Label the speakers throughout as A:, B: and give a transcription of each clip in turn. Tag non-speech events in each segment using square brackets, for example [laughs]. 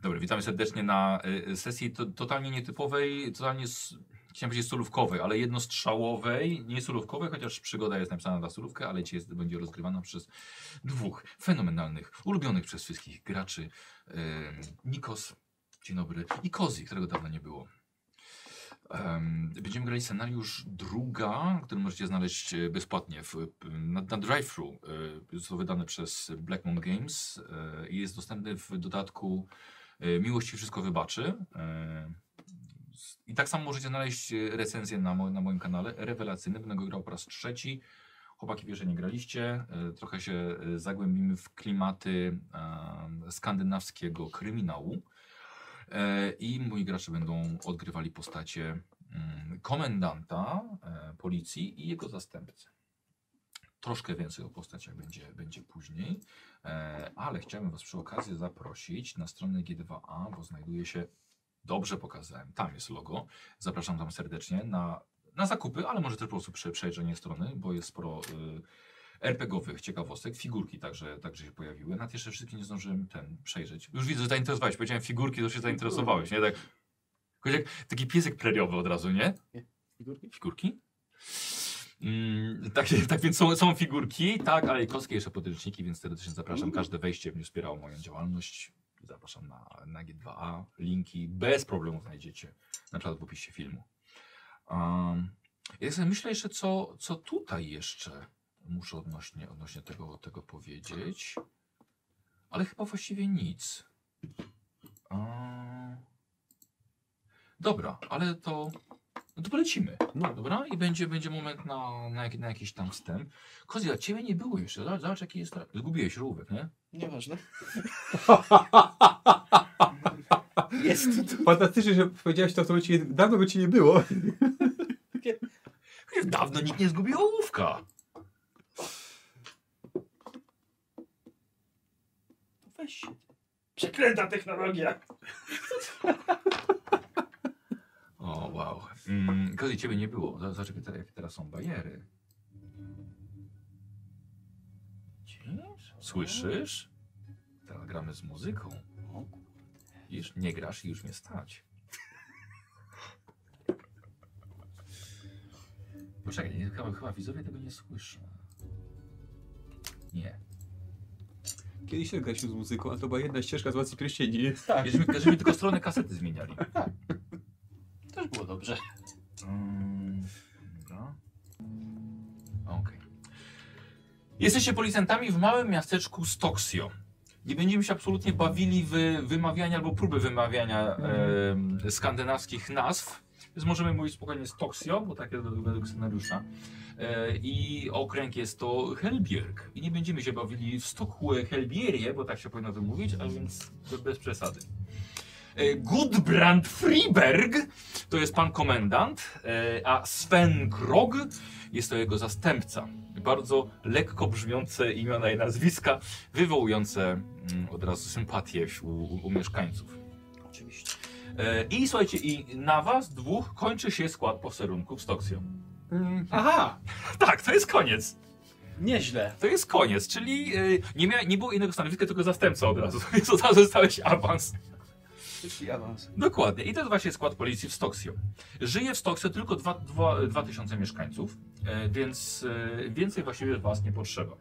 A: Dobry, witamy serdecznie na y, sesji to, totalnie nietypowej, totalnie, s- chciałem powiedzieć solówkowej, ale jednostrzałowej, nie solówkowej, chociaż przygoda jest napisana na solówkę, ale ci jest, będzie rozgrywana przez dwóch fenomenalnych, ulubionych przez wszystkich graczy. y, Nikos, dzień dobry, i Kozi, którego dawno nie było. Em, Będziemy grali scenariusz druga, który możecie znaleźć e, bezpłatnie w, p- na, na drive-thru. e, Jest to wydane przez Black Moon Games e, i jest dostępny w dodatku e, Miłość ci wszystko wybaczy. e, s- I tak samo możecie znaleźć e, recenzję na, mo na moim kanale. Rewelacyjny, będę go grał po raz trzeci. Chłopaki wie, że nie graliście. e, Trochę się e, zagłębimy w klimaty em, skandynawskiego kryminału. E, I moi gracze będą odgrywali postacie mm, komendanta e, policji i jego zastępcy. Troszkę więcej o postaciach będzie, będzie później, e, ale chciałbym Was przy okazji zaprosić na stronę G2A, bo znajduje się, dobrze pokazałem, tam jest logo. Zapraszam tam serdecznie na, na zakupy, ale może też po prostu prze, przejrzenie strony, bo jest sporo y, RPGowych ciekawostek, figurki także, także się pojawiły. Nawet jeszcze wszystkie nie zdążyłem ten przejrzeć. Już widzę, że zainteresowałeś. Powiedziałem figurki, to się zainteresowałeś, nie? Tak, jakoś jak taki piesek preriowy od razu, nie?
B: Figurki?
A: Figurki? Mm, tak, [laughs] tak więc są, są figurki, tak, ale i kostki jeszcze podręczniki, więc serdecznie zapraszam. Każde wejście będzie wspierało moją działalność. Zapraszam na, na G2A. Linki bez problemu znajdziecie na przykład w opisie filmu. Um, ja sobie myślę jeszcze, co, co tutaj jeszcze muszę odnośnie, odnośnie tego, tego powiedzieć. Ale chyba właściwie nic. Um, dobra, ale to, no to polecimy.
B: No.
A: Dobra, i będzie, będzie moment na, na, jak- na jakiś tam wstęp. Kozi, a ciebie nie było jeszcze. Zobacz, zobacz jaki jest. tra- Zgubiłeś rówek, nie?
B: Nieważne. Jest tu.
C: Fantastycznie, że powiedziałeś to, co by ci, dawno by ci nie było.
A: Przecież Dawno nikt nie zgubił ołówka.
B: Weź się. Przeklęta technologia.
A: O, wow. Mm, Kozi, ciebie nie było. Z- Zobacz, jakie te- jakie teraz są bariery. Słyszysz? Teraz gramy z muzyką. Widzisz, nie grasz i już mnie stać. Poczekaj, nie, chyba, chyba widzowie tego nie słyszą. Nie.
C: Kiedyś też graliśmy z muzyką, a to była jedna ścieżka z Władcy Pierścieni.
B: Tak,
A: Żeśmy, żeśmy tylko stronę kasety zmieniali.
B: też było dobrze.
A: Mm, Dobra. Okej. Jesteście policjantami w małym miasteczku Stoksio. Nie będziemy się absolutnie bawili w wymawianie albo próby wymawiania em, skandynawskich nazw. Więc możemy mówić spokojnie Stoksio, bo tak jest według, według scenariusza. E, I okręg jest to Helbierg. I nie będziemy się bawili w Stokłe Helbierie, bo tak się powinno to mówić, a więc be- bez przesady. E, Gudbrand Friberg to jest pan komendant, e, a Sven Grog jest to jego zastępca. Bardzo lekko brzmiące imiona i nazwiska, wywołujące mm, od razu sympatię w- u, u mieszkańców.
B: Oczywiście.
A: E, I słuchajcie, i na was dwóch kończy się skład posterunków z Toksją. [laughs]
C: Mm.
B: Aha!
A: Tak, to jest koniec.
B: Nieźle.
A: To jest koniec, czyli e, nie, mia- nie było innego stanowiska, tylko zastępca od razu. [laughs] Więc od razu dostałeś awans.
B: Szybki awans.
A: Dokładnie. I to jest właśnie skład policji w Stoksio. Żyje w Stoksio tylko 2000 mieszkańców, e, więc e, więcej właściwie was nie potrzeba.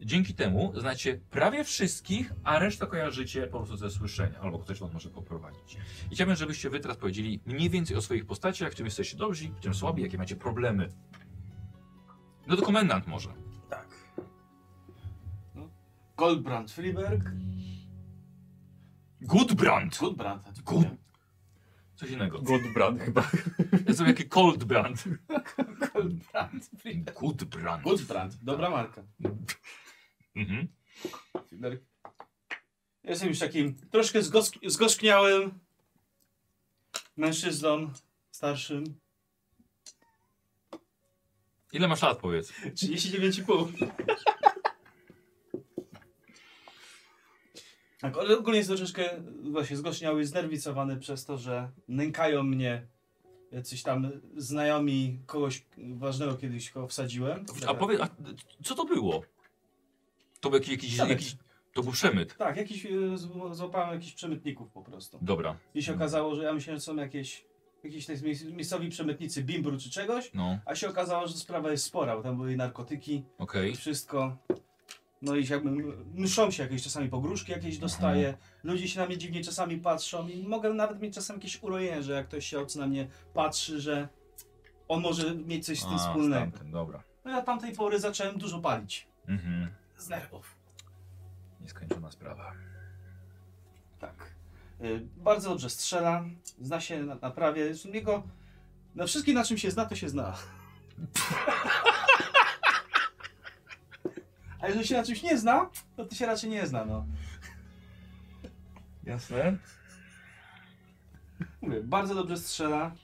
A: Dzięki temu znacie prawie wszystkich, a resztę kojarzycie po prostu ze słyszenia, albo ktoś was może poprowadzić. I chciałbym, żebyście wy teraz powiedzieli mniej więcej o swoich postaciach, w czym jesteście dobrzy, w czym słabi, jakie macie problemy. No to komendant może.
B: Tak. No. Goldbrand Friberg.
A: Goodbrand!
B: Goldbrand. a tu
A: Good-
B: nie.
A: Coś innego.
C: Godbrand chyba.
A: Ja sobie jaki Coldbrand.
B: Goldbrand Friberg.
A: Goodbrand.
B: Goldbrand. Dobra marka.
A: Mhm.
B: Friberg. Ja Jestem już takim troszkę zgosk zgorzkniałym mężczyzną starszym.
A: Ile masz lat, powiedz?
B: 39,5. Tak, ale ogólnie jest troszeczkę właśnie zgośniały, znerwicowany przez to, że nękają mnie jacyś tam znajomi kogoś ważnego kiedyś, kogo wsadziłem.
A: A powiedz, a co to było? To był jakiś, jakiś,
B: Siadek.
A: jakiś To był przemyt.
B: Tak, jakiś, y, zł- złapałem jakichś przemytników po prostu.
A: Dobra,
B: I się okazało, że ja myślałem, że są jakieś, jakieś tak miejsc- miejscowi przemytnicy bimbru czy czegoś,
A: no,
B: a się okazało, że sprawa jest spora, bo tam były i narkotyki,
A: okej.
B: i wszystko. No i jakby m- mszą się jakieś czasami pogróżki jakieś dostaję, ludzie się na mnie dziwnie czasami patrzą i mogę nawet mieć czasem jakieś urojenie, że jak ktoś się obcy na mnie patrzy, że on może mieć coś z tym
A: A, tak.
B: wspólnego.
A: tamten, Dobra.
B: No ja od tamtej pory zacząłem dużo palić.
A: Mhm.
B: Z nerwów.
A: Nieskończona sprawa.
B: Tak. Y, Bardzo dobrze strzela, zna się na, na prawie. Zresztą Jego, na wszystkim na czym się zna, to się zna. [laughs] A jeżeli się na czymś nie zna, to ty się raczej nie zna, no.
A: Jasne.
B: Mówię, bardzo dobrze strzela,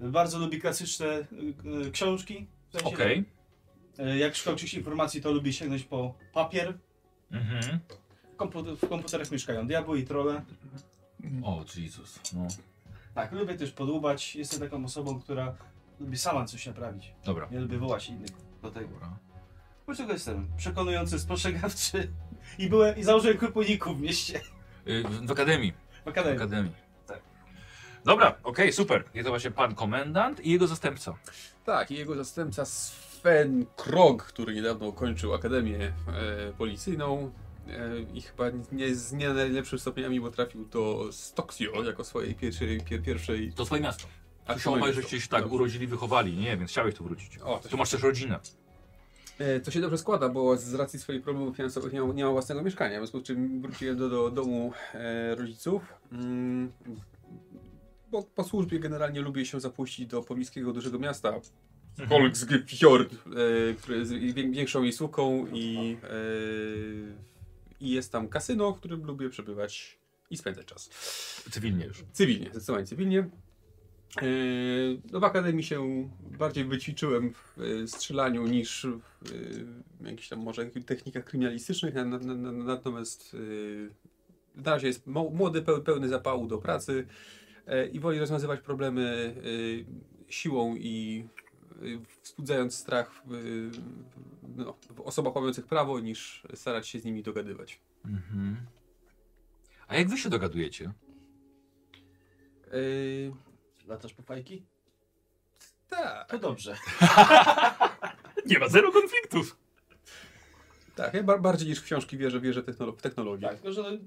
B: bardzo lubi klasyczne y, y, książki. W sensie,
A: Okej.
B: y, Jak szukał jakichś informacji, to lubi sięgnąć po papier.
A: Mhm.
B: Komputer, w komputerach mieszkają diabły i trole.
A: O, Jezus. No.
B: Tak, lubię też podłubać. Jestem taką osobą, która lubi sama coś naprawić.
A: Dobra.
B: Nie lubię wołać innych do tego.
A: Dobra.
B: Dlaczego jestem przekonujący, spostrzegawczy i byłem i założyłem kłopotników w mieście,
A: Y, w, w akademii.
B: w akademii.
A: Akademii.
B: Tak.
A: Dobra, okej, super. Jest to właśnie pan komendant i jego zastępca.
C: Tak, i jego zastępca Sven Krog, który niedawno ukończył Akademię e, Policyjną e, i chyba nie z nie najlepszymi stopniami, bo trafił do Stoksio jako swojej pierwszej... Pier, pierwszej
A: To twoje miasto. A się
C: akademii.
A: obaj żeście się tak
C: Dobrze.
A: urodzili, wychowali, nie? Więc chciałeś tu wrócić.
C: O, to
A: Tu
C: się,
A: masz też rodzinę.
C: e, to się dobrze składa, bo z racji swoich problemów finansowych nie, mam- nie mam własnego mieszkania, w związku z czym wróciłem do, do domu e, rodziców. Mm, bo po służbie generalnie lubię się zapuścić do pobliskiego dużego miasta, Volksgefjord, e, które jest wię- większą miejscówką i, e, i jest tam kasyno, w którym lubię przebywać i spędzać czas.
A: Cywilnie już.
C: Cywilnie, zdecydowanie cywilnie. E, No w akademii się bardziej wyćwiczyłem w e, strzelaniu niż w e, jakichś tam może technikach kryminalistycznych, na- na- na- natomiast e, na razie jest mo- młody, peł- pełny zapału do pracy e, i woli rozwiązywać problemy e, siłą i e, wzbudzając strach w, e, no, w osobach łamiących prawo, niż starać się z nimi dogadywać.
A: Mhm. A jak wy się dogadujecie?
C: E,
B: Latasz po fajki?
C: tak.
B: To No dobrze.
A: Nie ma zero konfliktów.
C: Tak, ja bar- bardziej niż w książki wierzę, wierzę technolo- w technologię.
B: Tak, tylko że no,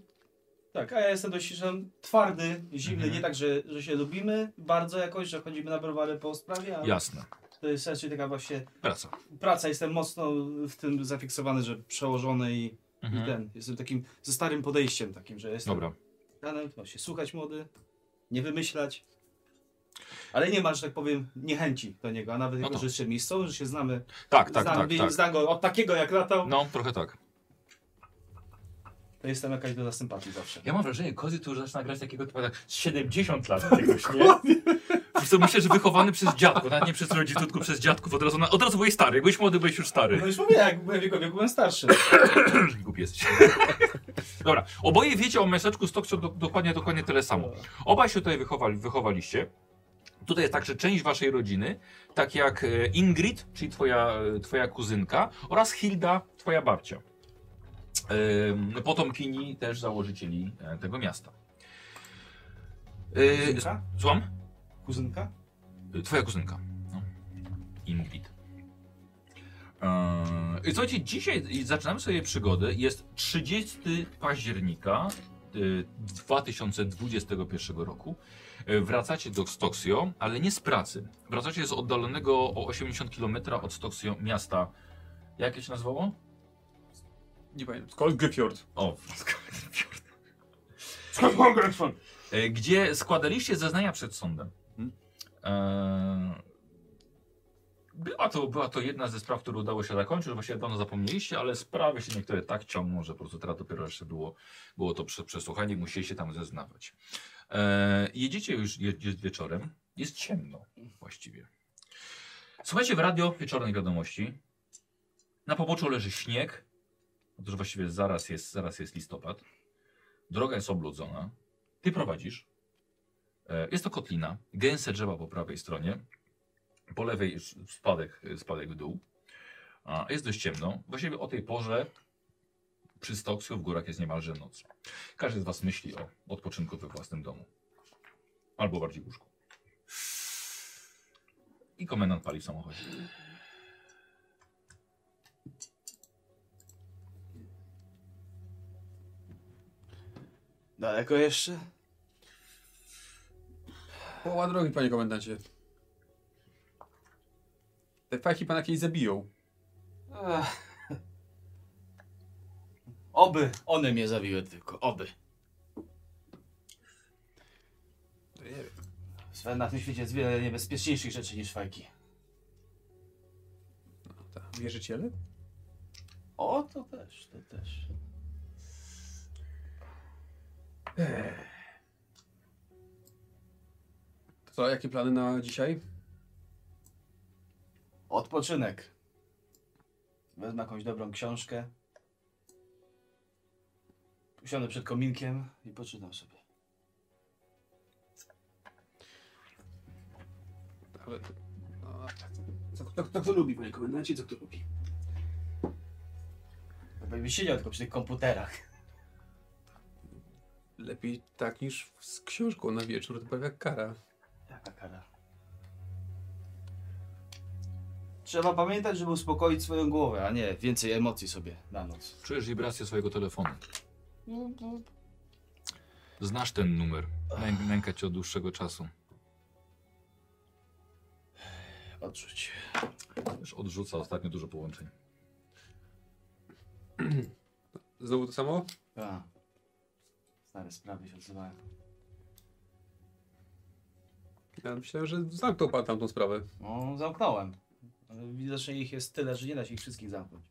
B: tak, a ja jestem dość że twardy, zimny,
A: Mhm.
B: nie tak, że, że się lubimy bardzo jakoś, że chodzimy na browary po sprawie, ale
A: Jasne.
B: to jest raczej taka właśnie
A: Praca.
B: praca, jestem mocno w tym zafiksowany, że przełożony i, i
A: Mhm.
B: ten, jestem takim, ze starym podejściem takim, że jestem
A: Dobra.
B: ranem, no, się słuchać młody, nie wymyślać. Ale nie ma, że tak powiem, niechęci do niego, a nawet
A: No
B: no jako,
A: to.
B: że się miejscowy, że się znamy.
A: Tak, tak,
B: znam,
A: tak,
B: wie-
A: tak.
B: znam go od takiego jak latał,
A: No, trochę tak.
B: to jestem jakaś doda sympatii zawsze.
A: Ja mam wrażenie, Kozy tu już zaczyna grać takiego typa tak z 70 lat jakiegoś, nie? Wiesz co, myślę, że wychowany przez dziadków, nawet nie przez rodziców, tylko przez dziadków. Od razu, na, od razu byłeś stary. Jak byłeś młody, byłeś już stary.
B: No już mówię, jak byłem w jego wieku, byłem starszy.
A: Głupi jesteś. Dobra, oboje wiecie o meseczku Stokcio do, dokładnie, dokładnie tyle samo. Obaj się tutaj wychowali, wychowaliście. Tutaj jest także część waszej rodziny, tak jak e, Ingrid, czyli twoja, e, twoja kuzynka, oraz Hilda, twoja babcia. Em, Potomkini też założycieli e, tego miasta. E,
B: Kuzynka?
A: Słucham?
B: Kuzynka?
A: Y, Twoja kuzynka. No. Ingrid. Eee, słuchajcie, dzisiaj zaczynamy sobie przygodę. Jest 30 października y, 2021 roku. E, Wracacie do Stoksio, ale nie z pracy. Wracacie z oddalonego o 80 km od Stoksio miasta. Jakie się nazywało?
C: Nie pamiętam. Kolgryfjord.
A: O, E, gdzie składaliście zeznania przed sądem.
C: Mhm.
A: E, Była to, była to jedna ze spraw, które udało się zakończyć, właściwie dawno zapomnieliście, ale sprawy się niektóre tak ciągną, że po prostu teraz dopiero jeszcze było, było to prze, przesłuchanie, musieliście tam zeznawać. E, jedziecie już je, jest wieczorem, jest ciemno właściwie. Słuchajcie w radio wieczornej wiadomości, na poboczu leży śnieg, otóż właściwie zaraz jest, zaraz jest listopad, droga jest oblodzona, ty prowadzisz. E, Jest to kotlina, gęste drzewa po prawej stronie, po lewej s- e, spadek, spadek w dół. A, Jest dość ciemno. Właściwie o tej porze Przy Stoksio w górach jest niemalże noc. Każdy z was myśli o odpoczynku we własnym domu. Albo bardziej łóżku. I komendant pali w samochodzie.
B: Daleko jeszcze?
C: Połowa drogi, panie komendancie. Te fajki pana kiedyś zabiją.
B: Ech. Oby
D: One mnie zabiły tylko, oby.
B: Sven, na tym świecie jest wiele niebezpieczniejszych rzeczy niż fajki.
C: Wierzyciele?
B: O, to też, to też.
C: To co, jakie plany na dzisiaj?
B: Odpoczynek. Wezmę jakąś dobrą książkę. Usiądę przed kominkiem i poczytam sobie.
C: Ale... No,
E: Co, kto, kto, kto lubi, panie komendancie, co kto lubi?
B: Będę siedział tylko przy tych komputerach.
C: lepiej tak niż z książką na wieczór, to prawie jak kara.
B: Jaka kara. Trzeba pamiętać, żeby uspokoić swoją głowę, a nie więcej emocji sobie na noc.
A: Czujesz wibrację swojego telefonu. Znasz ten numer. Nęk, nęka cię od dłuższego czasu.
B: Odrzuć.
A: Już odrzuca ostatnio dużo połączeń.
C: Znowu to samo?
B: A. Stare sprawy się odzywają.
C: Ja myślałem, że zamknął pan tamtą sprawę.
B: No, zamknąłem. Ale Widocznie ich jest tyle, że nie da się ich wszystkich zamknąć.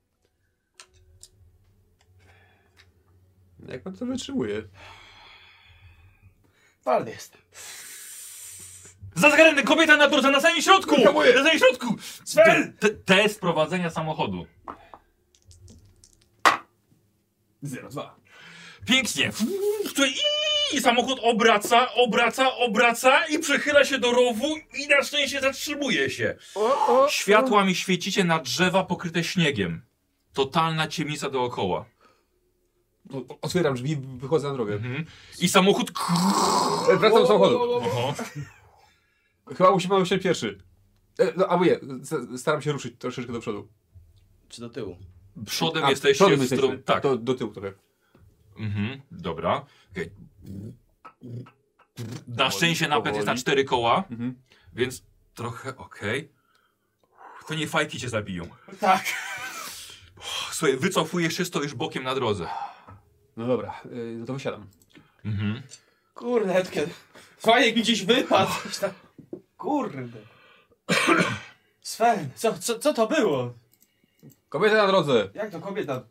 C: Jak pan to wytrzymuje?
B: Twardy jestem.
A: Zagarny kobieta na torze na samym środku!
C: Hamuję!
A: Na samym środku!
B: Sven!
A: Te- Test prowadzenia samochodu.
E: Zero, dwa.
A: Pięknie. Tutaj i samochód obraca, obraca, obraca i przechyla się do rowu i na szczęście zatrzymuje się. Światła mi świecicie na drzewa pokryte śniegiem. Totalna ciemnica dookoła.
C: O- Otwieram drzwi, wychodzę na drogę.
A: Mhm. I samochód...
C: E, Wracam do samochodu.
A: Oho.
C: Chyba musi pan się pierwszy. E, No, albo nie, s- staram się ruszyć troszeczkę do przodu.
B: Czy do tyłu?
A: Przodem
C: A,
A: jesteście
C: przodem
A: w stronę...
C: jesteśmy.
A: Tak.
C: Do, do tyłu trochę.
A: Mhm. Dobra. Okej. Na szczęście napęd jest na
C: powoli.
A: cztery koła,
C: Mhm.
A: więc trochę okej. To nie fajki cię zabiją.
B: Tak.
A: Słuchaj, wycofujesz się, stoisz bokiem na drodze.
C: No dobra, e, no to wysiadam.
A: Mhm.
B: Kurde, Edkel. Fajek mi gdzieś wypadł. Kurde. Sven, co, co, co to było?
C: Kobieta na drodze!
B: Jak to kobieta?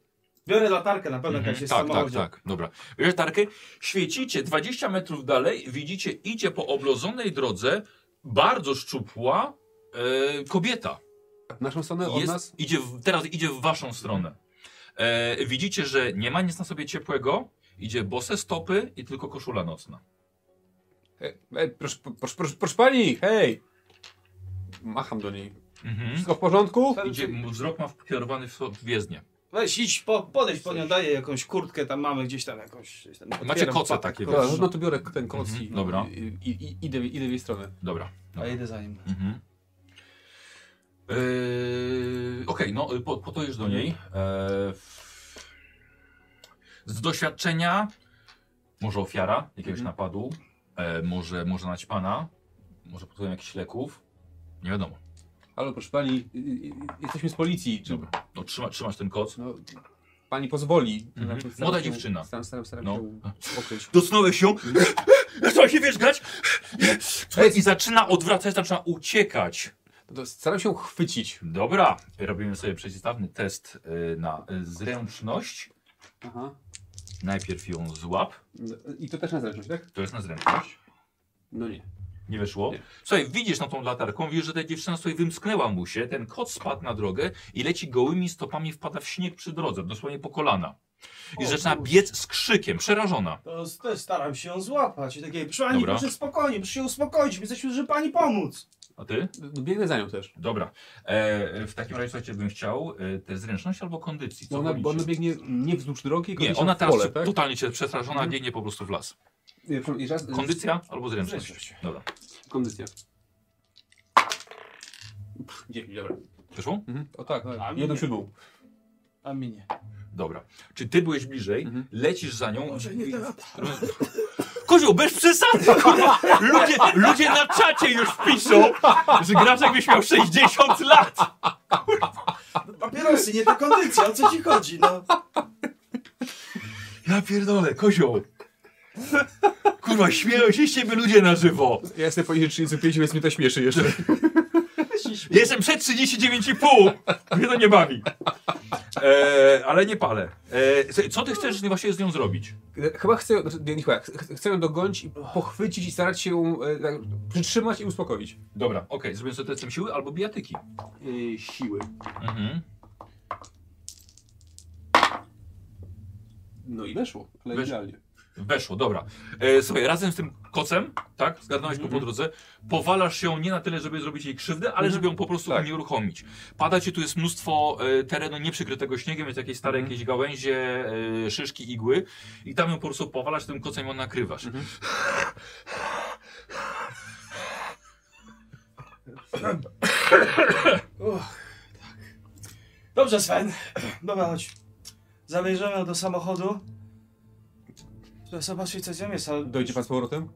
B: Biorę latarkę na pewno,
A: Mhm.
B: jakaś jest w
A: Tak, tak,
B: samochodzie.
A: tak. Dobra. Bierzesz tarkę, świecicie 20 metrów dalej, widzicie, idzie po oblozonej drodze bardzo szczupła e, kobieta.
C: W naszą stronę od nas?
A: Jest, idzie w, teraz idzie w waszą stronę. E, widzicie, że nie ma nic na sobie ciepłego, idzie bose stopy i tylko koszula nocna.
C: E, e, proszę, proszę, proszę, proszę pani, hej! Macham do niej.
A: Mhm.
C: Wszystko w porządku?
B: Sven,
A: Idzie, wzrok ma wkierowany w, w jezdnię.
B: Weź idź, po, podejdź po nią, daję jakąś kurtkę, tam mamy gdzieś tam jakąś... Gdzieś tam
A: Macie
B: otwieram
A: koca
B: patyk,
A: takie.
B: kurwa.
C: Dobra, no to biorę ten koc
A: Mhm,
C: i,
A: dobra.
C: i, i, i idę, idę w jej stronę.
A: Dobra.
B: A idę za nim.
A: Mhm. Yy, Okej, no po, po to już do niej. E, f- z doświadczenia, może ofiara jakiegoś
C: Mhm.
A: napadu, e, może, może naćpana, może pod wpływem jakichś leków, nie wiadomo.
C: Halo, proszę pani, y, y, jesteśmy z policji. Czy,
A: Dobra. No, trzyma, trzymasz ten koc.
C: no, pani pozwoli.
A: Mhm.
C: Staram
A: Młoda
C: się-
A: dziewczyna.
C: Staram, staram, staram
A: No.
C: się ukryć.
A: Dotknąłeś ją, zaczęła się wierzgać E, i zaczyna odwracać, zaczyna uciekać.
C: No To Staram się chwycić.
A: Dobra, robimy sobie przeciwstawny test y, na y, zręczność.
C: Aha.
A: Najpierw ją złap.
C: I to też na zręczność, tak?
A: To jest na zręczność.
C: No nie.
A: Nie wyszło.
C: Nie.
A: Słuchaj, widzisz na tą latarką, widzisz, że ta dziewczyna sobie wymsknęła mu się, ten kot spadł na drogę i leci gołymi stopami, wpada w śnieg przy drodze, dosłownie po kolana. I
B: O,
A: zaczyna
B: Boże.
A: biec z krzykiem, przerażona.
B: To też staram się ją złapać. I takie, proszę pani,
A: Dobra.
B: proszę spokojnie, proszę się uspokoić, my jesteśmy, żeby pani pomóc.
A: A ty?
C: No Biegnę za nią też.
A: Dobra. E, w takim razie słuchajcie, bym chciał e, te zręczności albo kondycji. Co
C: Bo ona, bo ona
A: wolicie?
C: biegnie nie wzdłuż drogi, tylko
A: Nie,
C: gdzieś
A: ona
C: w
A: teraz
C: pole, tak?
A: totalnie się przestraszona, biegnie po prostu w las.
C: Nie, przepraszam, jeszcze raz.
A: Kondycja albo zręczność. Dobra.
C: Kondycja. Pff, Dzięki, dobra.
A: Wyszło?
C: Mhm. O tak,
B: A
C: tak.
B: mnie
C: jedną
B: nie.
C: siódmą.
B: A mi nie.
A: Dobra. Czy ty byłeś bliżej,
C: Mhm.
A: lecisz za nią.
E: Może nie teraz.
A: Kozioł, bez przesady! kurwa! Ludzie, ludzie na czacie już piszą, że gracz jakbyś miał 60 lat!
B: Papierosy, nie ta kondycja, o co ci chodzi, no?
A: Ja pierdolę, kozioł! Kurwa, śmieją się z ciebie ludzie na żywo!
C: Ja jestem poniżej 35, więc mnie to śmieszy jeszcze.
A: Jestem przed 39,5! Mnie to nie bawi. E, ale nie palę. E, słuchaj, co ty chcesz właśnie z nią zrobić?
C: Chyba chcę, znaczy, nie, nie chyba, ch- ch- chcę ją dogonić i pochwycić i starać się ją e, tak, przytrzymać i uspokoić.
A: Dobra, okej, zrobię sobie testem siły albo bijatyki.
C: E, siły.
A: Mhm.
C: No i weszło, ale
A: Weszło.
C: idealnie.
A: Weszło, dobra. E, słuchaj, razem z tym kocem, tak? Zgadnąłeś go po
C: Mhm.
A: drodze. Powalasz ją nie na tyle, żeby zrobić jej krzywdę, ale żeby ją po prostu
C: Tak.
A: unieruchomić. Pada ci tu jest mnóstwo e, terenu nieprzykrytego śniegiem, jest jakieś stare
C: Mhm.
A: jakieś gałęzie, e, szyszki, igły i tam ją po prostu powalasz tym kocem i ją nakrywasz.
C: Mhm.
B: Uch, tak. Dobrze, Sven. [clears throat] Dobra, chodź. Zabierzemy ją do samochodu. Zobaczcie, co z nią jest, ale...
C: Dojdzie pan z powrotem?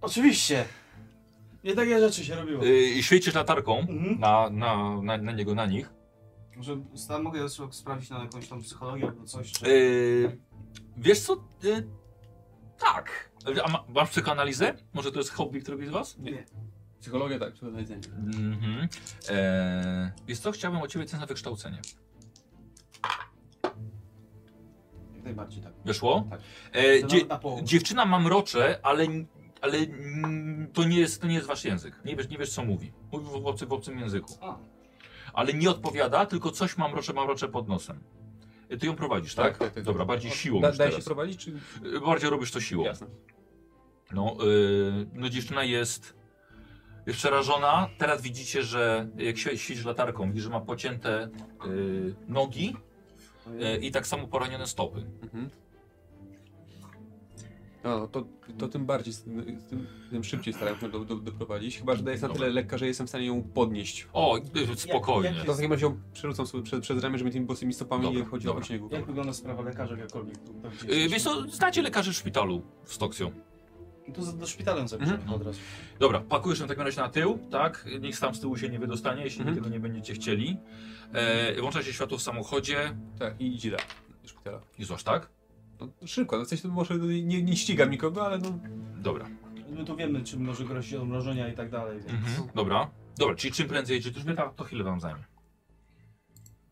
B: Oczywiście. Nie takie rzeczy się robiło.
A: E, świecisz latarką
B: Mhm.
A: na, na, na, na niego, na nich.
B: Może stan mogę jeszcze sprawdzić na jakąś tam psychologię albo coś?
A: E, wiesz co? E, tak. A ma, masz psychoanalizę? Może to jest hobby któregoś z was?
C: Psychologia tak, przeprowadzenie.
A: Mhm. Eee, wiesz co, chciałbym o ciebie cenę wykształcenie.
B: Jak najbardziej tak.
A: Wyszło?
B: Tak.
A: Eee,
B: To
A: dzie
B: nawet na połowę.
A: dziewczyna mamrocze, ale, ale mm, to, nie jest, to nie jest wasz język. Nie wiesz, nie wiesz co mówi. Mówi w, obcy, w obcym języku.
B: A.
A: Ale nie odpowiada, tylko coś mamrocze, mamrocze pod nosem. E, Ty ją prowadzisz, tak?
C: Tak, tak, tak.
A: Dobra, bardziej siłą
C: Da,
A: już
C: daje się
A: teraz.
C: prowadzić, czy...
A: E, Bardziej robisz to siłą.
C: Jasne.
A: No, yy, no dziewczyna jest jest przerażona. Teraz widzicie, że jak świe- świecisz latarką, widzisz, że ma pocięte yy, nogi yy, i tak samo poranione stopy.
C: Mhm. No, to, to tym bardziej, z tym, z tym, tym szybciej staram się do, do, doprowadzić. Chyba, że jest na
A: Dobra.
C: tyle lekka, że jestem w stanie ją podnieść.
A: O, yy, spokojnie.
B: jak
C: To w takim razie ją przerzucam sobie przed, przed ramię, żeby tymi bosymi stopami
A: Dobra,
C: nie chodziło
A: dobra.
C: po śniegu.
B: Jak wygląda sprawa lekarza jakakolwiek? tu pewnie
A: Yy,
B: jest?
A: wiesz co, znacie lekarzy w szpitalu z Toksją.
B: To za- do szpitala ją zabierzemy
A: Mhm.
B: od razu.
A: Dobra, pakujesz ją w takim razie na tył, tak? Nikt tam z tyłu się nie wydostanie, jeśli
C: Mhm.
A: tego nie będziecie chcieli. E, włącza się światło w samochodzie.
C: Tak, i idzie do szpitala.
A: I złasz, tak?
C: No, szybko, no w sensie to może nie, nie ścigam nikogo, ale no...
A: Dobra.
B: My tu wiemy, czym może grozić odmrożenia i tak dalej, więc...
A: Mhm. Dobra. Dobra, czyli czym prędzej jedziecie do szpitala, to chwilę wam zajmie.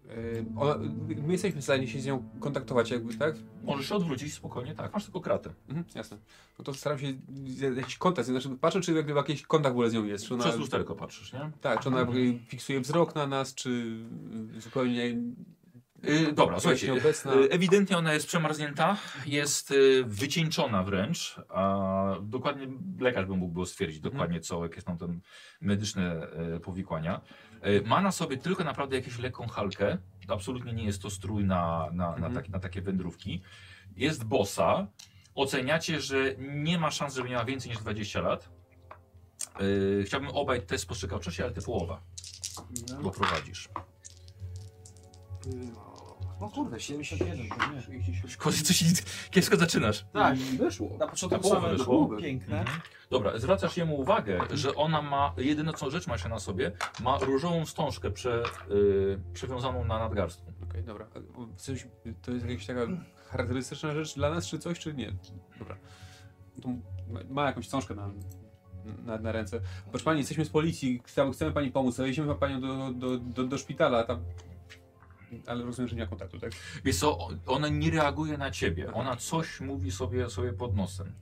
C: Yy, ona, my jesteśmy w stanie się z nią kontaktować jakby, tak?
A: Możesz się odwrócić spokojnie, tak. Masz tylko kratę.
C: Mhm, jasne. No to staram się z- jakiś kontakt, znaczy patrzę, czy jakby jakiś kontakt w ogóle z nią jest. Czy ona,
A: Przez lusterko patrzysz, nie?
C: tak, czy ona jakby fiksuje wzrok na nas, czy zupełnie...
A: Y, dobra, słuchajcie.
C: Nieobecna.
A: y, Ewidentnie ona jest przemarznięta, jest y, wycieńczona wręcz, a dokładnie lekarz by mógł było stwierdzić dokładnie co, jakie są tam medyczne y, powikłania. Y, Ma na sobie tylko naprawdę jakąś lekką halkę, absolutnie nie jest to strój na, na, na,
C: Mhm.
A: tak, na takie wędrówki. Jest bosa, oceniacie, że nie ma szans, żeby miała więcej niż 20 lat. Y, Chciałbym obaj test spostrzegawczości, ale ty połowa, bo prowadzisz.
B: No kurde, 71, to nie.
A: Kozie, coś kiepsko zaczynasz.
B: Tak,
C: Weszło.
B: na początku
A: Na połowę
B: same
A: wyszło.
B: było piękne.
A: Mhm. Dobra, zwracasz jemu uwagę, że ona ma, jedyną co rzecz ma jeszcze na sobie, ma różową wstążkę prze, y, przywiązaną na nadgarstku.
C: Okej, dobra. A Coś, to jest jakaś taka charakterystyczna rzecz dla nas, czy coś, czy nie? Dobra. To ma- ma jakąś książkę na, na, na ręce. Proszę pani, jesteśmy z policji, chcemy, chcemy pani pomóc, zawieźliśmy panią do, do, do, do szpitala, tam... Ale rozumiem, że nie ma kontaktu, tak?
A: Wiesz co, o- ona nie reaguje na ciebie, ona coś mówi sobie, sobie pod nosem.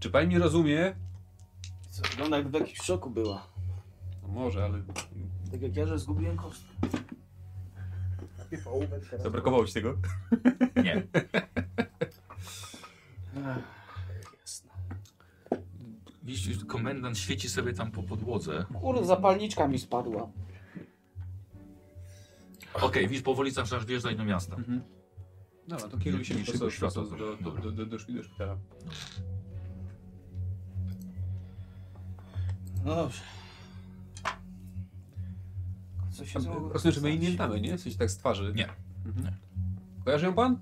C: Czy pani mnie rozumie?
F: Co, wygląda jakby w jakimś szoku była.
C: No może, ale...
F: Tak jak ja, że zgubiłem kostkę.
C: Zabrakowało ci tego?
A: Nie.
F: Ech, Jasne.
A: Widzisz, że komendant świeci sobie tam po podłodze.
F: Kurde, zapalniczka mi spadła.
A: Okej, widzisz, powoli zaczynasz wjeżdżać do miasta.
C: Mhm. Dobra, to kieruj się
A: Niż
C: prosto,
A: szybko
C: prosto
A: światło.
C: do, do, do, do, do, szpi- do szpitala.
B: No dobrze.
F: Co się znowu...
C: Rozumiem, że my jej e, nie znamy, nie? W sensie tak z twarzy.
A: Nie.
C: Mhm.
A: Nie.
C: Kojarzy ją pan?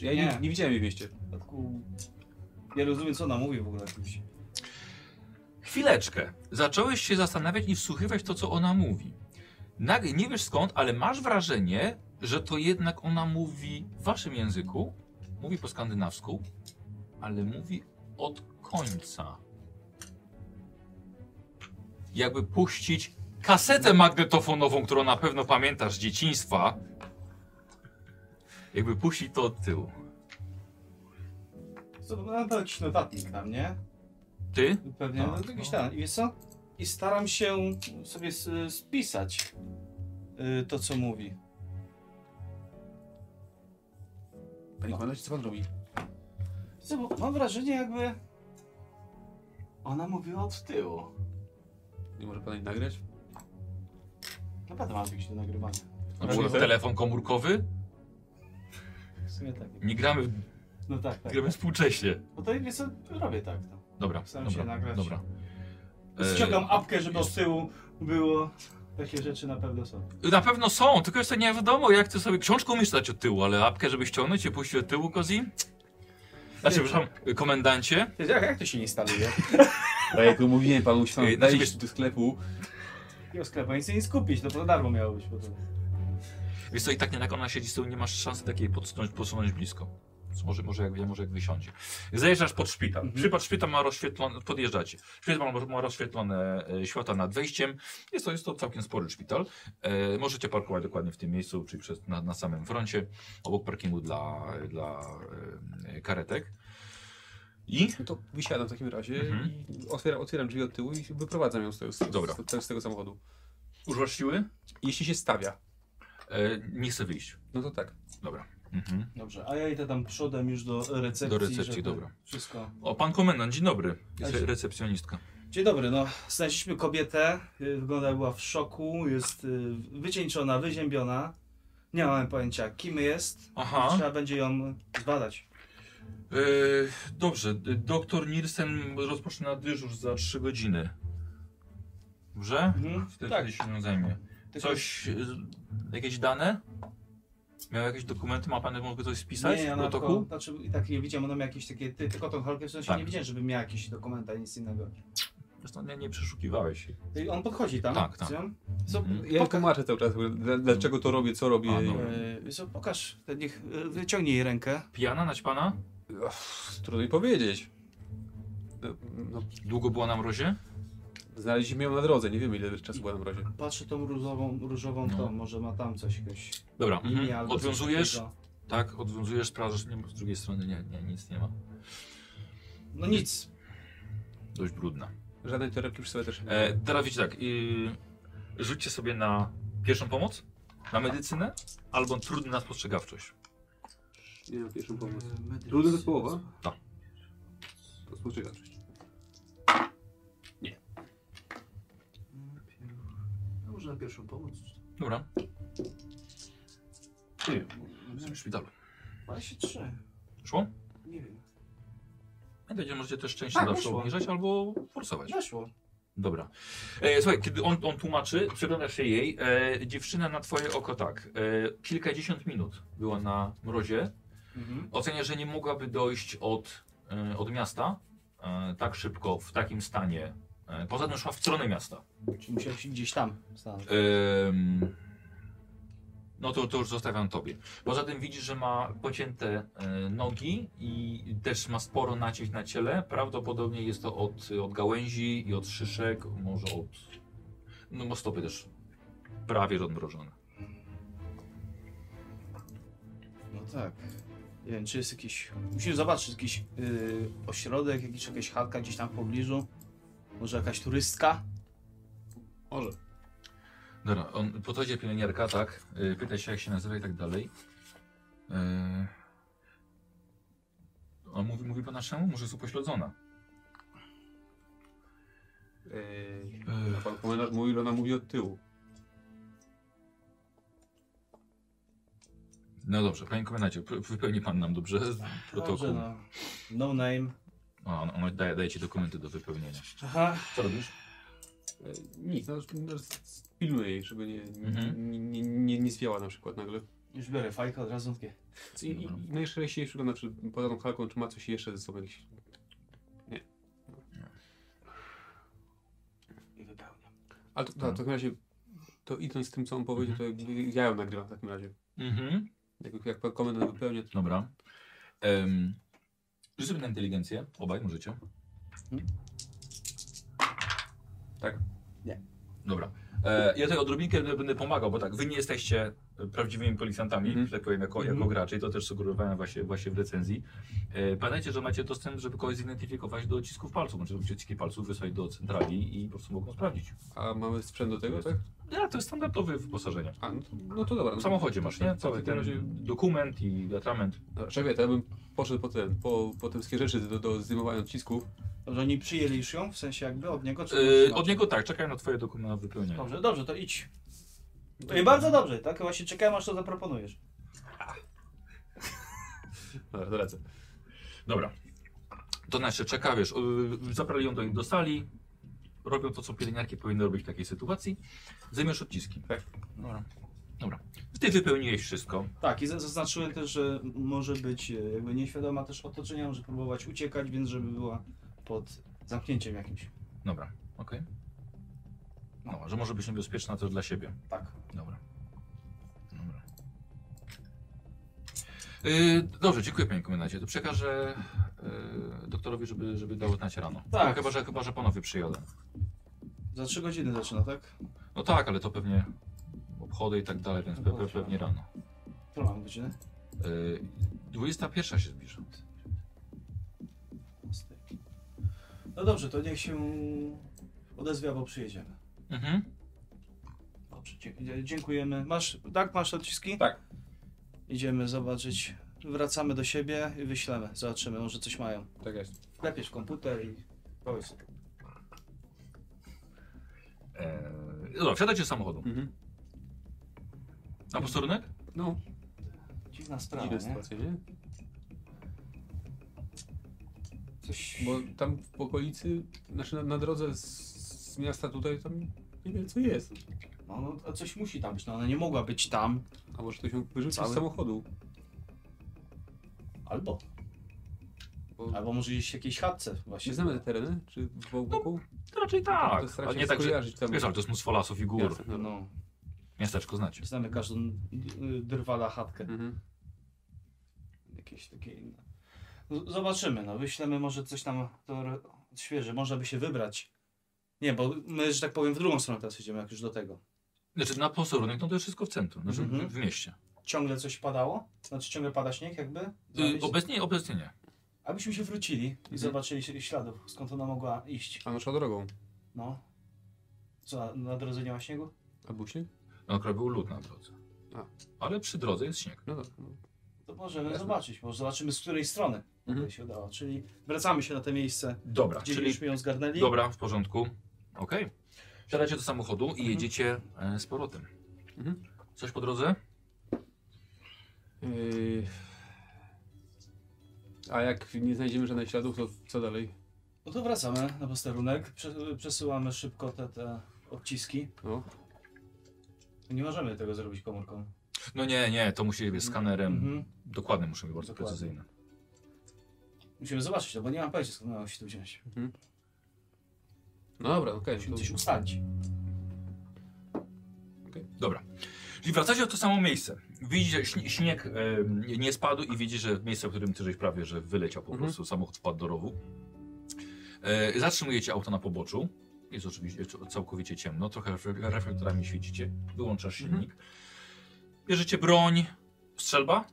C: Ja jej nie,
B: Nie.
C: nie widziałem jej w mieście.
B: W przypadku... Nie rozumiem, co ona mówi w ogóle.
A: Chwileczkę. Zacząłeś się zastanawiać i wsłuchiwać w to, co ona mówi. Nagle, nie wiesz skąd, ale masz wrażenie, że to jednak ona mówi w waszym języku, mówi po skandynawsku, ale mówi od końca. Jakby puścić kasetę magnetofonową, którą na pewno pamiętasz z dzieciństwa. Jakby puścić to od tyłu.
B: Co, no, to jakiś notatnik tam, nie?
A: Ty?
B: Pewnie.
A: Tak,
B: No, to jakiś
A: no.
B: tam. I wiesz co? I staram się sobie s- spisać y, to, co mówi.
C: Panie komendancie, co pan robi?
B: Co, bo mam wrażenie, jakby...
F: Ona mówiła od tyłu.
C: Nie może pan jej nagrać?
B: No,
F: Naprawdę mam jakieś do nagrywania.
A: Na przykład telefon komórkowy?
B: W sumie tak.
A: Nie gramy, w-
B: No tak, tak.
A: gramy współcześnie.
F: No to wiesz co, robię tak to.
A: Dobra,
B: Staram
A: dobra,
B: się nagrać.
A: dobra.
B: no. Ściągam apkę, żeby
A: E, jest-
B: od tyłu było. Takie rzeczy na pewno są.
A: E, Na pewno są, tylko jeszcze nie wiadomo, jak ty sobie książką umiesz dać od tyłu, ale apkę, żeby ściągnąć i puścić od tyłu, Kozi? Znaczy, przepraszam, e, komendancie.
B: Jak, jak to się instaluje?
C: A Tak jak to mówiłem panu, się
A: Ej,
C: pan
A: znaczy,
C: wejść do sklepu.
B: Jego sklepu nic nie skupić, no to za darmo miało być. Bo to...
A: Wiesz co, i tak nie jak ona siedzi z tyłu, nie masz szansy takiej podsunąć, podsunąć blisko. Więc Może, może, jak, może jak wysiądzie. Zajeżdżasz pod szpital.
B: Mhm.
A: Przypad szpital ma rozświetlone, podjeżdżacie. Szpital ma, ma rozświetlone e, światła nad wejściem. Jest to, jest to całkiem spory szpital. E, możecie parkować dokładnie w tym miejscu, czyli przez, na, na samym froncie, obok parkingu dla, dla e, karetek. I
C: No to wysiadam w takim razie
A: Mhm.
C: i otwieram, otwieram drzwi od tyłu i wyprowadzam ją z tego, z,
A: Dobra.
C: z, z tego samochodu.
A: używasz siły?
C: Jeśli się stawia,
A: E, nie chcę wyjść.
C: no to tak.
A: Dobra. Mhm.
B: Dobrze, a ja idę tam przodem już do recepcji.
A: Do recepcji,
B: żeby
A: dobra.
B: Wszystko.
A: O, pan komendant, dzień dobry. Jest
B: Cześć.
A: recepcjonistka.
B: Dzień dobry, no znaleźliśmy kobietę, y, wygląda była w szoku, jest y, wycieńczona, wyziębiona. Nie mamy pojęcia kim jest,
A: Aha.
B: trzeba będzie ją zbadać.
A: E, dobrze, d- doktor Nielsen rozpoczyna dyżur za 3 godziny. Dobrze?
B: Mhm.
A: Wtedy,
B: Tak.
A: wtedy się nią zajmie.
B: Tylko-
A: Coś, e, jakieś dane? Miał jakieś dokumenty? Ma pan mogę coś spisać
B: Nie,
A: w
B: ona
A: protokół?
B: tylko- Znaczy, i tak nie widziałem, ona miała jakieś takie, ty, tylko tą halkę w sensie
A: Tak.
B: nie widziałem, żeby miała jakieś dokumenta, nic innego.
A: Zresztą nie, nie przeszukiwałeś.
B: I on podchodzi tam.
A: Tak, tak.
B: z nią.
C: Co,
A: Mhm.
C: ja tłumaczę cały czas, dla- dlaczego to robię, co robię.
A: A, no.
B: E, wiesz co, pokaż, ten niech, e, wyciągnij jej rękę.
A: Pijana nać pana?
C: Uff, Trudno mi powiedzieć. No, no,
A: Długo była na mrozie?
C: znaleźliśmy ją na drodze, nie wiemy ile czasu była na mrozie.
B: Patrzę tą różową, różową
A: No.
B: tą, może ma tam coś, jakieś
A: Dobra,
B: linię
A: mhm.
B: albo coś
A: odwiązujesz?
B: takiego.
A: Tak, odwiązujesz, sprawdzasz, nie, ma- z drugiej strony nie, nie, nic nie ma.
B: No nic.
A: Dość brudna.
C: Żadnej torebki przy sobie też nie
A: E, teraz wiecie tak, yy, rzućcie sobie na pierwszą pomoc, na medycynę albo trudny na spostrzegawczość.
C: Nie mam pierwszą pomoc.
E: Trudna zespołowa?
A: Tak.
E: To spoczywasz.
F: No, może na pierwszą pomoc.
A: Dobra,
E: Nie wiem.
A: w szpitalu.
F: Ale się trzy.
A: Szło?
F: Nie wiem.
A: Pamiętajcie, możecie też szczęście
F: Tak,
A: zawsze
F: wyszło.
A: obniżać albo forsować.
F: Weszło.
A: Dobra. E, słuchaj, kiedy on, on tłumaczy, przyglądasz się jej, e, dziewczyna na twoje oko tak, e, kilkadziesiąt minut była na mrozie,
B: Mhm.
A: Oceniasz, że nie mogłaby dojść od, e, od miasta e, tak szybko, w takim stanie. E, Poza tym szła w stronę miasta.
B: Czy musiał się gdzieś tam stanąć.
A: Em, No to, to już zostawiam tobie. Poza tym widzisz, że ma pocięte e, nogi i też ma sporo nacisk na ciele. Prawdopodobnie jest to od, od gałęzi i od szyszek, może od... No bo stopy też prawie że odmrożone.
B: No tak. Nie wiem, czy jest jakiś... Musimy zobaczyć, jakiś yy, ośrodek, jakiś, jakaś chatka gdzieś tam w pobliżu. Może jakaś turystka?
C: Może.
A: Dobra, on podchodzi pielęgniarka, tak? y, Pyta się, jak się nazywa i tak dalej. Yy... On mówi, mówi po naszemu, może jest upośledzona.
C: Yy,
A: Y,
C: a pan komendant mówi, że ona mówi od tyłu.
A: No dobrze, panie komendancie, p- wypełni pan nam dobrze protokół.
B: Dobrze, no. No name.
A: A, on, on daje, daje ci dokumenty do wypełnienia.
B: Aha.
A: Co robisz?
C: Yy, nic, no, no, pilnuję jej, żeby nie,
A: Mhm.
C: nie, nie, nie, nie zwiała na przykład nagle.
B: Już biorę fajkę od razu. takie.
C: I, i, znaczy, i najszczęście jej przygląda przed podaną kalką, czy ma coś jeszcze ze sobą jakieś.
F: I wypełniam.
C: Ale to, to, w takim razie, to idąc z tym, co on powiedział, to ja ją nagrywam w takim razie.
A: Mhm.
C: Jak, jak pan komendant wypełnia, to
A: Dobra. Um, Rzuć sobie na inteligencję, obaj możecie.
C: Mhm.
A: Tak?
F: Nie.
A: Dobra. E, ja tutaj odrobinkę będę pomagał, bo tak, wy nie jesteście prawdziwymi policjantami,
C: Mhm.
A: że tak powiem, jako, jako gracze i to też sugerowałem właśnie, właśnie w recenzji. E, pamiętajcie, że macie dostęp, żeby kogoś zidentyfikować do odcisków palców, znaczy odciski palców wysłać do centrali i po prostu mogą sprawdzić.
C: A mamy sprzęt do tego,
A: Jest.
C: tak?
A: Ja, to jest standardowe wyposażenie.
C: A, no to, no to dobra.
A: W samochodzie masz, nie?
C: Co
A: Cały ten
C: tak.
A: dokument i atrament.
C: Dobra, szefie, to ja bym poszedł po ten, po, po te wszystkie rzeczy do, do zdejmowania odcisków.
B: Dobrze, oni przyjęli już ją, w sensie jakby od niego? Czy
A: Yy, od niego tak, czekają na twoje dokumenty na wypełnienie.
B: Dobrze, dobrze, to idź. To i bardzo dobrze, tak? Właśnie czekałem, aż to zaproponujesz.
C: Dobra, to lecę.
A: Dobra. To znaczy czeka, wiesz, yy, zabrali ją do, do sali, robią to, co pielęgniarki powinny robić w takiej sytuacji, zajmiesz odciski.
C: Tak.
A: Dobra. Dobra. Ty wypełniłeś wszystko.
B: Tak, i za- zaznaczyłem też, że może być e, jakby nieświadoma też otoczenia, może próbować uciekać, więc żeby była pod zamknięciem jakimś.
A: Dobra, okej. No, że może być niebezpieczna to dla siebie.
B: Tak.
A: Dobra. Dobra. Yy, dobrze, dziękuję panie komendancie. To przekażę yy, doktorowi, żeby, żeby dał znać rano.
B: Tak.
A: Chyba, że, chyba, że panowie przyjadą.
B: Za trzy godziny zaczyna, tak?
A: No tak, ale to pewnie obchody i tak dalej, więc pe pe pewnie rano.
B: Którą mam godzinę?
A: Yy, 21 się zbliża.
B: No dobrze, to niech się odezwie, bo przyjedziemy.
A: Mhm.
B: Dobrze, dzie- dziękujemy. Masz, tak, masz odciski?
C: Tak.
B: Idziemy zobaczyć. Wracamy do siebie i wyślemy. Zobaczymy, może coś mają.
C: Tak jest.
B: Lepiej w komputer i powiedz.
A: E, dobra, wsiadajcie do samochodu.
C: Mhm.
A: Na posterunek?
C: No,
F: Dziwna sprawa,
C: dziwna
F: nie?
C: sytuacja, nie?
F: Coś...
C: Bo tam w okolicy, znaczy na, na drodze z, z miasta tutaj, tam nie wiem co jest.
F: No, no, a coś musi tam być.
B: No ona nie mogła być tam.
C: A może ktoś ją wyrzucił z
B: Cały-
C: samochodu.
B: Albo.
C: Bo
B: Albo może gdzieś w jakiejś chatce właśnie.
C: nie znamy te tereny, czy wokół? wokół?
A: To raczej
C: To-
A: No tak.
C: to
A: A
C: starać się
A: nie tak, że...
C: skojarzyć tam.
A: Wiesz, ale to jest mnóstwo lasów i gór.
C: Jasne, dobra.
B: No,
A: Miasteczko znacie.
B: znamy każdą y, drwala chatkę.
C: Mhm.
B: Jakieś takie inne. Z- Zobaczymy, no wyślemy może coś tam teore- świeże, można by się wybrać. Nie, bo my, że tak powiem, w drugą stronę teraz idziemy, jak już do tego.
A: Znaczy na posterunek no to jest wszystko w centrum, znaczy
B: Mhm.
A: w- w mieście.
B: Ciągle coś padało? Znaczy ciągle pada śnieg jakby?
A: Y,
B: Znaleźć-
A: obecnie, obecnie nie.
B: Abyśmy się wrócili i
C: Mhm.
B: zobaczyli się- śladów, skąd ona mogła iść.
C: A nasza drogą.
B: No. Co, na- na drodze nie ma śniegu?
C: Albo śnieg?
A: No akurat był lód na drodze.
C: A.
A: Ale przy drodze jest śnieg.
C: No dobra. No.
B: To możemy
C: Jasne.
B: zobaczyć, może zobaczymy z której strony
C: Mhm.
B: mhm. się udało. Czyli wracamy się na to miejsce,
A: Dobra,
B: gdzie
A: czyli...
B: żeśmy ją zgarnęli.
A: Dobra, w porządku. Okej. Wsiadacie do samochodu i
B: Mhm.
A: jedziecie e, z powrotem.
C: Mhm.
A: Coś po drodze?
C: Yy... A jak nie znajdziemy żadnych śladów, to co dalej?
B: No to wracamy na posterunek, Prze- przesyłamy szybko te, te odciski.
C: No.
B: Nie możemy tego zrobić komórką.
A: No nie, nie, to musi być skanerem.
B: Mhm.
A: Dokładne muszą być bardzo
B: Dokładnie.
A: precyzyjne.
B: Musimy zobaczyć to, bo nie mam pojęcia skąd miało się tu wziąć.
C: No dobra, okej.
B: Musimy
C: to-
B: coś ustalić.
A: Dobra. Czyli wracacie w to samo miejsce. Widzicie, śnie- śnieg e, nie spadł i widzicie, że miejsce, w którym ty żeś prawie, że wyleciał po
C: Mhm.
A: prostu, samochód wpadł do rowu. E, zatrzymujecie auto na poboczu. Jest oczywiście c- całkowicie ciemno, trochę ref- reflektorami świecicie. Wyłączasz
C: Mhm.
A: silnik. Bierzecie broń, strzelba?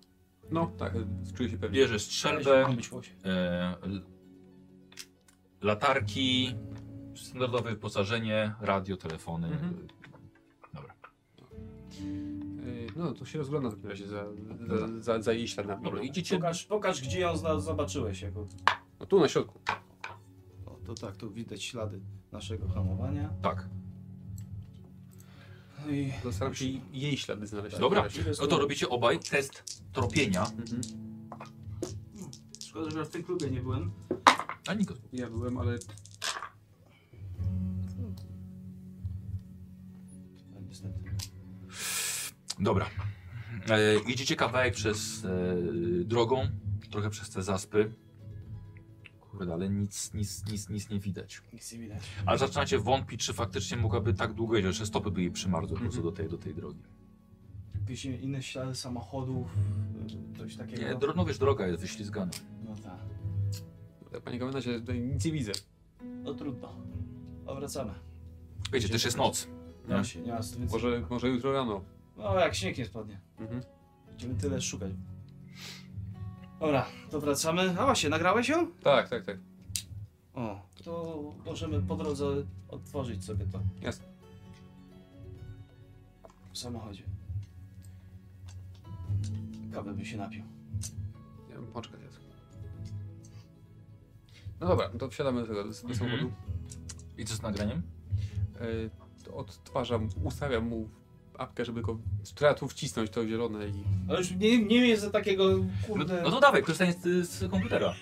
C: No tak, czuję się pewnie.
A: Bierzesz strzelbę.
B: Miało być łosie.
A: E, l- latarki, standardowe wyposażenie, radio, telefony.
C: Mhm. Yy, No to się rozgląda w takim razie za, za, za, za jej śladami.
A: Dobra, idziecie.
B: Pokaż, pokaż gdzie ją zna- zobaczyłeś. Jako...
C: No tu na środku.
F: O, to tak, to widać ślady.
B: naszego hamowania.
A: Tak.
B: No i
C: Zastaram się jej ślady znaleźć. Tak,
A: Dobra.
C: W takim razie.
A: No to robicie obaj test tropienia.
C: Mhm.
B: szkoda, że ja w tym klubie nie byłem.
A: A Nikos.
C: Ja byłem, ale
B: No,
F: Niestety.
A: Dobra. E, idziecie kawałek przez e, drogą, trochę przez te zaspy. Kurde, ale nic, nic, nic, nic nie widać.
F: Nic nie widać.
A: Ale zaczynacie wątpić, czy faktycznie mogłaby tak długo jeździć, że stopy by jej przymarzły po prostu
C: Mhm.
A: do tej, do tej drogi.
B: Jakieś inne ślady samochodów, y, coś takiego.
A: Nie, dro, no wiesz, droga jest wyślizgana.
F: No tak.
C: Tak, panie komendancie, tutaj nic nie widzę.
B: No trudno. Powracamy.
A: Wiecie, też jest noc.
B: No się, nie ma nic.
C: Może, może jutro rano.
B: No jak śnieg nie spadnie.
C: Mhm.
B: Będziemy tyle szukać. Dobra, to wracamy. A właśnie, nagrałeś ją?
C: Tak, tak, tak.
B: O, to możemy po drodze otworzyć sobie to.
C: Jasne.
B: W samochodzie. Kawę bym się napił.
C: Ja bym pączkę zjadł. No dobra, to wsiadamy do tego do, do samochodu.
A: I co z nagraniem?
C: E, to odtwarzam, ustawiam mu apkę, żeby go... Trzeba tu wcisnąć to zielone i...
B: Ale już nie, nie jest za takiego
A: No,
B: kurde.
A: no to dawaj, korzystaj z, z komputera.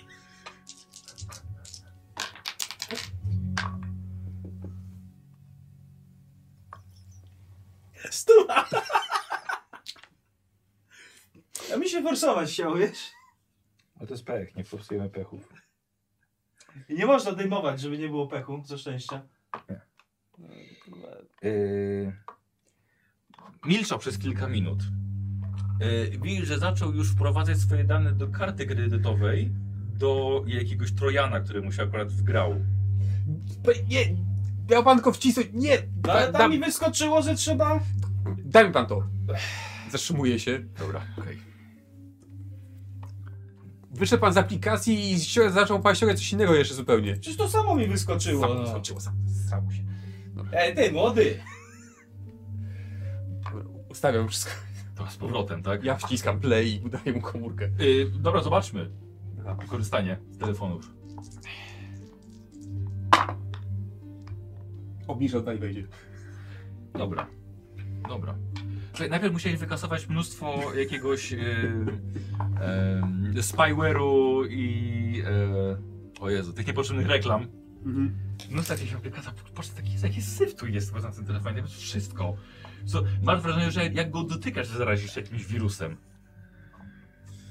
B: Stuwa! A mi się forsować chciał, wiesz?
A: Ale to jest pech, nie forsujemy pechów.
B: I nie można dejmować, żeby nie było pechu, ze szczęścia.
A: Yy... Milczał przez kilka minut. Yy, widzisz, że zaczął już wprowadzać swoje dane do karty kredytowej, do jakiegoś Trojana, który mu się akurat wgrał.
C: Nie! Miał pan go wcisnąć! Nie!
B: No, ale
C: Tak,
B: tam mi wyskoczyło, że trzeba.
C: Daj mi pan to! Zatrzymuje się.
A: Dobra, okej.
C: Wyszedł pan z aplikacji i ścią- zaczął pan ściągać coś innego jeszcze zupełnie.
B: Przecież to samo mi wyskoczyło.
C: Samo
B: no.
C: skoczyło, samo, samo się.
B: Ej, ty, młody!
C: Dobra, Ustawiam wszystko.
A: To z powrotem, tak?
C: Ja wciskam play i udaję mu komórkę.
A: Yy, dobra, zobaczmy. Korzystanie z telefonów.
C: Obniżę, oddaj wejdzie.
A: Dobra. Dobra. Słuchaj, najpierw musiałeś wykasować mnóstwo jakiegoś yy, yy, spyware'u i... Yy, o Jezu, tych niepotrzebnych reklam.
C: Mhm.
A: No tak, się opieka, patrz, taki, taki syf tu jest na tym telefonie, to jest wszystko. Co, masz wrażenie, że jak go dotykasz, to zarazisz się jakimś wirusem.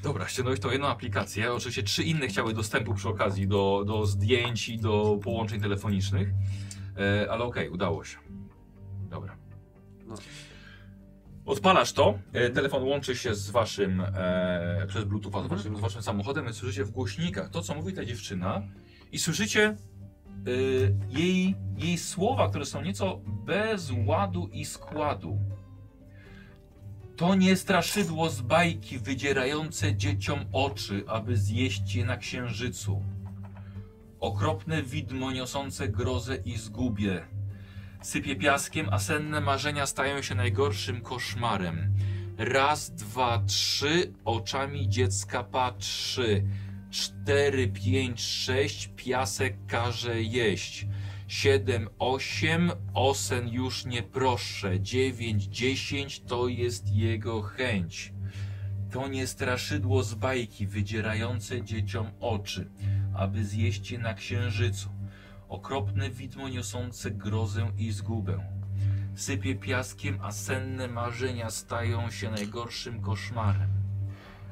A: Dobra, ściągnąłeś tą jedną aplikację, oczywiście trzy inne chciały dostępu przy okazji do, do zdjęć i do połączeń telefonicznych, e, ale okej, udało się. Dobra.
C: No.
A: Odpalasz to, e, telefon łączy się z waszym, e, przez Bluetootha, z waszym, z waszym samochodem, więc słyszycie w głośnikach to, co mówi ta dziewczyna i słyszycie y, jej, jej słowa, które są nieco bez ładu i składu. To nie straszydło z bajki wydzierające dzieciom oczy, aby zjeść je na księżycu. Okropne widmo niosące grozę i zgubie. Sypie piaskiem, a senne marzenia stają się najgorszym koszmarem. Raz, dwa, trzy, oczami dziecka patrzy. 4, 5, 6 piasek każe jeść. 7, 8 osen już nie proszę. 9, 10 to jest jego chęć. To nie straszydło z bajki wydzierające dzieciom oczy, aby zjeść je na księżycu. Okropne widmo niosące grozę i zgubę. Sypie piaskiem, a senne marzenia stają się najgorszym koszmarem.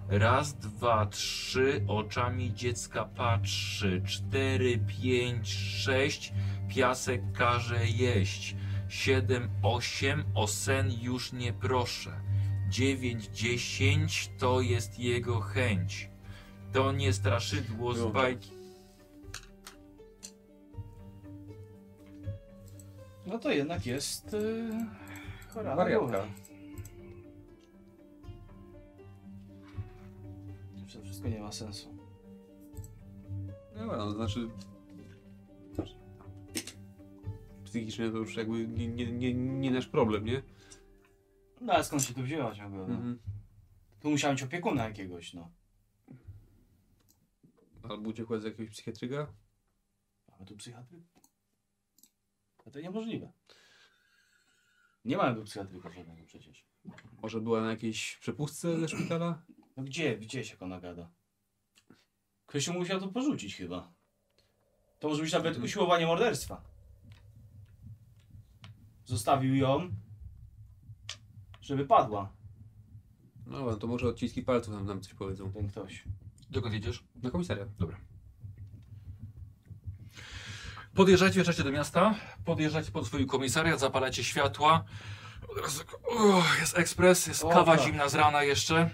A: Raz, dwa, trzy, oczami dziecka patrzy. Cztery, pięć, sześć, piasek każe jeść. Siedem, osiem, o sen już nie proszę. Dziewięć, dziesięć, to jest jego chęć. To nie straszydło z
C: Wyłączam.
A: bajki.
B: No to jednak jest. Yy, chora na głowę.
C: Wariatka.
B: To wszystko nie ma sensu.
C: No, no, znaczy... Psychicznie to już jakby nie, nie, nie, nie nasz problem, nie?
B: No ale skąd się tu wzięłaś w ogóle? no?
C: Mhm.
B: Tu musiałem mieć opiekuna jakiegoś, no.
C: Albo uciekła z jakiegoś psychiatryka?
B: Mamy tu psychiatry?
F: No to niemożliwe. Nie mamy psychiatryka żadnego przecież.
C: Może była na jakiejś przepustce ze szpitala?
F: No gdzie, gdzie się ona gada? Ktoś mu musiał to porzucić chyba. To może być
A: Mhm.
F: nawet usiłowanie morderstwa. Zostawił ją, żeby padła
C: No dobra, to może odciski palców nam, nam coś powiedzą.
F: ten ktoś.
A: Dokąd jedziesz?
C: Na komisariat.
A: Podjeżdżacie, wjeżdżacie do miasta, podjeżdżacie pod swój komisariat, zapalacie światła. Od razu tak, uch, jest ekspres, jest
F: O,
A: kawa
F: tak.
A: zimna z rana jeszcze.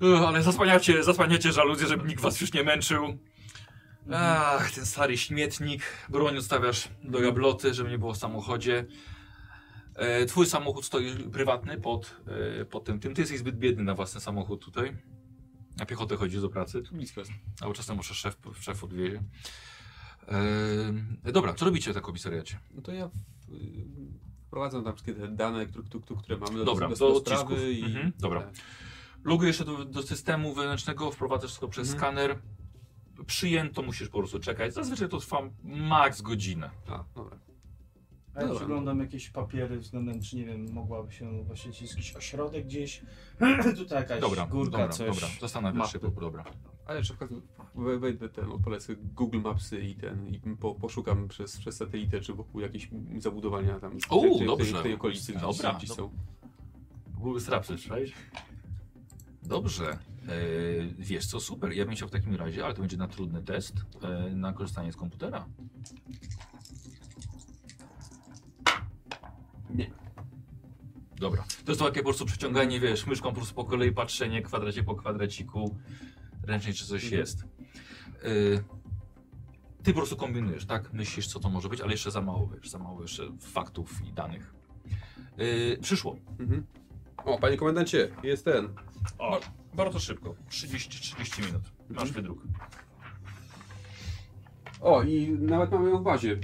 A: Uch, ale zasłaniacie, zasłaniacie żaluzję, żeby nikt was już nie
F: Mhm.
A: męczył. Ach, ten stary śmietnik. Broń odstawiasz do gabloty, żeby nie było w samochodzie. E, twój samochód stoi prywatny pod, e, pod tym, tym. Ty jesteś zbyt biedny na własny samochód tutaj. Na piechotę chodzisz do pracy.
C: Blisko jest.
A: Albo czasem muszę szef, szef odwiezie. Eee, dobra, co robicie tak komisariacie?
C: No to ja w, y, wprowadzam tam wszystkie te dane, które, które, które mamy do,
A: Dobra,
C: do,
A: do
C: do
A: odcisków.
C: sprawy i...
A: Mhm, dobra. Logujesz się do, do systemu wewnętrznego, wprowadzasz wszystko przez
C: Mhm.
A: skaner. Przyjęto, musisz po prostu czekać. Zazwyczaj to trwa maks godzinę.
C: A, dobra.
B: A ja
C: Dobra.
B: przeglądam jakieś papiery względem, czy nie wiem, mogłaby się właśnie czy jest jakiś ośrodek
F: [clears throat]
B: gdzieś, tutaj jakaś
A: Dobra,
B: górka,
A: dobra,
B: coś.
A: dobra. Zastanawiasz się,
C: Mapy.
A: dobra.
C: Ale jeszcze wchodzę- we- wejdę ten, polecę Google Mapsy i ten, i po, poszukam przez, przez satelitę, czy wokół jakieś zabudowania tam
A: O,
C: w, tej- w, tej,
A: dobrze.
C: w tej okolicy gdzieś,
A: Dobra,
C: gdzieś są.
A: Google Strap słyszałeś? Dobrze. Eee, wiesz co, super. Ja bym chciał w takim razie, ale to będzie na trudny test, eee, na korzystanie z komputera.
C: Nie.
A: Dobra. To jest to takie po prostu przeciąganie, wiesz, myszką po prostu po kolei patrzenie, kwadracie po kwadraciku, ręcznie czy coś
C: Mhm.
A: jest. Eee, ty po prostu kombinujesz, tak? Myślisz, co to może być, ale jeszcze za mało, wiesz, za mało jeszcze faktów i danych. Eee, przyszło.
C: Mhm. O, panie komendancie, jest ten.
A: O, No, bardzo szybko. 30-40 minut. Masz
C: Mhm.
A: wydruk.
C: O, i nawet mamy ją w bazie.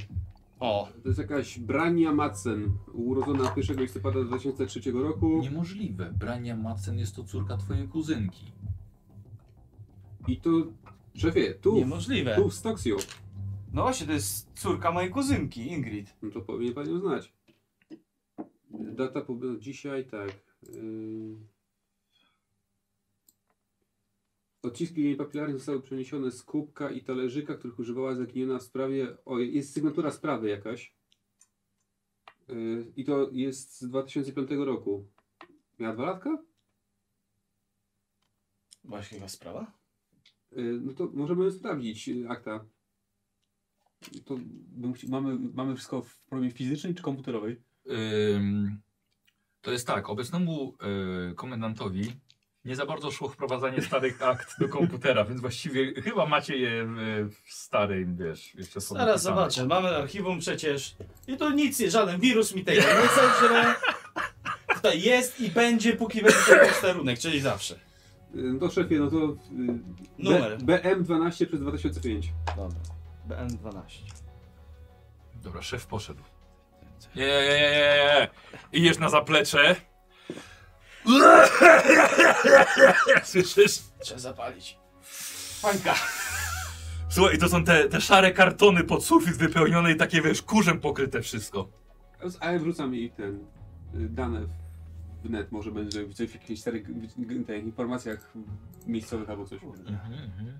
D: O,
E: To jest jakaś Brania Madsen, urodzona 1 listopada 2003 roku
A: Niemożliwe. Brania Madsen jest to córka twojej kuzynki.
E: i to, szefie, tu,
F: Niemożliwe.
E: tu w Stoksio,
F: No właśnie, to jest córka mojej kuzynki, Ingrid.
E: no to powinien pan ją znać. Data pobytu dzisiaj, tak. Yy... Odciski jej papilarnych zostały przeniesione z kubka i talerzyka, których używała zaginiona w sprawie, o, jest sygnatura sprawy jakaś. Yy, I to jest z 2005 roku. Miała dwa latka?
F: Właśnie jakaś sprawa?
E: Y, No to możemy sprawdzić y, akta.
C: To bym chci- mamy, mamy wszystko w formie fizycznej czy komputerowej?
A: Ym, to jest tak, obecnemu y, komendantowi nie za bardzo szło wprowadzanie starych akt do komputera, więc właściwie chyba macie je y, w starym, wiesz, jeszcze są
B: Zaraz
A: napisane.
B: zobaczę, mamy archiwum przecież i to nic, nie- żaden wirus mi tego nie zeżre. Tutaj jest i będzie, póki będzie ten posterunek, czyli zawsze.
E: Y, No to szefie, no to. y,
B: Numer.
E: B, BM12 przez 2005.
F: Dobra. BN12.
A: Dobra, szef poszedł. Nie, nie, nie, nie, nie. Idziesz na zaplecze. Słyszysz?
F: Trzeba zapalić.
A: Słuchaj, to są te, te szare kartony pod sufit wypełnione i takie, wiesz, kurzem pokryte wszystko.
E: Ale wrzucam jej ten. y, dane w
C: W net może będzie w w jakichś starych w- w- tych informacjach miejscowych albo coś.
A: Mhm,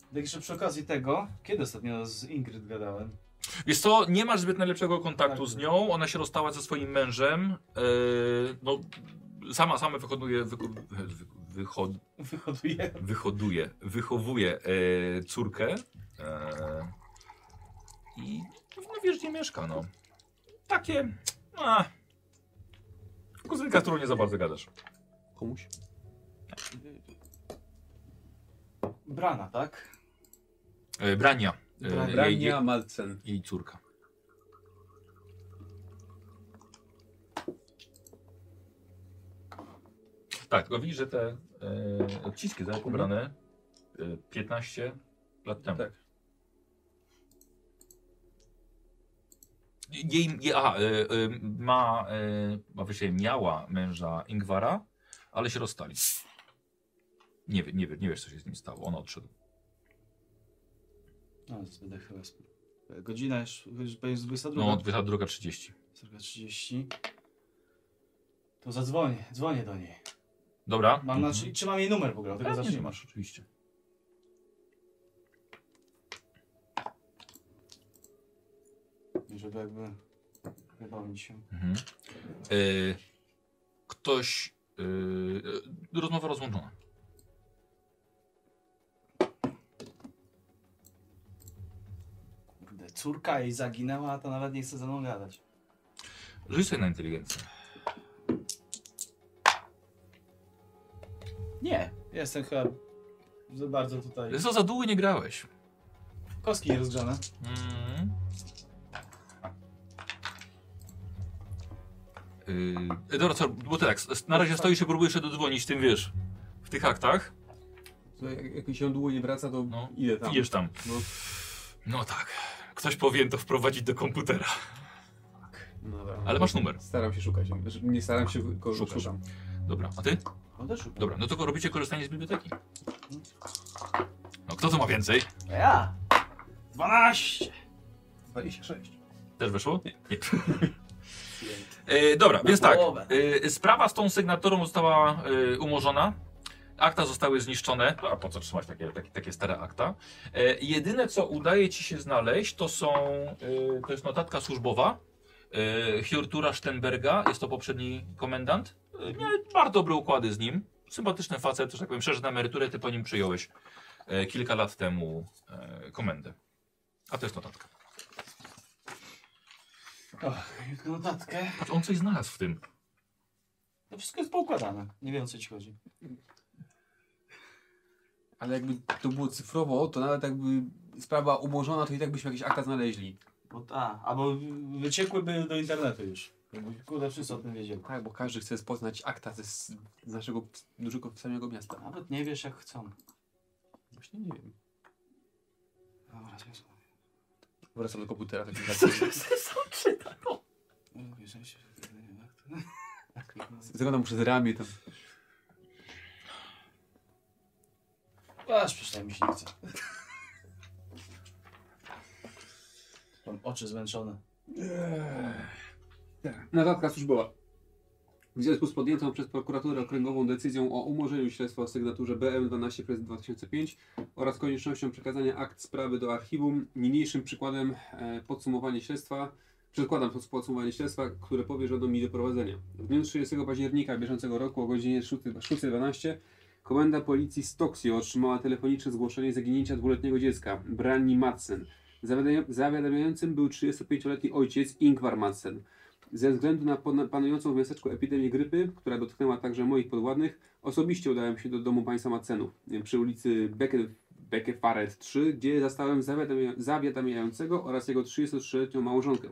F: Tak jeszcze przy okazji tego, kiedy ostatnio z Ingrid gadałem?
A: Wiesz co, nie masz zbyt najlepszego kontaktu z nią, ona się rozstała ze swoim mężem. Yy, no, sama, sama wyhoduje, wyko- wy, wy, wychod,
F: Wyhoduję.
A: wyhoduje, wychowuje yy, córkę. Yy, I no wiesz, gdzie mieszka, no. Takie, a, kuzynka, z którą nie za bardzo gadasz.
C: Komuś?
F: Brana, tak?
A: Yy, Brania. Yy,
F: Brania.
A: Jej, jej,
C: Brania Malcen.
A: jej córka. Tak, tylko widzisz, że te e, odciski zostały pobrane e, 15 lat temu.
C: Tak.
A: Jej, je, aha, e, e, ma, e, ma właściwie miała męża Ingwara, ale się rozstali. Nie, wie- nie, wie- nie wiesz, co się z nim stało. On odszedł.
F: No, zbyt chyba sp-
B: Godzina już, już będzie 22.
A: No, 22.30.
B: 30. To zadzwonię, dzwonię do niej.
A: Dobra? Mhm.
B: Mam na, czy, czy mam jej numer w ogóle? Tego
A: Pewnie,
B: zacznijmy.
A: że masz, oczywiście.
F: Żeby jakby wybawić się.
A: Mhm. Y, ktoś. y, y, rozmowa rozłączona.
B: Kurde, Córka jej zaginęła, a to nawet nie chce ze mną gadać.
A: Rzuć sobie na inteligencję.
B: Nie, jestem chyba za bardzo tutaj.
A: Co za długo nie grałeś?
B: Kostki nie rozgrzane.
A: Mhm. Yy, dobra, co, bo tak, s- na razie stoisz i próbujesz się dodzwonić tym, wiesz, w tych aktach.
G: To jak, jak mi się długo nie wraca, to
A: No.
G: idę
C: Tak.
G: tam.
A: Idziesz tam.
G: No.
A: No tak, ktoś powinien to wprowadzić do komputera.
G: No dobra.
A: Ale masz numer.
G: Staram się szukać. Nie staram się, go
A: Szukasz.
G: szukam.
A: Dobra, a ty?
F: No też szukam.
A: Dobra, no to robicie korzystanie z biblioteki. No kto tu ma więcej?
B: A ja! 12!
G: 26.
A: Też wyszło? Nie. E, dobra, więc tak.
B: połowę.
A: E, sprawa z tą sygnaturą została e, umorzona. Akta zostały zniszczone. A po co trzymać takie, takie, takie stare akta? E, jedyne, co udaje ci się znaleźć, to są. E, to jest notatka służbowa. E, Hjortura Stenberga, jest to poprzedni komendant. E, miał bardzo dobre układy z nim. Sympatyczny facet, że tak powiem, przeszedł na emeryturę, ty po nim przyjąłeś e, kilka lat temu e, komendę. A to jest notatka.
F: Och, tylko notatkę.
A: Patrz, on coś znalazł w tym.
F: To wszystko jest poukładane. Nie wiem o co ci chodzi.
G: Ale jakby to było cyfrowo, to nawet jakby sprawa umorzona, to i tak byśmy jakieś akta znaleźli.
F: Bo ta, albo wyciekłyby do internetu już. Jakby, Kurde, wszyscy o tym wiedzieli.
G: Tak, bo każdy chce poznać akta ze z z naszego p- dużego samego miasta.
F: Nawet nie wiesz jak chcą.
G: Właśnie nie wiem.
F: Dobra, zresztą.
G: Wracam do komputera. Tak jak- Zaglądam przez ramię tam.
F: Aż przynajmniej mi się nie chce. [laughs] Mam oczy zmęczone.
C: Notatka służbowa. W związku z podjętą przez prokuraturę okręgową decyzją o umorzeniu śledztwa o sygnaturze BM 12 przez 2005 oraz koniecznością przekazania akt sprawy do archiwum, niniejszym przykładem e, podsumowanie śledztwa, przedkładam pod podsumowanie śledztwa, które powierzono mi do prowadzenia. W dniu 30 października bieżącego roku o godzinie 6.12 komenda policji Stoksio otrzymała telefoniczne zgłoszenie zaginięcia dwuletniego dziecka, Brani Madsen. Zawiadamia- Zawiadamiającym był 35-letni ojciec Ingvar Madsen. Ze względu na pon- panującą w miasteczku epidemię grypy, która dotknęła także moich podwładnych, osobiście udałem się do domu państwa Macenów y, przy ulicy Beke- Bekefaret 3, gdzie zastałem zawiadamia- zawiadamiającego oraz jego 33-letnią małżonkę,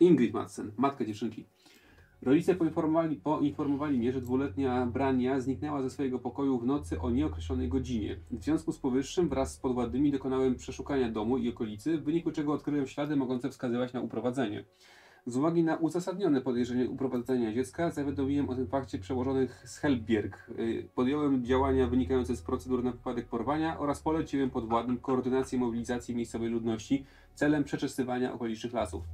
C: Ingrid Madsen, matkę dziewczynki. Rodzice poinformowali, poinformowali mnie, że dwuletnia Brania zniknęła ze swojego pokoju w nocy o nieokreślonej godzinie. W związku z powyższym wraz z podwładnymi dokonałem przeszukania domu i okolicy, w wyniku czego odkryłem ślady mogące wskazywać na uprowadzenie. Z uwagi na uzasadnione podejrzenie uprowadzenia dziecka, zawiadomiłem o tym fakcie przełożonych z Helbierg. Y, Podjąłem działania wynikające z procedur na wypadek porwania oraz poleciłem podwładnym koordynację mobilizacji miejscowej ludności celem przeczesywania okolicznych lasów.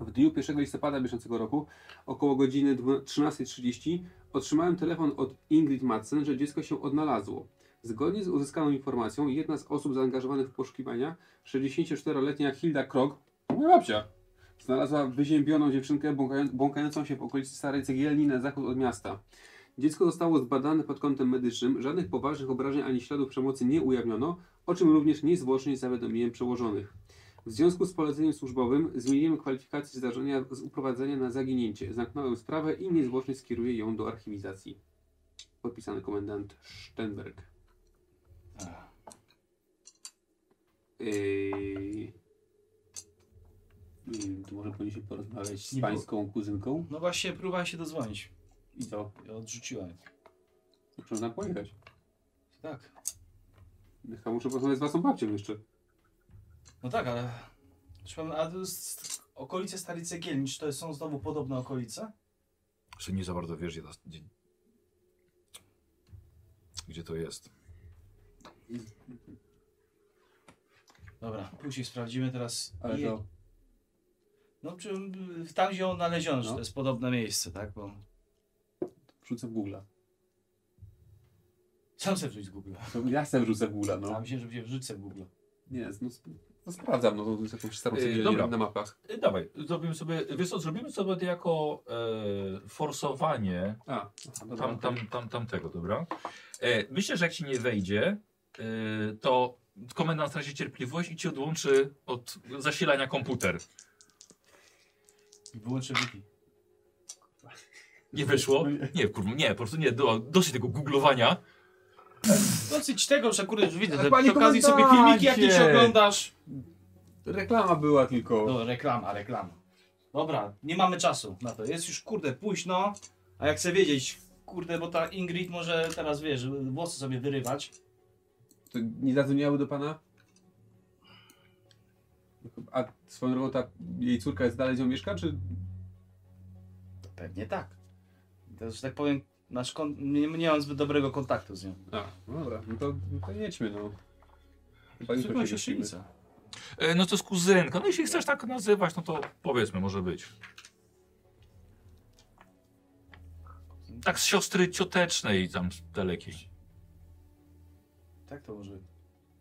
C: W dniu 1 listopada bieżącego roku, około godziny dwu- 13.30, otrzymałem telefon od Ingrid Madsen, że dziecko się odnalazło. Zgodnie z uzyskaną informacją, jedna z osób zaangażowanych w poszukiwania, 64-letnia Hilda Krog, moja babcia, Znalazła wyziębioną dziewczynkę błąkają- błąkającą się w okolicy starej cegielni na zachód od miasta. Dziecko zostało zbadane pod kątem medycznym, żadnych poważnych obrażeń ani śladów przemocy nie ujawniono, o czym również niezwłocznie zawiadomiłem przełożonych. W związku z poleceniem służbowym zmieniłem kwalifikację zdarzenia z uprowadzenia na zaginięcie, zamknąłem sprawę i niezwłocznie skieruję ją do archiwizacji. Podpisany komendant Stenberg. Yy... Nie wiem, to może powinniśmy porozmawiać z
B: Nie było-
C: pańską kuzynką
F: No właśnie, próbowałem się dodzwonić.
C: i co?
F: I Odrzuciłem.
C: Muszę tam pojechać.
F: Tak.
C: Chyba muszę porozmawiać z waszą babcią jeszcze.
F: No tak, ale...
B: Szukam, a to jest okolice Stary Cegielni, czy to są znowu podobne okolice?
A: Jeszcze nie za bardzo wiesz, gdzie, ta, gdzie, gdzie to jest.
B: Dobra, później sprawdzimy teraz.
C: Ale
B: je-
C: to
B: No, czy, y, tam, gdzie ją znaleziono, że
C: No.
B: to jest podobne miejsce, tak? Bo
C: wrzucę w Google'a.
B: sam sobie wrzuć z Google.
C: To Ja sobie wrzucę w Google'a,
B: No. A
C: no.
B: myślę, że będzie wrzucę w Google.
C: Nie, no, sp-
H: No sprawdzam, no to jest jakąś starą
A: Yy,
H: yy,
A: dobra.
H: na mapach.
A: Y, Dawaj, zrobimy sobie, wiesz co, zrobimy sobie to jako e, forsowanie
C: A, aha, dobra,
A: tam, tam, tam, tamtego, dobra? E, myślę, że jak się nie wejdzie, e, to komendant straci cierpliwość i ci odłączy od zasilania komputer.
B: I wyłączę wiki.
A: Nie wyszło? Nie, kurwa, nie, po prostu nie, do, dosyć tego googlowania.
B: No, Dosyć tego, że kurde, już widzę,
H: Ale
B: że
H: panie
B: przy okazji sobie
H: komendancie!
B: filmiki jakieś oglądasz.
H: Reklama była tylko.
B: No, reklama, reklama.
I: Dobra, nie mamy czasu na to. Jest już kurde późno, a jak chcę wiedzieć, kurde, bo ta Ingrid może teraz wiesz, włosy sobie wyrywać.
H: To nie zadzwoniały do pana?
C: A swoją drogą ta jej córka jest dalej, gdzie on mieszka, czy
B: Pewnie tak. To, że tak powiem, nasz kon... nie, nie mam zbyt dobrego kontaktu z nią.
C: A, no dobra, no to, no to jedźmy, no. Chyba
B: Zwykła
C: nie
B: siostrzenica.
A: E, no to jest kuzynka, no jeśli chcesz tak nazywać, no to powiedzmy, może być. Tak z siostry ciotecznej tam z dalekiej.
B: Tak to może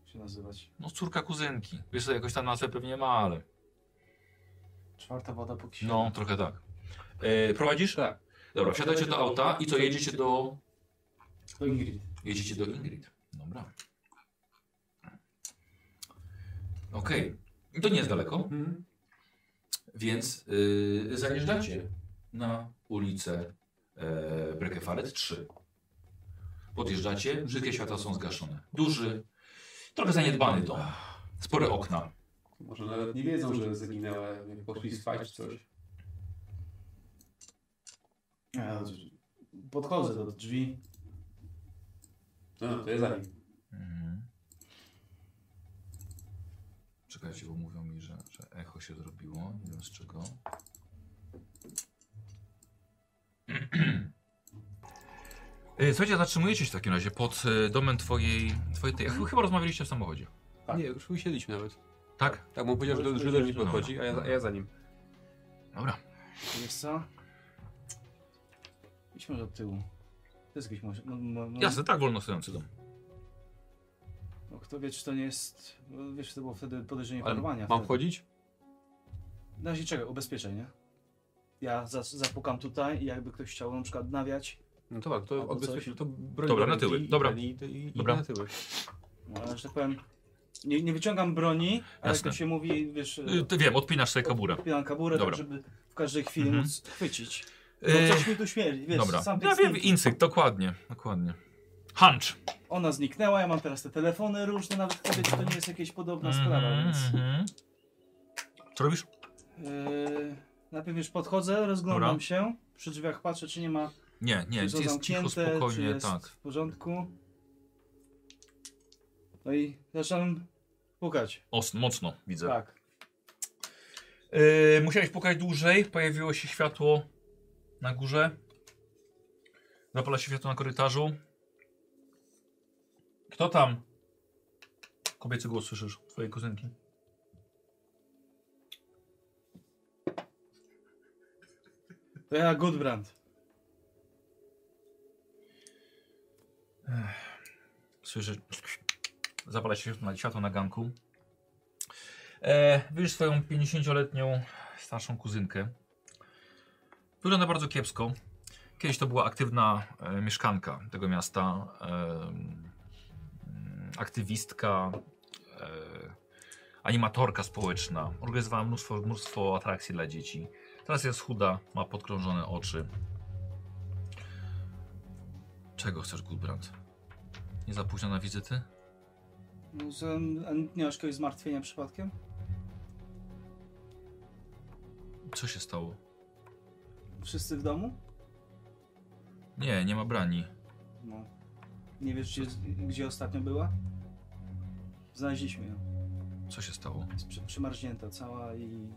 B: się nazywać.
A: No córka kuzynki. Wiesz co, jakoś tam nazwę pewnie ma, ale...
B: Czwarta woda po kisielu.
A: No, trochę tak. E, prowadzisz?
C: Tak.
A: Dobra, wsiadacie do auta i co, jedziecie do...
B: To Ingrid.
A: Jedziecie do Ingrid. Dobra. Okej. To nie jest daleko,
C: Mhm.
A: więc yy, zajeżdżacie na ulicę e, Brekefaret 3. Podjeżdżacie, wszystkie światła są zgaszone. Duży, trochę zaniedbany dom. Spore okna.
C: Może nawet nie wiedzą, że zaginęła, jak poszli spać czy coś.
B: Ja E, Podchodzę do drzwi.
C: No, to jest za nim.
A: Mhm. Czekajcie, bo mówią mi, że, że echo się zrobiło. Nie wiem z [clears throat] czego. E, Słuchajcie, zatrzymujecie się w takim razie pod e, domem twojej, twojej tej, chyba rozmawialiście w samochodzie,
C: Tak. Nie, już usiedliśmy nawet.
A: tak?
H: Tak, bo on powiedział, że do, że do drzwi podchodzi, a ja, a ja za nim.
A: Dobra.
B: Wiesz co? Idź może od tyłu. To jest jakiś może... No, no, no,
A: Jasne, tak wolno stojący dom.
B: no, kto wie, czy to nie jest... no, Wiesz, to było wtedy podejrzenie
H: Ale
B: porwania.
H: mam
B: wtedy.
H: wchodzić?
B: Na razie czekaj, ubezpieczaj, nie? Ja za- zapukam tutaj i jakby ktoś chciał na przykład nawiać,
H: No to tak,
B: Albo
H: to odbezpieczę,
B: coś.
H: to broń do
A: Dobra, na
H: ręki
A: tyły,
H: i-
A: dobra.
H: I, i, i
A: Dobra.
H: na tyły.
B: no, że tak powiem, nie, nie wyciągam broni, ale jak
A: Jasne.
B: to się mówi, wiesz,
A: Y, Ty, wiem, odpinasz sobie kaburę.
B: odpinam kaburę,
A: Dobra.
B: tak żeby w każdej chwili
A: Mhm.
B: móc chwycić.
A: E,
B: No coś mi tu śmierdzi, wiesz,
A: Dobra,
B: sam
A: ja
B: ten
A: wiem,
B: snik-
A: incyk, dokładnie, dokładnie. Hunch.
B: Ona zniknęła, ja mam teraz te telefony różne, nawet kto wie, czy to nie jest jakaś podobna sprawa,
A: Mhm,
B: więc...
A: mhm. Co robisz?
B: Yy, najpierw już podchodzę, rozglądam
A: Dobra.
B: się, przy drzwiach patrzę, czy nie ma,
A: Nie, nie,
B: czy
A: jest
B: są
A: cicho,
B: zamknięte, czy
A: spokojnie,
B: jest
A: tak.
B: w porządku. No i zaczynam pukać.
A: Os, mocno widzę.
B: Tak.
A: Yy, musiałeś pukać dłużej, pojawiło się światło na górze. Zapala się światło na korytarzu. Kto tam? Kobiecy głos słyszysz, twojej kuzynki.
B: To ja Goodbrand.
A: Słyszysz. Zapala się światło na, światło na ganku. E, widzisz swoją 50-letnią starszą kuzynkę. Wygląda bardzo kiepsko. Kiedyś to była aktywna e, mieszkanka tego miasta. E, mm, aktywistka, e, animatorka społeczna. Organizowała mnóstwo, mnóstwo atrakcji dla dzieci. Teraz jest chuda, ma podkrążone oczy. Czego chcesz, Gudbrand? Nie za późno na wizyty?
B: No, że- a nie masz jakiegoś zmartwienia przypadkiem?
A: Co się stało?
B: Wszyscy w domu?
A: Nie, nie ma brani.
B: No. Nie wiesz, gdzie, gdzie ostatnio była? Znaleźliśmy ją.
A: Co się stało?
B: Jest przy, przymarznięta cała i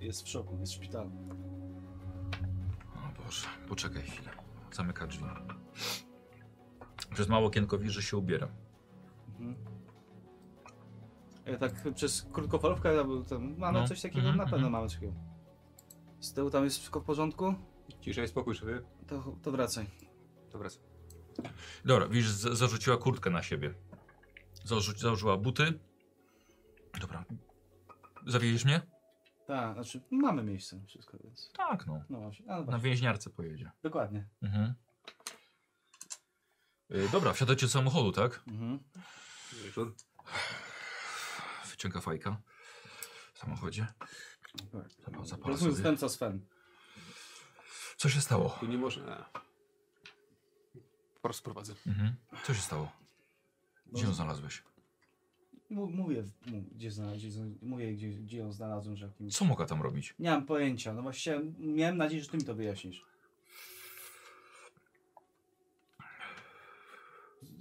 B: jest w szoku, jest w szpitalu.
A: O Boże, poczekaj chwilę. Zamyka drzwi. Przez mało okienko widzisz, że się ubiera.
B: Mhm. E, Tak przez krótkofalówkę, albo tam mamy
A: No.
B: coś takiego,
A: Mhm,
B: na pewno
A: mhm.
B: mamy coś takiego. Z tyłu tam jest wszystko w porządku?
C: Cisza i spokój, szefie.
B: To, to wracaj.
C: Dobra.
A: Dobra, widzisz, z- zarzuciła kurtkę na siebie. Zarzu- założyła buty. Dobra. Zawieziesz mnie?
B: Tak, znaczy mamy miejsce na wszystko, więc...
A: Tak, no.
B: No właśnie, a, no
A: Na
B: właśnie
A: więźniarce pojedzie.
B: dokładnie.
A: Mhm. Y, Dobra, wsiadacie do samochodu, tak?
B: Mhm.
A: Wyciąga fajka w samochodzie. Zapal- Zapala
B: Rozumiem
A: sobie.
B: z co Sven.
A: Co się stało?
C: Tu nie można. Po raz prowadzę.
A: Mhm. Co się stało? Gdzie ją znalazłeś?
B: M- Mówię, mu- gdzie znalazłem, mówię, gdzie, gdzie ją znalazłem, że w jakimś...
A: Co mogła tam robić?
B: Nie mam pojęcia, no właśnie miałem nadzieję, że ty mi to wyjaśnisz.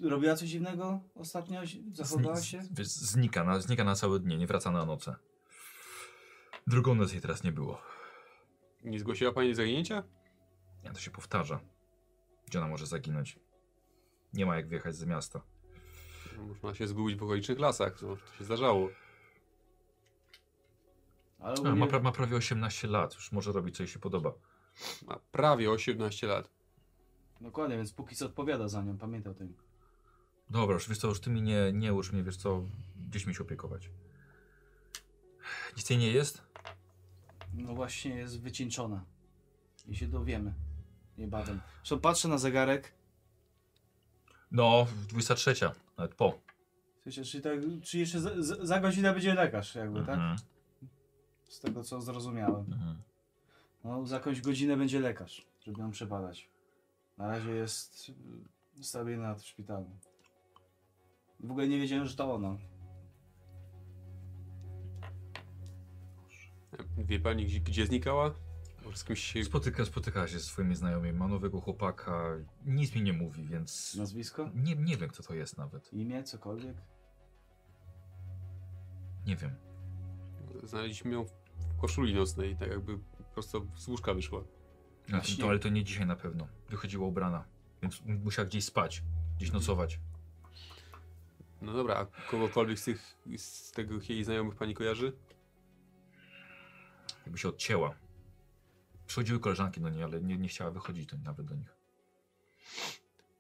B: Robiła coś dziwnego ostatnio? Zachowała się?
A: Z- z- Znika na, znika na całe dnie, nie wraca na noce. Drugą noc jej teraz nie było.
C: Nie zgłosiła pani zaginięcia?
A: Ja to się powtarza. Gdzie ona może zaginąć? Nie ma jak wyjechać z miasta.
C: No, Można się zgubić w okolicznych lasach, to to się zdarzało.
B: Ale
A: A,
B: ogólnie,
A: ma, pra- ma prawie 18 lat, już może robić co jej się podoba.
C: Ma prawie 18 lat.
B: Dokładnie, więc póki co odpowiada za nią, pamiętaj o tym.
A: Dobra, już wiesz co, już ty mi nie, nie uż mnie, wiesz co, gdzieś mi się opiekować. Nic jej nie jest?
B: No właśnie jest wycieńczona. I się dowiemy. Niebawem. Zresztą patrzę na zegarek.
A: No, 23, nawet po.
B: Słuchajcie, Czy, tak, czy jeszcze za, za- za godzinę będzie lekarz jakby, tak?
A: Mhm,
B: Z tego co zrozumiałem.
A: mhm.
B: No, za jakąś godzinę będzie lekarz, żeby ją przebadać. Na razie jest y, stabilna w szpitalu. W ogóle nie wiedziałem, że to ona.
C: Wie pani, gdzie, gdzie znikała? Może z kimś się...
A: Spotyka, spotykała się ze swoimi znajomymi, ma nowego chłopaka, nic mi nie mówi, więc
B: Nazwisko?
A: nie, nie wiem kto to jest nawet,
B: Imię? Cokolwiek?
A: nie wiem.
C: Znaleźliśmy ją w koszuli nocnej, tak jakby prosto z łóżka wyszła.
A: No,
B: Właśnie.
A: to, ale to nie dzisiaj na pewno, wychodziła ubrana, więc m- musiała gdzieś spać, gdzieś nocować.
C: No dobra, a kogokolwiek z tych, z tego jej znajomych pani kojarzy?
A: jakby się odcięła. Przychodziły koleżanki do niej, ale nie, nie chciała wychodzić do, nawet do nich.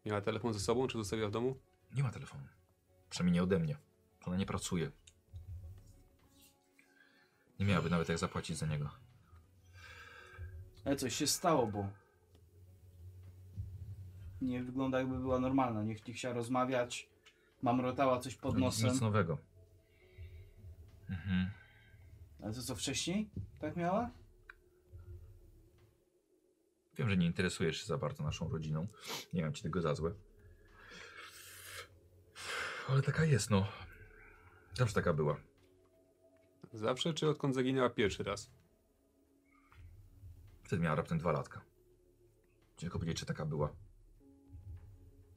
C: Miała telefon ze sobą, czy zostawiła w domu?
A: Nie ma telefonu. Przynajmniej nie ode mnie. Ona nie pracuje. Nie miałaby nawet jak zapłacić za niego.
B: Ale E, coś się stało, bo... Nie wygląda jakby była normalna. Nie, ch- nie chciała rozmawiać. Mamrotała coś pod nosem.
A: Nic nowego. Mhm.
B: Ale to co, wcześniej tak miała?
A: Wiem, że nie interesujesz się za bardzo naszą rodziną. Nie mam ci tego za złe. Ale taka jest, no. Zawsze taka była.
C: Zawsze, czy odkąd zaginęła pierwszy raz?
A: Wtedy miała raptem dwa latka. Ciężko powiedzieć, czy taka była.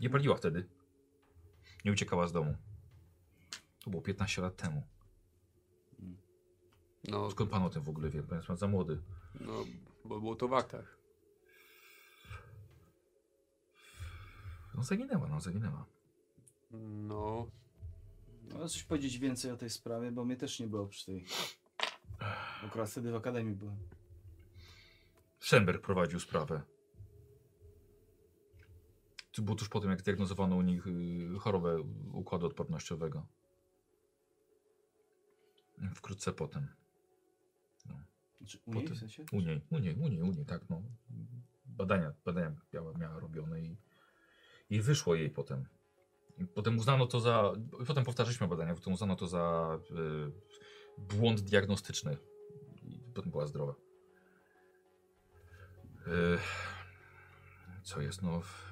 A: Nie paliła wtedy. Nie uciekała z domu. To było 15 lat temu.
C: No,
A: Skąd pan o tym w ogóle wie? Pan jest pan za młody.
C: no bo było to w aktach.
A: No zaginęła, no zaginęła.
C: No,
B: No, coś powiedzieć więcej o tej sprawie, bo mnie też nie było przy tej... Akurat wtedy w akademii byłem.
A: Schenberg prowadził sprawę. To było tuż po tym, jak diagnozowano u nich y, chorobę układu odpornościowego. Wkrótce potem.
B: Znaczy, u niej w
A: Potem.
B: sensie?
A: U niej, u niej, u niej, u niej, tak no. Badania, badania miała, miała robione i, i wyszło jej potem. I potem uznano to za, potem powtarzaliśmy badania, potem uznano to za y, błąd diagnostyczny. I potem była zdrowa. Y, co jest, no... w-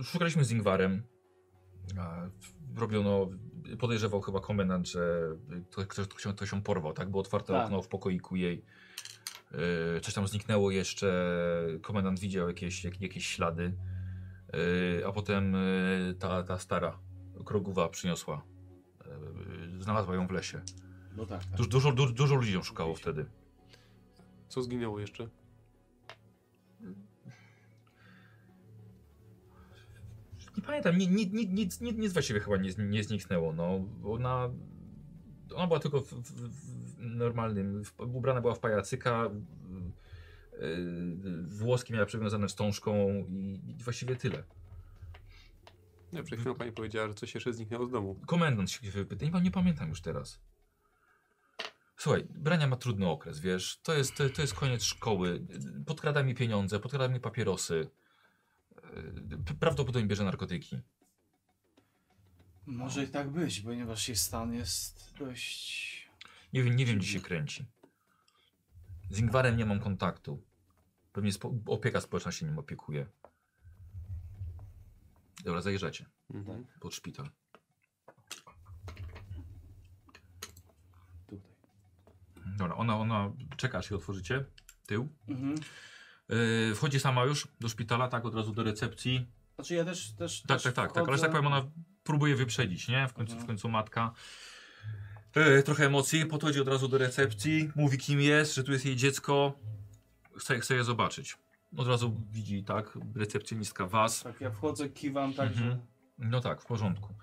A: Y, Szukaliśmy z Ingwarem. A, robiono, podejrzewał chyba komendant, że to- ktoś, ktoś, ją- ktoś ją porwał, tak? Było otwarte
B: Tak.
A: okno w pokoiku jej. Yy, coś tam zniknęło jeszcze, komendant widział jakieś, jak, jakieś ślady, Yy, a potem yy, ta, ta stara krogowa przyniosła, yy, znalazła ją w lesie.
B: No tak. tak.
A: Dużo, dużo, du- dużo ludzi ją szukało wtedy.
C: co zginęło jeszcze?
A: Nie pamiętam, ni, ni, ni, nic, nic, nic właściwie chyba nie, z- nie zniknęło. No. Ona, ona była tylko w, w, w normalnym, w, ubrana była w pajacyka, w- yy, włoski miała przywiązane wstążką i, i właściwie tyle.
C: Nie, przed chwilą pani powiedziała, że coś jeszcze zniknęło z domu.
A: Komendant się wypyta, nie, nie pamiętam już teraz. Słuchaj, Brania ma trudny okres, wiesz, to jest, to, to jest koniec szkoły, podkrada mi pieniądze, podkrada mi papierosy, Yy, p- prawdopodobnie bierze narkotyki.
B: Może i tak być, ponieważ jej stan jest dość
A: Nie wiem, nie wiem, gdzie się kręci. Z Ingwarem nie mam kontaktu. Pewnie spo opieka społeczna się nim opiekuje. Dobra, zajeżdżacie
C: Mhm.
A: pod szpital.
B: tutaj.
A: Dobra, ona, ona czeka, aż się otworzycie. Tył.
B: Mhm.
A: Yy, wchodzi sama już do szpitala, tak, od razu do recepcji.
B: Znaczy ja też też
A: Tak,
B: też
A: tak, tak, tak. Ale że tak powiem, ona próbuje wyprzedzić, nie? W końcu, w
B: Mhm.
A: końcu matka. E, trochę emocji, podchodzi od razu do recepcji, mówi kim jest, że tu jest jej dziecko. Chce, chce je zobaczyć. Od razu widzi, tak, recepcjonistka was.
B: Tak, ja wchodzę, kiwam tak,
A: Mhm.
B: że...
A: No tak, w porządku.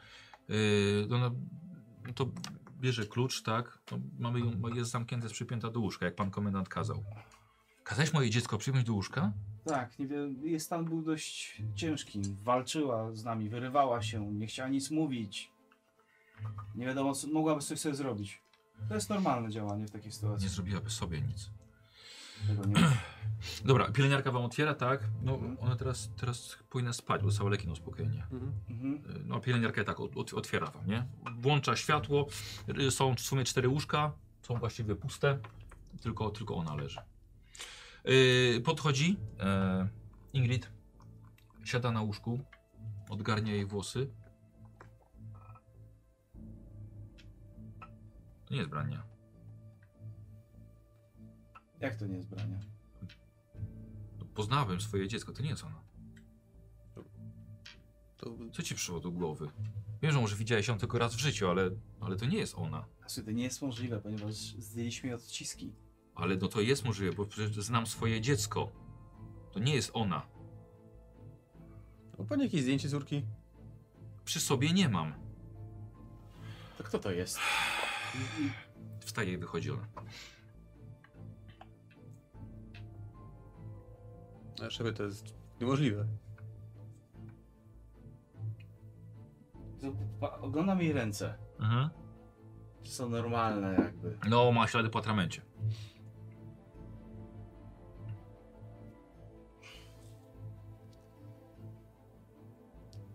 A: Yy, ona, no to bierze klucz, tak? No, mamy ją, jest zamknięta, jest przypięta do łóżka, jak pan komendant kazał. Kazałeś moje dziecko przypiąć do łóżka?
B: Tak, nie wiem, jej stan był dość ciężki. Walczyła z nami, wyrywała się, nie chciała nic mówić. Nie wiadomo, co, mogłaby coś sobie zrobić. To jest normalne działanie w takiej sytuacji.
A: Nie zrobiłaby sobie nic.
B: Tego nie
A: Dobra, pielęgniarka wam otwiera, tak? No
B: Mhm.
A: ona teraz, teraz powinna spać, bo dostała leki na uspokojenie.
B: mhm.
A: Y, No pielęgniarka tak ot- ot- otwiera wam, nie? Włącza światło, y, są w sumie cztery łóżka, są właściwie puste, tylko, tylko ona leży. Y, Podchodzi e, Ingrid, siada na łóżku, odgarnia jej włosy. To nie jest brania.
B: Jak to nie jest brania?
A: No, Poznałem swoje dziecko, to nie jest ona.
C: To
A: Co ci przyszło do głowy? Wiem, że może widziałeś ją tylko raz w życiu, ale, ale to nie jest ona.
B: Słuchaj, to nie jest możliwe, ponieważ zdjęliśmy jej odciski.
A: Ale no to jest możliwe, bo przecież znam swoje dziecko. To nie jest ona.
C: Ma pani jakieś zdjęcie córki?
A: Przy sobie nie mam.
J: To kto to jest?
B: I, i
A: Wstaje i wychodzi ona.
C: A szefie, to jest niemożliwe.
B: to, pa, oglądam jej ręce.
A: Mhm.
B: Czy są normalne jakby.
A: No, ma ślady po atramencie.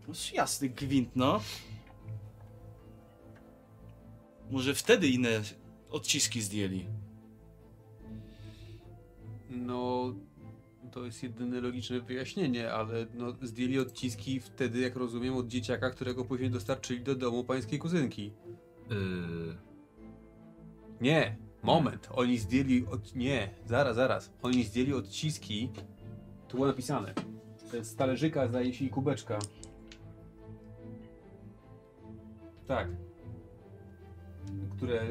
B: No jasny gwint, no. Może wtedy inne odciski zdjęli.
C: No, to jest jedyne logiczne wyjaśnienie, ale no, zdjęli odciski wtedy, jak rozumiem, od dzieciaka, którego później dostarczyli do domu pańskiej kuzynki.
A: Yy,
C: Nie, moment, oni zdjęli od... Nie, zaraz, zaraz. Oni zdjęli odciski, tu było napisane. To jest Z talerzyka zdaje się i kubeczka. Tak. Które...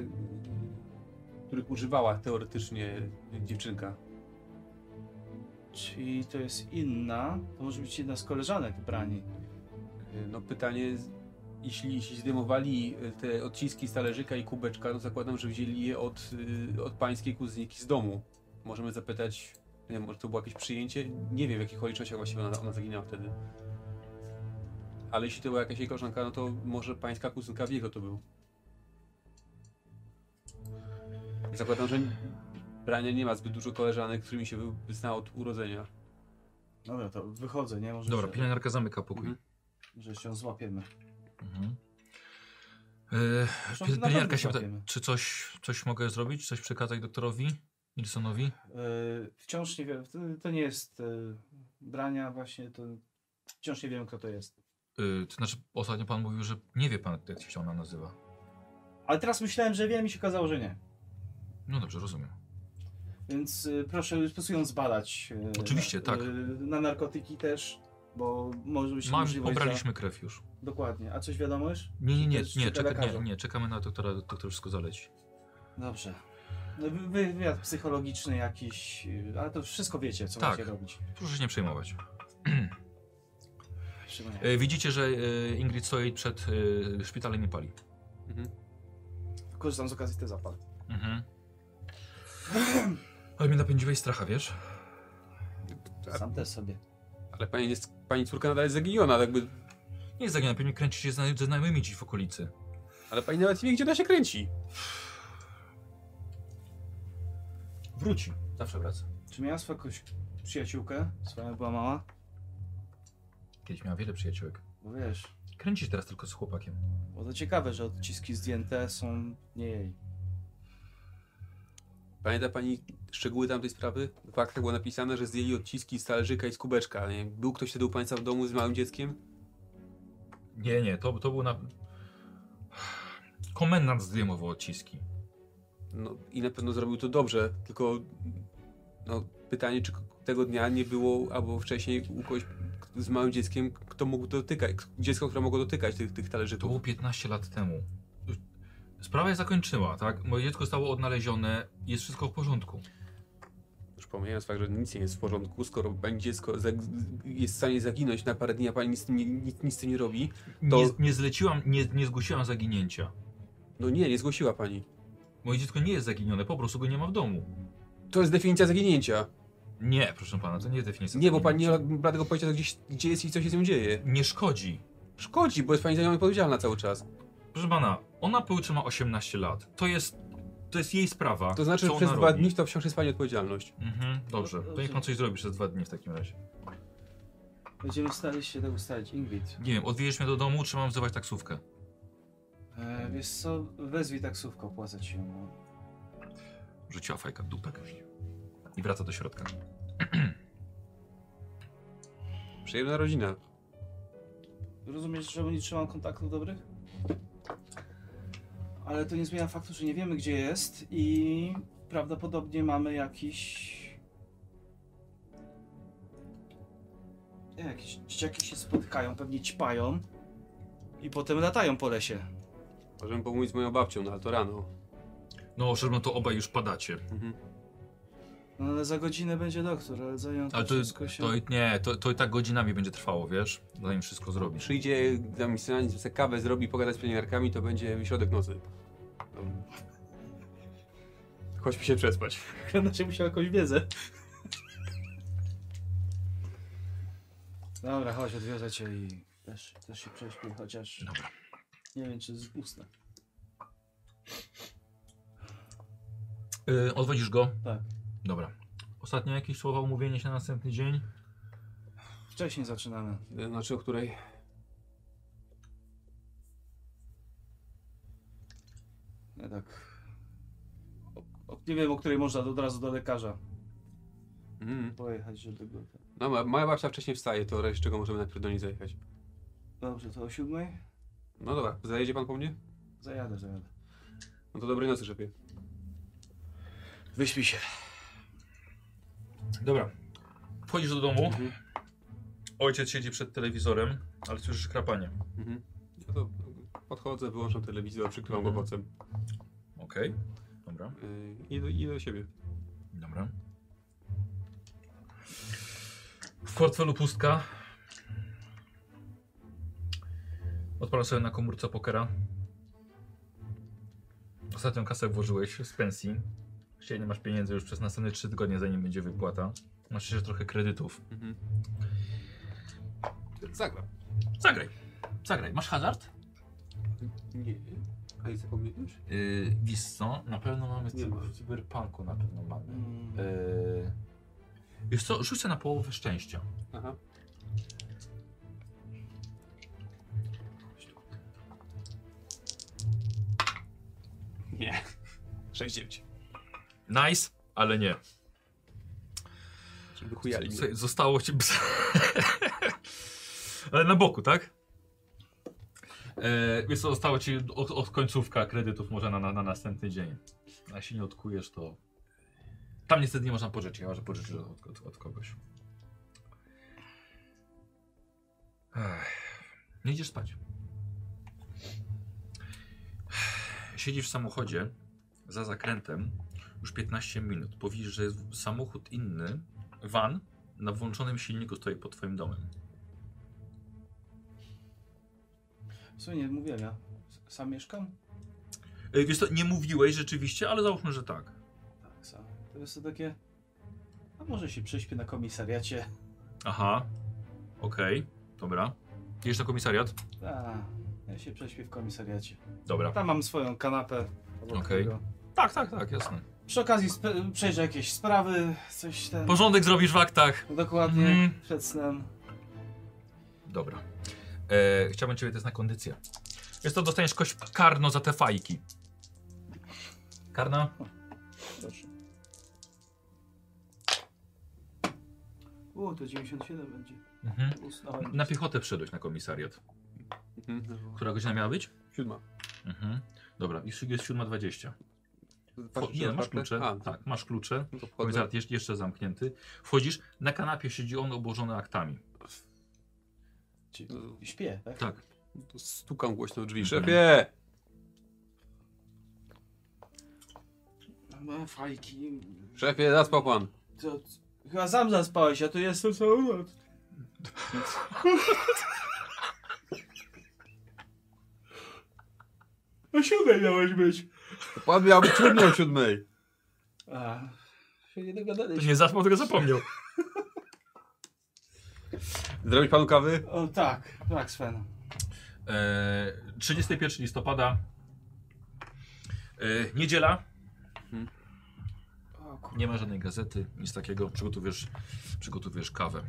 C: Których używała teoretycznie dziewczynka.
B: Czyli to jest inna, to może być jedna z koleżanek brani.
C: No pytanie, z- jeśli, jeśli zdejmowali y, te odciski z talerzyka i kubeczka, to zakładam, że wzięli je od, y, od pańskiej kuzynki z domu. Możemy zapytać, nie wiem, może to było jakieś przyjęcie? Nie wiem, w jakich okolicznościach właściwie ona, ona zaginęła wtedy. Ale jeśli to była jakaś jej koleżanka, no to może pańska kuzynka wie, kto to był. Zakładam, że n- Brania nie ma zbyt dużo koleżanek, którymi się wy- zna od urodzenia.
B: Dobra, to wychodzę, nie? Może,
A: dobra,
B: się,
A: pielęgniarka zamyka pokój.
C: Mhm.
B: może się ją złapiemy.
A: Mhm. Yy,
B: Zresztą
A: piel-
B: na
A: pielęgniarka
B: pewno
A: się pyta,
B: złapiemy.
A: czy coś, coś mogę zrobić? Coś przekazać doktorowi Nilsonowi?
B: Yy, wciąż nie wiem, to, to nie jest yy, brania właśnie, to wciąż nie wiem kto to jest.
A: Yy, to znaczy, ostatnio pan mówił, że nie wie pan, jak się ona nazywa.
B: Ale teraz myślałem, że wiem i się okazało, że nie.
A: No dobrze, rozumiem.
B: Więc y, proszę, proszę ją zbadać. y,
A: Oczywiście,
B: na,
A: tak.
B: y, na narkotyki też, bo może być
A: Mam,
B: możliwość. za-
A: pobraliśmy krew już.
B: Dokładnie. A coś wiadomo już?
A: Nie, nie, nie,
B: Też
A: nie,
B: sztuka
A: czeka, nie,
B: lekarza.
A: nie, czekamy na doktora, doktor wszystko zaleci.
B: Dobrze. No, wy- wywiad psychologiczny jakiś, y, ale to wszystko wiecie, co
A: Tak.
B: macie robić.
A: Proszę się nie przejmować.
B: Szczególnie.
A: E, Widzicie, że e, Ingrid stoi przed e, szpitalem i nie pali.
B: Korzystam z okazji, te zapal.
A: Mhm. Ale mnie napędziłeś stracha, wiesz?
K: Sam też sobie.
C: Ale pani, jest, pani córka nadal jest zaginiona, ale jakby...
A: Nie jest tak, zaginę, pewnie kręci się zna- ze znajomymi dziś w okolicy.
C: Ale pani nawet nie wie, gdzie ona się kręci.
A: Wróci. Zawsze wraca.
B: Czy miała swoją jakąś przyjaciółkę? Swoją jak była mała?
A: Kiedyś miała wiele przyjaciółek.
B: Bo wiesz,
A: Kręci się teraz tylko z chłopakiem.
B: bo to ciekawe, że odciski zdjęte są nie jej.
C: Pamięta pani szczegóły tamtej sprawy? W aktach było napisane, że zdjęli odciski z talerzyka i z kubeczka. Nie? Był ktoś wtedy u państwa w domu z małym dzieckiem?
A: Nie, nie, to, to był na... Komendant zdejmował odciski.
C: No i na pewno zrobił to dobrze, tylko no, pytanie, czy k- tego dnia nie było albo wcześniej u kogoś k- z małym dzieckiem, kto mógł dotykać, k- dziecko, które mogło dotykać tych, tych
A: To było
C: talerzyków.
A: 15 lat temu. Sprawa się zakończyła, tak? Moje dziecko zostało odnalezione, jest wszystko w porządku.
C: Już pomijając fakt, że nic nie jest w porządku, skoro pani dziecko zag- jest w stanie zaginąć na parę dni, a pani nic, z tym nie, nic, nic z tym nie robi. To-
A: Nie, nie zleciłam, nie, nie zgłosiłam zaginięcia.
C: No nie, nie zgłosiła pani.
A: Moje dziecko nie jest zaginione, po prostu go nie ma w domu.
C: To jest definicja zaginięcia.
A: Nie, proszę pana, to nie jest definicja.
C: Nie, bo pani
A: zaginięcia.
C: nie ma tego pojęcia, gdzieś, gdzie jest i co się z nią dzieje.
A: Nie szkodzi.
C: Szkodzi, bo jest pani za nią odpowiedzialna cały czas.
A: Proszę pana, ona pojutro ma 18 lat. To jest, to jest jej sprawa.
C: To znaczy,
A: co
C: że przez
A: ona
C: dwa
A: robi.
C: dni to wciąż jest pani odpowiedzialność.
A: Mhm, dobrze, to niech pan coś zrobi przez dwa dni w takim razie.
B: Będziemy starali się tego ustalić, Ingrid.
A: Nie wiem, odwiedzisz mnie do domu, czy mam wzywać taksówkę?
B: E, wiesz co, wezwij taksówkę, opłacę ci ją. bo-
A: Rzuciła fajka w dupę. I wraca do środka.
C: Przyjemna rodzina.
B: Rozumiesz, że nie trzymam kontaktów dobrych? Ale to nie zmienia faktu, że nie wiemy gdzie jest i prawdopodobnie mamy jakiś... Nie, Jakieś dzieciaki się spotkają, pewnie ćpają i potem latają po lesie.
C: Możemy pomówić z moją babcią, no ale to rano.
A: No, żeby to obaj już padacie.
C: Mhm.
B: No ale za godzinę będzie doktor, ale zajął
A: Ale
B: to
A: to,
B: wszystko się...
A: to nie, to, to i tak godzinami będzie trwało, wiesz? Zanim wszystko zrobisz.
C: Przyjdzie, da mi sygnał, sobie kawę zrobi, pogadać z pielęgniarkami, to będzie środek nocy. No. Chodźmy się przespać.
B: [laughs] Inaczej musiał jakąś wiedzę. Dobra, chodź, odwiozę cię i też, też się prześpię, chociaż
A: Dobra.
B: nie wiem, czy z usta.
A: Yy, odwodzisz go?
B: Tak.
A: Dobra. Ostatnio jakieś słowa umówienie się na następny dzień?
B: Wcześniej zaczynamy.
C: Y, Znaczy, o której?
B: Ja tak... O, o, nie wiem, o której można od razu do lekarza
C: Mm.
B: pojechać, żeby tak. go...
C: No, ma- moja babcia wcześniej wstaje, to w razie czego możemy najpierw do niej zajechać.
B: Dobrze, to o siódmej?
C: No dobra, zajedzie pan po mnie?
B: Zajadę, zajadę.
C: No to dobrej nocy, szefie.
B: Wyśpij się.
A: Dobra. Wchodzisz do domu,
C: Mhm.
A: ojciec siedzi przed telewizorem, ale słyszysz krapanie.
C: Mhm. Ja to podchodzę, wyłączam telewizor, przykrywam go
A: Mhm.
C: kocem.
A: Okej. Dobra.
C: Y, I do, i do siebie.
A: Dobra. W portfelu pustka. Odpalę sobie na komórce pokera. Ostatnią kasę włożyłeś z pensji. Dzisiaj nie masz pieniędzy już przez następne 3 tygodnie, zanim będzie wypłata. Masz jeszcze trochę kredytów.
C: Mhm. Zagram.
A: Zagraj. Zagraj. Masz hazard?
C: Nie. A i zapomniałeś?
A: Yy, wiesz co? Na pewno mamy
C: Nie ma.
A: w cyberpunku na pewno mamy.
F: Mm,
C: E.
A: Yy... Wiesz co? Rzucę na połowę szczęścia.
C: Aha. Nie. 6-9.
A: Nice, ale nie.
C: Żeby chujali
A: Słuchaj, Zostało ci. [laughs] Ale na boku, tak? E, wiesz co, zostało ci od, od końcówka kredytów może na, na, na następny dzień. A jeśli nie odkujesz, to. Tam niestety nie można pożyczyć, chyba że pożyczysz od, od, od kogoś. Ech. Nie idziesz spać. Siedzisz w samochodzie za zakrętem już 15 minut. Powiesz, że jest samochód inny, van na włączonym silniku stoi pod twoim domem.
B: W sumie nie mówiłem ja. S- Sam mieszkam?
A: E, Wiesz co, nie mówiłeś rzeczywiście, ale załóżmy, że tak.
B: Tak, sam. To jest to takie... A może się prześpię na komisariacie?
A: Aha, okej, dobra. Jedziesz na komisariat?
B: A, ja się prześpię w komisariacie.
A: Dobra.
B: Tam mam swoją kanapę. obok
A: Okej.
B: tego.
A: Tak, tak, tak, jasne.
B: Przy okazji spe- przejrzę jakieś sprawy, coś ten...
A: Porządek zrobisz w aktach.
B: Dokładnie,
A: Mhm.
B: przed snem.
A: Dobra. E, chciałbym ciebie też na kondycję. Jest to dostaniesz kość karno za te fajki. Karna?
B: U, to 97 będzie.
A: Mhm.
B: Usnąłem.
A: Na piechotę przyszedłeś na komisariat.
C: Mhm.
A: Która godzina miała być?
C: Siódma.
A: Mhm. Dobra, już jest 7.20. Wcho-
C: Patrzysz
A: Nie,
C: na
A: masz
C: kartę?
A: klucze.
C: A, no
A: Tak, masz klucze.
C: to wchodzę.
A: Komisariat jeszcze, jeszcze zamknięty. Wchodzisz, na kanapie siedzi on obłożony aktami.
B: Czyli Śpię, tak?
A: Tak.
C: No, To Stukam głośno w drzwi.
A: Mhm.
C: Szefie!
B: No, fajki.
C: Szefie, zaspał pan.
B: To, chyba sam zaspałeś, a tu jestem cały noc. [laughs] O siódmej miałeś być.
C: To Pan miał być trudny o siódmej.
B: A, się nie
A: To
B: dogadaliśmy.
A: nie zaspał, tylko zapomniał.
C: Zrobić panu kawy?
B: O tak, tak Sven.
A: E, 31 listopada. E, niedziela. Mhm.
B: O, kur...
A: Nie ma żadnej gazety, nic takiego. Przygotowujesz, przygotowujesz kawę.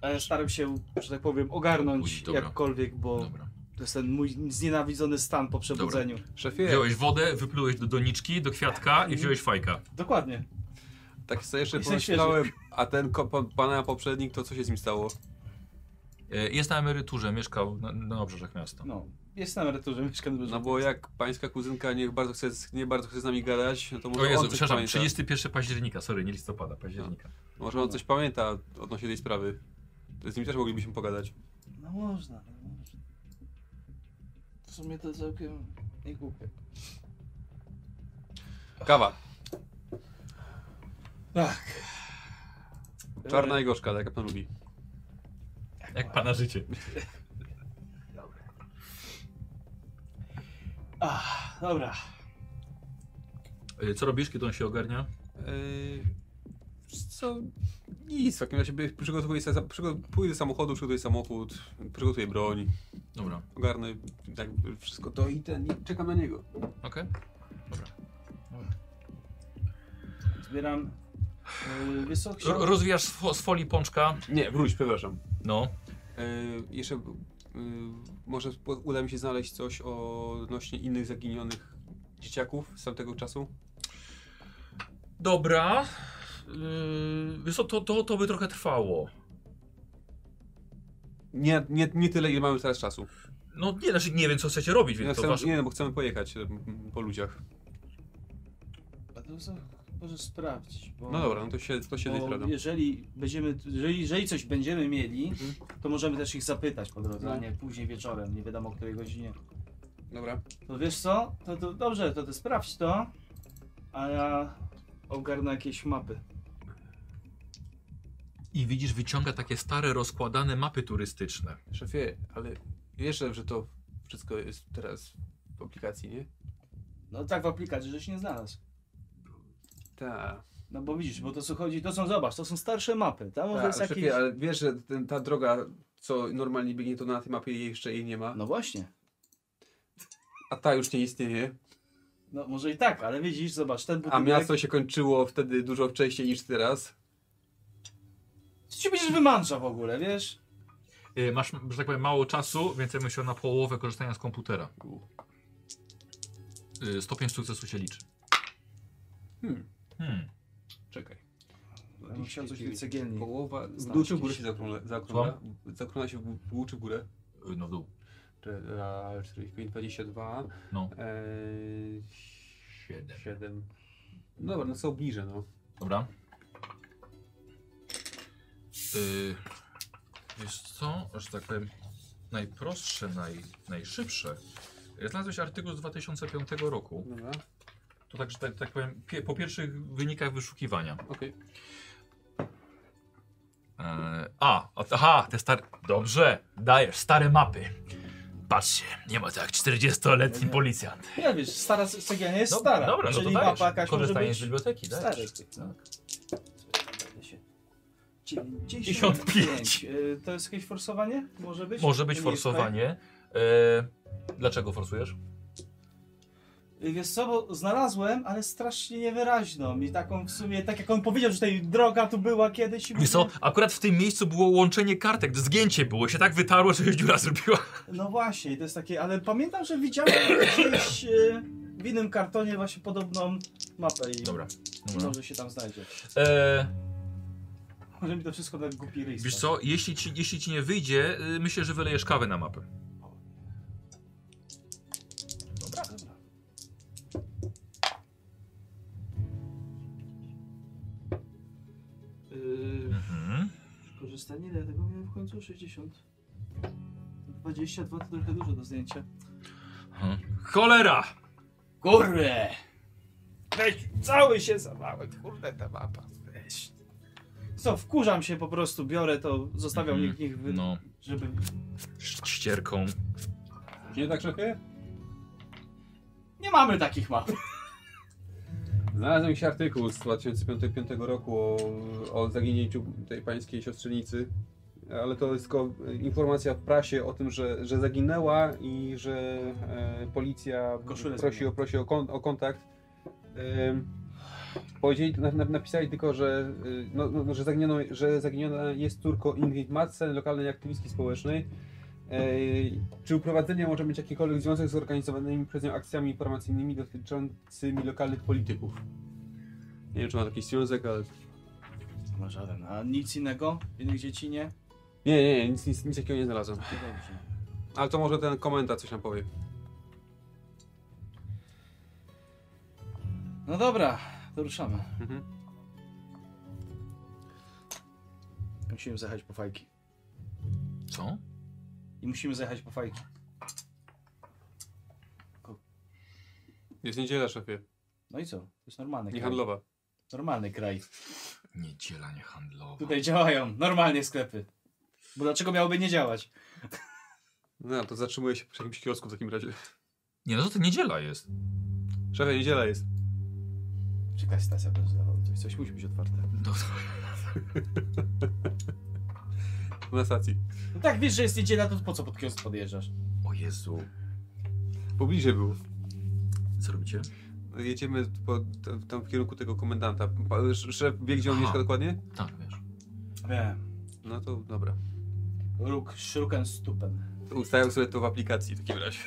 B: Ale staram się, że tak powiem, ogarnąć
A: Uj, dobra.
B: jakkolwiek, bo
A: Dobra.
B: to jest ten mój znienawidzony stan po przebudzeniu.
C: Szefie,
A: Wziąłeś wodę, wyplułeś do doniczki, do kwiatka i wziąłeś fajka.
B: Dokładnie.
C: tak sobie jeszcze
B: I są
C: pomyślałem, a ten ko- pan- pana poprzednik, to co się z nim stało?
A: E, Jest na emeryturze, mieszkał na, na obrzeżach miasta.
B: No, jest na emeryturze, mieszkam dużo.
C: No bo jak pańska kuzynka nie bardzo chce, z- nie bardzo chce z nami gadać, no to może
A: O Jezu,
C: on coś
A: przepraszam,
C: pamięta.
A: 31 października, sorry, nie listopada, października.
C: Może on coś pamięta odnośnie tej sprawy. Z nim też moglibyśmy pogadać.
B: No można, no można. W sumie to całkiem nie głupie.
C: Kawa.
B: Tak.
C: Czarna i gorzka, tak jak pan lubi.
A: Jak pana życie.
B: Ach, dobra.
A: E, Co robisz, kiedy on się ogarnia?
C: Yy, co? Nic, w takim razie by- przygotowuję sobie, za- przygo- pójdę do samochodu, przygotuję samochód, przygotuję broń,
A: Dobra,
C: ogarnę tak wszystko to i ten, i czekam na niego.
A: okej.
B: Zbieram. Yy, Wysok się.
A: Ro- Rozwijasz z fo- z folii pączka.
C: Nie, wróć, przepraszam.
A: No.
C: Yy, jeszcze yy, może po- uda mi się znaleźć coś o- odnośnie innych zaginionych dzieciaków z tamtego czasu.
A: Dobra. Yy, wiesz co, to, to, to by trochę trwało.
C: Nie, nie, nie tyle, ile mamy teraz czasu.
A: No nie, znaczy nie wiem co chcecie robić,
C: Ja
A: więc to
C: chcemy,
A: wasz...
C: Nie, no bo chcemy pojechać mm, po ludziach.
B: A to co? Może sprawdzić. Bo,
C: No dobra, no to się, to się nie
B: bo
C: sprawdzam.
B: jeżeli będziemy, jeżeli, jeżeli coś będziemy mieli,
C: Mhm.
B: to możemy też ich zapytać po drodze,
C: No.
B: a nie później wieczorem, nie wiadomo o której godzinie.
C: Dobra.
B: To wiesz co? To, to dobrze, to ty sprawdź to, a ja ogarnę jakieś mapy.
A: I widzisz, wyciąga takie stare, rozkładane mapy turystyczne.
C: Szefie, ale wiesz, że to wszystko jest teraz w aplikacji, nie?
B: No tak w aplikacji, żeś nie znalazł.
C: Tak.
B: No bo widzisz, bo to co chodzi, to są, zobacz, to są starsze mapy. Tam może jest
C: ale,
B: jakiś...
C: szefie, ale wiesz, że ten, ta droga, co normalnie biegnie, to na tej mapie jej jeszcze jej nie ma.
B: No właśnie.
C: A ta już nie istnieje.
B: No może i tak, ale widzisz, zobacz, ten
C: A
B: budynek...
C: miasto się kończyło wtedy dużo wcześniej niż teraz.
B: Co ci będziesz wymączał w ogóle, wiesz?
A: Yy, masz, że tak powiem, mało czasu, więc ja bym się na połowę korzystania z komputera. Yy, stopień sukcesu się liczy.
C: Hmm.
A: Hmm.
C: Czekaj.
B: Ja bym chciał coś więcej cegielni.
C: Połowa. W
B: Znaleźć
C: dół czy w górę
B: jakieś-
C: się zakrąla? Zakrąla, zakrąla się w gó- w dół czy w górę?
A: Yy, no w dół.
C: Czy- a, E, 45, 22.
A: No.
C: Eee,
A: Siedem.
C: 7. Dobra, no co obniżę, no.
A: Dobra. Yy, wiesz co, że tak powiem, najprostsze, naj, najszybsze. Ja Znalazłeś artykuł z 2005 roku.
C: Dobra,
A: To tak, że tak, tak powiem, pie, po pierwszych wynikach wyszukiwania.
C: okej.
A: E, a, a- aha, te stare. Dobrze, dajesz stare mapy. Patrzcie, nie ma tak, 40-letni policjant.
B: No Ja wiesz, stara cegielnia jest
A: No,
B: stara.
A: Dobra, no to
B: tak, czyli
A: dajesz.
B: mapa jakaś może
A: Korzystanie
B: być...
A: z biblioteki,
B: Stary.
A: dajesz. Tak.
B: 95. Y, To jest jakieś forsowanie? Może być?
A: Może być
B: Nie mieszka-
A: forsowanie. E, dlaczego forsujesz?
B: Y, Wiesz co, bo znalazłem, ale strasznie niewyraźną i taką w sumie, tak jak on powiedział, że tej droga tu była kiedyś i
A: Wiesz co,
B: mówię,
A: akurat w tym miejscu było łączenie kartek, zgięcie było, się tak wytarło, że się dziura zrobiła.
B: No właśnie, to jest takie, ale pamiętam,
A: [coughs]
B: że widziałem gdzieś y, w innym kartonie właśnie podobną mapę i
A: Dobra.
B: może się tam znajdzie.
A: No. E,
B: Może mi to wszystko tak głupi ryj
A: wiesz
B: stać.
A: co, jeśli ci, jeśli ci nie wyjdzie, y, myślę, że wylejesz kawę na mapę.
B: Dobra, dobra.
F: Yy,
A: Mhm.
F: korzystanie, ile ja tego miałem w końcu? 60. 22 to trochę dużo do zdjęcia.
A: Mhm. Cholera!
B: Kurę!
D: Weź, cały się zawałem, kurde ta mapa. Weź.
B: Co, wkurzam się po prostu, biorę to, zostawiam
A: Mhm.
B: niech, niech wy...
A: No,
B: żeby...
A: ścierką.
C: Nie tak, szefie?
B: Nie mamy takich map.
C: Znalazłem jakiś artykuł z 2005 roku o, o zaginięciu tej pańskiej siostrzenicy, ale to jest tylko e, informacja w prasie o tym, że, że zaginęła i że e, policja
B: Koszulę
C: prosi, o,
B: zginęła.
C: prosi o, kon, o kontakt. Ym, powiedzieli, na, na, napisali tylko, że, y, no, no, że, zaginiono, że zaginiona jest córką Ingrid Madsen, lokalnej aktywistki społecznej. Ej, Czy uprowadzenie może mieć jakikolwiek związek z organizowanymi przez nią akcjami informacyjnymi dotyczącymi lokalnych polityków? Nie wiem, czy ma taki związek, ale.
F: Ma żaden,
B: A nic innego? Innych dzieci nie?
C: Nie, nie, nie nic, nic, nic takiego nie znalazłem.
B: To Dobrze.
C: Ale to może ten komentarz coś nam powie.
B: No dobra, to ruszamy.
C: Mhm.
B: Musimy zajechać po fajki.
A: Co?
B: I musimy zajechać po fajki.
C: Jest niedziela, szefie.
B: No i co? To jest normalny
C: Nie
B: kraj.
C: handlowa.
B: Normalny kraj.
A: Niedziela niehandlowa.
B: Tutaj działają normalnie sklepy. Bo dlaczego miałoby nie działać?
C: No, to zatrzymuje się przy jakimś kiosku w takim razie.
A: Nie, no to, to niedziela jest.
C: Szefie, niedziela jest.
D: Czy jakaś stacja będzie zdawała coś? Coś musi być otwarte.
A: No,
C: Na stacji.
B: No tak, wiesz, że jest niedziela, to po co pod kiosk podjeżdżasz?
A: o Jezu.
C: Pobliżej był.
A: Co robicie?
C: Jedziemy po, tam- tam w kierunku tego komendanta. Pa- sz- Szef wie, gdzie on
A: Aha.
C: mieszka dokładnie?
A: Tak, wiesz.
B: Wiem.
C: No to dobra.
B: Róg, szruken, stupen.
C: To Ustawiam sobie to w aplikacji w takim razie.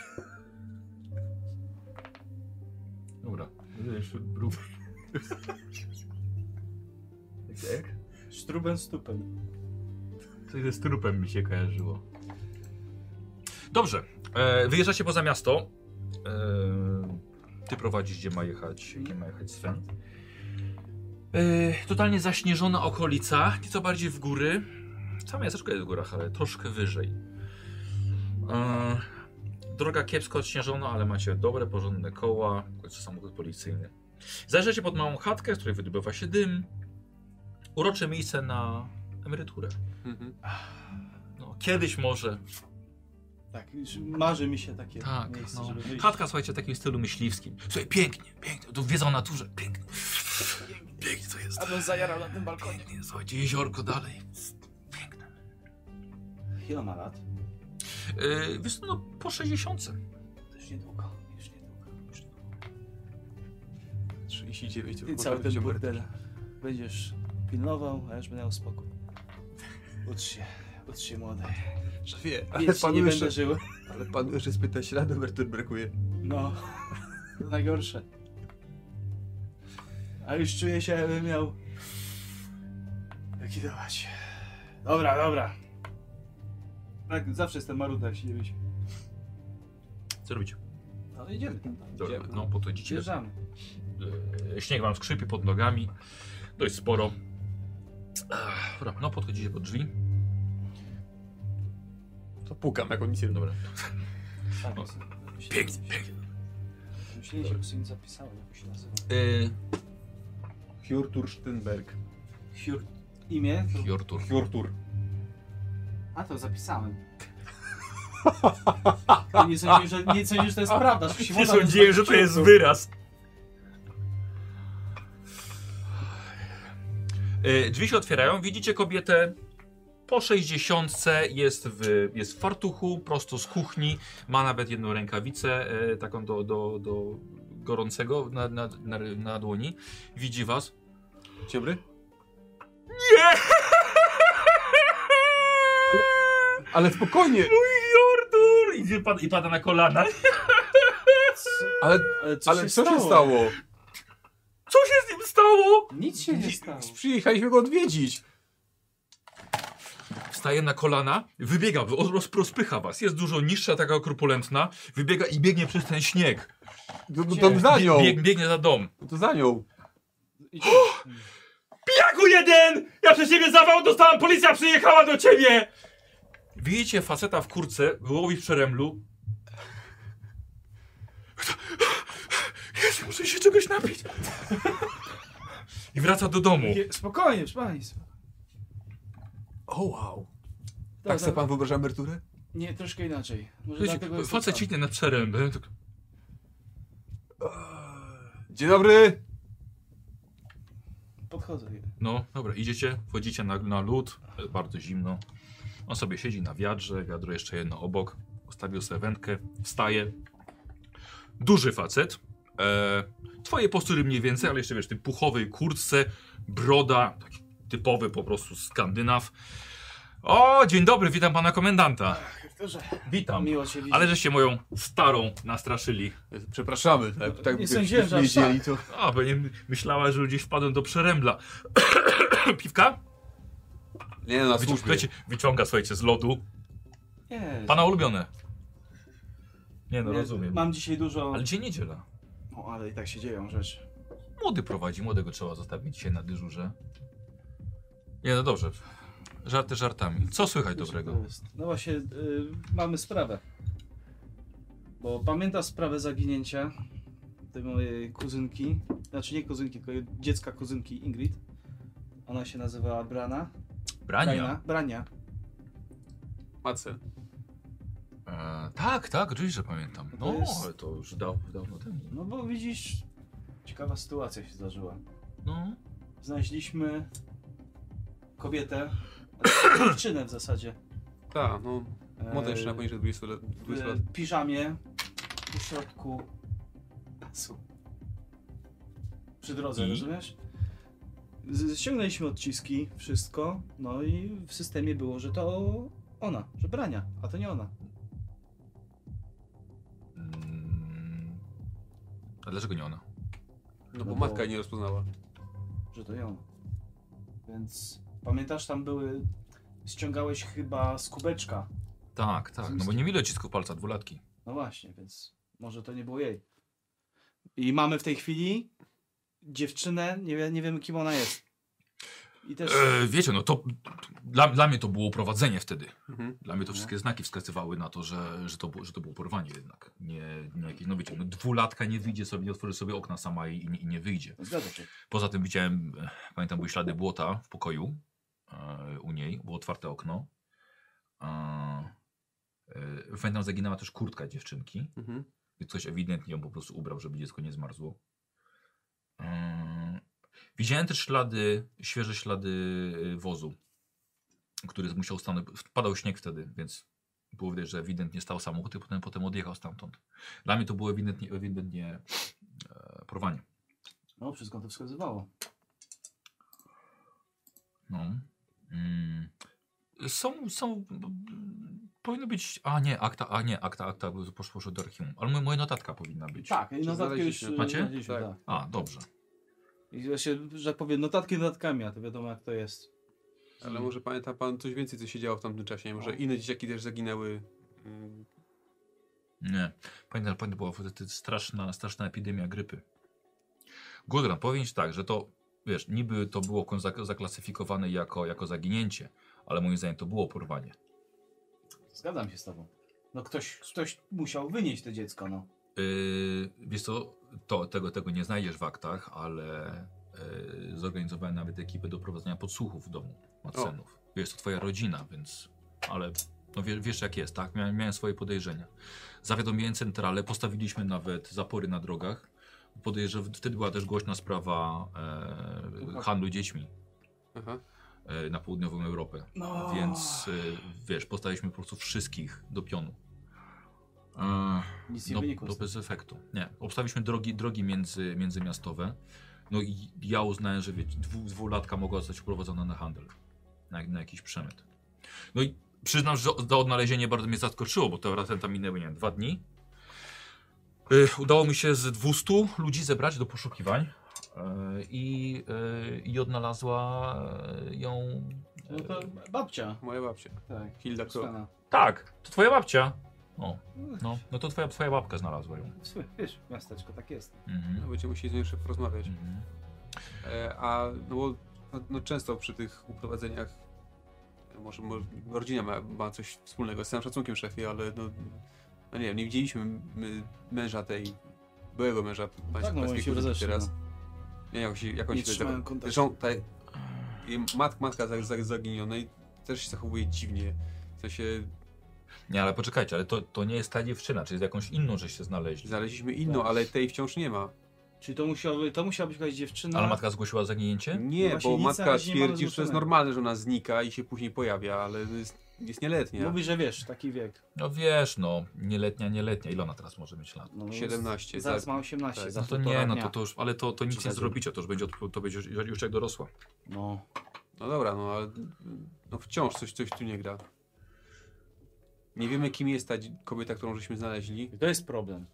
A: Dobra. Wiesz, brud. Jak?
B: Struben, stupen.
A: Coś ze strupem mi się kojarzyło. Dobrze. E, wyjeżdżacie poza miasto. E, ty prowadzisz, gdzie ma jechać, gdzie ma jechać Sven. E, totalnie zaśnieżona okolica, nieco bardziej w góry. Całe miasteczko jest w górach, ale troszkę wyżej. E, droga kiepsko odśnieżona, ale macie dobre, porządne koła. W końcu samochód policyjny. Zajrzycie pod małą chatkę, z której wydobywa się dym. Urocze miejsce na emeryturę.
C: Mhm.
A: No, kiedyś może.
B: Tak, już marzy mi się takie
A: Tak.
B: miejsce,
A: No.
B: żeby wyjść.
A: Chatka, słuchajcie, w takim stylu myśliwskim. Słuchaj, pięknie, pięknie. Tu wiedza o naturze. Pięknie. Pięknie to jest.
F: Abym zajarał na tym balkonie.
A: Pięknie, słuchajcie, jeziorko dalej. Piękne.
F: Ile ma lat?
A: Yy, wiesz, co, no po 60.
F: Już niedługo, już niedługo.
C: 39 to
F: Ty
C: już
F: cały
C: można
F: ten
C: być
F: burdel będziesz pilnował, a już będę miał spokój. Ucz się, ucz się młodej.
C: Szefie, ale
F: Wiecznie
C: panu
F: nie
C: jeszcze,
F: będę żył.
C: ale panu jeszcze z 15 lat emerytur brakuje.
F: No,
B: [laughs]
F: to najgorsze. A już czuję się, jakbym miał likwidować. Dobra, dobra.
B: Tak, zawsze jestem marudem, jak się nie wyjdzie.
A: Co robicie?
F: No idziemy.
A: Dobra,
C: Idziemy.
A: no po to idziecie.
B: Wjeżdżamy.
A: Yy, śnieg wam skrzypie pod nogami. Dość sporo. Ech, Dobra, no podchodzicie pod drzwi.
C: To pukam, jak on nic nie
A: Dobra.
F: Tak,
A: O,
F: myśleliśmy-
A: Pięknie, pięknie.
F: Myśleliśmy, że sobie zapisały, jak się nazywa.
A: Yy,
C: Hjortur Steinberg.
B: Hiur... Imię? To...
A: Jortur.
C: Hjortur.
B: [laughs]
F: A to zapisałem.
B: Nie sądziłem, że, nie sądziłem, że to jest prawda. Że
D: Nie
B: Szymona
D: sądziłem, że to jest wyraz.
A: E, Drzwi się otwierają, widzicie kobietę po 60, jest w, jest w fartuchu, prosto z kuchni, ma nawet jedną rękawicę, e, taką do, do, do gorącego na, na, na, na dłoni. Widzi was.
C: Dzień dobry.
A: [laughs]
C: Ale spokojnie,
A: Jordur! I, pada, I pada na kolana.
C: ale,
B: Ale co,
C: ale
B: się,
C: co
B: stało?
C: się stało?
A: Co się z nim stało?
B: Nic się nie stało.
C: Przyjechaliśmy go odwiedzić.
A: Wstaje na kolana, wybiega, roz- rozpycha was. Jest dużo niższa, taka korpulentna. Wybiega i biegnie przez ten śnieg.
C: To, to, to za nią,
A: Bieg, biegnie za dom.
C: to za nią.
A: Pijaku jeden! Ja przez ciebie zawał dostałam, policja przyjechała do ciebie! Widzicie faceta w kurce, łowi w przeremlu. Jezu, muszę się czegoś napić. I wraca do domu.
D: Nie, Spokojnie, proszę państwa.
C: O wow.
B: Dobra.
C: Tak sobie pan wyobraża emeryturę?
B: Nie, troszkę inaczej. Może
A: Wiecie,
B: dlatego jest
A: Facet
B: tak.
A: ciśnie nad przerębem. tak-
C: Dzień dobry.
B: Podchodzę.
A: No, dobra, idziecie, wchodzicie na, na lód, jest bardzo zimno. On sobie siedzi na wiadrze, wiadro jeszcze jedno obok. Ustawił sobie wędkę, wstaje. Duży facet. E, twoje postury mniej więcej, ale jeszcze wiesz, w tym puchowej kurtce, broda, taki typowy po prostu Skandynaw. O, dzień dobry, witam pana komendanta.
B: Dobrze,
A: Witam.
B: miło cię widzieć.
A: Ale żeście moją starą nastraszyli.
C: Przepraszamy, tak, tak
B: Nie sądziłem, że aż tak.
C: wiedzieli, to
A: A, pewnie myślała, że gdzieś wpadłem do przerębla. [coughs] Piwka?
C: Nie no, na
A: Wyci-
C: służbie.
A: Wiecie, wyciąga, słuchajcie, z lodu.
B: Nie,
A: Pana ulubione. Nie no,
B: nie,
A: rozumiem.
B: Mam dzisiaj dużo...
A: Ale dzisiaj niedziela.
B: O, ale i tak się dzieją rzeczy.
A: Młody prowadzi, młodego trzeba zostawić dzisiaj na dyżurze. Nie no dobrze. Żarty żartami. Co słychać
B: To
A: dobrego?
B: jest- No właśnie, y, mamy sprawę. Bo pamięta sprawę zaginięcia tej mojej kuzynki, znaczy nie kuzynki, tylko dziecka kuzynki Ingrid. Ona się nazywała Brana.
A: Brania.
B: Brania. Brania.
C: Mace.
A: E, tak, tak, oczywiście, że pamiętam.
B: To
A: No,
B: jest-
A: ale to już dawno, dawno temu.
B: No bo widzisz, ciekawa sytuacja się zdarzyła.
A: No.
B: Znaleźliśmy kobietę, dziewczynę w zasadzie.
C: Tak, no,
B: e,
C: młoda jeszcze na poniżej 20 lat. 20 lat.
B: w E, piżamie w środku lasu. Przy drodze,
A: I?
B: rozumiesz? Z- Ściągnęliśmy odciski, wszystko, no i w systemie było, że to ona, że brania, a to nie ona.
A: Mm. A dlaczego nie ona?
C: No bo
B: bo-
C: matka nie rozpoznała.
B: że to ją. Więc pamiętasz, tam były. Ściągałeś chyba z kubeczka.
A: Tak, tak. No bo nie mieli odcisku palca dwulatki.
B: No właśnie, więc może to nie było jej. I mamy w tej chwili dziewczynę, nie, wie, nie wiemy kim ona jest. I też.
A: E, wiecie, no to dla, dla mnie to było prowadzenie wtedy.
C: Mhm.
A: Dla mnie to wszystkie znaki wskazywały na to, że, że, to, było- że to było porwanie jednak. Nie, nie jakieś, no wiecie, no dwulatka nie wyjdzie sobie, nie otworzy sobie okna sama i, i, nie- i nie wyjdzie.
B: Zgadza się.
A: Poza tym widziałem, e, pamiętam, były ślady błota w pokoju e, u niej, było otwarte okno. E, e, pamiętam, zaginęła też kurtka dziewczynki.
C: Mhm.
A: Więc ktoś ewidentnie ją po prostu ubrał, żeby dziecko nie zmarzło. Mm. Widziałem też ślady, świeże ślady y, wozu, który musiał stanąć. Padał śnieg wtedy, więc było widać, że ewidentnie stał samochód i potem, potem odjechał stamtąd. Dla mnie to było ewidentnie, ewidentnie e, porwanie.
B: No, wszystko to wskazywało.
A: No. Mm. Są, są, b- b- powinno być, a nie, akta, a nie, akta, akta, bo posz- poszło do archiwum, ale moja- moja notatka powinna być.
B: Tak, i notatki już.
C: znaleźliście?
B: y,
A: Macie?
B: znaleźliśmy,
C: Tak.
B: tak.
A: A, dobrze.
B: I właśnie, że powiem, notatki notatkami, a to wiadomo jak to jest.
C: Ale może pamięta pan coś więcej, co się działo w tamtym czasie? Może inne dzieciaki też zaginęły? Mm,
A: Nie. Pamiętam, pamiętam była wtedy straszna, straszna epidemia grypy. Gudrun, powiem ci tak, że to, wiesz, niby to było kon- zak- zaklasyfikowane jako, jako zaginięcie, ale moim zdaniem to było porwanie.
B: Zgadzam się z tobą. No ktoś, ktoś musiał wynieść to dziecko, no.
A: Yy, wiesz co, to, tego, tego nie znajdziesz w aktach, ale yy, zorganizowałem nawet ekipę do prowadzenia podsłuchów w domu Madsenów. Jest to twoja rodzina, więc, ale No wiesz, wiesz jak jest, tak? Miałem, miałem swoje podejrzenia. Zawiadomiłem centralę, postawiliśmy nawet zapory na drogach. Podejrzewam, wtedy była też głośna sprawa e, handlu dziećmi
C: Aha.
A: e, na południową Europę.
B: No.
A: Więc e, wiesz, postawiliśmy po prostu wszystkich do pionu. E,
F: Nic nie
A: no,
F: wynikło.
A: to
F: z tego.
A: bez efektu. Nie. Obstawiliśmy drogi, drogi między, międzymiastowe. No i ja uznałem, że wiecie, dwu, dwulatka mogła zostać uprowadzona na handel. Na, na jakiś przemyt. No i przyznam, że za odnalezienie bardzo mnie zaskoczyło, bo to razem tam minęły, nie wiem, dwa dni. Y, udało mi się z 200 ludzi zebrać do poszukiwań. y, I y, i odnalazła y, ją.
B: No to babcia.
C: Moja babcia.
B: Tak.
C: Hilda Krok.
B: Stana.
A: Tak, to twoja babcia. O, no, no to twoja, twoja babka znalazła ją.
F: W sumie, Wiesz, miasteczko tak jest.
A: Mhm.
C: No, Będziemy musieli z nią jeszcze porozmawiać.
A: Mhm.
C: E, a no, bo, no, no często przy tych uprowadzeniach e, może, może rodzina ma, ma coś wspólnego z całym szacunkiem szefie, ale no, no nie wiem, nie widzieliśmy my męża tej byłego męża państwa
B: Tak, no oni się rozeszli.
C: teraz.
B: no.
C: Nie, jak on się, jak on
B: Nie
C: się
B: trzymają
C: nazywa?
B: kontaktu.
C: Zresztą ta, jej mat, matka za- za- zaginionej też się zachowuje dziwnie. W sensie
A: Nie, ale poczekajcie, ale to, to nie jest ta dziewczyna, czy jest jakąś inną, żeście znaleźli.
C: znaleźliśmy inną,
B: Tak.
C: ale tej wciąż nie ma.
B: Czyli to musiała, to musiała być jakaś dziewczyna.
A: Ale matka zgłosiła zaginięcie?
C: Nie,
B: No właśnie
C: bo
B: nic na
C: matka
B: razie nie mamy
C: twierdzi, że to jest
B: zgłoszonego.
C: normalne, że ona znika i się później pojawia, ale jest, jest nieletnia.
B: Mówi, że wiesz, taki wiek.
A: No wiesz, no, nieletnia, nieletnia. Ile ona teraz może mieć lat?
B: No,
C: 17,
B: Zaraz
C: tak.
B: ma 18.
C: Tak.
B: Za
A: No to
B: półtora
A: nie, no
B: dnia.
A: to, to już, ale to, to nic nie
C: Czekaj.
A: zrobicie, to już będzie, odp- to będzie już, już jak dorosła.
B: No.
C: No dobra, no ale no wciąż coś, coś tu nie gra. Nie wiemy, kim jest ta dzi- kobieta, którą żeśmy znaleźli.
B: To jest problem.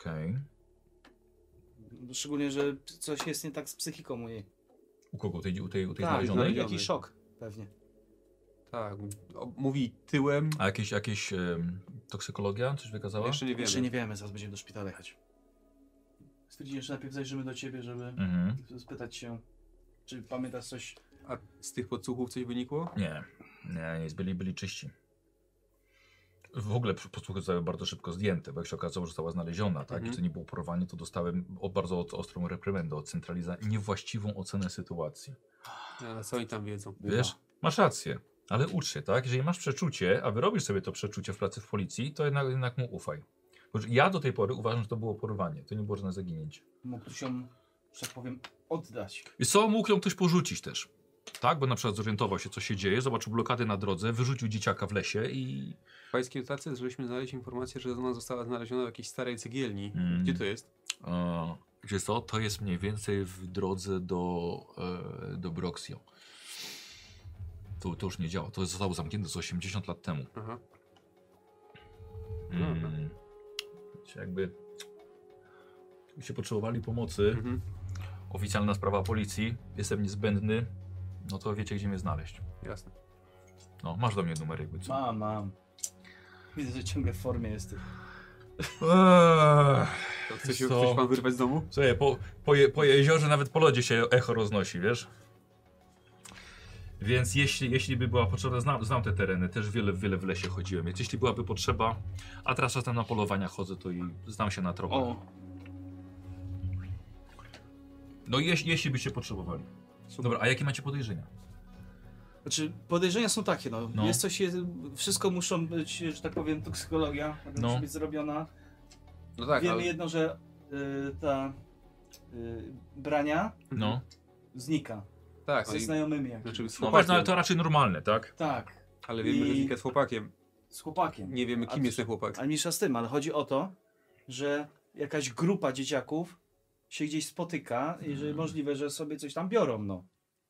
A: Okej.
B: Szczególnie, że coś jest nie tak z psychiką mojej.
A: U kogo? U tej, u tej, u tej
B: Tak,
A: znalezionej?
C: znalezionej.
B: Jakiś szok pewnie.
C: Tak, o- mówi tyłem.
A: A jakieś, jakieś em, toksykologia coś wykazała?
C: Jeszcze nie
B: Jeszcze
C: wiemy.
B: nie wiemy, zaraz będziemy do szpitala jechać. Stwierdziłem, że najpierw zajrzymy do ciebie, żeby
A: Mhm.
B: spytać się, czy pamiętasz coś.
C: A z tych podsłuchów coś wynikło?
A: Nie, nie, nie, byli, byli czyści. W ogóle posłuchy zostały bardzo szybko zdjęte, bo jak się okazało, że została znaleziona, tak,
C: Mhm.
A: i to nie było porwanie, to dostałem o bardzo o- ostrą reprymendę od centralizacji, niewłaściwą ocenę sytuacji.
C: Ale co oni tam wiedzą?
A: Wiesz, masz rację, ale ucz się, tak? Jeżeli masz przeczucie, a wyrobisz sobie to przeczucie w pracy w policji, to jednak, jednak mu ufaj. Bo ja do tej pory uważam, że to było porwanie, to nie było żadne zaginięcie.
F: Mógł tu się, że tak powiem, oddać.
A: I co mógł ją ktoś porzucić też? Tak, bo na przykład zorientował się, co się dzieje, zobaczył blokady na drodze, wyrzucił dzieciaka w lesie i.
C: W pańskiej notatce żeśmy znaleźli informację, że ona została znaleziona w jakiejś starej cegielni.
A: Mm.
C: Gdzie to jest?
A: E, wiesz co, to jest mniej więcej w drodze do, e, do Broxio. To, to już nie działa. To zostało zamknięte z 80 lat temu.
C: Aha. Dobra.
A: Mm. Wiecie, Jakby jakby się potrzebowali pomocy,
C: Mhm.
A: oficjalna sprawa policji, jestem niezbędny, no to wiecie gdzie mnie znaleźć.
C: Jasne.
A: No, masz do mnie numer jakby co.
F: Mam, mam. Widzę, że ciągle w formie jesteś.
A: Eee,
C: To chce się
A: Co?
C: chce się pan wyrwać z domu?
A: Słuchaj, po, po, je, po jeziorze nawet po lodzie się echo roznosi, wiesz? Więc jeśli, jeśli by była potrzeba, znam, znam te tereny, też wiele, wiele w lesie chodziłem, więc jeśli byłaby potrzeba, a teraz czasem na polowania chodzę, to i znam się na tropach.
B: O,
A: No i jeś, jeśli byście potrzebowali. Dobra, a jakie macie podejrzenia?
B: Znaczy, podejrzenia są takie, no.
A: No.
B: Jest coś, jest, wszystko muszą być, że tak powiem, toksykologia
A: No.
B: musi być zrobiona.
C: No tak,
B: Wiemy
C: ale...
B: jedno, że y, ta y, brania
A: No.
B: znika
C: Tak,
B: ze
C: ale...
B: znajomymi. Jak.
C: Znaczy z
A: No właśnie,
C: chłopakiem,
A: no ale to raczej normalne, tak?
B: Tak,
C: ale wiemy, że
B: I-
C: znika z chłopakiem.
B: z chłopakiem.
C: Nie wiemy,
B: A
C: kim
B: ty-
C: jest ten chłopak.
B: Ale mniejsza z tym, ale chodzi o to, że jakaś grupa dzieciaków się gdzieś spotyka i że
A: Mm.
B: możliwe, że sobie coś tam biorą, no.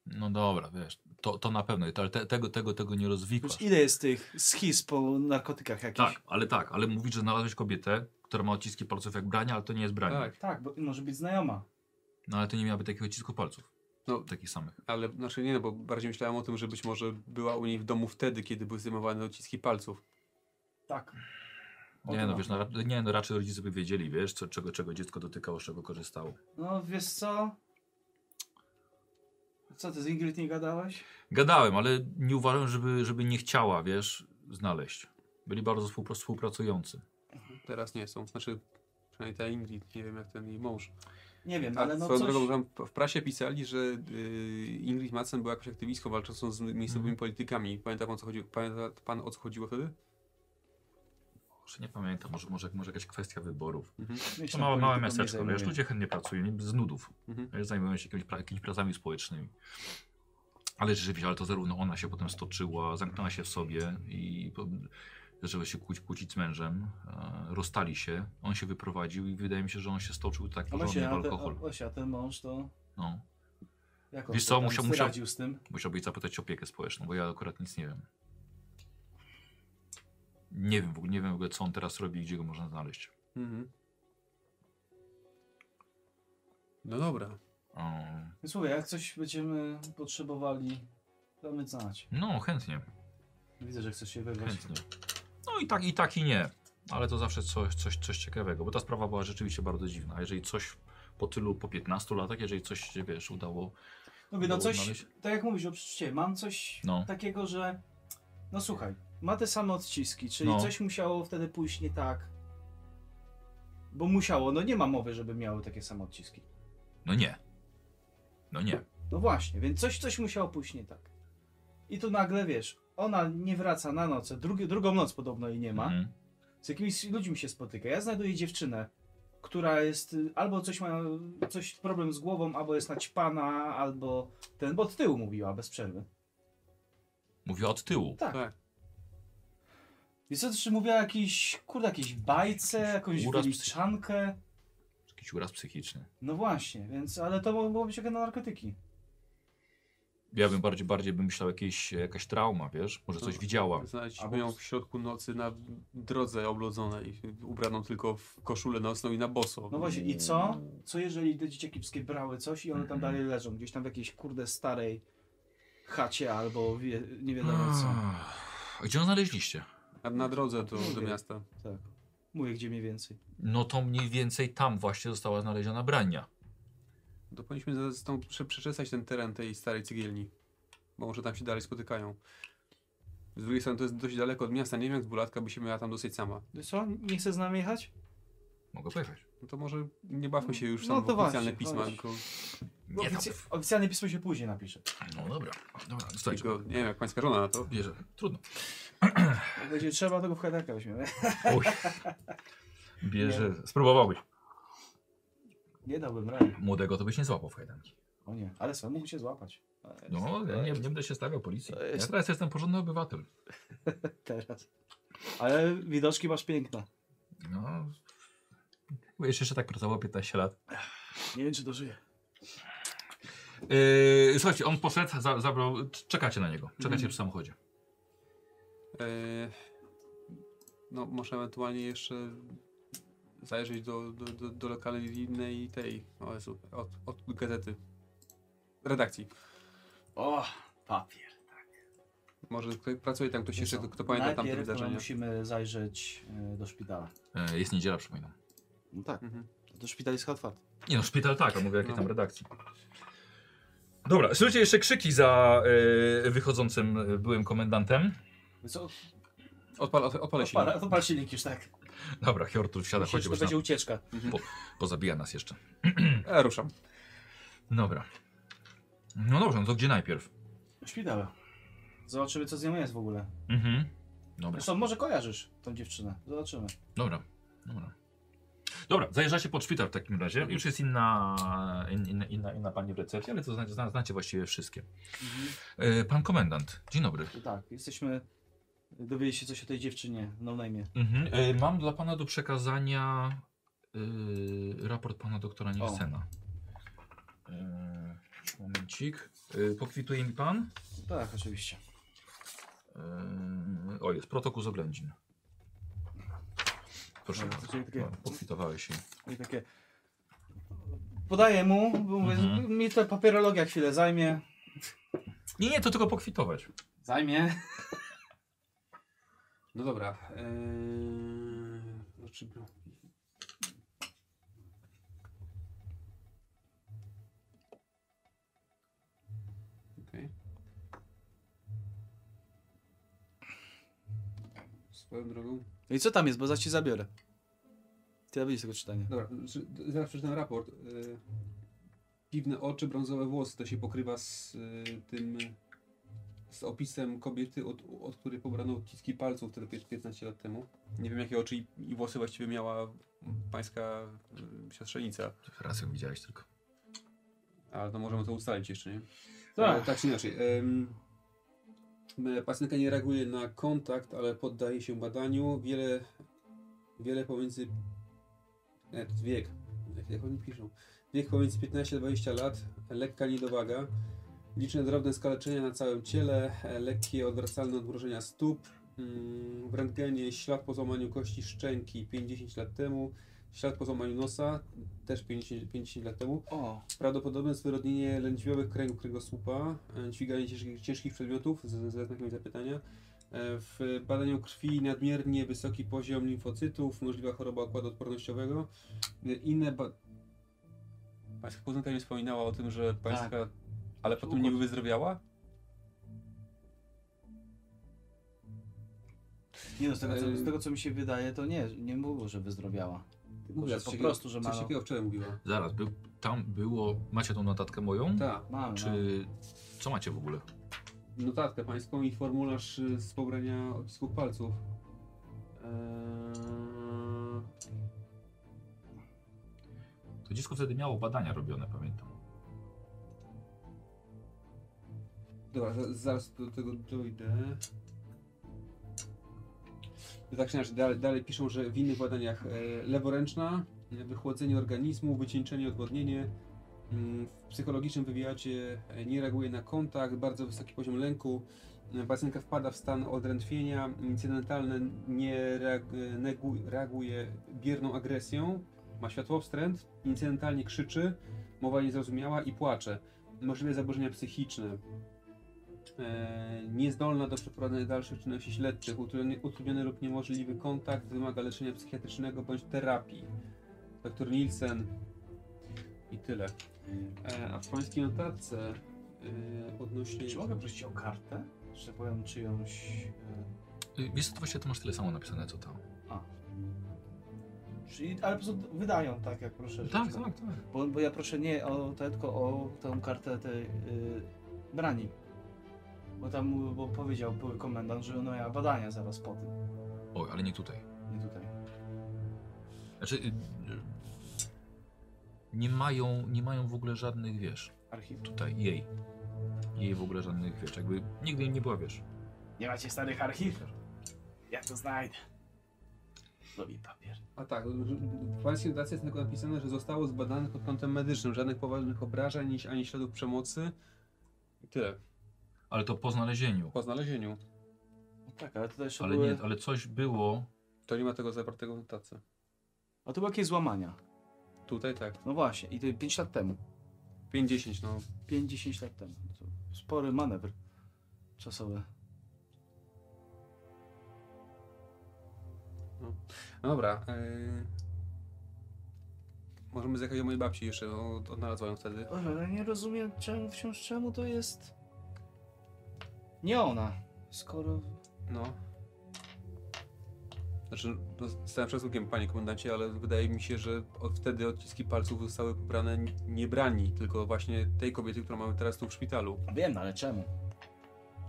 A: No dobra, wiesz, to, to na pewno, ale te, tego, tego, tego nie rozwikłasz.
B: Już ile jest tych schiz po narkotykach jakichś?
A: Tak, ale tak, ale mówisz, że znalazłeś kobietę, która ma odciski palców jak brania, ale to nie jest branie.
C: Tak,
B: Tak, bo może być znajoma.
A: No ale to nie miałaby takich odcisków palców.
C: No.
A: Takich samych.
C: ale znaczy nie, no, bo bardziej myślałem o tym, że być może była u niej w domu wtedy, kiedy były zdejmowane odciski palców.
B: Tak. O
A: Nie
B: to
A: no,
B: ma.
A: wiesz, no, ra- nie, no raczej rodzice by wiedzieli, wiesz, co, czego, czego dziecko dotykało, z czego korzystało.
B: No wiesz co? Co ty z Ingrid nie gadałeś?
A: Gadałem, ale nie uważam, żeby, żeby nie chciała, wiesz, znaleźć. Byli bardzo współpr- współpracujący.
C: Teraz nie są. Znaczy, przynajmniej ta Ingrid, nie wiem jak ten jej mąż.
B: Nie wiem,
A: Tak.
C: A
B: ale no
C: swoją
B: coś...
C: drogą tam w prasie pisali, że y, Ingrid Madsen była jakąś aktywistką walczącą z miejscowymi
B: Mhm.
C: politykami. Pamięta pan, o co chodzi, pamięta pan o co chodziło wtedy?
A: Może nie pamiętam, może, może, może jakaś kwestia wyborów.
B: Myślę,
A: To małe, małe
B: polityką nie
A: miasteczko,
B: zajmuję.
A: wiesz, ludzie chętnie pracują, nie- z nudów.
C: Mhm.
A: Wiesz, Zajmują się jakimiś, pra, jakimiś pracami społecznymi. Ale rzeczywiście, ale to zarówno ona się potem stoczyła, zamknęła się w sobie i po- zaczęła się kłóć, kłócić z mężem. E, rozstali się, on się wyprowadził i wydaje mi się, że on się stoczył tak
B: A
A: porządnie
B: Osia,
A: w
B: a te-
A: alkohol.
B: o- Osia, ten mąż to...
A: No.
B: Jak on
A: Wiesz
B: to
A: co,
B: tam
A: musiał- musiał-
B: radził z tym?
A: Musiałbyś zapytać opiekę społeczną, bo ja akurat nic nie wiem. Nie wiem, w ogóle, nie wiem w ogóle co on teraz robi i gdzie go można znaleźć.
C: Mhm. No dobra.
A: E,
B: Więc mówię, jak coś będziemy potrzebowali, damy znać.
A: no, chętnie.
B: Widzę, że chcesz się wyrwać.
A: Chętnie. No i tak, i tak, i nie. Ale to zawsze coś, coś, coś ciekawego, bo ta sprawa była rzeczywiście bardzo dziwna. A Jeżeli coś po tylu, po 15 latach, jeżeli coś się, wiesz, udało...
B: Mówię,
A: Było
B: no coś,
A: odnaleźć?
B: tak jak mówisz o przeczucie, mam coś
A: No.
B: takiego, że no słuchaj, ma te same odciski, czyli
A: No.
B: coś musiało wtedy pójść nie tak. Bo musiało, no nie ma mowy, żeby miały takie same odciski.
A: No nie. No nie.
B: No właśnie, więc coś, coś musiało pójść nie tak. I tu nagle wiesz, ona nie wraca na noc, drugi, drugą noc podobno jej nie ma.
A: Mhm.
B: z jakimiś ludźmi się spotyka. Ja znajduję dziewczynę, która jest y, albo coś ma coś problem z głową, albo jest naćpana, albo ten, bo od tyłu mówiła bez przerwy.
A: Mówię od tyłu.
B: Tak.
C: Tak.
B: Więc co, czy mówiła jakiś, kurde, jakieś bajce, jakąś
A: uraz
B: wyliczankę?
A: Jakiś uraz psychiczny.
B: No właśnie, więc, ale to mogło być jak na narkotyki.
A: Ja bym bardziej, bardziej bym myślał jakieś, jakaś trauma, wiesz? Może coś
C: No.
A: widziała.
C: Znaleźliśmy
B: Albo-
C: ją w środku nocy na drodze oblodzonej, ubraną tylko w koszulę nocną i na boso.
B: No właśnie, i co? Co jeżeli te dzieciaki wszystkie brały coś i one tam
A: Mhm.
B: dalej leżą, gdzieś tam w jakiejś, kurde, starej chacie albo wie,
A: Hmm.
B: nie wiadomo co.
A: A Gdzie ją znaleźliście?
C: Na, na drodze do, do
B: Mówię.
C: miasta.
B: Tak. Mówię, gdzie mniej więcej.
A: No to mniej więcej tam właśnie została znaleziona brania.
C: To powinniśmy za- z tą, prze, przeczesać ten teren tej starej cegielni. Bo może tam się dalej spotykają. Z drugiej strony to jest dość daleko od miasta. Nie wiem, jak dwulatka by się miała tam dosyć sama.
B: Wiesz No co, nie chcesz z nami jechać?
A: Mogę pojechać.
C: No to może nie bawmy się już
B: No
C: tam
B: to
C: w oficjalne
B: właśnie,
C: pisma,
B: chodź.
C: tylko,
A: Nie no tam.
B: Oficja- oficjalne pismo się później napisze.
A: No dobra, dobra, słuchajcie.
C: tylko nie wiem, jak pańska żona na to.
A: Bierze. Trudno.
B: Jak będzie trzeba, to go w kadarkę weźmiemy.
A: Oj. Bierze. Spróbowałbyś.
B: Nie dałbym rady.
A: Młodego to byś nie złapał w kajdanki.
B: O nie, ale sam mógł się złapać.
A: No, ja nie, nie będę się stawiał policji.
B: To
A: Ja
B: E, jest-
A: teraz jestem porządny obywatel.
B: tak, Teraz. Ale widoczki masz piękne.
A: No. Wiesz, jeszcze tak pracowało 15 lat.
B: Nie wiem, czy dożyję.
A: Yy, słuchajcie, on poszedł, za, zabrał. Czekacie na niego. Czekacie
B: Mhm.
A: przy samochodzie.
C: E, no może ewentualnie jeszcze zajrzeć do, do, do, do lokalnej tej, o Jezu, od, od gazety, redakcji.
B: O, papier.
C: Może kto- pracuje tam ktoś jeszcze,
B: Wiesz
C: kto,
B: No co,
C: kto pamięta tamte
B: najpierw
C: wydarzenia.
B: musimy zajrzeć e, do szpitala.
A: Yy, jest niedziela, przypominam.
B: No tak,
C: Mhm.
B: do szpitala jest otwarty.
A: Nie no, szpital tak, a mówię jakie
C: No.
A: tam redakcji. Dobra, słyszycie jeszcze krzyki za yy, wychodzącym yy, byłym komendantem.
B: Co?
C: Odpal, od, odpalę się.
B: Odpala, odpal silnik już tak.
A: Dobra, Hjortur wsiada,
B: Myślę,
A: chodź,
B: że
A: bo
B: to
A: się
B: będzie
A: nam,
B: ucieczka.
A: pozabija nas jeszcze.
C: E, ruszam.
A: Dobra. No dobrze, no to gdzie najpierw?
B: Do szpitala. Zobaczymy, co z nią jest w ogóle.
A: Mhm. Dobra,
B: Zresztą może kojarzysz tą dziewczynę. Zobaczymy.
A: dobra, dobra. Dobra, zajeżdżacie pod szpital w takim razie. Już jest inna, in- inna, inna, inna pani w recepcji, ale to znacie, zna- znacie właściwie wszystkie.
F: Mhm,
A: E, Pan komendant, dzień dobry.
B: No Tak, jesteśmy... Dowiedzieli się coś o tej dziewczynie, no na imię.
A: Mhm. E, Mam dla pana do przekazania e, raport pana doktora Nielsena. E, Momencik. E, Pokwituje mi pan?
B: Tak, oczywiście.
A: Eee, O, jest protokół z oględzin. Proszę
B: No,
A: bardzo.
B: czyli takie-
A: O, Pokwitowałeś się.
B: I takie. Podaję mu, bo mówię,
A: Mhm.
B: mi ta papierologia chwilę zajmie.
A: Nie, nie, to tylko pokwitować.
B: Zajmie.
C: No dobra. e, znaczy, Okej. Swoją drogą.
B: I co tam jest, bo za ci zabiorę.
F: Tyle z tego czytania.
C: Dobra, że- zaraz przeczytam raport. Y, Piwne oczy, brązowe włosy, to się pokrywa z y, tym, z opisem kobiety, od, od której pobrano odciski palców wtedy pię- 15 lat temu.
L: Nie wiem, jakie oczy i, i włosy właściwie miała pańska y, siostrzenica,
A: Raz ją widziałeś tylko.
L: ale to możemy to ustalić jeszcze, nie?
C: Tak, tak czy inaczej. Em, e, pacjentka nie reaguje na kontakt, ale poddaje się badaniu. Wiele, wiele pomiędzy. E, to wiek. Jak, jak oni piszą? Wiek pomiędzy 15 a 20 lat, lekka niedowaga, liczne drobne skaleczenia na całym ciele, e, lekkie odwracalne odmrożenia stóp. Mm, W rentgenie ślad po złamaniu kości szczęki 50 lat temu, ślad po złamaniu nosa też 50, 50 lat temu.
F: O,
C: Prawdopodobne zwyrodnienie lędźwiowych kręgów kręgosłupa, e, dźwiganie ciężkich, ciężkich przedmiotów z, ze znakiem zapytania. E, W badaniu krwi nadmiernie wysoki poziom limfocytów, możliwa choroba układu odpornościowego. E, Inne ba-
L: Pańska kuzynka mi wspominała o tym, że
F: Tak.
L: pańska... Ale potem
F: Układ-
L: niby wyzdrowiała?
F: nie no, z tego, co,
C: Ej.
F: z tego co mi się wydaje, to nie, nie było, że wyzdrowiała. Tylko,
C: Mówiła
F: że
C: coś
F: po
C: takiego-
F: prostu, że ma...
C: Coś takiego wczoraj mówiła.
A: Zaraz, był, tam było. Macie tą notatkę moją?
C: Tak,
F: Mam, Czy...
A: Czy. Co macie w ogóle?
C: notatkę pańską i formularz e, z pobrania odcisków palców.
F: Eee,
A: To dziecko wtedy miało badania robione, pamiętam.
C: Dobra, za- zaraz do tego dojdę. Tak czy inaczej, dalej, dalej piszą, że w innych badaniach e, leworęczna, e, wychłodzenie organizmu, wycieńczenie, odwodnienie. Mm, W psychologicznym wywiadzie e, nie reaguje na kontakt, bardzo wysoki poziom lęku. E, Pacjentka wpada w stan odrętwienia, incydentalne nie reag- e, negu- reaguje bierną agresją, ma światłowstręt, incydentalnie krzyczy, mowa niezrozumiała i płacze. Możliwe zaburzenia psychiczne, E, niezdolna do przeprowadzenia dalszych czynności śledczych, utrudniony, utrudniony lub niemożliwy kontakt, wymaga leczenia psychiatrycznego bądź terapii. Doktor Nielsen i tyle. E, a w pańskiej notatce e, odnośnie...
F: Czy mogę prosić o kartę? Że powiem czyjąś... e,
A: Y, Wiesz, co, to właśnie to masz tyle samo napisane, co tam.
F: Czyli, ale po prostu wydają tak, jak proszę. że-
A: Tak, tak, tak.
F: Bo, bo ja proszę nie o to, tylko o tą kartę tej y, brani. Bo tam bo powiedział były komendant, że ona miała badania zaraz po tym.
A: Oj, ale nie tutaj.
F: Nie tutaj.
A: Znaczy. y, y, Nie mają, nie mają w ogóle żadnych wiesz.
F: Archiw.
A: Tutaj, jej. Jej w ogóle żadnych wiesz. Jakby nigdy nie była wiesz.
F: Nie macie starych archiwów? Ja to znajdę. Lubię papier.
C: A tak, że- w pańskiej notatce jest tylko napisane, że zostało zbadane pod kątem medycznym, żadnych poważnych obrażeń ani- ani śladów przemocy. I tyle.
A: Ale to po znalezieniu.
L: Po znalezieniu.
F: No tak, ale tutaj jeszcze
A: Ale
F: były...
A: nie, ale coś było.
L: To nie ma tego zawartego w notatce.
F: A to były jakieś złamania.
L: Tutaj tak.
F: No właśnie, i to 5 lat temu.
L: 50, no.
F: 5-10 lat temu. To spory manewr czasowy.
L: No Dobra. Yy... Możemy zjechać do mojej babci jeszcze, no, odnalazła ją wtedy.
F: Boże, ale nie rozumiem czemu, wciąż czemu to jest... Nie ona, skoro...
L: No. Znaczy, no, z całym szacunkiem, panie komendancie, ale wydaje mi się, że od wtedy odciski palców zostały pobrane n- nie brani, tylko właśnie tej kobiety, którą mamy teraz tu w szpitalu.
F: Wiem, no, ale czemu?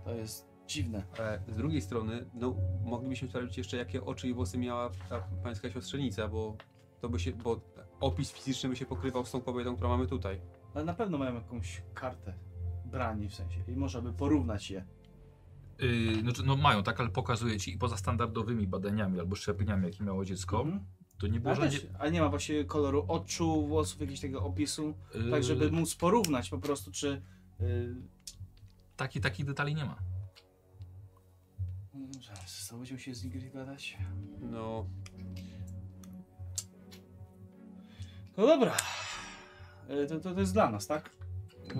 F: To jest dziwne.
L: Ale
C: E,
L: z drugiej strony, no, moglibyśmy sprawdzić jeszcze, jakie oczy i włosy miała ta pańska siostrzenica, bo to by się, bo opis fizyczny by się pokrywał z tą kobietą, którą mamy tutaj.
F: Ale na pewno mają jakąś kartę brani w sensie i można by porównać je.
A: Yy, znaczy, no mają, tak, ale pokazuję ci i poza standardowymi badaniami albo szczepieniami, jakie miało dziecko,
F: Mhm.
A: to nie było
F: Ale,
A: żadnie.
F: też, ale nie ma właśnie koloru oczu, włosów, jakiegoś tego opisu,
A: yy,
F: tak żeby móc porównać po prostu, czy... Yy,
A: taki, takich detali nie ma.
F: no zaraz, to będziemy się z nimi gadać.
L: No,
F: No dobra. Yy, to, to, to jest dla nas, tak?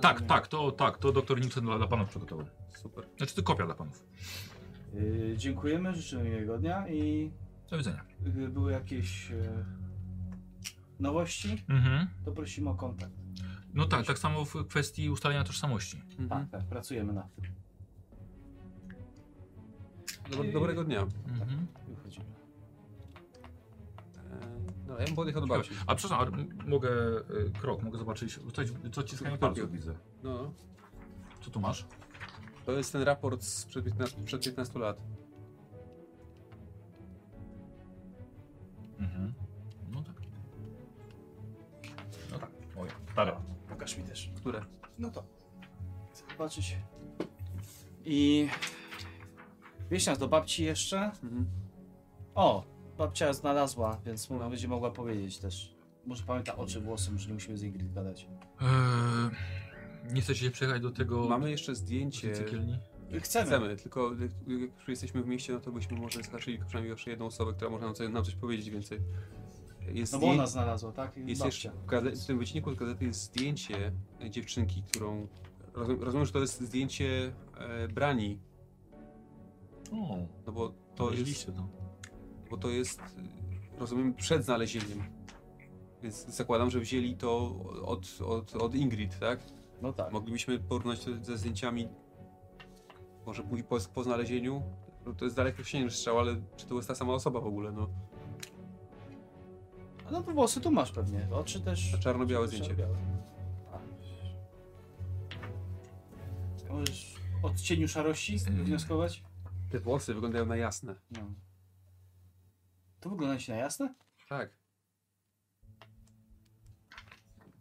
A: Tak, tak, to tak, to doktor Nielsen dla, dla panów przygotował.
L: super.
A: Znaczy, to kopia dla panów.
F: Yy, dziękujemy, życzymy miłego dnia i
A: Do widzenia.
B: y,
F: yy, były jakieś yy, nowości,
A: Mhm.
F: to prosimy o kontakt.
B: Mhm.
A: No tak, tak samo w kwestii ustalenia tożsamości.
L: Mhm.
F: Tak, tak, pracujemy nad tym.
L: Dobre- Dobrego dnia.
A: Mhm.
F: Wychodzimy.
L: Eee,
C: No, ja bym po tych odbawił.
A: A przepraszam, a m- mogę y, krok, mogę zobaczyć. Coś, co ciskanie palców widzę.
C: No,
A: Co tu masz?
C: to jest ten raport sprzed 15, przed 15 lat.
A: Mhm. No tak. No tak, moje. Stare.
B: Pokaż mi też.
C: Które?
B: No to. Chcę zobaczyć. I... Wieś nas do babci jeszcze?
C: Mhm.
B: O, babcia znalazła, więc może będzie mogła powiedzieć też. Może pamięta oczy, włosy, może nie musimy z Ingrid gadać.
A: Eee, nie chcecie się przejechać do tego...
C: Mamy jeszcze
A: do
C: zdjęcie.
A: tej ciekielni?
B: Chcemy.
C: Chcemy, tylko jak już jesteśmy w mieście, no to byśmy może zahaczyli przynajmniej jeszcze jedną osobę, która może nam coś, nam coś powiedzieć więcej. Jest
B: No bo ona
C: zdję-
B: znalazła, tak? I
C: jest
B: babcia.
C: jeszcze w, gazet, w tym wycinku z gazety jest zdjęcie e, dziewczynki, którą. Rozumiem, rozumiem że to jest zdjęcie e, brani,
A: O,
C: no bo
A: to
C: to jest.
A: to.
C: Bo to jest. y, Rozumiem, przed znalezieniem. Więc zakładam, że wzięli to od, od, od Ingrid, tak?
B: No tak.
C: Moglibyśmy porównać to ze zdjęciami, może później po, po znalezieniu. No to jest dalekosiężny strzał, ale czy to jest ta sama osoba w ogóle? No,
B: No to włosy tu masz pewnie. Oczy też.
C: to czarno-białe zdjęcie.
B: Czarno-białe. A. Możesz od cieniu szarości
A: Mm.
B: wnioskować?
C: Te włosy wyglądają na jasne.
B: No. To wygląda ci na jasne?
C: Tak,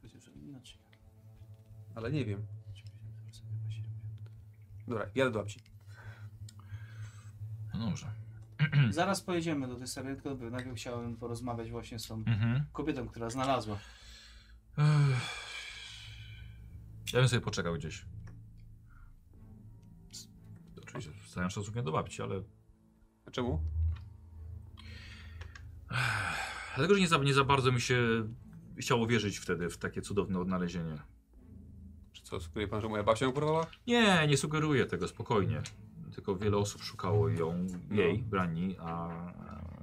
B: Będzie już inaczej.
C: ale nie wiem. Dobra, jadę do babci.
A: No dobrze.
B: Zaraz pojedziemy do tej serii, tylko najpierw chciałem porozmawiać właśnie z tą
A: Mhm.
B: kobietą, która znalazła.
A: Ech. Ja bym sobie poczekał gdzieś. Z- Oczywiście z całym szacunkiem do babci, ale...
C: A czemu?
A: Dlatego, że nie za, nie za bardzo mi się chciało wierzyć wtedy w takie cudowne odnalezienie.
C: Czy co, skuje pan, że moja babcia ją porwała?
A: Nie, nie sugeruję tego, spokojnie. Tylko wiele osób szukało ją, jej,
C: No.
A: brani, a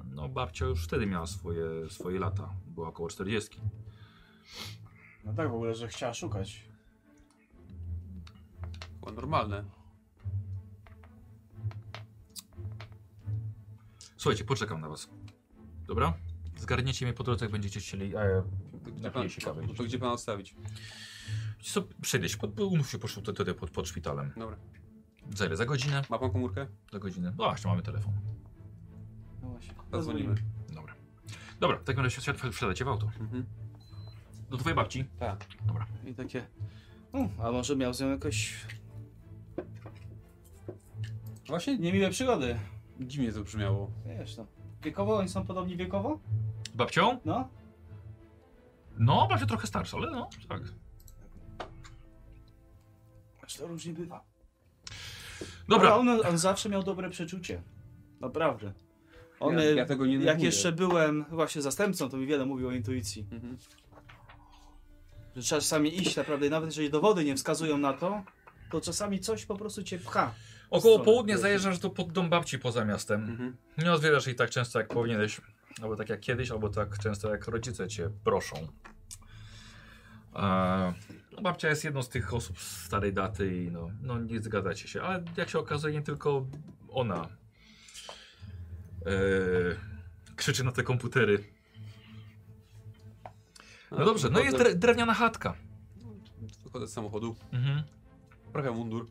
A: no babcia już wtedy miała swoje, swoje lata. Była około 40.
B: No tak w ogóle, że chciała szukać.
C: Było normalne.
A: Słuchajcie, poczekam na was. Dobra? Zgarniecie mnie po drodze, jak będziecie chcieli. e, A ja
C: To gdzie,
A: napiję
C: pan, no
A: się kawy.
C: to gdzie pan odstawić?
A: Co, przejdę się, pod, umów się poszło wtedy pod, pod szpitalem.
C: Dobra.
A: Za ile? Za godzinę?
C: Ma pan komórkę?
A: Za godzinę. No właśnie, mamy telefon.
B: No właśnie.
C: Zadzwonimy.
A: Dobra. Dobra, w takim razie wsiad- wsiadacie w auto.
C: Mhm.
A: Do twojej babci.
C: Tak.
B: I takie. No, a może miał z nią jakoś
C: Właśnie nie,
B: niemiłe przygody.
C: dziwnie to brzmiało.
B: Wiesz no. Wiekowo oni są podobni wiekowo?
A: Z babcią?
B: No?
A: No, babcia trochę starsza, ale no, tak.
B: Aż to różnie bywa.
A: Dobra,
B: Ale On, on zawsze miał dobre przeczucie. Naprawdę. On,
C: ja, ja tego nie
B: jak
C: neguję.
B: jeszcze byłem właśnie zastępcą, to mi wiele mówił o intuicji.
C: Mhm.
B: Że trzeba czasami iść naprawdę, nawet jeżeli dowody nie wskazują na to, to czasami coś po prostu cię pcha.
A: Około
B: stronę,
A: południa
B: proszę.
A: zajeżdżasz do pod dom babci poza miastem.
C: Mhm.
A: Nie odwiedzasz jej tak często jak powinieneś, albo tak jak kiedyś, albo tak często jak rodzice cię proszą. Eee, no babcia jest jedną z tych osób z starej daty i no, no nie zgadzacie się, ale jak się okazuje nie tylko ona eee, krzyczy na te komputery. No
C: A,
A: dobrze, no jest
C: wychodzę-
A: dre- drewniana chatka.
C: Wychodzę z samochodu.
A: Mhm.
C: Trochę mundur.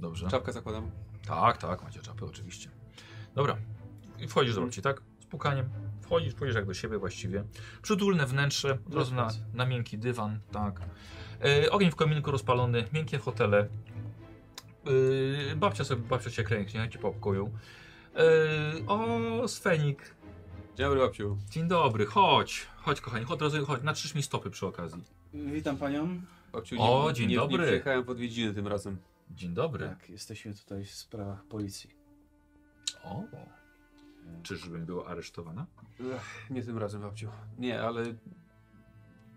A: Dobrze.
C: Czapkę zakładam.
A: Tak, tak, macie czapy, oczywiście. Dobra. I wchodzisz do babci, tak? Z pukaniem. Wchodzisz, wchodzisz jak do siebie właściwie. Przytulne wnętrze, od razu na, na miękki dywan, tak. E, ogień w kominku rozpalony, miękkie fotele. E, babcia sobie, babcia się kręknie, ci po pokoju. E, o, Sfenik.
C: Dzień dobry babciu.
A: Dzień dobry, chodź. Chodź, kochani, chodź, od razu, chodź, natrzysz mi stopy przy okazji.
B: Witam panią.
C: babciu
A: O, dzień
C: nie,
A: dobry.
C: Nie przyjechałem w odwiedziny tym razem.
A: Dzień dobry.
B: Tak, jesteśmy tutaj w sprawach policji.
A: O. Czyżbym była aresztowana?
C: Nie tym razem babciu. Nie, ale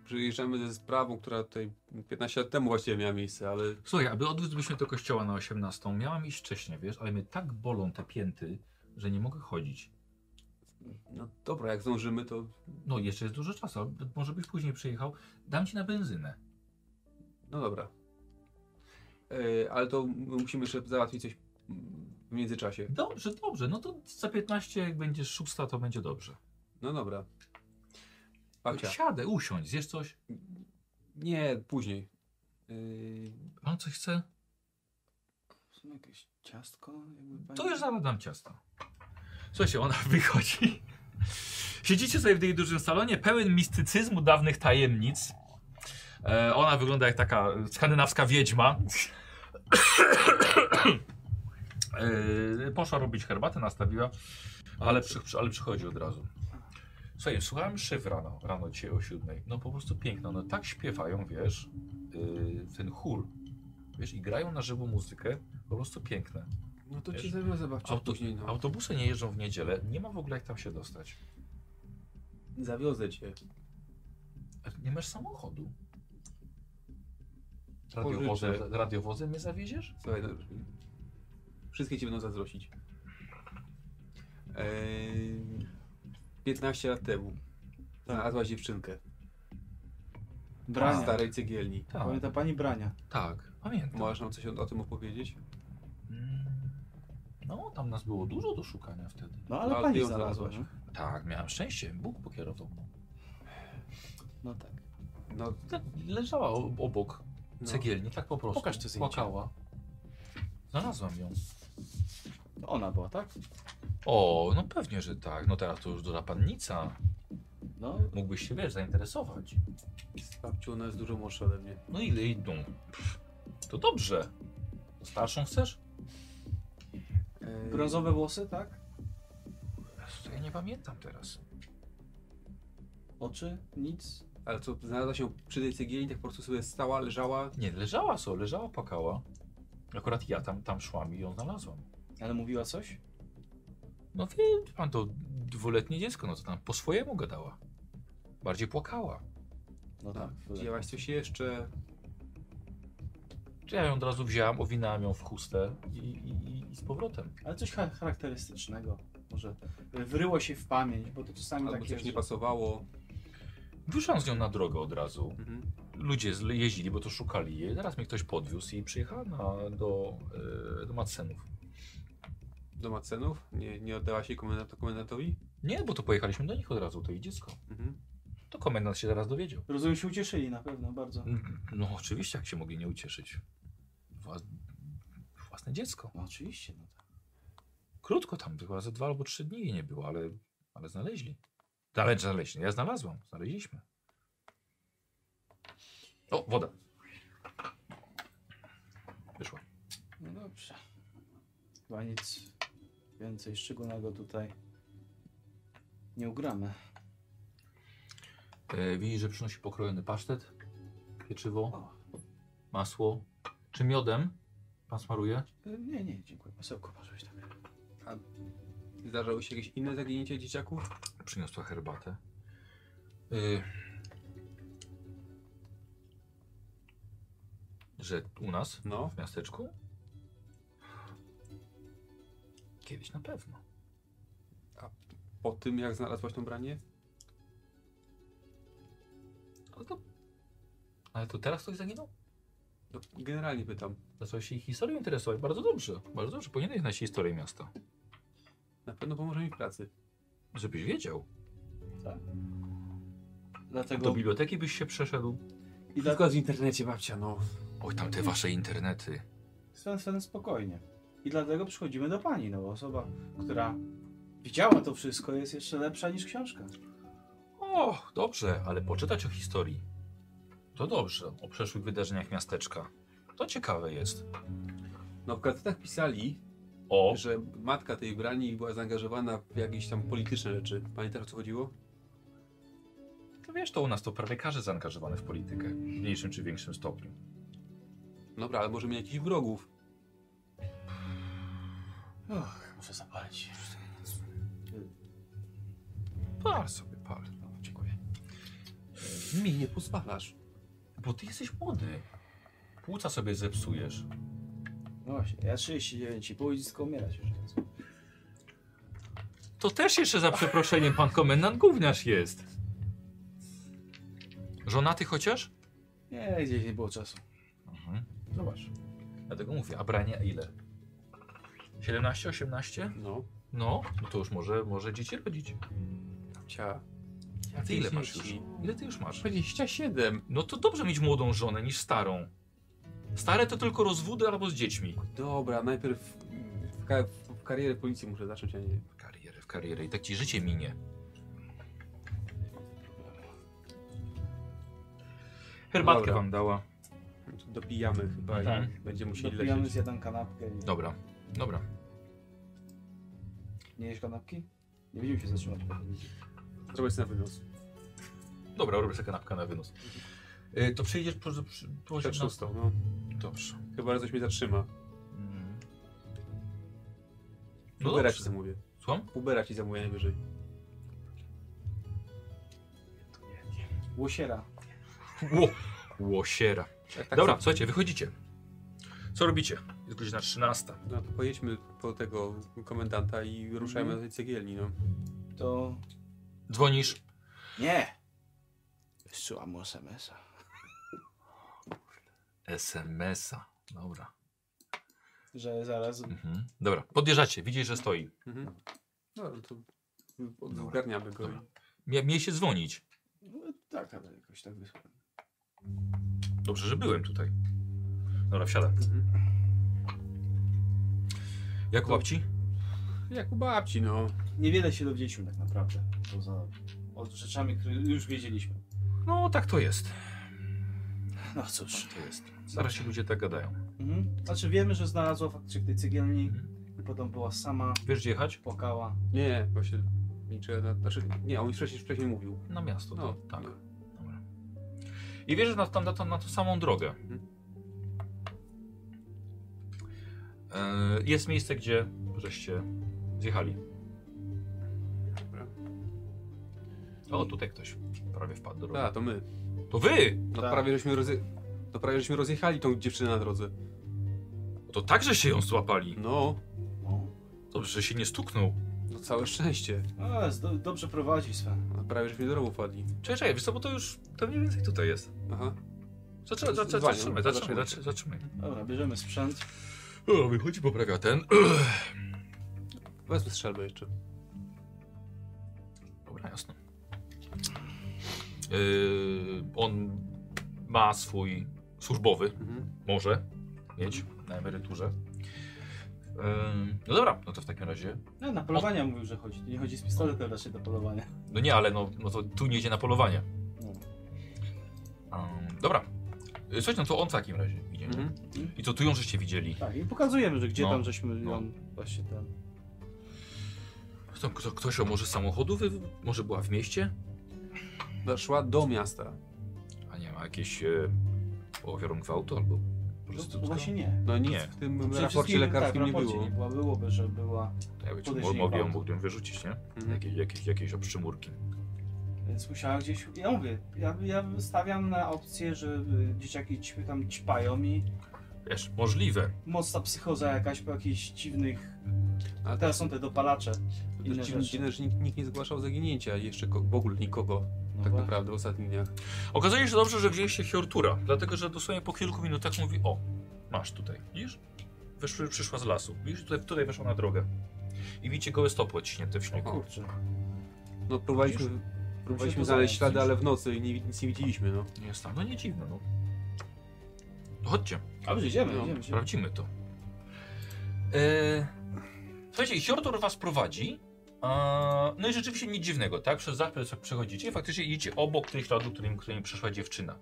C: przyjeżdżamy ze sprawą, która tutaj 15 lat temu właściwie miała miejsce, ale
A: Słuchaj, aby odwiedzliśmy do kościoła na 18, miałam iść wcześniej, wiesz, ale mnie tak bolą te pięty, że nie mogę chodzić.
C: no dobra, jak zdążymy to
A: No, jeszcze jest dużo czasu, ale może byś później przyjechał. Dam ci na benzynę.
C: no dobra. E, ale to m- musimy jeszcze załatwić coś w międzyczasie.
A: Dobrze, dobrze, no to za 15, jak będziesz szósta, to będzie dobrze.
C: No dobra. A
A: Chodź, Siadę, usiądź, zjesz coś.
C: Nie, później. Yy,
A: Pan coś chce?
F: Są jakieś ciastko? Jakby pani...
A: To już zaraz dam ciasto. Słuchajcie, ona [laughs] wychodzi. Siedzicie sobie w tej dużym salonie, pełen mistycyzmu dawnych tajemnic. E, ona wygląda jak taka skandynawska wiedźma. [coughs] e, poszła robić herbatę, nastawiła, ale, przy, przy, ale przychodzi od razu. Słuchaj, słuchałem szyf rano, rano dzisiaj o siódmej. No po prostu piękno, no tak śpiewają, wiesz, e, ten chór. Wiesz, i grają na żywo muzykę, po prostu piękne.
E: No to
A: Wiesz,
E: cię zabiorę zabawcie
A: Auto,
E: później. No.
A: Autobusy nie jeżdżą w niedzielę, nie ma w ogóle jak tam się dostać.
E: Zawiozę cię.
A: A E, Nie masz samochodu.
E: Pożyczę.
A: Radiowozem, radiowozem mnie zawieziesz?
C: Słuchaj, no, wszystkie ci będą zazdrościć. Eee, 15 lat temu znalazłaś dziewczynkę. Bra
A: Tak.
C: starej cegielni.
A: Tak,
F: Pamięta pani brania.
A: tak, pamiętam.
C: Możesz nam coś o, o tym opowiedzieć?
A: Mm. No, tam nas było dużo do szukania wtedy.
F: No ale
C: No,
F: pani
C: ty ją
F: znalazła.
C: znalazłaś.
F: no.
A: Tak, miałem szczęście, Bóg pokierował.
F: No tak.
C: No,
A: Le- Tak, Leżała o- obok
C: no.
A: cegielni, tak po prostu.
F: Pokaż to zdjęcie.
A: Płakała. Znalazłam ją.
F: To Ona była, tak?
A: O, no pewnie, że tak. No teraz to już duża pannica.
F: No,
A: Mógłbyś się, wiesz, zainteresować.
C: Z babcią ona jest dużo młodsza ode mnie.
A: No ile idą? Pff, To dobrze. Starszą chcesz?
C: Eee,
F: brązowe włosy, tak?
A: Jezu, to Ja nie pamiętam teraz.
F: Oczy, nic.
C: Ale co, znalazła się przy tej cegielni, tak po prostu sobie stała, leżała.
A: Nie, leżała so, leżała, pakała. Akurat ja tam, tam szłam i ją znalazłam.
F: Ale mówiła coś?
A: No wie pan, to dwuletnie dziecko, no to tam po swojemu gadała. Bardziej płakała.
F: No tak.
C: Wzięłaś coś jeszcze.
A: To Ja ją od razu wzięłam, owinęłam ją w chustę i, i, i- i z powrotem.
F: Ale coś cha- charakterystycznego. Może wryło się w pamięć, bo to czasami
C: Albo
F: tak
C: coś
F: jest.
C: nie pasowało.
A: Wyszłam z nią na drogę od razu.
C: Mhm.
A: Ludzie z- jeździli, bo to szukali jej. Teraz mnie ktoś podwiózł i przyjechała na, do, e, do Madsenów.
C: Do macenów? Nie, nie oddała się komendant, komendantowi?
A: Nie, bo to pojechaliśmy do nich od razu, to jej dziecko.
C: Mhm.
A: To komendant się zaraz dowiedział.
F: Rozumiem, się ucieszyli na pewno bardzo.
A: No oczywiście, jak się mogli nie ucieszyć. Wła- Własne dziecko.
F: No, oczywiście, no tak.
A: Krótko tam, tylko ze dwa albo trzy dni jej nie było, ale, ale znaleźli. Dalej znaleźli. Ja znalazłam, znaleźliśmy. O, woda. Wyszła.
F: No dobrze. Chyba nic więcej szczególnego tutaj nie ugramy.
A: E, widzisz, że przynosi pokrojony pasztet, pieczywo,
F: O.
A: masło. Czy miodem pan smaruje?
F: Y, Nie, nie, dziękuję. Masełko parzyłeś tak.
C: Zdarzało się jakieś inne zaginięcie dzieciaków?
A: Przyniosła herbatę. Y, że u nas
C: No.
A: w miasteczku? Kiedyś na pewno.
C: Po tym, jak znalazłaś tą branie?
A: Ale No to, ale to teraz ktoś zaginął?
C: No, generalnie pytam.
A: Zacząłeś się ich historią interesować. Bardzo dobrze. Bardzo dobrze. Powinieneś znać historię miasta.
C: Na pewno pomoże mi w pracy.
A: Żebyś wiedział. Do
F: Dlatego
A: biblioteki byś się przeszedł.
F: i dla...
C: z internecie, babcia, no.
A: Oj, tam te wasze internety.
F: Stan, stan spokojnie. I dlatego przychodzimy do pani, no bo osoba, która widziała to wszystko jest jeszcze lepsza niż książka.
A: O, dobrze, ale poczytać o historii. To dobrze. O przeszłych wydarzeniach miasteczka. To ciekawe jest.
C: No w gazetach pisali,
A: O,
C: że matka tej brani była zaangażowana w jakieś tam polityczne rzeczy. Pamiętasz o co chodziło?
A: to wiesz, to u nas to prawie każdy zaangażowany w politykę. W mniejszym czy większym stopniu.
C: Dobra, ale może mieć jakichś wrogów.
F: Uch, muszę zapalić.
A: Pal sobie, No, pal.
F: Dziękuję.
C: Mi nie pozwalasz.
A: Bo ty jesteś młody. Płuca sobie zepsujesz.
F: No właśnie, ja 39 i pół i dziecko umierać już teraz.
A: To też jeszcze za przeproszeniem pan komendant gówniarz jest. Żonaty chociaż?
F: Nie, gdzieś nie było czasu.
A: Mhm. Zobacz. Dlatego mówię, a brania ile? 17, 18?
C: No,
A: No, no to już może, może dzieci rodzić.
C: babcia.
A: Ty ile masz już? Ile ty już masz?
C: 27.
A: No to dobrze mieć młodą żonę niż starą. Stare to tylko rozwódy albo z dziećmi.
C: Dobra, najpierw w, ka- w karierę policji muszę zacząć, a nie...
A: W karierę, w karierę. I tak ci życie minie. Herbatkę
C: Dobra.
A: wam dała.
C: Dopijamy chyba
A: Tak.
C: i będziemy musieli
B: Dopijamy
C: lecieć.
B: z jedną kanapkę i...
A: Dobra, dobra.
B: Nie jesz kanapki? Nie będziemy się zatrzymać.
C: Zrobię sobie na wynos. Tak,
A: Dobra, robię sobie kanapkę na wynos. Y, To przyjdziesz po, po, po,
C: Przed
A: no,
C: szóstą, no.
A: Dobrze.
C: Chyba, że coś mnie zatrzyma.
A: Mm. No
C: Ubera ci
A: dobrze.
C: zamówię.
A: Słucham?
C: Ubera ci zamówię najwyżej.
B: Łosiera.
A: Ło, łosiera.
C: Tak, tak,
A: Dobra, słuchajcie, wychodzicie. Co robicie? Jest godzina 13.
C: No to pojedźmy po tego komendanta i ruszajmy
A: Mhm.
C: do tej cegielni, no.
B: To...
A: Dzwonisz.
F: Nie! Wysyłam mu SMS-a.
A: SMS-a. Dobra.
B: Że zaraz...
A: Mhm. Dobra, podjeżdżacie, widzisz, że stoi.
C: Mhm. Dobra, to
A: Dobra.
C: ogarniamy go.
A: Dobra. Mia, miej się dzwonić.
B: No, tak, tak, jakoś tak wysłałem.
A: Dobrze, że byłem tutaj. Dobra, wsiadam.
C: Mhm.
A: Jak łapci?
C: Jak u babci, no.
B: Niewiele się dowiedzieliśmy tak naprawdę. Poza od rzeczami, które już wiedzieliśmy.
A: No, tak to jest.
B: No cóż.
A: To jest. Zaraz się ludzie tak gadają.
B: Mhm. Znaczy wiemy, że znalazła faktycznie w tej cegielni.
A: Mhm.
B: i Potem była sama,
A: Wiesz gdzie jechać?
B: płakała.
C: Nie, właśnie liczę na... Znaczy, nie, on już wcześniej, wcześniej mówił.
A: Na miasto,
C: No,
A: no, tak. Dobra. I wiesz, że na, tam, na, tą- na tą samą drogę. E, jest miejsce, gdzie żeście zjechali.
C: Dobra.
A: O, tutaj ktoś prawie wpadł do drogi.
C: A, to my.
A: To wy!
C: No
B: Tak.
C: prawie żeśmy rozje... To prawie żeśmy rozjechali tą dziewczynę na drodze.
A: To także się ją złapali.
C: No,
B: No.
A: Dobrze, że się nie stuknął.
C: no całe szczęście.
B: A, do, dobrze prowadzi Sven.
C: No, prawie żeśmy do rowu wpadli.
A: Czekaj, czekaj, wiesz co, bo to już to mniej więcej tutaj jest.
C: Aha.
A: Zaczynaj, zaczynaj,
C: Zwalniam.
A: zaczynaj, zaczynaj, zaczynaj,
C: Zaczynaj.
A: zaczynaj.
B: Dobra, bierzemy sprzęt.
A: O, wychodzi, poprawia ten. [clears throat]
C: Wezmę strzelbę jeszcze.
A: Dobra, jasne. Yy, on ma swój służbowy,
C: Mhm.
A: może mieć na emeryturze. Yy, no dobra, no to w takim razie.
B: No, na polowania mówił, że chodzi. Nie chodzi z pistoletem raczej do polowania.
A: No nie, ale no, no to tu nie idzie na polowanie.
B: No.
A: Yy, dobra. Yy, Słuchajcie, no to on w takim razie idzie. nie?
C: Mhm.
A: I to tu ją żeście widzieli.
B: Tak, i pokazujemy, że gdzie
A: No,
B: tam żeśmy
A: no.
B: ją właśnie ten.
A: Kto, kto, ktoś ją może z samochodu, wy, może była w mieście?
C: No, Szła do miasta.
A: A nie, ma jakieś e, ofiarą gwałtu albo
B: No,
A: prostytutka?
B: właśnie nie.
C: No nic
A: Nie.
C: w tym
B: Przede
C: raporcie
B: wszystkim,
C: lekarskim
B: tak, w
C: nie
B: raporcie
C: było.
B: Nie była, byłoby, że była.
A: To Ja bym
B: Podejrzenie
A: mogę ją
B: gwałtu.
A: mógłbym wyrzucić, nie?
C: Mhm.
A: Jakieś, jakieś, jakieś obszymurki.
B: Więc musiała gdzieś. Ja mówię, ja, ja stawiam na opcję, że y,
F: e,
B: dzieciaki ćpy tam ćpają i
A: Wiesz, możliwe.
B: mocna psychoza jakaś po jakichś dziwnych.
C: A
B: A teraz są te dopalacze.
C: To
B: Inne
C: dziwne,
B: rzeczy.
C: dziwne, że nikt, nikt nie zgłaszał zaginięcia jeszcze ko- w ogóle nikogo
B: No
C: tak
B: właśnie.
C: naprawdę w ostatnich dniach.
A: Okazuje się dobrze, że wzięliście Hiortura, dlatego że dosłownie po kilku minutach mówi, o, masz tutaj, widzisz? Weszły, przyszła z lasu, widzisz? Tutaj, tutaj weszła na drogę. I widzicie gołe stopy odciśnięte w śniegu.
B: Kurczę.
C: No próbowaliśmy,
A: Widzisz?
C: próbowaliśmy
B: to
C: znaleźć
B: zająć,
C: ślady,
B: widzisz?
C: ale w nocy i nie, nic nie widzieliśmy, no.
A: Nie jest tam, no nie dziwne, no. To chodźcie,
B: Dobrze, idziemy,
C: No,
B: idziemy. idziemy.
A: sprawdzimy to. E... Słuchajcie, i Hiortur was prowadzi. a, No i rzeczywiście nic dziwnego, tak? Przez zapis jak przechodzicie, faktycznie idziecie obok tych śladów, którym, którym przyszła dziewczyna.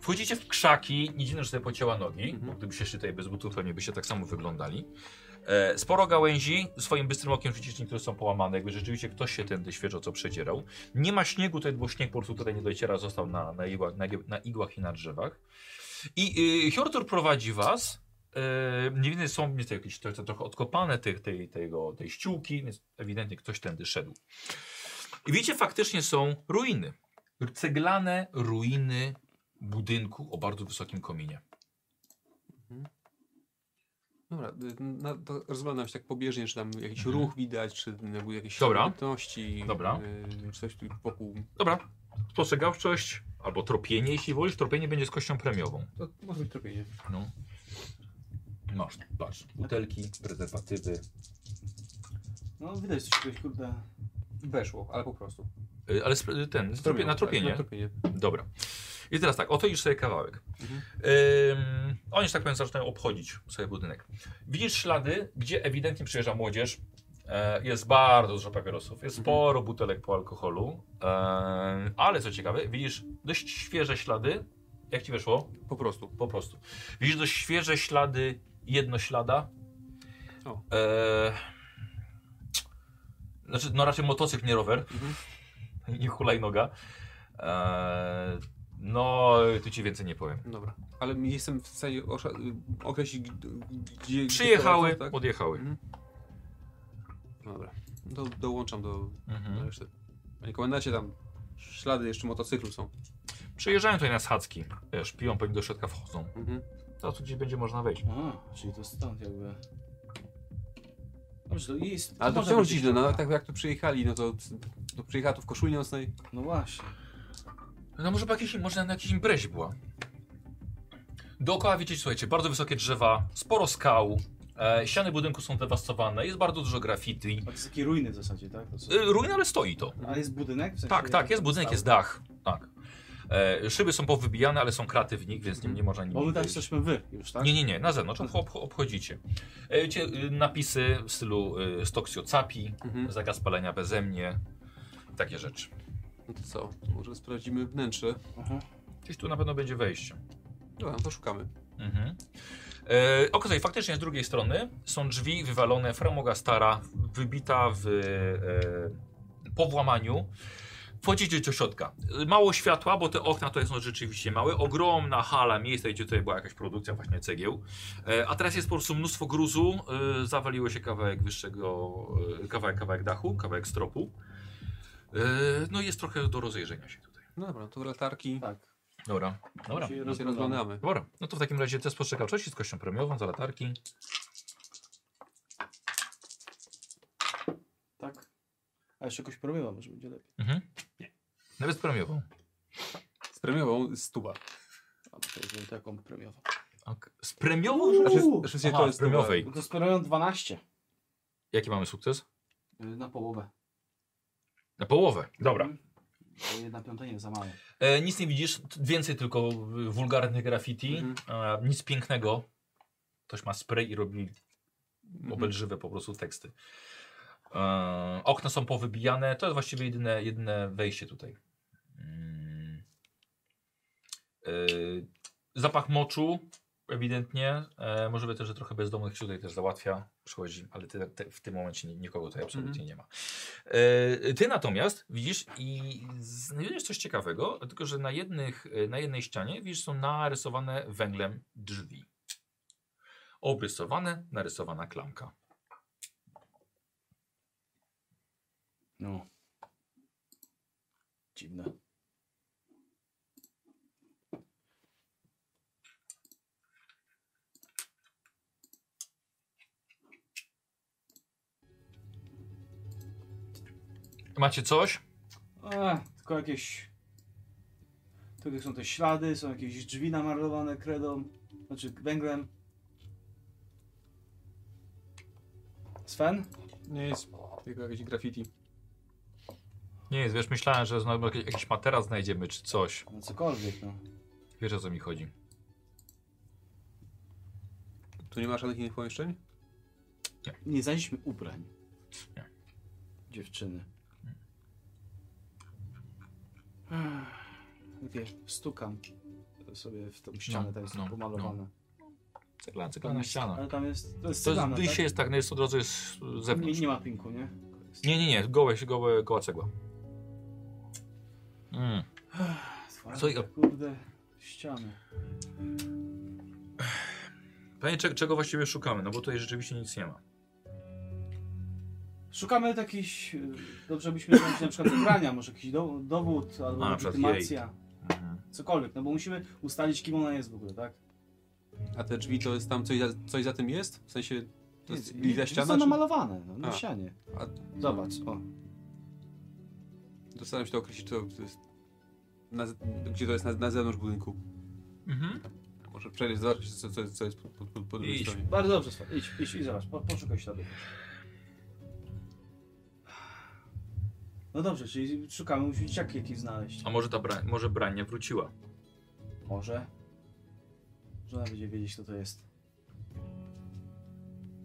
A: Wchodzicie w krzaki, nie dziwne, że sobie pocięła nogi,
C: Mhm.
A: bo gdybyście szli tutaj bez butów, pewnie byście tak samo wyglądali. E, sporo gałęzi, swoim bystrym okiem widzicie, które są połamane, jakby rzeczywiście ktoś się tędy świeżo co przedzierał. Nie ma śniegu tutaj, bo śnieg po prostu tutaj nie dociera, został na, na, igłach, na, na igłach i na drzewach. I y, Hjortur prowadzi was. E, Nie widzę, są jest jakieś to, to, trochę odkopane tych, tej, tego, tej ściółki, więc ewidentnie ktoś tędy szedł. I widzicie, faktycznie są ruiny. Ceglane ruiny budynku o bardzo wysokim kominie.
C: Dobra, y, na, to rozglądam się tak pobieżnie, czy tam jakiś
A: Mhm.
C: ruch widać, czy jakby jakieś
A: Dobra.
C: aktywności,
A: Dobra.
C: y, czy coś tu wokół.
A: Dobra, spostrzegawczość albo tropienie, jeśli wolisz. Tropienie będzie z kością premiową.
C: To może być tropienie.
A: No. Masz, patrz. Butelki, prezerwatywy.
B: No widać coś, coś kurde.
C: Weszło, ale po prostu.
A: Y, Ale sp- ten,
C: Z
A: tropie,
C: tropią,
A: na
C: tak,
A: tropienie.
C: Na tropienie.
A: Dobra. I teraz tak, oto już sobie kawałek.
C: Mhm.
A: Ym, oni, że tak powiem, zaczynają obchodzić sobie budynek. Widzisz ślady, gdzie ewidentnie przyjeżdża młodzież. E, jest bardzo dużo papierosów, jest sporo butelek po alkoholu. E, ale co ciekawe, widzisz dość świeże ślady. Jak ci weszło?
C: Po prostu.
A: Po prostu. Widzisz dość świeże ślady jednoślada.
C: O.
A: E, znaczy, no raczej motocykl, nie rower.
C: Mhm.
A: [laughs] nie hulajnoga. E, no, tu ci więcej nie powiem.
C: Dobra. Ale nie jestem w stanie osza- określić, g- gdzie...
A: Przyjechały,
C: gdzie prowadzą, tak?
A: odjechały.
C: Dobra. Do, dołączam do, do
A: Mhm.
C: reszty. Panie komendacie, tam ślady jeszcze motocyklu są.
A: Przyjeżdżają tutaj na schadzki. Wiesz, piją, pewnie do środka wchodzą.
C: Mhm.
A: Teraz tu gdzieś będzie można wejść.
F: A, czyli to stąd jakby. Dobrze, to jest.
C: Ale to
F: może
C: wciąż
F: być
C: dziwne, no
F: ślad.
C: tak jak tu przyjechali, no to, to przyjechała tu w koszuli nocnej.
F: No właśnie.
A: No może, po jakiejś, może na jakiejś imprezie była. Dookoła wiecie, słuchajcie, bardzo wysokie drzewa, sporo skał. E, ściany budynku są dewastowane, jest bardzo dużo graffiti.
F: A to są takie ruiny w zasadzie, tak? To są...
A: E, ruin, ale stoi to.
F: A jest budynek? W sensie
A: Tak, tak, jest
F: tam
A: budynek,
F: stał?
A: jest dach. Tak. E, szyby są powybijane, ale są kraty w nich, więc nie, nie można nimi
F: Bo my tam
A: wejść.
F: jesteśmy wy już, tak?
A: Nie, nie, nie, na zewnątrz ob, ob, obchodzicie. E, Wiecie, y, napisy w stylu y, Stoksio Capi,
C: Mhm.
A: zakaz palenia beze mnie, takie rzeczy.
C: No to co? Może sprawdzimy wnętrze.
F: Aha.
A: Gdzieś tu na pewno będzie wejście.
C: Dobra, no to szukamy.
A: Mhm. E, okazuje, faktycznie z drugiej strony są drzwi wywalone, framoga stara, wybita w e, po włamaniu. Wchodzicie do środka. E, Mało światła, bo te okna to są rzeczywiście małe. Ogromna hala, miejsce, gdzie tutaj była jakaś produkcja właśnie cegieł. E, a teraz jest po prostu mnóstwo gruzu. E, zawaliło się kawałek wyższego, e, kawałek, kawałek dachu, kawałek stropu. E, no i jest trochę do rozejrzenia się tutaj.
C: No dobra, no to latarki
F: Tak.
A: Dobra. Dobra.
F: Się
C: się
F: rozglądamy.
C: rozglądamy.
A: Dobra, no to w takim razie test postrzegawczości z kością premiową, za latarki.
F: Tak. A jeszcze jakoś promywa, może będzie lepiej.
A: Mhm. Nawet z premiową.
C: Z premiową stuba.
F: A to jest taką premiową.
A: Ok. Z premiową?
C: Znaczy,
F: Uuu.
C: znaczy
A: Aha,
C: to jest
A: z premiowej.
F: No to z premią 12.
A: Jaki mamy sukces?
F: y, Na połowę.
A: Na połowę. Dobra.
F: To Jedna piąta nie za mało.
A: E, nic nie widzisz, t- więcej tylko y, wulgarnych graffiti.
C: Mhm.
A: E, nic pięknego. Ktoś ma spray i robi
C: Mhm.
A: obelżywe po prostu teksty. E, okna są powybijane. To jest właściwie jedyne, jedyne wejście tutaj. Mm. E, zapach moczu ewidentnie. E, możliwe też, że trochę bezdomnych się tutaj też załatwia. Przychodzi, ale ty, te, w tym momencie ni- nikogo tutaj absolutnie nie ma. E, ty natomiast widzisz i znajdujesz coś ciekawego, tylko że na, jednych, na jednej ścianie widzisz są narysowane węglem drzwi. Obrysowane, narysowana klamka.
F: No. Dziwne.
A: Macie coś?
F: E, tylko jakieś... Tylko są te ślady, są jakieś drzwi namarlowane kredą. Znaczy węglem. Sven?
C: Nie jest tylko jakieś graffiti.
A: Nie jest, wiesz, myślałem, że znowu jakiś- jakiś materac znajdziemy czy coś.
F: No cokolwiek, no.
A: Wiesz o co mi chodzi.
C: Tu nie ma żadnych innych pomieszczeń?
F: Nie znaleźliśmy ubrań.
A: Nie.
F: Dziewczyny. Ech, Takie stukam sobie w tą ścianę,
A: No,
F: tam jest
A: no,
F: pomalowane.
A: Ceglana, ceglana ściana.
F: Ale tam jest, to jest
A: To jest,
F: ceglane,
A: dysie
F: tak?
A: jest tak, no jest od razu jest z
F: nie,
A: zewnątrz.
F: nie ma pinku, nie?
A: Nie, nie, nie, gołe, gołe, goła cegła. Mm. Co
F: Co
A: i-
F: Kurde, ściany.
A: Pytanie, czego, czego właściwie szukamy, no bo tutaj rzeczywiście nic nie ma.
F: Szukamy jakichś, y, dobrze byśmy znaleźli na przykład ubrania, może jakiś do, dowód albo
A: A, na przykład jej. Mhm.
F: legitymacja. Cokolwiek, no bo musimy ustalić kim ona jest w ogóle, tak?
C: A te drzwi to jest tam coś za, coś za tym jest? W sensie to jest
F: Nie,
C: lila
F: nie,
C: ściana?
F: Są
C: Czy...
F: namalowane, no, na
C: A.
F: ścianie.
C: A-
F: Zobacz, o.
C: Zastanawiam się to określić, to, to jest na, z- gdzie to jest na, na zewnątrz budynku.
A: Mhm.
C: Może przejść, zobaczyć co, co, co jest po, po, po, po drugiej
A: Idź.
C: stronie.
F: Bardzo dobrze, Swa. Idź, idź i zobacz, po, poszukaj śladów.
B: No dobrze, czyli szukamy, musimy dzieciaki jakieś znaleźć.
A: A może ta bra może brania wróciła?
B: Może. Żona będzie wiedzieć, kto to jest.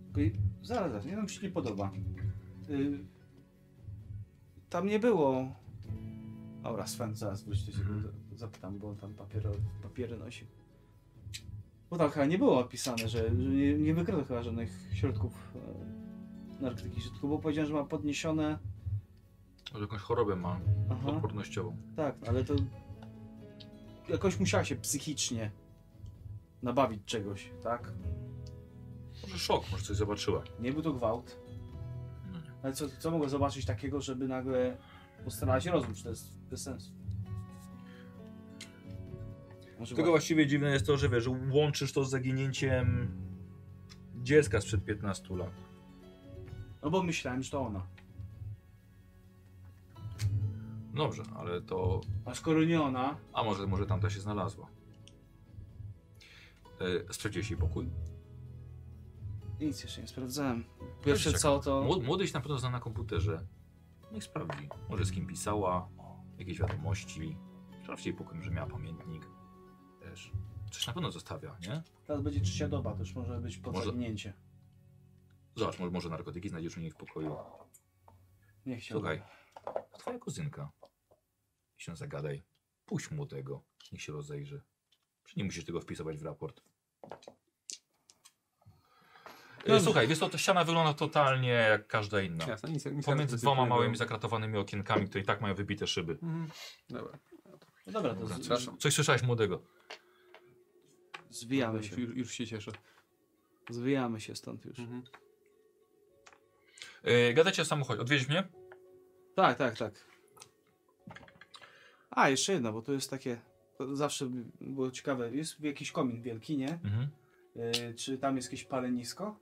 B: Tylko i- Zaraz, zaraz, nie, no mi się nie podoba. Y, Tam nie było... Dobra, Sven, zaraz wróć do siebie,
A: Mhm.
B: za- zapytam, bo on tam papier, papiery nosi. Bo tam chyba nie było opisane, że, że nie, nie wykryto chyba żadnych środków e, narkotyki, że tylko było powiedziane, że ma podniesione...
A: Może jakąś chorobę ma
F: No.
B: Aha,
A: odpornościową.
B: tak, ale to... Jakoś musiała się psychicznie nabawić czegoś, tak?
A: Może szok, może coś zobaczyła.
B: Nie był to gwałt.
A: No nie.
B: Ale co, co mogę zobaczyć takiego, żeby nagle postarała się rozum? Czy to jest bez sensu?
A: Tylko
B: Może właśnie-
A: właściwie dziwne jest to, że wiesz, że łączysz to z zaginięciem dziecka sprzed 15 lat.
B: No bo myślałem, że to ona.
A: Dobrze, no ale to...
B: A skoro nie ona,
A: A może, może tamta się znalazła. E, Sprawdziłeś jej pokój?
B: nic jeszcze nie sprawdzałem.
A: Pierwsze
B: Pierwsze co to...
A: Młod- Młodyś na pewno zna na komputerze. Niech sprawdzi. Może z kim pisała, jakieś wiadomości. Sprawdź jej pokój, że miała pamiętnik. Też. Coś na pewno zostawia, nie?
B: Teraz będzie trzecia doba, to już może być
A: Może-
B: podpadnięcie.
A: Zobacz, może, może narkotyki znajdziesz u niej w pokoju.
B: Nie chciałbym.
A: Słuchaj, twoja kuzynka. I się zagadaj. Puść młodego. Niech się rozejrzy. Czy nie musisz tego wpisywać w raport? E, Słuchaj, wiesz co, ta ściana wygląda totalnie jak każda inna.
C: Jasne, nic, nic
A: No. Pomiędzy
C: artystycznego.
A: dwoma małymi zakratowanymi okienkami, które i tak mają wybite szyby.
C: Mhm. Dobra,
B: No dobra, to z...
C: przepraszam.
A: Coś słyszałeś młodego?
B: zwijamy się.
C: Już, już się cieszę.
B: Zwijamy się stąd już.
C: Mhm.
A: Yy, gadacie o samochodzie. Odwieź mnie?
B: Tak, tak, tak. A, jeszcze jedna, bo to jest takie... To zawsze było ciekawe. Jest jakiś komin wielki, nie?
A: Mhm.
B: Y, czy tam jest jakieś palenisko?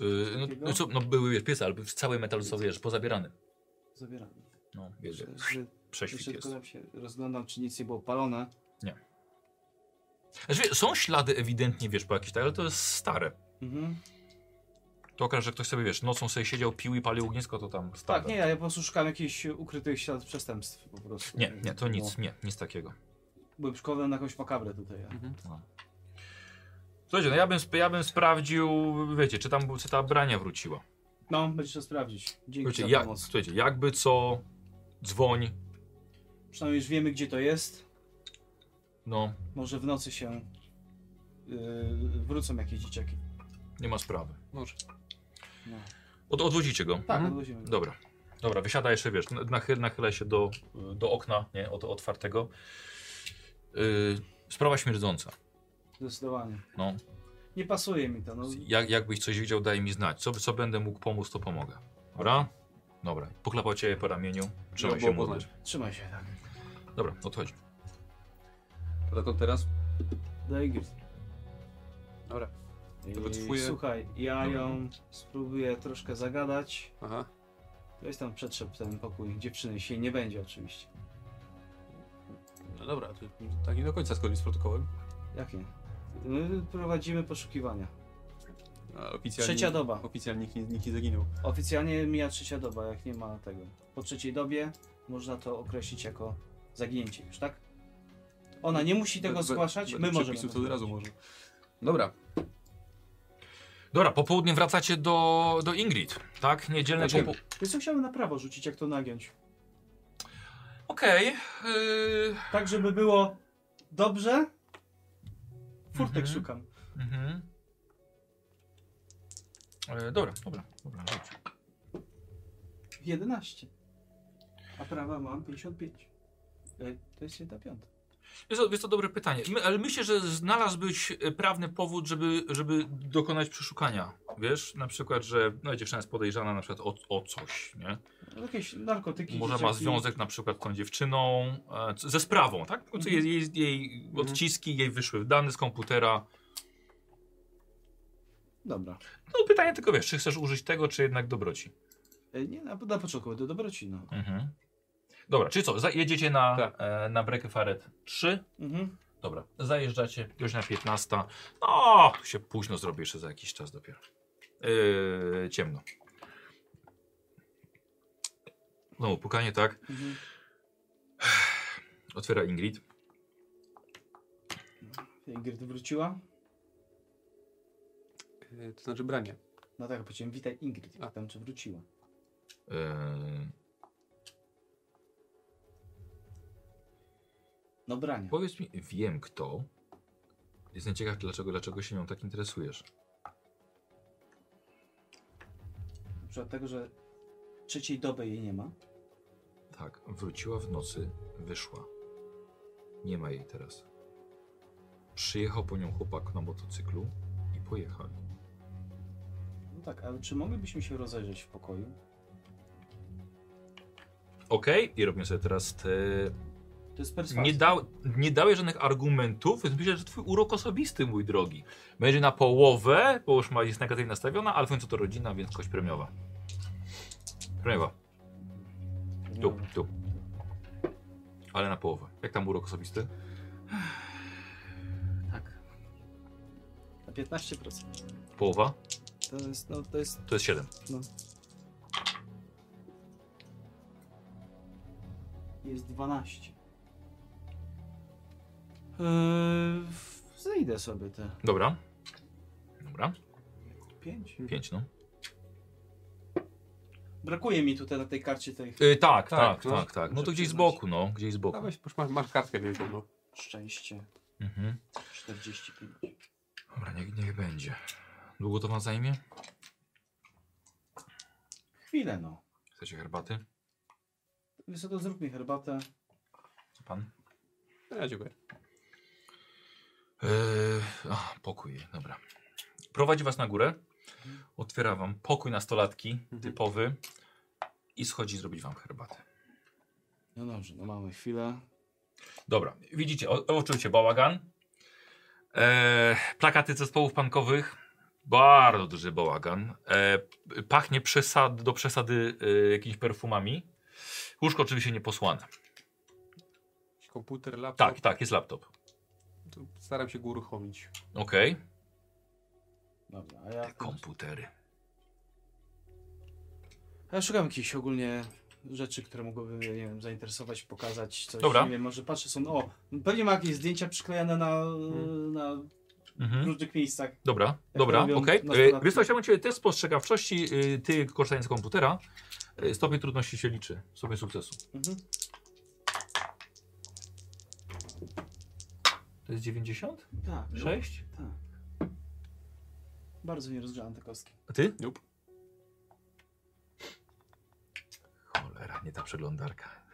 A: Yy, no,
B: Takiego?
A: no, co, no były wiesz, piece, ale w- cały metal został wiesz, pozabierany.
B: Zabieram.
A: No, wiesz,
B: Że, że,
A: prześwit
B: jeszcze
A: jest.
B: tylko tam się rozglądam, czy nic nie było palone.
A: Znaczy, wie, są ślady ewidentnie, wiesz, po jakichś tak, ale to jest stare.
B: Mhm.
A: To okaże, że ktoś sobie, wiesz, nocą sobie siedział, pił i palił ognisko, to tam stare.
B: Tak, nie, ja po prostu szukam jakichś ukrytych śladów przestępstw po prostu.
A: nie, nie, to nic, nie, nic takiego.
B: Bo- Byłem szkolony na jakąś makabrę tutaj. Ja.
A: Słuchajcie, no ja bym, sp- ja bym sprawdził, wiecie, czy tam czy ta brania wróciła.
B: No, będzie trzeba sprawdzić. Dzięki
A: Słuchajcie,
B: za
A: jak,
B: pomoc.
A: słuchajcie, jakby co, dzwoń,
B: Przynajmniej już wiemy, gdzie to jest.
A: no,
B: Może w nocy się yy, wrócą jakieś dzieciaki.
A: nie ma sprawy.
C: Może.
B: No.
A: Od, odwodzicie go.
B: Tak,
C: Mhm.
B: odwozimy.
A: Dobra. Dobra, wysiada jeszcze, wiesz, nachyl, nachyla się do, do okna, nie, od, otwartego. Yy, sprawa śmierdząca.
B: Zdecydowanie.
A: No,
B: Nie pasuje mi to. No.
A: jak, jakbyś coś wiedział, daj mi znać. Co, co będę mógł pomóc, to pomogę. Dobra? Dobra. Poklepał cię po ramieniu. Trzymaj się,
C: było
A: młody.
C: poznać.
B: Trzymaj się, tak.
A: Dobra, odchodź.
C: Ale to teraz?
B: Daj gift.
C: Dobra.
B: I
C: wycofuję.
B: Słuchaj, ja
A: Dobra.
B: ją spróbuję troszkę zagadać.
C: Aha.
B: Weź tam przetrzep ten pokój. Dziewczyny się nie będzie oczywiście.
C: No dobra, to tak nie do końca zgodnie z protokołem.
B: Jakie? My Yy, prowadzimy poszukiwania.
C: A oficjalnie,
B: Trzecia doba.
C: Oficjalnie nikt, nie- nikt nie zaginął.
B: Oficjalnie mija trzecia doba, jak nie ma tego. Po trzeciej dobie można to określić jako zaginięcie już, tak? Ona nie musi tego
C: Be- be-
B: zgłaszać,
C: be-
B: my możemy.
C: przepisów to od razu może. Dobra,
A: Dobra, po południu wracacie do, do Ingrid, tak? Niedzielne
C: Jedziemy.
A: popu...
B: Więc co chciałbym na prawo rzucić, jak to nagiąć.
A: Okej. Yy...
B: Tak, żeby było dobrze. Furtek
A: Mhm.
B: szukam.
A: Mhm. E, dobra, dobra, dobra. rzuć.
B: 11. A prawa mam 55. E, To jest jedna piąta.
A: Jest to, jest to dobre pytanie, My, ale myślę, że znalazłbyś e, prawny powód, żeby, żeby dokonać przeszukania. Wiesz, na przykład, że no, dziewczyna jest podejrzana na przykład o, o coś, nie?
B: Jakieś narkotyki.
A: Może ma
B: dzieciaki.
A: związek na przykład z tą dziewczyną, e, c- ze sprawą, tak? W końcu jej, jej, jej odciski, jej wyszły dane z komputera.
B: Dobra.
A: No pytanie tylko wiesz, czy chcesz użyć tego, czy jednak dobroci.
B: E, Nie, na, na początku do dobroci, no.
A: Mhm. Dobra, czyli co, za- jedziecie na,
C: Tak.
A: e, na Brekefaret 3.
B: Mhm.
A: Dobra, zajeżdżacie, godzina 15. No, tu się późno zrobi jeszcze za jakiś czas E, dopiero. Yy, ciemno. Znowu pukanie, tak? Otwiera Ingrid.
F: Ingrid wróciła?
C: Yy, to znaczy branie.
F: No tak, powiedziałem, witaj Ingrid. A tam czy wróciła?
A: Eee,
F: No brania.
A: powiedz mi, wiem kto. Jestem ciekaw, dlaczego, dlaczego się nią tak interesujesz.
F: Na przykład tego, że trzeciej doby jej nie ma.
A: Tak, wróciła w nocy, wyszła. Nie ma jej teraz. Przyjechał po nią chłopak na motocyklu i pojechał.
F: No tak, ale czy moglibyśmy się rozejrzeć w pokoju?
A: Okej, i robię sobie teraz te...
F: To jest perswazja.
A: Nie, dał, nie dałeś żadnych argumentów, więc myślę, że twój urok osobisty, mój drogi. Będzie na połowę, bo już ma jest negatywnie nastawiona, ale w końcu to rodzina, więc kość premiowa. Premiowa,
F: Nie
A: tu,
F: ma.
A: tu. Ale na połowę. Jak tam urok osobisty?
F: Tak. Na 15%.
A: Połowa?
F: To jest, no to jest
A: To jest 7.
F: Jest 12. Eee, w- zejdę sobie te
A: Dobra. Dobra,
F: 5.
A: 5 no.
F: Brakuje mi tutaj na tej karcie tej
A: Y, tak,
C: Tak,
A: tak, tak,
C: no.
A: tak, No to
F: Muszę
A: gdzieś z
F: przyznać.
A: boku, no. Gdzieś z boku.
C: Dawaj, masz, masz, masz kartkę wielką, no.
F: szczęście
A: Mhm.
F: 45.
A: Dobra, niech, niech będzie. Długo to wam zajmie?
F: Chwilę no.
A: Chcecie herbaty?
F: Wysoko zrób mi herbatę.
A: Pan?
C: No, Ja dziękuję.
A: Eee, a, pokój, dobra. Prowadzi was na górę. Otwiera wam pokój nastolatki, typowy. I schodzi zrobić wam herbatę.
F: No dobrze, no mamy chwilę.
A: Dobra, widzicie, o, oczywiście bałagan. E, plakaty zespołów punkowych. Bardzo duży bałagan. E, p- pachnie przesad, do przesady e, jakimiś perfumami. Łóżko oczywiście nie posłane.
C: Jakiś Komputer, laptop.
A: Tak, tak, jest laptop.
C: To staram się go uruchomić.
A: Okej.
F: Dobra, a ja,
A: Te komputery.
F: a ja szukam jakichś ogólnie rzeczy, które mogłyby mnie, nie wiem, zainteresować, pokazać coś.
A: Dobra.
F: Nie wiem, może patrzę są. O, pewnie ma jakieś zdjęcia przyklejane na,
D: Hmm.
F: na
A: Mhm.
F: różnych miejscach.
A: Dobra,
F: to
A: dobra,
F: robią
A: okej. Okay.
F: nastolatki.
A: Wiesz co, chciałbym Cię test spostrzegawczości, y, Ty korzystając z komputera. Y, Stopień trudności się liczy, stopień sukcesu.
F: Mhm.
A: To jest 90?
F: Tak, no.
A: 6?
F: Tak. Bardzo nie rozgrzałem te kostki.
A: A Ty?
C: Nope.
A: Cholera, nie ta przeglądarka.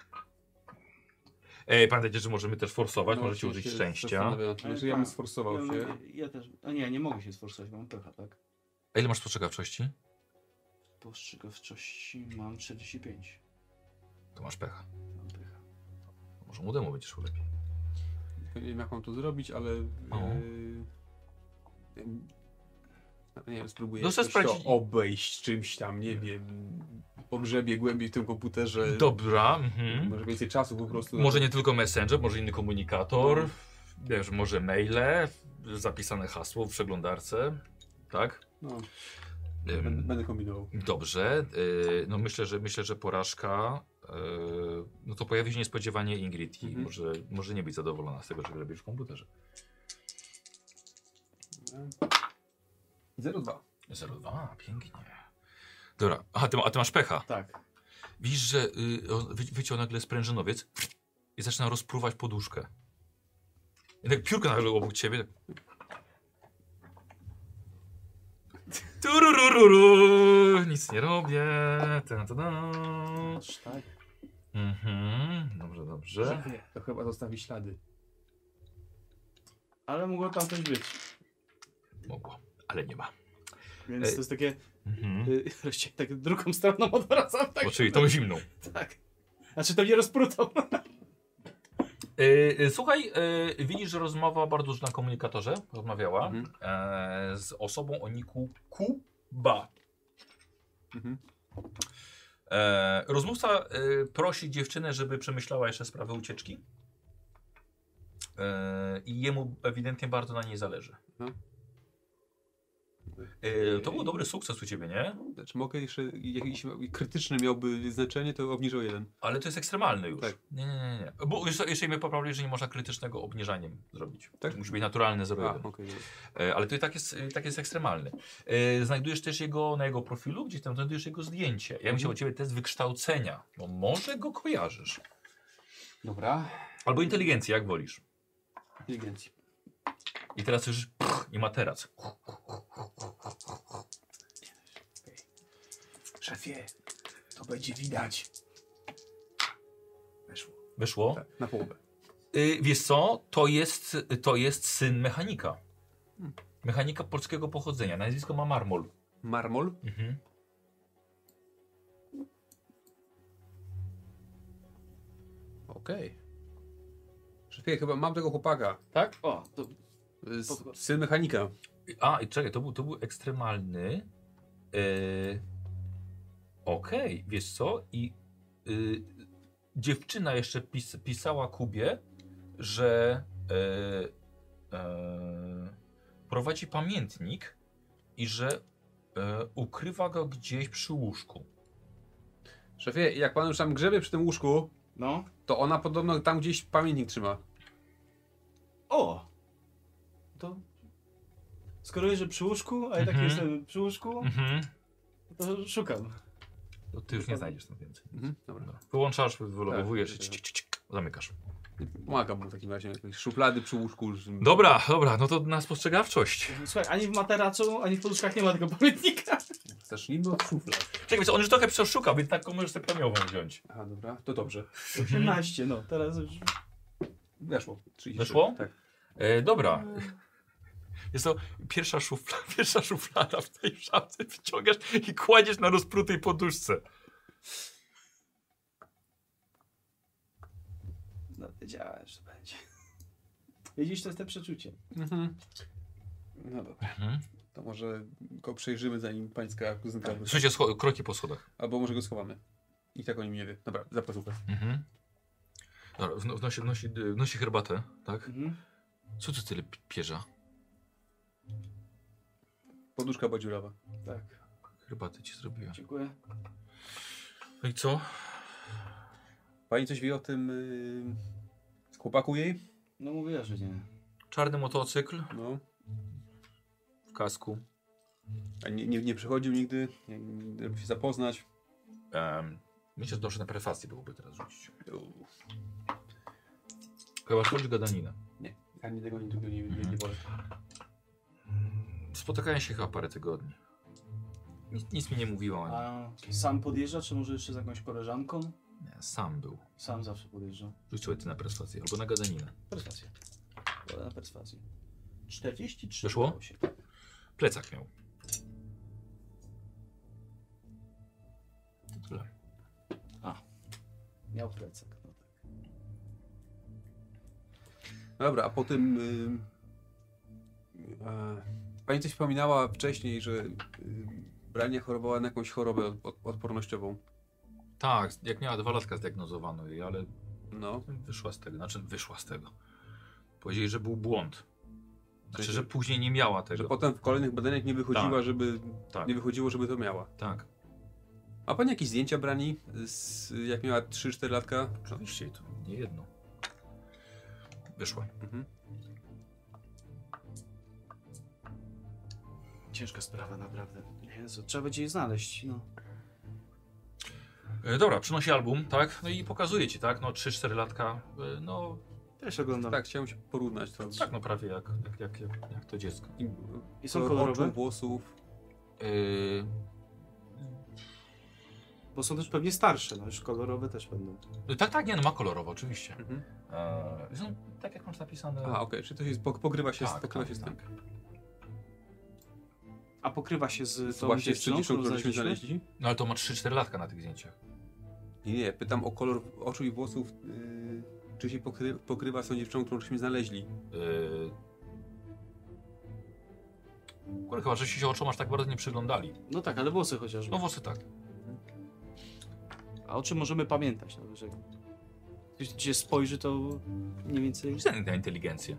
A: Ej, pamiętajcie, że możemy też forsować,
C: No,
A: możecie
C: oczywiście
A: użyć szczęścia.
C: zastanawiam, czy-
F: Ale
C: Znaczy, ja bym
F: tak.
C: sforsował
F: Ja,
C: się.
F: ja też. A nie, nie mogę się sforsować, bo mam pecha, tak?
A: A ile masz spostrzegawczości?
F: Postrzegawczości mam 45.
A: To masz pecha.
F: Mam pecha.
A: Może młodemu będzie szło lepiej.
C: Tylko nie wiem, jak mam to zrobić, ale...
A: O.
C: Yy, nie wiem, spróbuję
A: No,
C: jakoś
A: chcę sprawdzić-
C: to obejść czymś tam, nie wiem, pogrzebie głębiej w tym komputerze. Mm.
A: Dobra, mhm.
C: Może więcej czasu po prostu. na
A: Może
C: to.
A: nie tylko Messenger, może inny komunikator, wiesz, może maile, zapisane hasło w przeglądarce, tak?
C: No,
A: Ym,
C: będę, będę kombinował.
A: Dobrze, y, no myślę, że myślę, że porażka. y, No to pojawi się niespodziewanie Ingrid i
C: Mhm.
A: może, może nie być zadowolona z tego, że robisz w komputerze.
C: 0,2.
A: 02, pięknie. Dobra, a ty, ma- a ty masz pecha.
F: Tak.
A: Widzisz, że y, on wy, wyciął nagle sprężynowiec i zaczyna rozpruwać poduszkę. I tak piórko nagle obok ciebie. Tak. Tururururu, nic nie robię. Ta, ta, ta.
F: Aż tak.
A: Mhm, dobrze, dobrze.
C: Nie, to chyba zostawi ślady.
F: Ale mogło tam coś być.
A: Mogło, ale nie ma.
F: Więc
A: Ej.
F: to jest takie. [laughs]
A: Mhm.
F: y, Wreszcie tak drugą stroną odwracam, tak?
A: O, czyli tą zimną.
F: Tak. Znaczy to mnie rozprutał.
A: E, e, słuchaj, e, widzisz, że rozmowa bardzo dużo na komunikatorze rozmawiała
C: Mhm.
A: e, z osobą o niku Kuba.
C: Mhm.
A: E, rozmówca e, prosi dziewczynę, żeby przemyślała jeszcze sprawę ucieczki.
C: No.
A: E, I jemu ewidentnie bardzo na niej zależy.
C: E,
A: E, to był dobry sukces u ciebie, nie?
C: Znaczy mogę jeszcze, jakiś krytyczny miałby znaczenie, to obniżę o jeden.
A: Ale to jest ekstremalny już.
C: Tak.
A: Nie, nie, nie, nie. Bo jeszcze, jeszcze mnie poprawili, że nie można krytycznego obniżaniem zrobić.
C: Tak?
A: To musi być naturalny
C: A,
A: 0,1.
C: okej, dobra.
A: E, Ale to i tak jest, i tak jest ekstremalny. E, Znajdujesz też jego, na jego profilu, gdzieś tam znajdujesz jego zdjęcie. Ja bym
C: Mhm.
A: chciał od ciebie test wykształcenia, bo może go kojarzysz.
F: Dobra.
A: Albo inteligencję, jak wolisz.
C: Inteligencji.
A: I teraz już pff, i materac.
D: Szefie, to będzie widać. Weszło.
A: Wyszło?
C: Tak, na połowę.
A: Y, wiesz co? To jest, to jest syn mechanika.
C: Hmm.
A: Mechanika polskiego pochodzenia. Nazwisko ma Marmol.
C: Marmol?
A: Mhm.
C: Okej. Szefie, chyba mam tego chłopaka.
A: Tak?
F: O, to
C: Z, syn mechanika.
A: A, i czekaj, to był, to był ekstremalny. Yy, Okej, wiesz co? I y, dziewczyna jeszcze pis, pisała Kubie, że yy, yy, prowadzi pamiętnik i że yy, ukrywa go gdzieś przy łóżku.
C: Szefie, jak pan już tam grzebie przy tym łóżku,
F: no.
C: to ona podobno tam gdzieś pamiętnik trzyma.
B: O! To. Skoro jest, że przy łóżku, a ja tak
A: Mhm.
B: jestem przy łóżku,
A: Mhm.
B: to szukam.
A: To ty już nie znajdziesz tam więcej.
C: Mhm, dobra.
A: Dobra. Wyłączasz, wylogowujesz,
C: Tak,
A: cik, cik, cik, cik, zamykasz.
C: Pomagam mu w takim razie. Jakieś szuflady przy łóżku. że-
A: Dobra, dobra, no to na spostrzegawczość.
B: Słuchaj, ani w materacu, ani w poduszkach nie ma tego pamiętnika.
D: Mhm.
C: Zacznijmy od szuflad.
A: Czekaj, wiesz co, on już trochę przeszuka, więc taką możesz sobie premiową wziąć.
C: Aha, dobra, to dobrze.
B: 18, no, teraz już.
C: Weszło. 30.
A: Weszło?
C: Tak.
A: E, dobra.
B: No.
A: [laughs] Jest to pierwsza, szufla, [laughs] pierwsza szuflada w tej szafce wyciągasz i kładziesz na rozprutej poduszce.
B: No, wiedziałem, że będzie. Widzisz, to jest te przeczucie.
C: Mhm. No dobra.
A: Mhm. Tak.
C: To może go przejrzymy, zanim pańska kuzynka wróci.
A: Słyszycie scho- kroki po schodach.
C: Albo może go schowamy. I tak o nim nie wie. Dobra, zapłacę.
A: Mhm. Dobra, wno- wnosi, wnosi, wnosi herbatę, tak?
B: Mhm.
A: Co tu tyle pi- pierza?
C: Poduszka badziurawa.
B: Tak,
A: Herbatę ci zrobiła.
B: dziękuję.
A: No i co?
C: Pani coś wie o tym yy, chłopaku jej?
F: No mówiła, że nie.
A: Czarny motocykl
C: No.
A: w kasku.
C: A nie, nie, nie przychodził nigdy, nie, nie, żeby się zapoznać.
A: Um, myślę, że dobrze na prefację byłoby teraz rzucić.
C: Uuu,
A: Chyba szkodzi gadaninę.
C: Ja nie tego nie, nie, nie, nie, nie wolę.
A: Spotykają się chyba parę tygodni. Nic, nic mi nie mówiła ani.
B: A sam podjeżdża, czy może jeszcze z jakąś koleżanką?
A: Nie, Sam był.
B: Sam zawsze podjeżdża.
A: Rzuć sobie ty na perswazję albo na gadaninę.
B: Perswazja. Wolę na perswazję. 43.
A: Weszło?
B: udało Się.
A: Plecak miał. To tyle.
B: Miał plecak. No tak.
C: No Dobra, a po tym... ym, a, pani coś wspominała wcześniej, że yy, Brania chorowała na jakąś chorobę od, odpornościową.
A: Tak, jak miała dwa latka zdiagnozowano jej, ale
C: No.
A: wyszła z tego. Znaczy wyszła z tego. Powiedzieli, że był błąd. Znaczy, że później nie miała
C: Że
A: tego.
C: potem w kolejnych badaniach nie wychodziła,
A: Tak.
C: żeby...
A: Tak.
C: Nie wychodziło, żeby to miała.
A: Tak.
C: A pani jakieś zdjęcia brani, z, jak miała 3-4 latka?
A: Oczywiście to nie jedno. Wyszła.
C: Mhm.
F: Ciężka sprawa naprawdę.
B: Jezu, trzeba będzie jej znaleźć. No.
A: E, dobra, przynosi album, tak? No i pokazuje ci, tak? No 3-4 latka. E, no
F: Też oglądam.
C: Tak, chciałem się porównać to.
A: tak, no prawie jak, jak, jak, jak, jak to dziecko.
C: I,
F: I są
C: kolor
F: kolorowe?
C: oczu, włosów.
A: Yy,
F: Bo są też pewnie starsze, no już kolorowe też będą.
A: no tak, tak, nie, no ma kolorowo, oczywiście.
C: Mhm.
A: Eee, są tak jak masz napisane.
C: A, okej, czy to się pok- pogrywa się, z,
A: tak,
C: pokrywa
A: tak,
C: się z tym.
A: tak.
F: A pokrywa się z tą
C: Właśnie z
F: dziewczyną,
C: czynniczką,
F: którą
C: którą żeśmy
F: znaleźliśmy?
C: znaleźli?
A: No ale to ma 3-4 latka na tych zdjęciach.
C: Nie, nie, pytam o kolor oczu i włosów. Yy, czy się pokry, pokrywa z tą dziewczyną, którą żeśmy znaleźli?
A: Yy... Kurde, chyba, że się oczom aż tak bardzo nie przyglądali.
F: No tak, ale włosy chociażby.
A: No włosy tak.
F: A o czym możemy pamiętać? No, że ktoś gdzie spojrzy, to mniej więcej...
A: Rzucaj na inteligencję.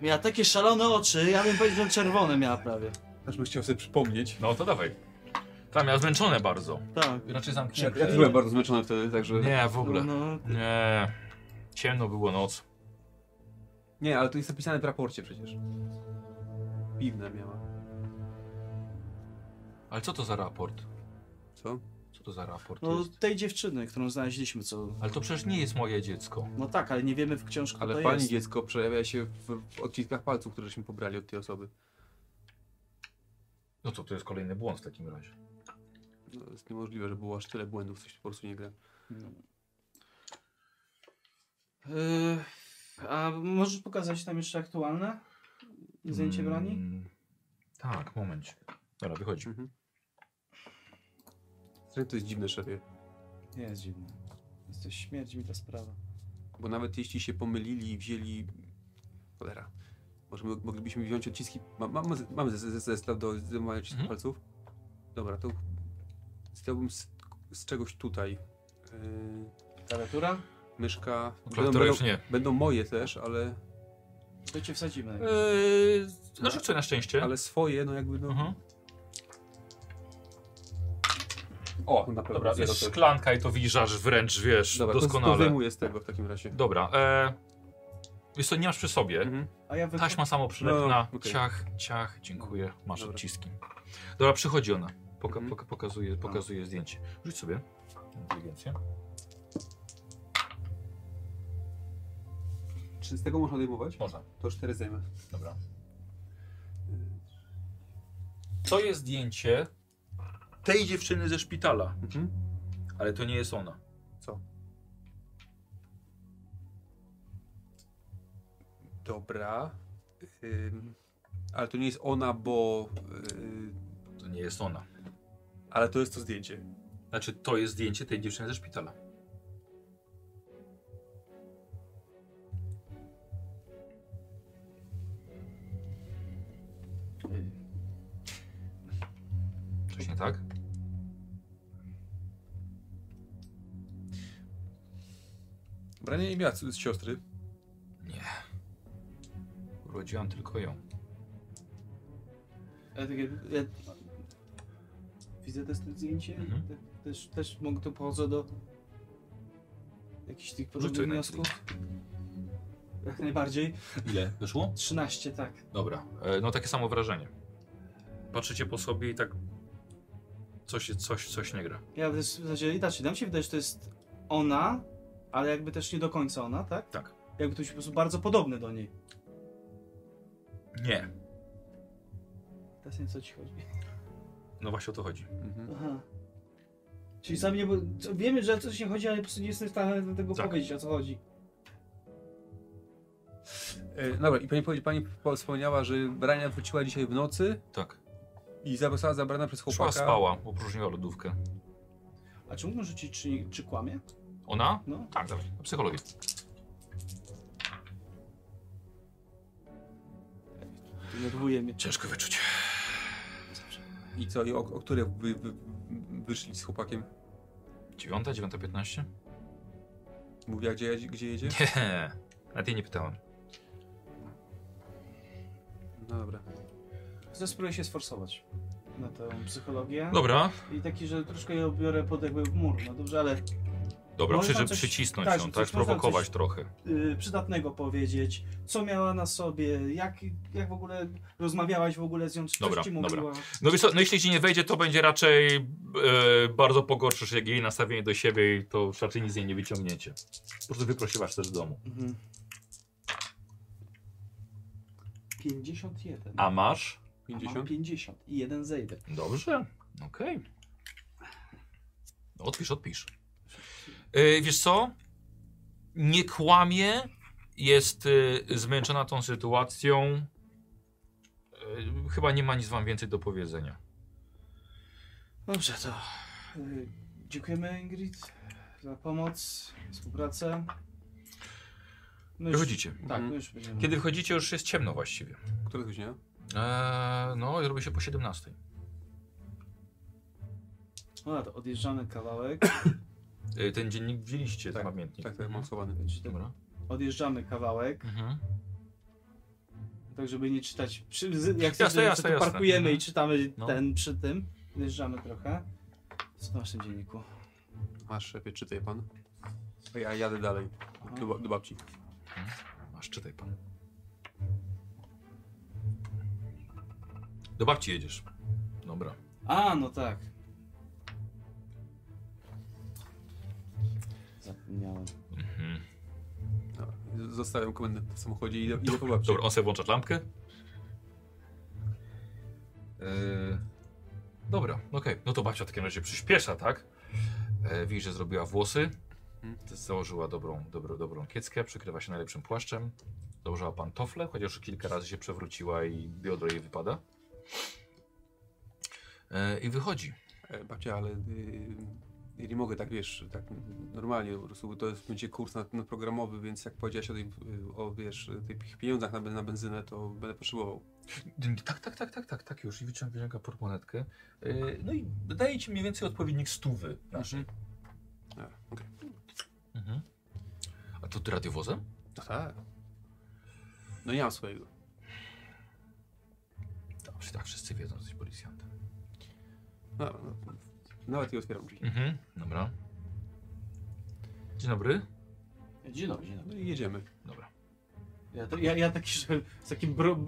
F: Miała takie szalone oczy, ja bym powiedział, że czerwone miała prawie.
C: Aż bym chciał sobie przypomnieć.
A: No to dawaj. Tam miała zmęczone bardzo.
F: Tak.
A: Raczej
C: Ja,
A: zamknięte.
C: ja byłem bardzo zmęczony wtedy, także...
A: Nie, w ogóle.
F: No,
A: Nie. Ciemno było noc.
C: Nie, ale to jest napisane w raporcie przecież. Piwne miała.
A: Ale co to za raport?
C: Co?
A: Co to za raport
F: no
A: jest?
F: tej dziewczyny, którą znaleźliśmy, co...
A: Ale to przecież nie jest moje dziecko.
F: No tak, ale nie wiemy w książku, kto
C: Ale
F: to
C: pani
F: jest.
C: dziecko przejawia się w w odciskach palców, któreśmy pobrali od tej osoby.
A: No to to jest kolejny błąd w takim razie.
C: No, to jest niemożliwe, że było aż tyle błędów, coś po prostu nie gra.
B: Yy, a możesz pokazać tam jeszcze aktualne zdjęcie broni?
A: Mm, Tak, moment. Dobra, wychodzi.
C: Mhm. Strasznie To jest dziwne, szefie.
F: Nie jest dziwne. Jest to śmierć mi ta sprawa.
C: Bo nawet jeśli się pomylili i wzięli... Cholera. Może mo- moglibyśmy wziąć odciski... Ma, ma, ma- mamy ze- ze- zestaw do zajmowania odcisków
A: Mhm.
C: palców? Dobra, to chciałbym z, z czegoś tutaj. Yy,
B: Klawiatura?
C: myszka...
A: Klawiatura już nie.
C: będą moje też, ale,
F: To cię wsadzimy.
A: Eee, no rzucę na szczęście.
C: ale swoje, no jakby no...
A: Mhm.
C: O, na pewno.
A: Dobra,
C: zero
A: jest
C: też.
A: szklanka i to widzisz aż wręcz, wiesz,
C: Dobra, to- to
A: doskonale.
C: wyjmuję z tego w takim razie.
A: Dobra, eee, wiesz co, nie masz przy sobie.
C: Mhm.
B: A ja wychodzę.
A: Taśma samoprzylepna,
C: No, okej.
A: ciach, ciach, dziękuję, masz
C: Dobra.
A: odciski. Dobra, przychodzi ona, Poka
C: Mhm.
A: poka pokazuje, pokazuje zdjęcie. Rzuć sobie. Inteligencję.
C: Czy z tego można odejmować?
A: Można,
C: To cztery zdejmę.
A: dobra. To jest zdjęcie tej dziewczyny ze szpitala,
C: Mhm.
A: ale to nie jest ona.
C: Dobra. Ym, ale to nie jest ona, bo... Yy,
A: To nie jest ona.
C: ale to jest to zdjęcie.
A: Znaczy, to jest zdjęcie tej dziewczyny ze szpitala. Hmm. Coś nie tak?
C: Brania nie miała z siostry.
A: Urodziłam tylko ją.
B: Ja takie, ja... Widzę też to zdjęcie i
A: Mhm.
B: te- też, też mogę to pochodzę do jakichś tych
A: to
B: podobnych
A: na
B: wniosków. Jak najbardziej.
A: Ile? Wyszło?
B: 13, tak.
A: Dobra. E, No takie samo wrażenie. Patrzycie po sobie i tak... Coś, coś, coś nie gra.
B: Ja w zasadzie inaczej, nam się wydaje, że to jest ona, ale jakby też nie do końca ona, tak?
A: Tak.
B: Jakby to się po prostu bardzo podobne do niej.
A: Nie.
B: Teraz nie wiem, co ci chodzi.
A: No właśnie o to chodzi.
C: Mhm.
B: Aha. Czyli sam nie... co- Wiemy, że coś nie chodzi, ale po prostu nie jestem w stanie tego
A: Tak.
B: powiedzieć, o co chodzi.
C: Yy, dobra, i pani, powie- pani po- wspomniała, że Brania wróciła dzisiaj w nocy
A: Tak.
C: i została zabrana przez
A: Szła,
C: chłopaka.
A: spała, opróżniła lodówkę.
B: A czy mógłbym rzucić, czy, nie- czy kłamie?
A: Ona?
B: No.
A: Tak, dawaj. Na Psychologię.
F: Nerwuje mnie.
A: Ciężko wyczuć.
C: I co, i o, o które wy, wy, wyszli z chłopakiem?
A: Dziewiąta, dziewiąta [laughs] piętnaście?
C: Mówiła, gdzie, jedzie- gdzie jedzie?
A: Nie, na tej nie pytałem.
C: No dobra.
B: Zespróbuję się sforsować na tę psychologię.
A: Dobra,
B: I taki, że troszkę je obiorę pod jakby mur, no dobrze, ale
A: dobra,
B: Może
A: przy,
B: No tam
A: żeby
B: coś-
A: przycisnąć
B: tak,
A: ją,
B: żeby
A: tak,
B: coś można
A: sprowokować
B: coś-
A: trochę.
B: y, przydatnego powiedzieć, co miała na sobie, jak, jak w ogóle rozmawiałaś w ogóle z nią, czy coś
A: Dobra,
B: ci
A: dobra.
B: mówiła.
A: No, wiesz co, no jeśli ci nie wejdzie, to będzie raczej e, bardzo pogorszysz jak jej nastawienie do siebie i to raczej nic z niej nie wyciągniecie. Po prostu wyprosiłaś też z domu.
B: Mhm. 51.
A: A masz?
C: 50?
B: 50 i jeden zejdę.
A: Dobrze, okej. No, odpisz, odpisz. E, wiesz co? Nie kłamie, jest e, zmęczona tą sytuacją. E, chyba nie ma nic wam więcej do powiedzenia.
B: Dobrze, to y, dziękujemy Ingrid za pomoc, współpracę. No już,
A: Wychodzicie.
B: tak,
C: Mhm.
B: no już będziemy.
A: Kiedy wychodzicie, już jest ciemno właściwie.
C: Która godzina?
A: Eee, no i robi się po 17.
B: No to odjeżdżamy kawałek,
A: Eee, ten dziennik wzięliście,
C: Tak,
A: ten pamiętnik.
C: Tak, tak, mam schowany.
A: Dobra.
B: odjeżdżamy kawałek,
A: Mhm.
F: Tak, żeby nie czytać. Przy, z- jak
A: Jasne,
F: jasne,
A: jasne,
F: to
A: jasne.
F: parkujemy
A: Mhm.
F: i czytamy
A: No.
F: ten przy tym. Wyjeżdżamy trochę. Co masz w tym dzienniku?
B: Masz, szefie, czytaj pan. A ja jadę dalej. Do, ba- do babci.
A: Masz, czytaj pan. Do babci jedziesz. Dobra.
F: A, no tak. Zapomniałem.
B: Dobra. Z- Zostawiam komendę w samochodzie i idę, idę po babci.
A: Dobra, on sobie włącza lampkę. E, dobra, okej. No to babcia w takim razie przyspiesza, tak? E, widzisz, że zrobiła włosy. Założyła dobrą, dobrą, dobrą kieckę, przykrywa się najlepszym płaszczem. Założyła pantofle, chociaż kilka razy się przewróciła i biodro jej wypada. E, I wychodzi.
B: E, Babcia, ale y, ja nie mogę tak, wiesz, tak normalnie po prostu, to jest, będzie kurs na, na programowy, więc jak powiedziałaś o, tej, y, o wiesz, tych pieniądzach na, ben- na benzynę, to będę potrzebował.
A: Tak, tak, tak, tak, tak, tak już. I wyciąga wyciąga portmonetkę. E, no i daje ci mniej więcej odpowiednik stówy naszej.
B: A, okej.
A: Mhm. A to ty radiowozem?
B: No tak. No nie mam swojego.
A: Dobrze, tak wszyscy wiedzą, że jesteś policjantem.
B: No, no, nawet i otwieram drzwi.
A: Mhm, dobra. Dzień dobry.
F: Dzień dobry, dzień dobry.
B: No i jedziemy.
A: Dobra.
F: Ja, to, ja, ja taki, że z takim bro, e,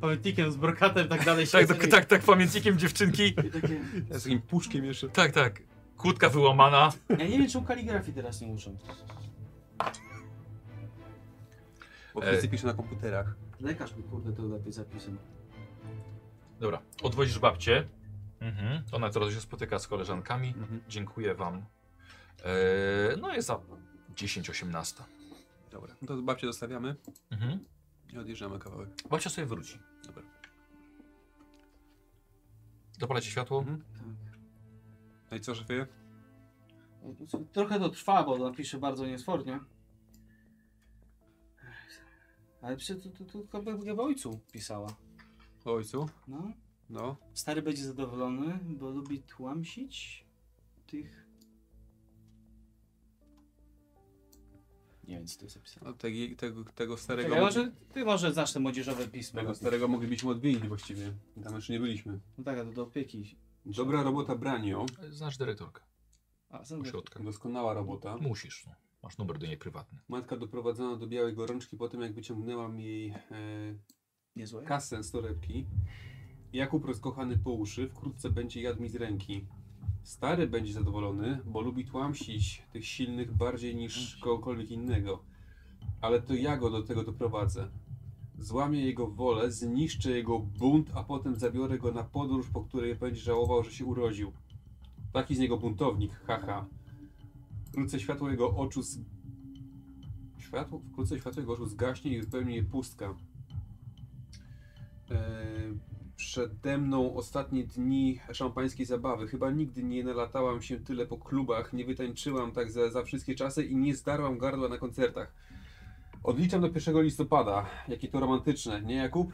F: pamiętnikiem, z brokatem i
A: [laughs]
F: tak dalej
A: Tak,
F: siedzę
A: tak,
F: i-
A: tak, tak, pamiętnikiem [laughs] dziewczynki.
F: i takie-
B: Ja z takim puszkiem jeszcze.
A: Tak, tak. Kłódka wyłamana.
F: Ja nie wiem, czemu kaligrafii teraz nie uczą.
B: Bo
A: E.
B: wszyscy piszą na komputerach.
F: Lekarz mi kurde to lepiej zapisał.
A: Dobra, odwozisz babcię. Mhm. Ona teraz się spotyka z koleżankami.
B: Mhm.
A: Dziękuję wam. Eee, no jest za 10-18.
B: Dobra. No to babcię zostawiamy
A: Mhm.
B: i odjeżdżamy kawałek.
A: Babcia sobie wróci.
B: Dobra.
A: Dopalacie światło?
B: Mhm. No i co, szefie?
F: Trochę to trwa, bo on pisze bardzo niesfornie. Ale przecież to, to, to, to chyba ojcu pisała.
B: O ojcu?
F: No.
B: No.
F: Stary będzie zadowolony, bo lubi tłamsić tych... Nie wiem, co to jest zapisane.
B: no tegi- tego, tego starego...
F: Czekaj, może, ty może znasz te młodzieżowe pisma.
B: Tego starego moglibyśmy odwiedzić właściwie. Tam jeszcze nie byliśmy.
F: No tak, a to do opieki.
B: Dobra robota branio.
A: Znasz dyrektorkę
F: A, są
A: ośrodka.
B: Doskonała robota.
A: Musisz. No. Masz numer do niej prywatny.
C: Matka doprowadzono do białej gorączki po tym, jak wyciągnęłam jej e,
F: niezłe.
C: kasę z torebki. Jakub rozkochany po uszy, wkrótce będzie jadł mi z ręki. Stary będzie zadowolony, bo lubi tłamsić tych silnych bardziej niż kogokolwiek innego. Ale to ja go do tego doprowadzę. Złamię jego wolę, zniszczę jego bunt, a potem zabiorę go na podróż, po której będzie żałował, że się urodził. Taki z niego buntownik, haha. Wkrótce światło jego oczu z... Światło? Wkrótce światło jego oczu zgaśnie i wypełni je pustka. Eee, Przede mną ostatnie dni szampańskiej zabawy. Chyba nigdy nie nalatałam się tyle po klubach, nie wytańczyłam tak za, za wszystkie czasy i nie zdarłam gardła na koncertach. Odliczam do 1 listopada. Jakie to romantyczne, nie Jakub?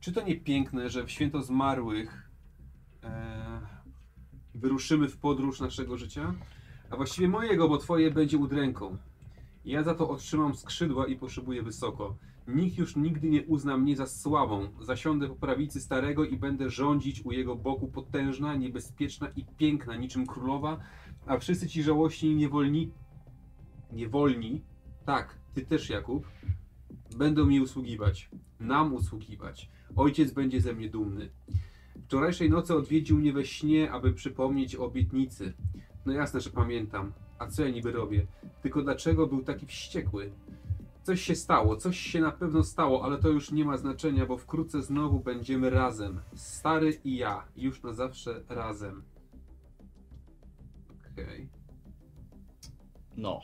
C: Czy to nie piękne, że w święto zmarłych eee, wyruszymy w podróż naszego życia? A właściwie mojego, bo twoje będzie udręką. Ja za to otrzymam skrzydła i poszybuję wysoko. Nikt już nigdy nie uzna mnie za słabą. Zasiądę po prawicy starego i będę rządzić u jego boku potężna, niebezpieczna i piękna, niczym królowa, a wszyscy ci żałośni niewolni... Niewolni? Tak, ty też, Jakub. Będą mi usługiwać. Nam usługiwać. Ojciec będzie ze mnie dumny. Wczorajszej nocy odwiedził mnie we śnie, aby przypomnieć o obietnicy. No jasne, że pamiętam. A co ja niby robię? Tylko dlaczego był taki wściekły? Coś się stało, coś się na pewno stało, ale to już nie ma znaczenia, bo wkrótce znowu będziemy razem. Stary i ja, już na zawsze razem. Okej.
F: No.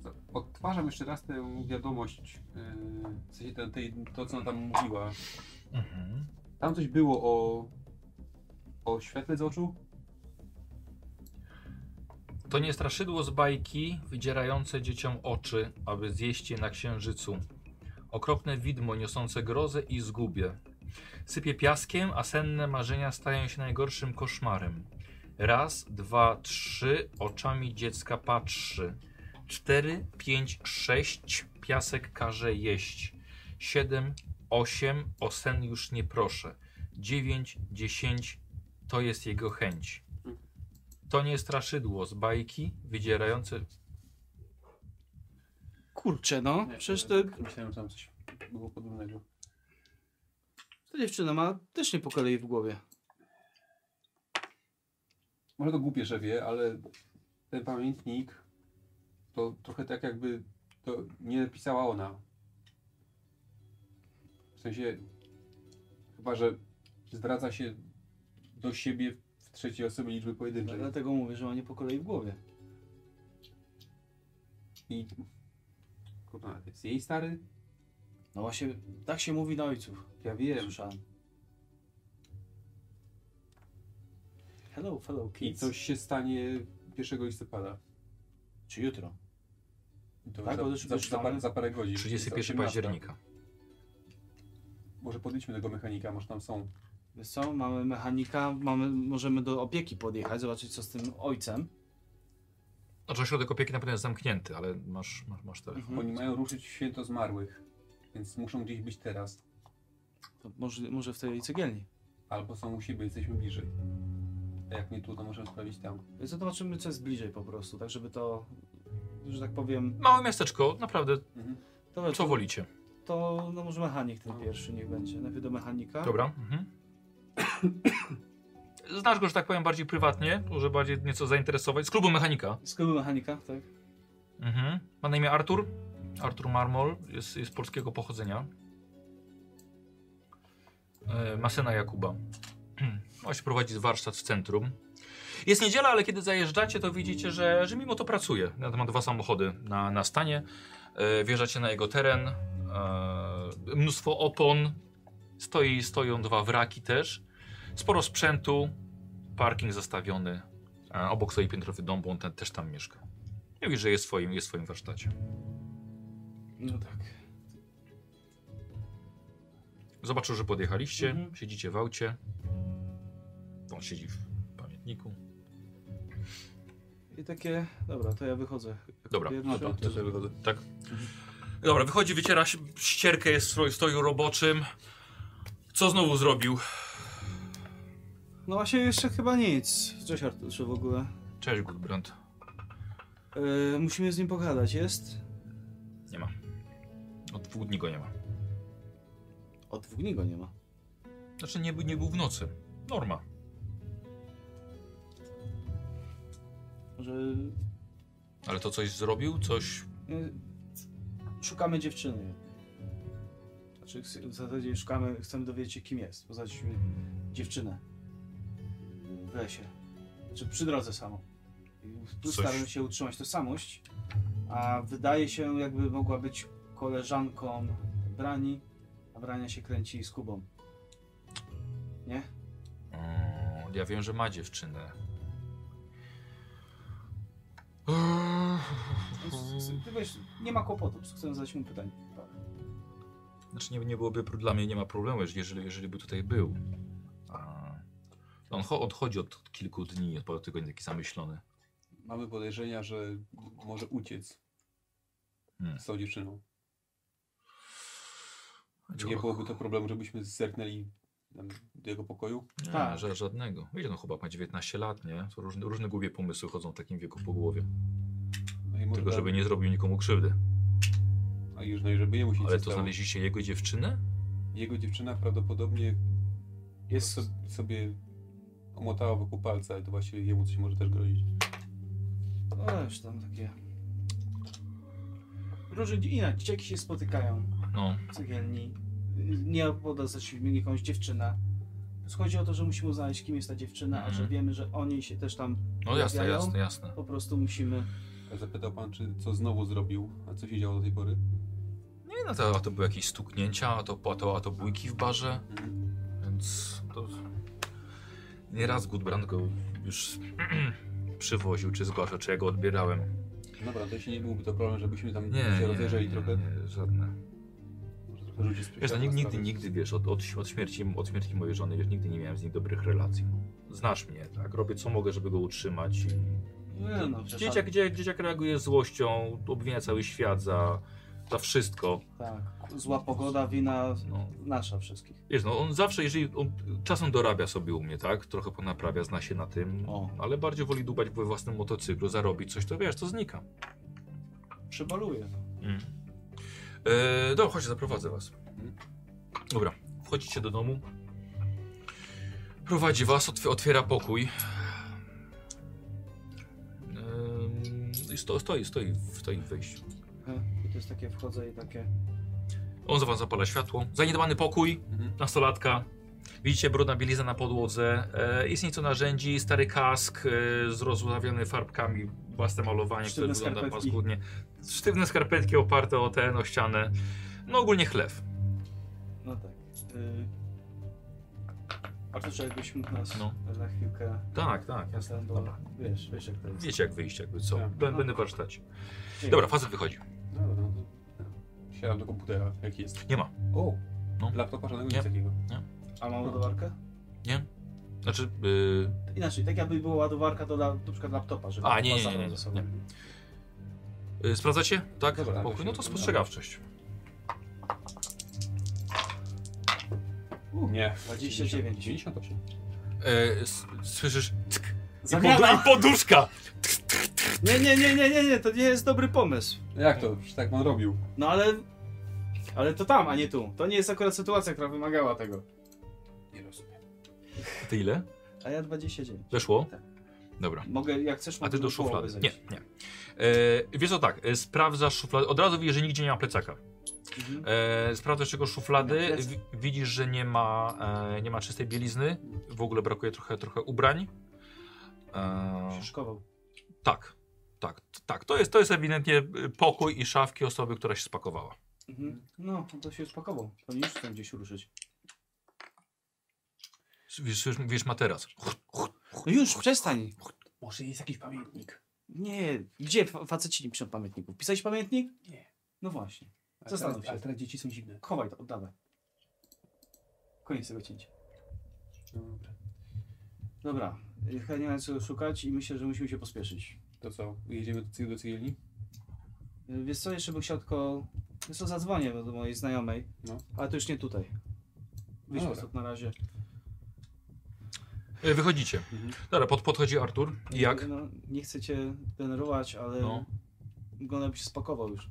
C: Okay. Odtwarzam jeszcze raz tę wiadomość, yy, w sensie ten, tej, to co ona tam mówiła.
A: Mhm.
C: Tam coś było o... o świetle z oczu?
A: To nie straszydło z bajki, wydzierające dzieciom oczy, aby zjeść je na księżycu. Okropne widmo niosące grozę i zgubę. Sypie piaskiem, a senne marzenia stają się najgorszym koszmarem. Raz, dwa, trzy, oczami dziecka patrzy. Cztery, pięć, sześć, piasek każe jeść. Siedem, 8 o sen już nie proszę. 9, 10 to jest jego chęć. To nie straszydło z bajki wydzierające.
B: Kurczę, no. Przecież to,
C: Myślałem, że tam coś było podobnego.
B: ta dziewczyna ma też nie po kolei w głowie.
C: Może to głupie, że wie, ale ten pamiętnik to trochę tak jakby to nie napisała ona. W sensie, chyba że zdradza się do siebie w trzeciej osobie liczby pojedynczej.
B: Dlatego mówię, że ma nie po kolei w głowie.
C: I kurwa, to jest jej stary?
B: No właśnie, tak się mówi na ojców.
C: Ja wiem.
B: Słyszałem. Hello, fellow
C: I
B: kids.
C: coś się stanie 1 listopada.
B: Czy jutro?
C: I To
B: Tak, bo
C: już
B: już
C: za, za, za, parę,
B: wyszłamy.
C: za parę godzin.
A: 31
C: 18.
A: października.
C: Może podliczmy tego mechanika, może tam są.
B: Wiesz co, mamy mechanika, mamy, możemy do opieki podjechać, zobaczyć co z tym ojcem.
A: Znaczy ośrodek opieki na pewno jest zamknięty, ale masz, masz, masz telefon.
B: Mhm.
F: Mhm.
C: Oni mają ruszyć w święto zmarłych, więc muszą gdzieś być teraz.
B: To może, może w tej cegielni.
C: Albo są u siebie, jesteśmy bliżej. A jak nie tu, to możemy sprawić tam.
B: Więc zobaczymy co jest bliżej po prostu, tak żeby to, że tak powiem,
A: Małe miasteczko, naprawdę,
C: Mhm.
B: to,
A: co wolicie.
B: to no może mechanik ten pierwszy niech będzie. Najpierw do mechanika.
A: Dobra. Mhm. Znasz go, że tak powiem, bardziej prywatnie, może bardziej nieco zainteresować. Z klubu mechanika.
B: Z klubu mechanika, tak?
A: Mhm. Ma na imię Artur. Artur Marmol jest, jest polskiego pochodzenia. E, ma syna Jakuba. [clears throat] Oś prowadzi warsztat w centrum. Jest niedziela, ale kiedy zajeżdżacie, to widzicie, że, że mimo to pracuje. Ja ma dwa samochody na, na stanie. E, wjeżdżacie na jego teren. E, mnóstwo opon. Stoi, stoją dwa wraki też. Sporo sprzętu. Parking zostawiony. E, obok stoi piętrowy dom, bo on ten, też tam mieszka. Nie widzisz, że jest w swoim, jest w swoim warsztacie.
B: No tak.
A: Zobaczył, że podjechaliście,
B: Mhm.
A: siedzicie w aucie. On siedzi w pamiętniku.
B: I takie, dobra, to ja wychodzę. Jako
A: Dobra.
B: pierwszy.
C: No to, to sobie wychodzę.
A: Tak? Mhm. Dobra, wychodzi, wyciera się- ścierkę, jest w stroj- stoju roboczym. Co znowu zrobił?
B: No właśnie jeszcze chyba nic. Cześć Arturze w ogóle.
A: Cześć, Gudbrand.
F: E,
B: Yy, musimy z nim pogadać, jest?
A: Nie ma. Od dwóch dni go nie ma.
B: Od dwóch dni go nie ma.
A: Znaczy, nie, był- nie był w nocy. Norma.
B: Może
A: Ale to coś zrobił? Coś...
F: e,
B: yy, szukamy dziewczyny. Znaczy ks- w zasadzie szukamy, chcemy dowiedzieć się kim jest. Poznaliśmy dziewczynę. W lesie. Czy przy drodze samo. Tu
A: Coś-
B: staramy się utrzymać tożsamość, a wydaje się jakby mogła być koleżanką Brani, a Brania się kręci z Kubą. Nie?
A: Mm, ja wiem, że ma dziewczynę. Mhm.
B: Ty wiesz, nie ma kłopotu, chcę zadać mu pytanie.
A: Znaczy nie, nie byłoby pro- dla mnie nie ma problemu, jeżeli- jeżeli, jeżeli by tutaj był. A, on cho- odchodzi od kilku dni, od paru tygodni taki zamyślony.
C: Mamy podejrzenia, że może uciec
A: Hmm.
C: z tą dziewczyną.
A: Cicho-
C: Nie byłoby to problemu, żebyśmy zerknęli tam do jego pokoju.
A: Nie,
B: Tak.
A: ża- żadnego. Wiecie, no chłopak ma 19 lat, nie? To różne, różne głupie pomysły chodzą w takim wieku po głowie.
C: No i może
A: Tylko żeby nie zrobił nikomu krzywdy.
C: A już, no i żeby jemu się
A: Ale
C: nie
A: to
C: stało.
A: znaleźliście jego dziewczynę?
C: Jego dziewczyna prawdopodobnie
B: Jest
C: so, sobie omotała wokół palca i to właściwie jemu coś może też grozić.
B: No już tam takie. Różne inaczej dzieciaki się spotykają
A: No.
B: w cegielni. Nie poda za siebie jakąś dziewczynę. Więc Chodzi o to, że musimy znaleźć, kim jest ta dziewczyna, a że
A: Mhm.
B: wiemy, że oni się też tam
A: No jasne,
B: Pojawiają?
A: jasne, jasne.
B: po prostu musimy.
C: A Zapytał pan, czy co znowu zrobił, a co się działo do tej pory?
A: Nie no, to, a to były jakieś stuknięcia, a to, a to, a to bójki w barze.
C: Mhm.
A: Więc to... Nieraz Gudbrand go już [clears throat] przywoził, czy zgłaszał, czy ja go odbierałem.
C: Dobra, to jeśli nie byłby to problem, żebyśmy tam
A: Nie,
C: się
A: nie,
C: rozejrzeli
A: nie,
C: trochę.
A: nie, żadne.
C: Może trochę rzucić spojrzenie
A: Wiesz, no,
C: na
A: nigdy, nigdy,
C: sprawę.
A: nigdy, wiesz, od, od, od, śmierci, od śmierci mojej żony, wiesz, nigdy nie miałem z nim dobrych relacji. Znasz mnie, tak? Robię co mogę, żeby go utrzymać. I...
B: Nie no,
A: Dzieciak, dzieciak, dzieciak reaguje złością, obwinia cały świat za, za wszystko.
F: Tak. Zła pogoda, wina
A: No.
F: nasza wszystkich.
A: Wiesz, no on zawsze, jeżeli on czasem dorabia sobie u mnie, tak? Trochę ponaprawia, zna się na tym,
F: O.
A: ale bardziej woli dubać we własnym motocyklu, zarobić coś, to wiesz, to znika.
F: Przebaluje.
A: Mm. E, dobra, chodźcie, zaprowadzę was. Dobra, wchodzicie do domu. Prowadzi was, otw otwiera pokój. Ym, i sto stoi, stoi, stoi w wejściu.
F: E, I to jest takie wchodzę i takie.
A: On za wam zapala światło. Zaniedbany pokój,
C: Mhm.
A: nastolatka. Widzicie brudna bieliza na podłodze. E, jest nieco narzędzi, stary kask e, zrozławiony farbkami, własne malowanie, które
B: Sztywne
A: wygląda
B: skarpetki.
A: paskudnie. Sztywne skarpetki oparte o tę, o ścianę. No ogólnie chlew.
F: No tak. Y... A to, że jakbyś mógł nas
A: No.
F: na chwilkę.
A: Tak, tak, jasne.
F: Bo,
A: Dobra.
F: Wiesz, wiesz jak to jest.
A: Wiecie jak wyjść, jakby co.
C: Tak.
A: Bę- Będę warsztać.
F: Dzięki.
A: Dobra, facet wychodzi.
C: No dobra, no to... no. Siadam do komputera, jaki jest.
A: Nie ma.
C: O!
A: No.
C: Laptopa żadnego,
A: Nie.
C: nic takiego.
F: A
A: No.
F: mam ładowarkę?
A: Znaczy, yy,
F: Inaczej, tak jakby była ładowarka to dla, na przykład laptopa, żeby
A: A, nie, nie,
F: zabrał
A: nie, nie,
F: ze sobą.
A: yy, sprawdzacie? Tak?
C: Dobra,
A: Pokój. No to
C: dobra.
A: spostrzegawczość.
C: Nie.
F: 29.
C: 98.
A: Yy, s- słyszysz? Tk, i,
F: Zamiana!
A: podu- I [laughs] poduszka!
F: Nie, nie, nie, nie, nie, nie, to nie jest dobry pomysł.
C: Jak to? Przecież tak pan robił.
F: No ale. Ale to tam, a nie tu. To nie jest akurat sytuacja, która wymagała tego.
C: Nie rozumiem.
A: Ty ile?
F: A ja 29.
A: Weszło?
F: Tak.
A: Dobra.
F: Mogę, jak chcesz,
A: A
B: Znaczy,
F: mogę
A: ty do
F: do połowy
A: szuflady. Nie,
F: zejść.
A: nie. Yy, wiesz co, tak, yy, sprawdzasz szufladę. Od razu widzisz, że nigdzie nie ma plecaka.
F: Mhm.
A: E, sprawdzasz jego szuflady,
F: Na plecach.
A: wi- widzisz, że nie ma, e, nie ma czystej bielizny, w ogóle brakuje trochę, trochę ubrań. E,
F: Się szkował.
A: Tak, tak, t- tak. To jest, to jest ewidentnie y, pokój i szafki osoby, która się spakowała.
F: Mhm. No, to się spakował. To już chcę gdzieś ruszyć.
A: S- Wiesz, wiesz, wiesz materac.
F: No już, przestań.
D: Może jest jakiś pamiętnik.
F: Nie, gdzie fa- faceci nie piszą pamiętników? Pisałeś pamiętnik?
D: Nie.
F: No właśnie.
D: Ale
F: Zastanów
D: teraz-
F: się.
D: Ale teraz dzieci są dziwne.
F: Chowaj to, oddawaj. Koniec tego cięcia.
C: No Dobra.
F: Dobra, y, chyba nie ma co szukać i myślę, że musimy się pospieszyć.
C: To co? Jedziemy do, cy- do cygielni?
F: Y, Wiesz co, jeszcze bym chciał tylko... Wiesz co, zadzwonię do do mojej znajomej,
C: No.
F: ale to już nie tutaj. Wyjdź
C: dobra.
F: no stąd na razie.
A: E, Wychodzicie.
C: Mhm.
A: Dobra, pod, podchodzi Artur. I jak?
F: No, nie chcę cię denerwować, ale
A: No.
F: no. wygląda byś spakował już.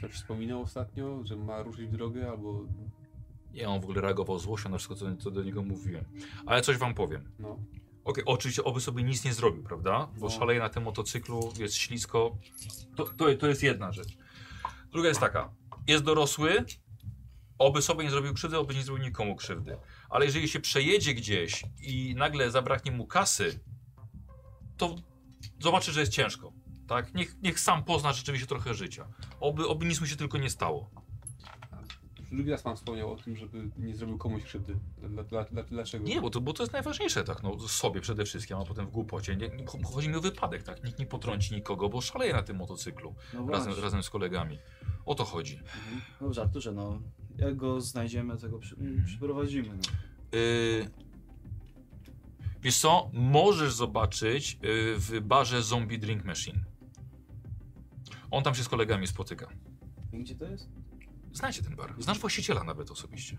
C: Coś wspominał ostatnio, że ma ruszyć w drogę albo...
A: Nie, on w ogóle reagował złośliwie na wszystko, co, co do niego mówiłem. Ale coś wam powiem.
C: No.
A: Okej, oczywiście oby sobie nic nie zrobił, prawda? Bo
C: No.
A: szaleje na tym motocyklu, jest ślisko. To, to, to jest jedna rzecz. Druga jest taka. Jest dorosły, oby sobie nie zrobił krzywdy, oby nie zrobił nikomu krzywdy. Ale jeżeli się przejedzie gdzieś i nagle zabraknie mu kasy, to zobaczy, że jest ciężko. Tak? Niech, niech sam pozna rzeczywiście trochę życia. Oby, oby nic mu się tylko nie stało.
C: Drugi raz pan wspomniał o tym, żeby nie zrobił komuś krzywdy. Dla, dla, dla, dlaczego?
A: Nie, bo to, bo to jest najważniejsze, tak, no, sobie przede wszystkim, a potem w głupocie. Nie, nie, chodzi mi o wypadek, tak, nikt nie potrąci nikogo, bo szaleje na tym motocyklu
F: No
A: razem,
F: właśnie.
A: razem z kolegami. O to chodzi.
F: Dobrze, Arturze, Mhm. no. Jak go znajdziemy, to go przy, przyprowadzimy. No.
A: Yy, wiesz co, możesz zobaczyć yy, w barze Zombie Drink Machine. On tam się z kolegami spotyka.
F: I Gdzie to jest?
A: Znacie ten bar, znasz właściciela nawet osobiście.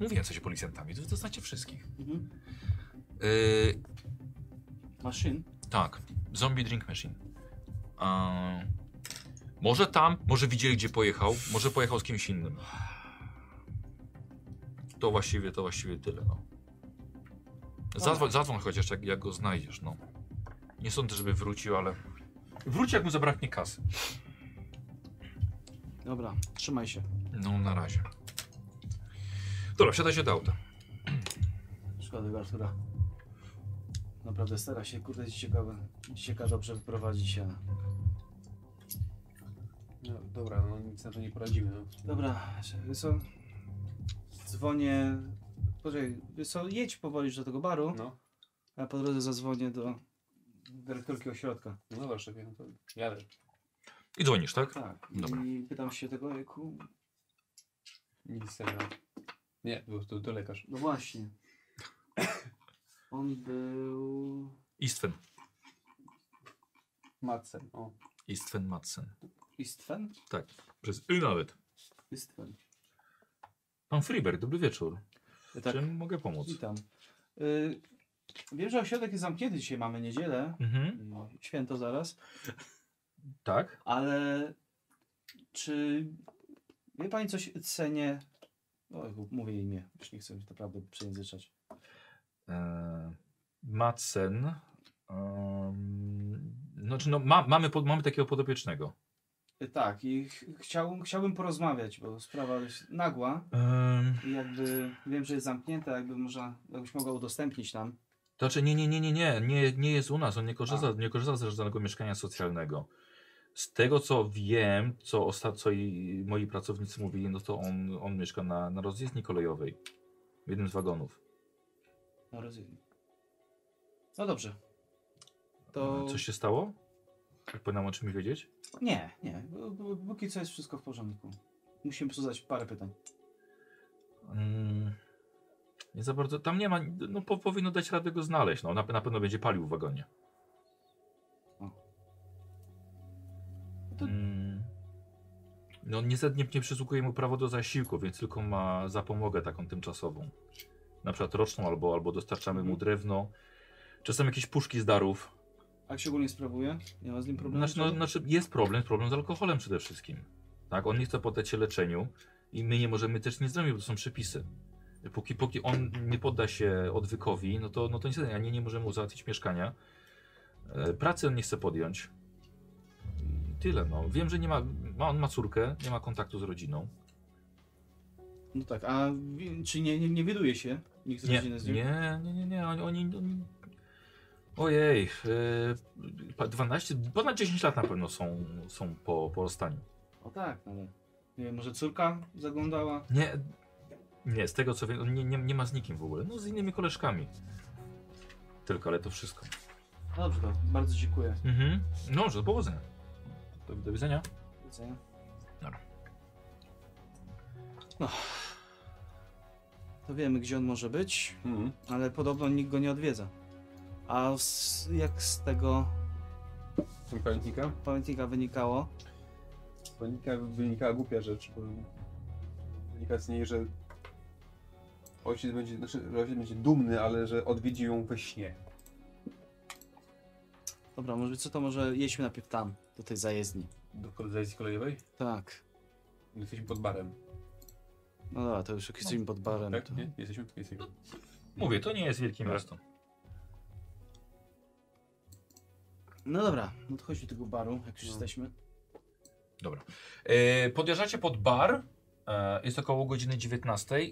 A: Mówiłem coś o policjantami, to, to znacie wszystkich.
F: Mhm.
A: Yy,
F: Maszyn?
A: Tak, Zombie Drink Machine. A, może tam, może widzieli gdzie pojechał, może pojechał z kimś innym. To właściwie, to właściwie tyle, no. Zadzwoń, zadzwoń chociaż, jak, jak go znajdziesz, no. Nie sądzę, żeby wrócił, ale... Wróci, jak mu zabraknie kasy.
F: Dobra, trzymaj się.
A: No, na razie. Dobra, wsiadajcie do auta.
F: Szkoda tego Artura. Naprawdę stara się, kurde, dzieciaka, dzieciaka dobrze wyprowadzić się.
C: No, dobra, no nic na to nie poradzimy. No.
F: Dobra, wiesz co? Dzwonię... Poczekaj, wiesz co, jedź powoli już do tego baru,
C: No,
F: a po drodze zadzwonię do dyrektorki ośrodka.
C: no dobra, szefie, no to jadę.
A: I dzwonisz, tak?
F: Tak,
A: Dobra.
F: i pytam się tego, jaku...
C: Nic nie ma. Nie, bo to, to lekarz.
F: No właśnie. [coughs] On był...
A: Istven.
C: Madsen, o.
A: I Sven Madsen.
F: Istven?
A: Przez Y nawet.
F: Istven.
A: Pan Friberg, dobry wieczór.
F: Tak.
A: Czym mogę pomóc?
F: Witam. Y, wiem, że ośrodek jest zamknięty dzisiaj, mamy niedzielę.
A: Mhm.
F: y, Święto zaraz.
A: Tak?
F: Ale czy wie pani coś o cenie? O, mówię imię, już nie chcę naprawdę przejęzyczać.
A: E, Madsen. Um, znaczy no, ma, mamy, pod, mamy takiego podopiecznego.
F: Y, Tak, i ch chciałbym, chciałbym porozmawiać, bo sprawa jest nagła
A: Em,
F: i jakby wiem, że jest zamknięta, jakby można, jakbyś mogła udostępnić nam.
A: To znaczy, nie, nie, nie, nie, nie, nie, nie jest u nas, on nie korzysta, nie korzysta z żadnego mieszkania socjalnego. Z tego co wiem, co ostatnio i moi pracownicy mówili, no to on, on mieszka na, na rozjezdni kolejowej, w jednym z wagonów.
F: No rozumiem. No dobrze. To...
A: E, Coś się stało? Jak powinnam o czym wiedzieć?
F: Nie, nie. bo- bo- Póki co jest wszystko w porządku. Musimy zadać parę pytań.
A: Mm, nie za bardzo, tam nie ma, no po, powinno dać radę go znaleźć, no na, na pewno będzie palił w wagonie.
F: O. To-
A: Mm, no niestety nie, nie przysługuje mu prawo do zasiłku, więc tylko ma zapomogę taką tymczasową. Na przykład roczną albo, albo dostarczamy mu drewno. Czasem jakieś puszki z darów.
F: Jak się ogólnie sprawuje? Nie ma z nim problemu?
A: Znaczy, no, znaczy jest problem, problem z alkoholem przede wszystkim. Tak, on nie chce poddać się leczeniu i my nie możemy też nic zrobić, bo to są przepisy. Póki, póki on nie podda się odwykowi, no to, no to niestety ani nie możemy mu załatwić mieszkania. E, Pracy on nie chce podjąć. I tyle, no. Wiem, że nie ma, ma, on ma córkę, nie ma kontaktu z rodziną.
F: no tak, a wi- czy nie, nie, nie widuje się nikt z
A: Nie,
F: rodziny z nim?
A: nie, nie, nie, nie. Oni, oni, oni... Ojej, e, pa- 12, ponad 10 lat na pewno są, są po, po rozstaniu.
F: O tak, ale nie wiem, może córka zaglądała?
A: Nie, nie, z tego co wiem, on nie, nie, nie ma z nikim w ogóle. No z innymi koleżkami. Tylko, ale to wszystko.
F: No dobrze, to bardzo dziękuję.
A: Mhm. No, że do powodzenia. Do, do widzenia.
F: Do widzenia.
A: Dobra.
F: No. To wiemy, gdzie on może być,
C: Mhm.
F: ale podobno nikt go nie odwiedza. A z, jak z tego
C: Ten pamiętnika?
F: pamiętnika wynikało,
C: Z pamiętnika wynikała głupia rzecz, bo wynika z niej, że ojciec będzie, znaczy, że ojciec będzie dumny, ale że odwiedzi ją we śnie.
F: Dobra, może co to może jedźmy najpierw tam, do tej zajezdni.
C: Do kolizji kolejowej?
F: Tak.
C: Jesteśmy pod barem.
F: No dobra, to już jak jesteśmy pod barem.
C: Tak?
F: To...
C: Nie? Jesteśmy? Jesteśmy.
A: Mówię, to nie jest wielkie miasto.
F: No dobra, no to chodź do tego baru, jak już jesteśmy.
A: Tak. E, podjeżdżacie pod bar. E, jest około godziny 19. E,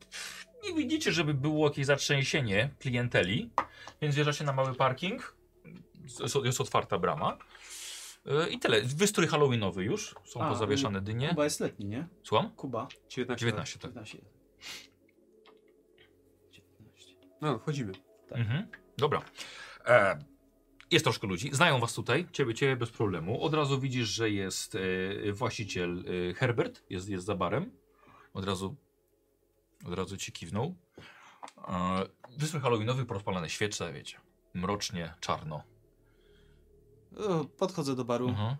A: pff, nie widzicie, żeby było jakieś zatrzęsienie klienteli, więc wjeżdżacie na mały parking. Jest, jest otwarta brama. E, I tyle. Wystrój halloweenowy już. Są
F: A,
A: pozawieszane dynie.
F: Kuba jest letni, nie?
A: Słucham?
F: Kuba.
C: 19.
A: 19, tak.
F: 19. 19.
C: No, wchodzimy.
A: Mhm. Dobra. E, jest troszkę ludzi. Znają was tutaj, ciebie, ciebie bez problemu. Od razu widzisz, że jest e, właściciel e, Herbert, jest, jest za barem. Od razu, od razu ci kiwnął. E, Wysłuch halloweenowy, porozpalane świece, wiecie. Mrocznie, czarno.
F: O, E, Podchodzę do baru.
A: Mhm.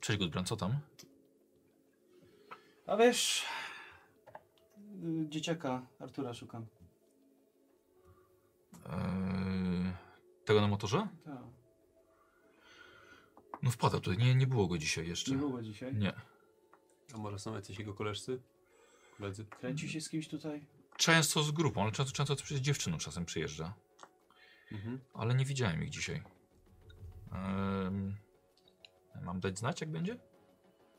A: Cześć Gudbrand, co tam?
F: A wiesz, y, dzieciaka Artura szukam.
A: E, tego na motorze?
F: Tak,
A: No wpada tutaj, nie, nie było go dzisiaj
F: nie
A: jeszcze.
F: było dzisiaj.
A: Nie.
C: A może są jacyś jego koleżcy? Koledzy?
F: Kręcił się z kimś tutaj?
A: Często z grupą, ale często, często z dziewczyną czasem przyjeżdża.
C: Mhm.
A: ale nie widziałem ich dzisiaj. Em, mam dać znać, jak będzie?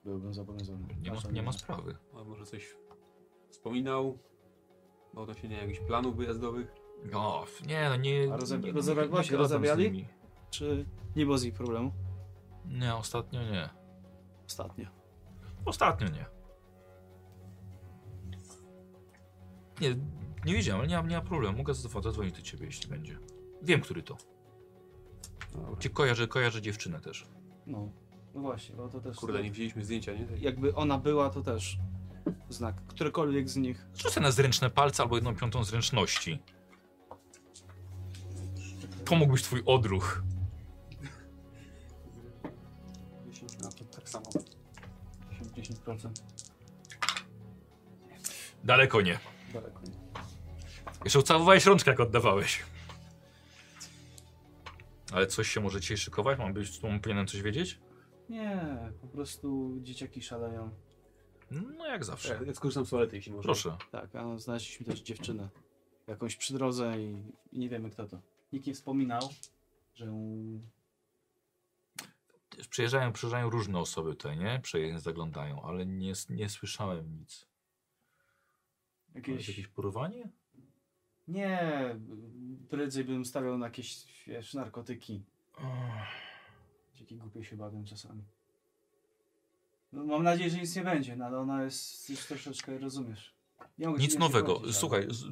F: Byłbym zobowiązany.
A: Nie ma, nie ma sprawy.
C: A może coś wspominał? Odnośnie jakichś planów wyjazdowych?
A: No, f- nie, no nie.
F: A rozebra-
A: nie-
F: rozebra-
A: nie- nie
F: się
A: gadam z
F: rozebrali?
A: nimi.
F: Czy nie było z nich problemu?
A: Nie, ostatnio nie.
F: Ostatnio.
A: Ostatnio nie. Nie, nie widziałem, ale nie, ma- nie ma problemu. Mogę zadzwo- zadzwonić do ciebie, jeśli będzie. Wiem, który to. Cię kojarzę, kojarzę dziewczynę też.
F: No, no właśnie, bo to też...
C: Kurde, nie widzieliśmy zdjęcia, nie?
F: Jakby ona była, to też znak. Którykolwiek z nich.
A: Rzucę na zręczne palce albo jedną piątą zręczności. To mógł być twój odruch.
F: współpracę.
A: Daleko nie.
C: Daleko.
A: Jeszcze ucałowałeś rączkę, jak oddawałeś. Ale coś się może dzisiaj szykować? Mam być, tu powinienem coś wiedzieć?
F: Nie, po prostu dzieciaki szaleją.
A: No jak zawsze.
C: Ja skorzystam z toalety, jeśli można.
A: Proszę.
F: Tak, a znaleźliśmy też dziewczynę. Jakąś przy drodze i, i nie wiemy kto to. Nikt nie wspominał, że ją
A: Przyjeżdżają, przyjeżdżają różne osoby tutaj, nie? Przejeżdżają, zaglądają, ale nie, s- nie słyszałem nic. Jakieś... Jest
F: jakieś...
A: jakieś porwanie?
F: Nie, prędzej bym stawiał na jakieś, wiesz, narkotyki. Dzięki głupie się bawią czasami. No, mam nadzieję, że nic nie będzie, no ale ona jest już troszeczkę, rozumiesz. Nie mogę ci
A: Nic
F: nie
A: nowego.
F: przygodzić, ale-
A: Słuchaj, z,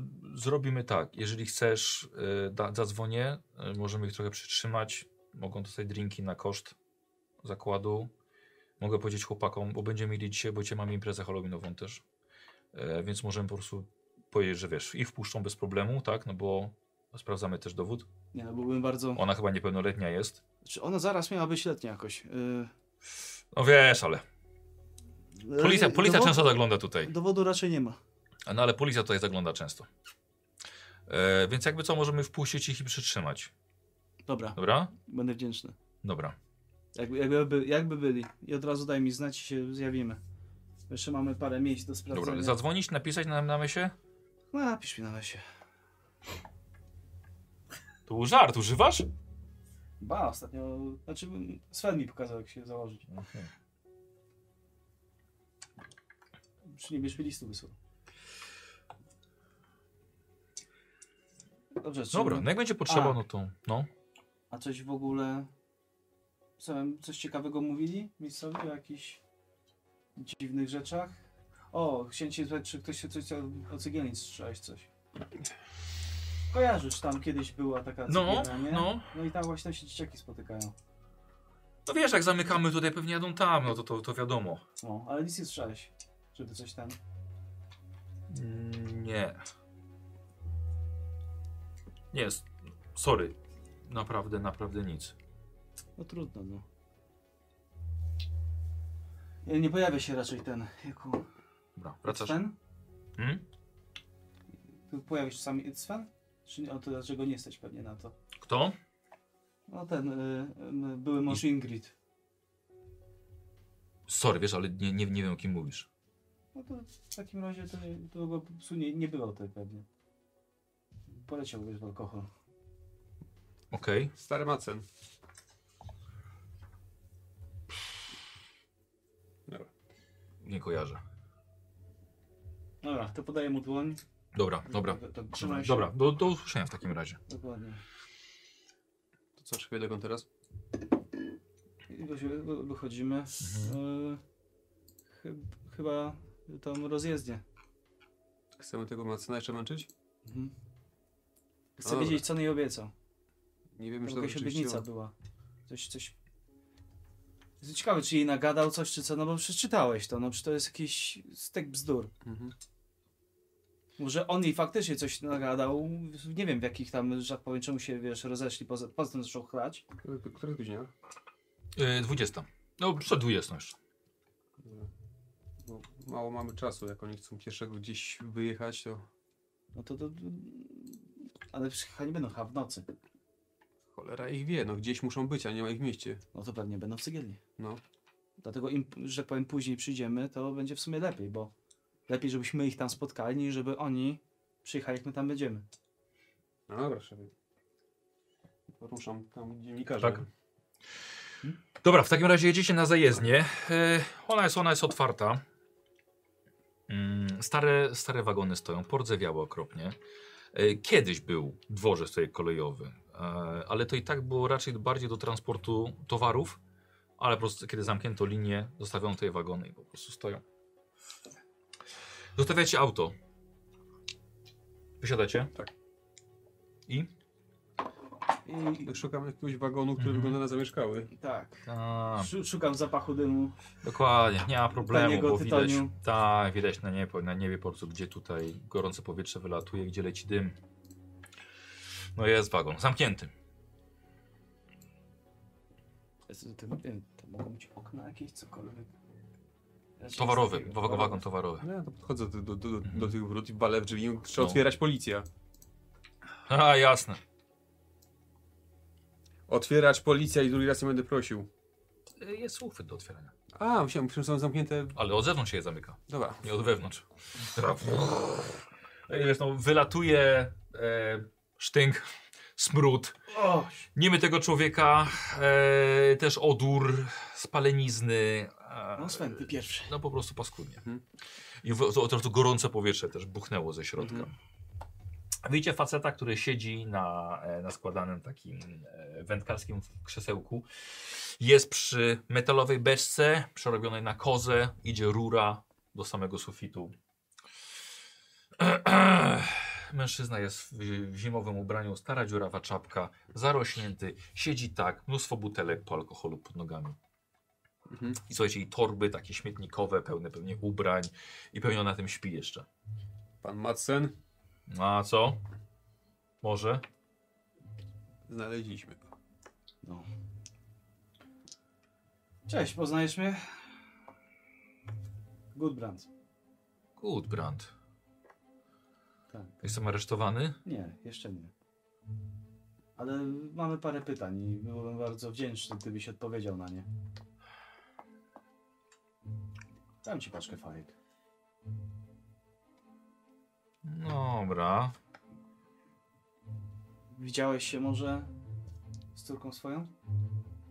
A: zrobimy tak. Jeżeli chcesz, y, da, zadzwonię. y, Możemy ich trochę przytrzymać. Mogą dostać drinki na koszt zakładu. Mogę powiedzieć chłopakom, bo będziemy mieli dzisiaj, bo cię mamy imprezę Halloweenową też. E, więc możemy po prostu powiedzieć, że wiesz, ich wpuszczą bez problemu, tak? No bo sprawdzamy też dowód.
F: Nie no, byłbym bardzo...
A: Ona chyba niepełnoletnia jest.
F: Czy ona zaraz miała być letnia jakoś? Yy...
A: No wiesz, ale policja,
F: Yy,
A: policja
F: dowo-
A: często zagląda tutaj.
F: Dowodu raczej nie ma.
A: No ale policja tutaj zagląda często. E, więc jakby co, możemy wpuścić ich i przytrzymać.
F: Dobra,
A: Dobra?
F: będę wdzięczny.
A: Dobra.
F: Jakby, jakby, jakby byli. I od razu daj mi znać i się zjawimy. Jeszcze mamy parę miejsc do sprawdzenia.
A: Dobra. Zadzwonić, napisać nam na myśie?
F: No, napisz mi na lesie.
A: To był żart, używasz?
F: Ba, ostatnio... Znaczy, m, Sven mi pokazał, jak się założyć. Czy nie będziesz mi listu wysłał? Dobrze, czy...
A: Dobra, no jak będzie potrzeba,
F: A.
A: no to. No.
F: A coś w ogóle... Sam coś ciekawego mówili miejscowi o jakichś dziwnych rzeczach? O, chciałem cię zapytać, czy ktoś się coś o- o cegielnic strzelałeś coś? Kojarzysz, tam kiedyś była taka
A: No,
F: cegielnia, nie?
A: no.
F: No i tam właśnie się dzieciaki spotykają.
A: No wiesz, jak zamykamy tutaj, pewnie jadą tam, no to, to, to wiadomo.
F: No, ale nic nie słyszałeś, żeby coś tam...
A: Mm, Nie. Nie, s- sorry. Naprawdę, naprawdę nic.
F: No trudno, no. Nie, nie pojawia się raczej ten, jaku...
A: Dobra, wracasz.
F: Sven?
A: Hmm?
F: Tu pojawi się czasami Itzfen? Czy nie, o to dlaczego nie jesteś pewnie na to?
A: Kto?
F: No ten, y, y, były mąż Ingrid.
A: Sorry, wiesz, ale nie, nie, nie wiem o kim mówisz.
F: No to w takim razie to, nie- to go po prostu nie, nie było tutaj pewnie. Poleciał wiesz, w alkohol.
A: Okej.
C: Stary Macen.
A: Nie kojarzę.
F: Dobra, to podaję mu dłoń.
A: Dobra, dobra.
F: To, to trzymaj się.
A: Dobra, do, do usłyszenia w takim razie.
F: Dokładnie.
C: To co, szykuje dokąd teraz?
F: I wy- wy- Wychodzimy.
A: Mhm.
F: Y, chyb- chyba tą rozjezdnię.
C: Chcemy tego Macena jeszcze męczyć?
F: Mhm. Chcę
C: dobra.
F: wiedzieć, co on jej obiecał.
C: Nie wiemy, czy to
F: Jakaś
C: rzeczywiście...
F: obietnica była. Coś, coś... Jestem ciekawy, czy jej nagadał coś, czy co, no bo przeczytałeś to, no przecież to jest jakiś stek bzdur.
C: Mhm.
F: Może on jej faktycznie coś nagadał, nie wiem w jakich tam, że tak powiem, czemu się, wiesz, rozeszli, poza, poza tym zaczął chlać.
C: Które- Która jest godzina?
A: Yy, 20. No, przed 20 jeszcze.
C: Bo mało mamy czasu, jak oni chcą pierwszego gdzieś wyjechać, to
F: No to, to... Ale przecież chyba nie będą chyba w nocy.
C: cholera ich wie, no gdzieś muszą być, a nie ma ich w mieście.
F: No to pewnie będą w Cegielni.
C: No.
F: Dlatego im, że tak powiem, później przyjdziemy, to będzie w sumie lepiej, bo lepiej, żebyśmy ich tam spotkali, niż żeby oni przyjechali, jak my tam będziemy.
C: No dobra, szefie. Ruszam tam, gdzie mi każą.
A: Tak. Dobra, w takim razie jedziecie na zajezdnię. E, ona, jest, ona jest otwarta. Mm, stare, stare wagony stoją, pordzewiały okropnie. E, kiedyś był dworzec tutaj kolejowy, e, ale to i tak było raczej bardziej do transportu towarów, ale po prostu kiedy zamknięto linię, zostawiono tutaj wagony i po prostu stoją. Zostawiacie auto. Wysiadacie?
C: Tak.
A: I?
F: I,
C: Szukam jakiegoś wagonu, który
A: Mhm.
C: wygląda na zamieszkały.
F: i tak.
A: A,
F: Szu- Szukam zapachu dymu.
A: Dokładnie, nie ma problemu,
F: Taniego
A: bo widać,
F: tytoniu.
A: tak, widać na niebie, na niebie po prostu, gdzie tutaj gorące powietrze wylatuje, gdzie leci dym. No jest wagon, zamknięty.
F: Jezu, to, nie wiem, to mogą być okna jakieś, cokolwiek.
B: Raczej
A: Towarowy,
B: nic takiego.
A: wagon, wagon towarowy.
C: No ja to podchodzę do, do, do, do tych wrót i balę w drzwi. Trzeba
A: Mhm. No.
C: otwierać policja.
A: A, jasne.
C: Otwierać policja i drugi raz nie będę prosił.
A: Y, Jest uchwyt do otwierania.
C: A, myślałem, że są zamknięte.
A: Ale od zewnątrz się je zamyka,
C: Dobra.
A: nie od wewnątrz. No i Wiesz, no, wylatuje e, sztynk, smród.
B: O,
A: Niemy tego człowieka, e, też odór, spalenizny. E,
B: no Sven, ty pierwszy.
A: No po prostu paskudnie.
C: Mhm.
A: I w- to- od razu gorące powietrze też buchnęło ze środka. Widzicie faceta, który siedzi na, e, na składanym takim e, wędkarskim krzesełku. Jest przy metalowej beczce przerobionej na kozę. Idzie rura do samego sufitu. [clears throat] Mężczyzna jest w, w zimowym ubraniu, stara dziurawa czapka, zarośnięty. Siedzi tak, mnóstwo butelek po alkoholu pod nogami.
C: Mhm.
A: I słuchajcie, i torby takie śmietnikowe, pełne pewnie ubrań. I pewnie on na tym śpi jeszcze.
C: Pan Madsen,
A: No a co? Może?
C: znaleźliśmy go.
B: Cześć, poznajesz mnie? Goodbrand.
A: Gudbrand.
B: Tak.
A: Jestem aresztowany?
B: Nie, jeszcze nie. Ale mamy parę pytań i byłbym bardzo wdzięczny, gdybyś odpowiedział na nie. Dam ci paczkę fajek.
A: Dobra.
B: Widziałeś się może z córką swoją?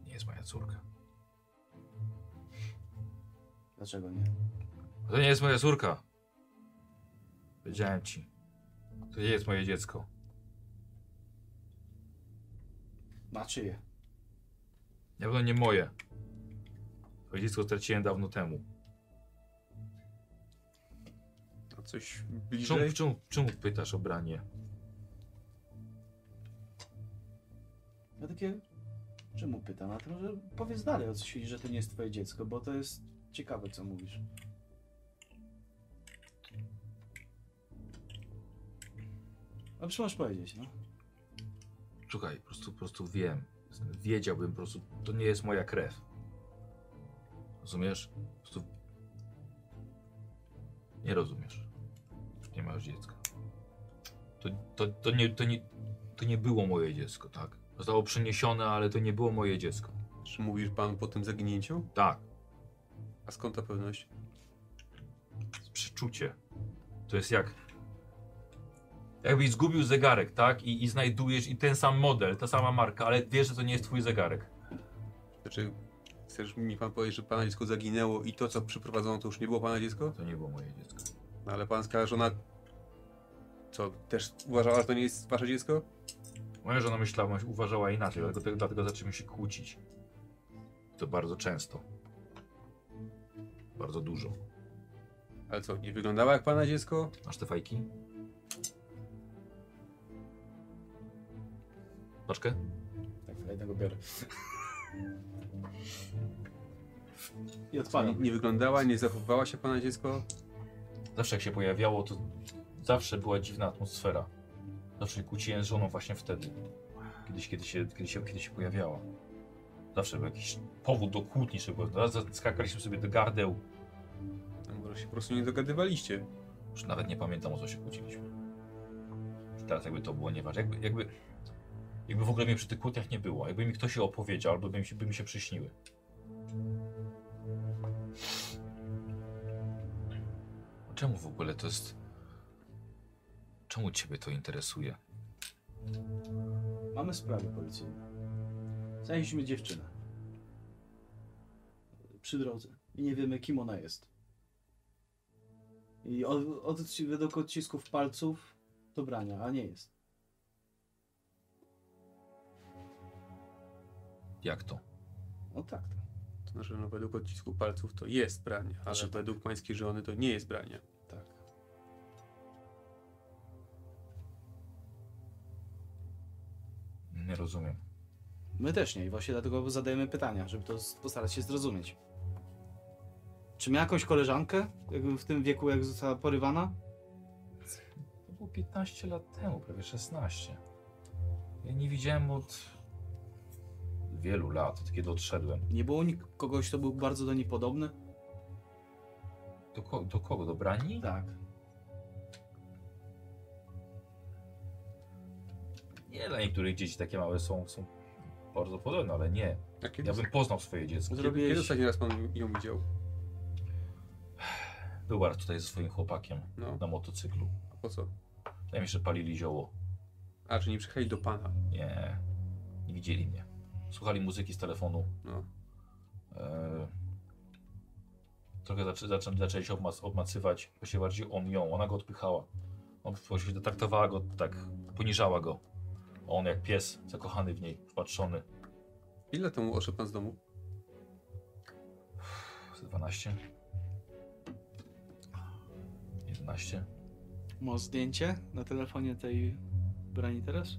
A: Nie jest moja córka.
B: Dlaczego nie?
A: To nie jest moja córka. Powiedziałem ci. To nie jest moje dziecko.
B: Na czyje?
A: Na pewno nie moje. Twoje dziecko straciłem dawno temu.
C: A No, coś
A: Czemu,
C: bliżej?
A: czemu, czemu pytasz o branie?
B: Ja takie... Czemu pytam? A to może powiedz dalej o co się że to nie jest twoje dziecko, bo to jest ciekawe co mówisz. A przecież możesz powiedzieć, no.
A: Słuchaj, po prostu, po prostu wiem. Jestem- Wiedziałbym po prostu, to nie jest moja krew. Rozumiesz? Po prostu... Nie rozumiesz. Nie masz dziecka. To, to, to, nie, to, nie, to nie było moje dziecko, tak? Zostało przeniesione, ale to nie było moje dziecko.
C: Czy mówisz pan po tym zaginięciu?
A: Tak,
C: A skąd ta pewność?
A: przeczucie. To jest jak... Jakbyś zgubił zegarek, tak? I, I znajdujesz i ten sam model, ta sama marka, ale wiesz, że to nie jest twój zegarek.
C: Znaczy, chcesz mi pan powiedzieć, że pana dziecko zaginęło i to, co przyprowadzono, to już nie było pana dziecko?
A: To nie było moje dziecko.
C: No ale pańska żona... Co, też uważała, że to nie jest wasze dziecko?
A: Moja żona myślała, uważała inaczej, dlatego, te- dlatego zaczęliśmy się kłócić. To bardzo często. Bardzo dużo.
C: Ale co, nie wyglądała jak pana dziecko?
A: Masz te fajki? Paczkę?
B: Tak, ja jednego biorę. I
C: Nie,
B: odpalam.
C: nie wyglądała, nie zachowywała się pana dziecko?
A: Zawsze jak się pojawiało, to zawsze była dziwna atmosfera. Zawsze się kłóciłem z żoną właśnie wtedy. Kiedyś, kiedy się, kiedy się, kiedy się pojawiała. Zawsze był jakiś powód do kłótni, żeby... Raz skakaliśmy sobie do gardeł.
C: No, może się po prostu nie dogadywaliście.
A: Już nawet nie pamiętam o co się kłóciliśmy. Już Teraz jakby to było nieważne. Jakby, jakby, jakby w ogóle mnie przy tych kłótniach nie było. Jakby mi ktoś je opowiedział, albo by mi się, by mi się przyśniły. Czemu w ogóle to jest... Czemu ciebie to interesuje?
B: Mamy sprawy policyjne. Znaleźliśmy dziewczynę. Przy drodze. I nie wiemy, kim ona jest. I od, od, według odcisków palców to brania, a nie jest.
A: Jak to?
B: No tak. tak.
C: To znaczy, no według odcisku palców to jest branie, ale
B: Znaczy-
C: według pańskiej żony to nie jest branie.
B: Tak.
A: Nie rozumiem.
B: My też nie i właśnie dlatego zadajemy pytania, żeby to s- postarać się zrozumieć. Czy miała jakąś koleżankę jakby w tym wieku, jak została porywana?
A: To było 15 lat temu, prawie 16. Ja nie widziałem od wielu lat, od kiedy odszedłem.
B: Nie było nik- kogoś, kto był bardzo do niej podobny?
A: Do, ko do kogo? Do brani?
B: Tak.
A: Nie, dla niektórych dzieci takie małe są, są bardzo podobne, ale nie.
C: A kiedy,
A: Ja bym poznał swoje dziecko.
C: zrobię, kiedy ostatni raz pan ją widział?
A: Była tutaj ze swoim chłopakiem
C: No,
A: na motocyklu.
C: a po co?
A: Tam jeszcze palili zioło.
C: A, czy nie przyjechali do pana?
A: Nie, nie widzieli mnie. Słuchali muzyki z telefonu.
C: No.
A: E, trochę zaczę, zaczę, zaczęli się obmac, obmacywać, bo się bardziej on ją, ona go odpychała. On właściwie traktowała go tak, poniżała go. A On jak pies, zakochany w niej, wpatrzony.
C: Ile temu odszedł pan z domu?
A: Uff, 12. 11.
F: Masz zdjęcie na telefonie tej brani teraz?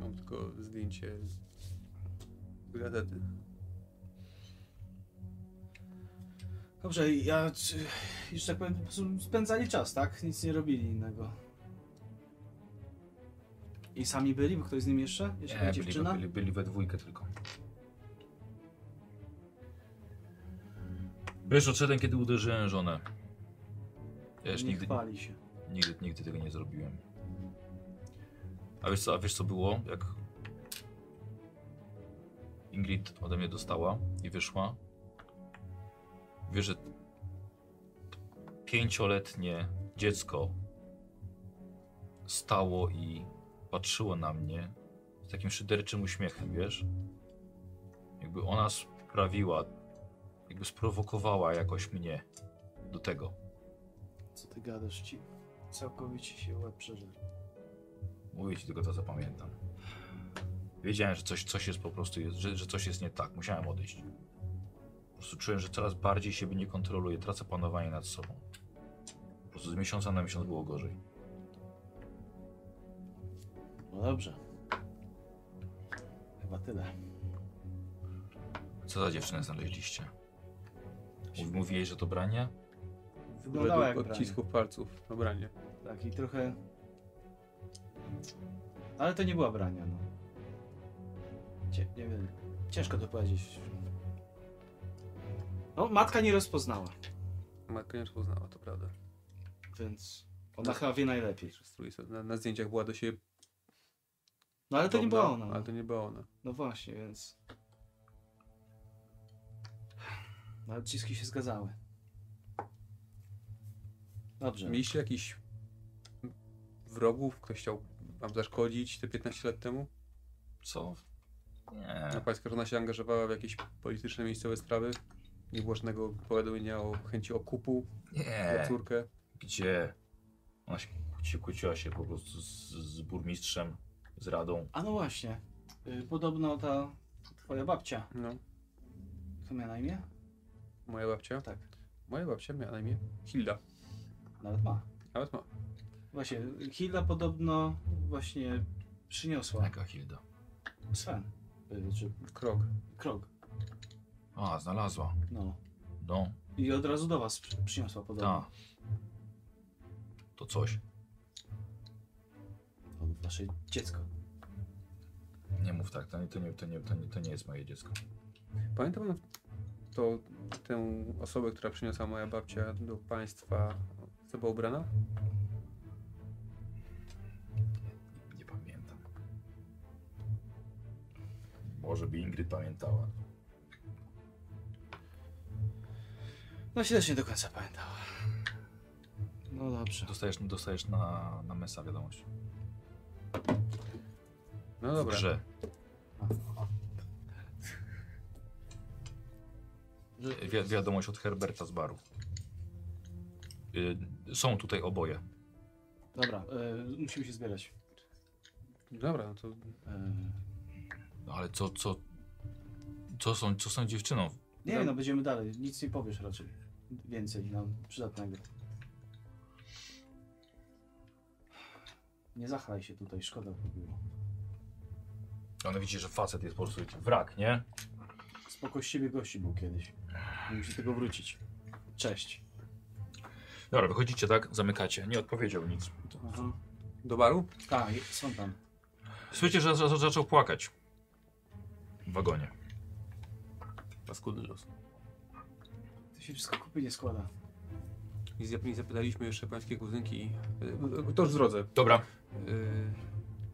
C: Mam tylko zdjęcie z gazety.
F: No
B: Dobrze, ja, czy, już tak powiem, po prostu spędzali czas, tak? Nic nie robili innego. I sami byli? Bo ktoś z nim jeszcze? Jeszcze
A: Nie,
B: była
A: E, byli,
B: dziewczyna?
A: byli, byli we dwójkę tylko. Wiesz, odszedłem, kiedy uderzyłem żonę. Ja już
B: nie
A: nigdy,
B: chwali się.
A: nigdy, nigdy tego nie zrobiłem. A wiesz, co, a wiesz co było, jak Ingrid ode mnie dostała i wyszła? Wiesz, że pięcioletnie dziecko stało i patrzyło na mnie z takim szyderczym uśmiechem, wiesz? Jakby ona sprawiła, jakby sprowokowała jakoś mnie do tego.
F: Co ty gadasz ci? Całkowicie się łeb przeżył.
A: Mówię ci tylko to, co pamiętam. Wiedziałem, że coś, coś jest po prostu, jest, że, że coś jest nie tak. Musiałem odejść. Po prostu czułem, że coraz bardziej siebie nie kontroluję, tracę panowanie nad sobą. Po prostu z miesiąca na miesiąc było gorzej.
F: No dobrze. Chyba tyle.
A: Co za dziewczynę znaleźliście? Mówi- Mówi jej, że to branie?
B: Wyglądała jak
C: Według
B: brani.
C: odcisków palców na branie.
B: Tak, i trochę... Ale to nie była brania, no. Cie, nie wiem, ciężko to powiedzieć.
F: No, matka nie rozpoznała,
C: Matka nie poznała, to prawda.
F: więc ona chyba wie najlepiej.
C: Strój sobie- Na, na zdjęciach była do siebie
F: No ale to nie
C: podobna,
F: była ona.
C: Ale
F: No,
C: to nie była ona.
F: no właśnie, więc... No, odciski się zgadzały. Dobrze.
C: Mieliście jakiś wrogów? Ktoś chciał wam zaszkodzić te 15 lat temu?
A: Co? Nie.
C: A pańska żona się angażowała w jakieś polityczne, miejscowe sprawy? Nie było żadnego powiadomienia o chęci okupu za
A: Nie.
C: córkę?
A: Gdzie? Ona się kłóci- kłóciła się po prostu z, z burmistrzem, z radą.
B: A no właśnie, y, podobno ta twoja babcia,
C: No,
B: kto miała na imię?
C: moja babcia?
B: Tak.
C: Moja babcia miała na imię Hilda.
B: Nawet ma.
C: Nawet ma.
B: Właśnie, Hilda podobno właśnie przyniosła
A: Jaka Hilda?
B: Sven, y,
F: Znaczy,
B: czy
C: Krok.
B: krok,
A: A, znalazła.
B: no.
A: No,
B: I od razu do was przy- przyniosła podobno.
A: ta. To coś.
B: To wasze dziecko.
A: Nie mów tak, to nie, to nie, to nie, to nie, to nie jest moje dziecko.
C: Pamiętam to tę osobę, która przyniosła moja babcia do państwa, co była ubrana?
A: Nie pamiętam. Może by Ingrid pamiętała.
F: No się też nie do końca pamiętała. No dobrze.
A: Dostajesz, dostajesz na, na mesa wiadomość.
C: No
A: W
C: dobra.
A: grze. Wi wiadomość od Herberta z baru. Y, są tutaj oboje.
B: Dobra, y, musimy się zbierać.
C: Dobra, no to
B: Y,
A: No ale co, co, co są, co są dziewczyną?
B: nie, no będziemy dalej, nic nie powiesz raczej. Więcej
F: no,
B: nam przydatnego. Nie zachlaj się tutaj, szkoda by było.
A: Ona widzi, że facet jest po prostu taki wrak, nie?
B: Spoko z siebie gości był kiedyś. Nie Musi tego wrócić. Cześć.
A: Dobra, wychodzicie tak, zamykacie. Nie odpowiedział nic.
B: Aha.
C: do baru?
B: Tak, są tam.
A: Słyszycie, że za- za- zaczął płakać. W wagonie.
C: Paskudny los.
B: To się wszystko kupy nie składa.
C: I z Japonii zapytaliśmy jeszcze pańskie kuzynki, e, to już zrodzę,
A: Dobra,
C: Yy,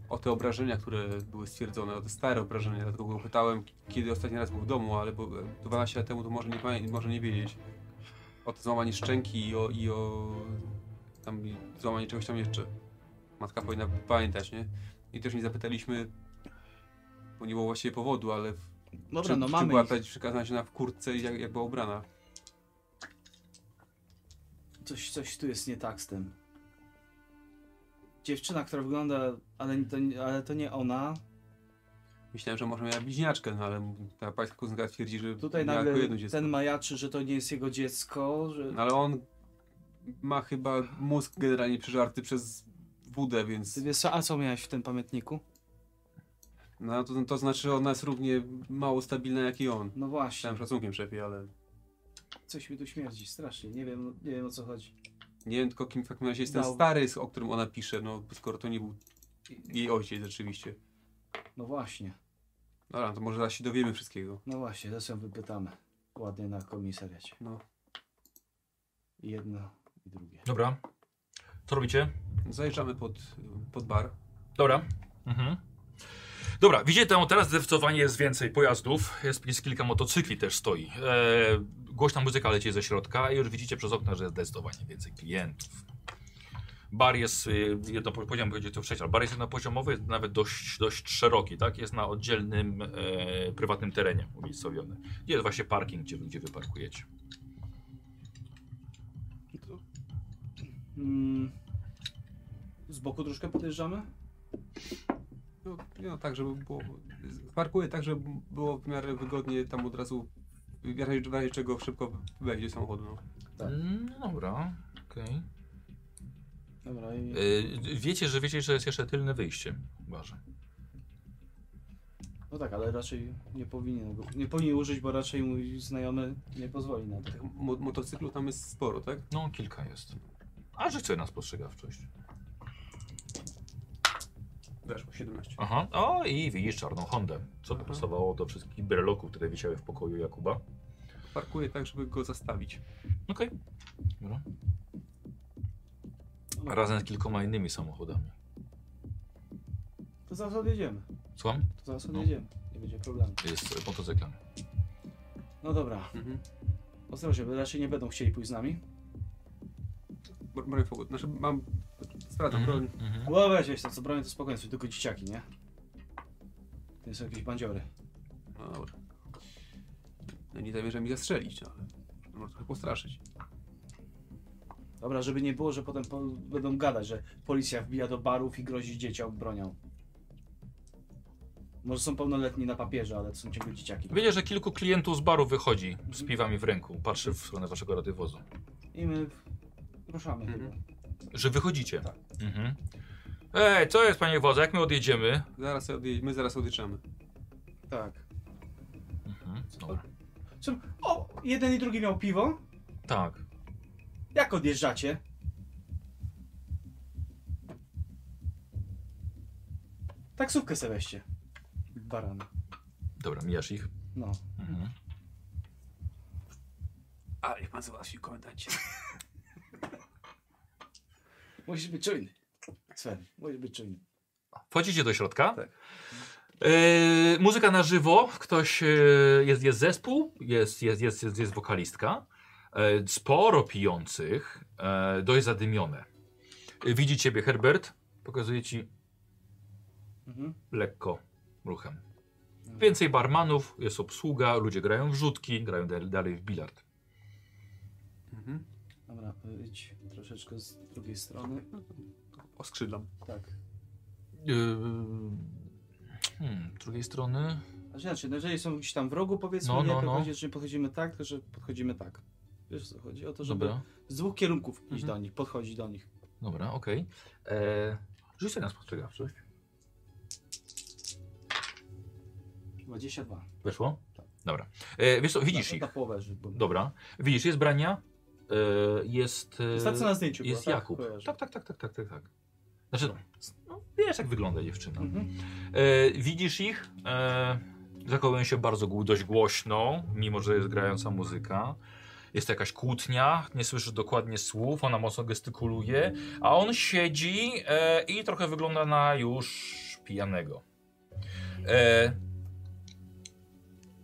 C: o te obrażenia, które były stwierdzone, o te stare obrażenia, dlatego go pytałem, kiedy ostatni raz był w domu, ale bo, 12 lat temu to może nie, pamię- może nie wiedzieć. O to złamanie szczęki i o, i o tam i złamanie czegoś tam jeszcze. Matka powinna pamiętać, nie? I też nie zapytaliśmy, bo nie było właściwie powodu, ale w-
F: Dobra,
C: czy,
F: no
C: czy
F: mamy
C: była
F: ich.
C: ta przekazana w kurtce i jak, jak była ubrana.
F: Coś, coś tu jest nie tak z tym. Dziewczyna, która wygląda, ale to, ale to nie ona.
C: Myślałem, że może miała bliźniaczkę, no ale ta pańska kuzynka twierdzi, że
F: Tutaj
C: miała tylko jedno
F: nagle
C: dziecko.
F: ten majaczy, że to nie jest jego dziecko, że...
C: No ale on ma chyba mózg generalnie przeżarty przez wódę, więc
F: Ty wiesz co, a co miałeś w tym pamiętniku?
C: no, to, to znaczy ona jest równie mało stabilna jak i on.
F: No właśnie,
C: Chciałem szacunkiem szefie, ale
F: coś mi tu śmierdzi strasznie, nie wiem, nie wiem o co chodzi.
C: nie wiem tylko kim w takim razie jest ten
F: Dał.
C: stary, z- o którym ona pisze, no skoro to nie był jej ojciec rzeczywiście.
F: No właśnie,
C: Dobra, no to może zaraz się dowiemy wszystkiego.
F: no właśnie, zaraz ją wypytamy. Ładnie na komisariacie.
C: No.
F: I jedno i drugie.
A: dobra. Co robicie?
C: No, Zajeżdżamy pod, pod bar.
A: Dobra. Mhm. Dobra, widzicie tam teraz zdecydowanie jest więcej pojazdów, jest, jest kilka motocykli też stoi. E, głośna muzyka leci ze środka i już widzicie przez okno, że jest zdecydowanie więcej klientów. Bar jest y, jednopoziomowy, będzie to przejść, ale bar jest jednopoziomowy, jest nawet dość, dość szeroki, tak? Jest na oddzielnym, e, prywatnym terenie umiejscowiony. Jest właśnie parking, gdzie, gdzie wyparkujecie.
F: Mm. Z boku troszkę podjeżdżamy?
C: No, no tak, żeby było. Parkuję tak, żeby było w miarę wygodnie tam od razu. W razie, w razie czego szybko wejdzie samochód. No.
F: Tak.
A: Mm, dobra, okej.
F: Dobra, i...
A: E, wiecie, że wiecie, że jest jeszcze tylne wyjście. Uważam.
F: No tak, ale raczej nie powinien, go- nie powinien użyć, bo raczej mój znajomy nie pozwoli na to.
C: Tych mo- motocyklu tam jest sporo, tak?
A: No, kilka jest. A że chce nas postrzegawczość.
C: Weszło 17.
A: Aha. O, i widzisz czarną Hondę, co pasowało do wszystkich breloków, które wisiały w pokoju Jakuba.
C: Parkuję tak, żeby go zastawić.
A: Okej. Dobra. A razem z kilkoma innymi samochodami.
F: To zaraz odjedziemy.
A: Słucham?
F: To zaraz
A: No.
F: odjedziemy. Nie będzie problemu.
A: To jest e, motocyklem.
F: No dobra,
C: Mhm.
F: ostrożnie, bo raczej nie będą chcieli pójść z nami.
C: Bro- Broń fogu. Znaczy mam. Sprawdzam broń.
A: mhm.
F: Bo weź to, co bronię, to spokojnie, są tylko dzieciaki, nie? To są jakieś bandziory.
C: No dobra. No nie zamierzam mi zastrzelić, no, ale może trochę postraszyć.
F: Dobra, żeby nie było, że potem po, będą gadać, że policja wbija do barów i grozi dzieciom bronią. Może są pełnoletni na papierze, ale to są ciągle dzieciaki.
A: Widzisz, że kilku klientów z baru wychodzi z piwami w ręku, patrzy w stronę waszego radiowozu.
F: I my ruszamy
C: Mhm.
F: chyba.
A: Że wychodzicie. Mhm. Ej, co jest, panie wodze, jak my odjedziemy?
C: Zaraz odje... My zaraz odjeżdżamy.
F: Tak.
A: Mhm. Dobra.
F: Czym, o, jeden i drugi miał piwo.
A: Tak.
F: Jak odjeżdżacie? Taksówkę se weźcie. Baran.
A: Dobra, mijasz ich.
F: No.
A: Mhm.
C: Ale niech pan załatwi komendancie.
F: Musisz być czujny. Sven, musisz być czujny.
A: Wchodzicie do środka. E, muzyka na żywo, ktoś e, jest, jest zespół, jest, jest, jest, jest, jest wokalistka. E, sporo pijących, e, dość zadymione. E, widzi ciebie Herbert, pokazuje ci
F: Mhm.
A: lekko ruchem. Więcej barmanów, jest obsługa, ludzie grają w rzutki, grają dal- dalej w bilard.
C: Mhm.
F: Dobra, idź troszeczkę z drugiej strony.
C: Oskrzydlam.
F: Tak.
A: E, hmm, z drugiej strony.
F: Znaczy inaczej, no jeżeli są gdzieś tam w rogu, powiedzmy,
A: No,
F: nie,
A: no,
F: to
A: no.
F: powiedzieć, że nie podchodzimy tak, tylko że podchodzimy tak. Wiesz o co chodzi? O to, żeby
A: Dobra,
F: z dwóch kierunków iść
A: Mhm.
F: do nich, podchodzić do nich.
A: dobra okej. E, Okay. Rzuć sobie na spostrzegawczość.
F: 22.
A: Weszło? Dobra. E, wiesz co, widzisz
F: Tak. na,
A: ich.
F: Na połowę, żeby...
A: Dobra. Widzisz, jest Brania, e, jest. e,
F: Jest ta, co na zdjęciu była,
A: jest
F: tak?
A: Jakub.
F: Kojarzę.
A: Tak, tak, tak, tak, tak, tak, tak. Znaczy, no, s- no, wiesz, jak wygląda dziewczyna.
F: Mhm.
A: E, widzisz ich. E, zachowują się bardzo gł- dość głośno, mimo że jest grająca muzyka. Jest to jakaś kłótnia, nie słyszysz dokładnie słów, ona mocno gestykuluje, a on siedzi e, i trochę wygląda na już pijanego. E,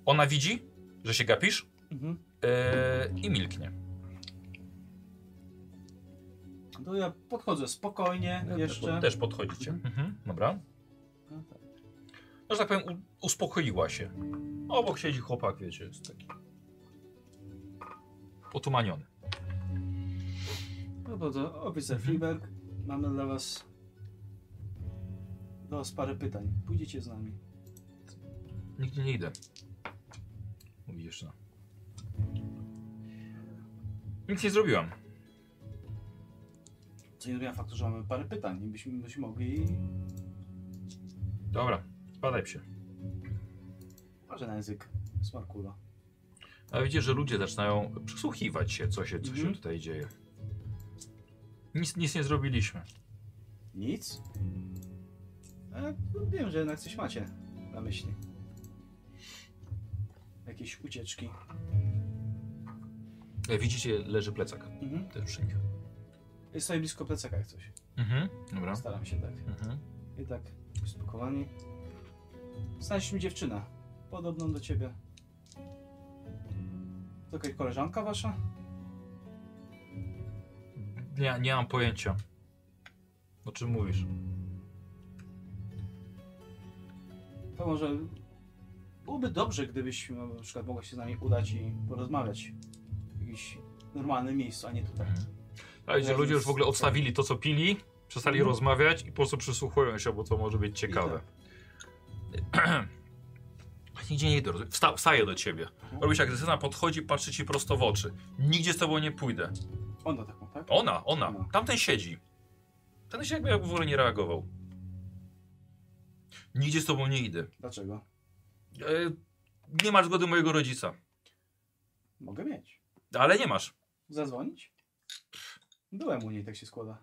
A: ona widzi, że się gapisz
F: Mhm.
A: e, i milknie.
F: To ja podchodzę spokojnie jeszcze.
A: Też podchodzicie. Mhm, dobra.
F: No tak.
A: No, że tak powiem, u- uspokoiła się. Obok siedzi chłopak, wiecie, jest taki. Otumaniony.
F: No bo to oficer Freeberg, mamy dla was do was parę pytań. Pójdziecie z nami.
A: Nigdzie nie idę. Mówi jeszcze. Nic nie zrobiłam.
F: Co nie zmienia faktu, że mamy parę pytań i byśmy, byśmy mogli,
A: Dobra, spadaj się.
F: może na język Smarkula.
A: A widzicie, że ludzie zaczynają przysłuchiwać się, co się, co się
F: Mhm.
A: tutaj dzieje. Nic, nic nie zrobiliśmy.
F: Nic? E, no wiem, że jednak coś macie na myśli. Jakieś ucieczki.
A: E, Widzicie, leży plecak.
F: Mhm.
A: Też przy nich.
F: Jest sobie blisko plecaka jak coś.
A: Mhm, dobra.
F: Staram się tak.
A: Mhm.
F: I tak spokojnie. Znaleźliśmy dziewczynę. Podobną do ciebie. To jakaś koleżanka wasza?
A: Nie, nie mam pojęcia. O czym mówisz?
F: To może byłoby dobrze, gdybyś no, na przykład mogła się z nami udać i porozmawiać w jakimś normalnym miejscu, a nie tutaj.
A: Ale że
F: Razem
A: ludzie już
F: z-
A: w ogóle odstawili to, co pili, przestali
F: Mhm.
A: rozmawiać i po prostu przysłuchują się, bo to może być ciekawe.
F: tak.
A: [clears throat] Nigdzie nie idę, rozumiem. Wsta wstaje do ciebie.
F: Mhm.
A: Robi się agresywna, podchodzi, patrzy ci prosto w oczy. Nigdzie z tobą nie pójdę.
F: Ona taką, tak?
A: Ona, ona.
F: No.
A: Tamten siedzi. Ten się jakby jakby w ogóle nie reagował. Nigdzie z tobą nie idę.
F: Dlaczego?
A: E, nie masz zgody mojego rodzica.
F: Mogę mieć.
A: Ale nie masz.
F: Zadzwonić? Byłem u niej, tak się składa.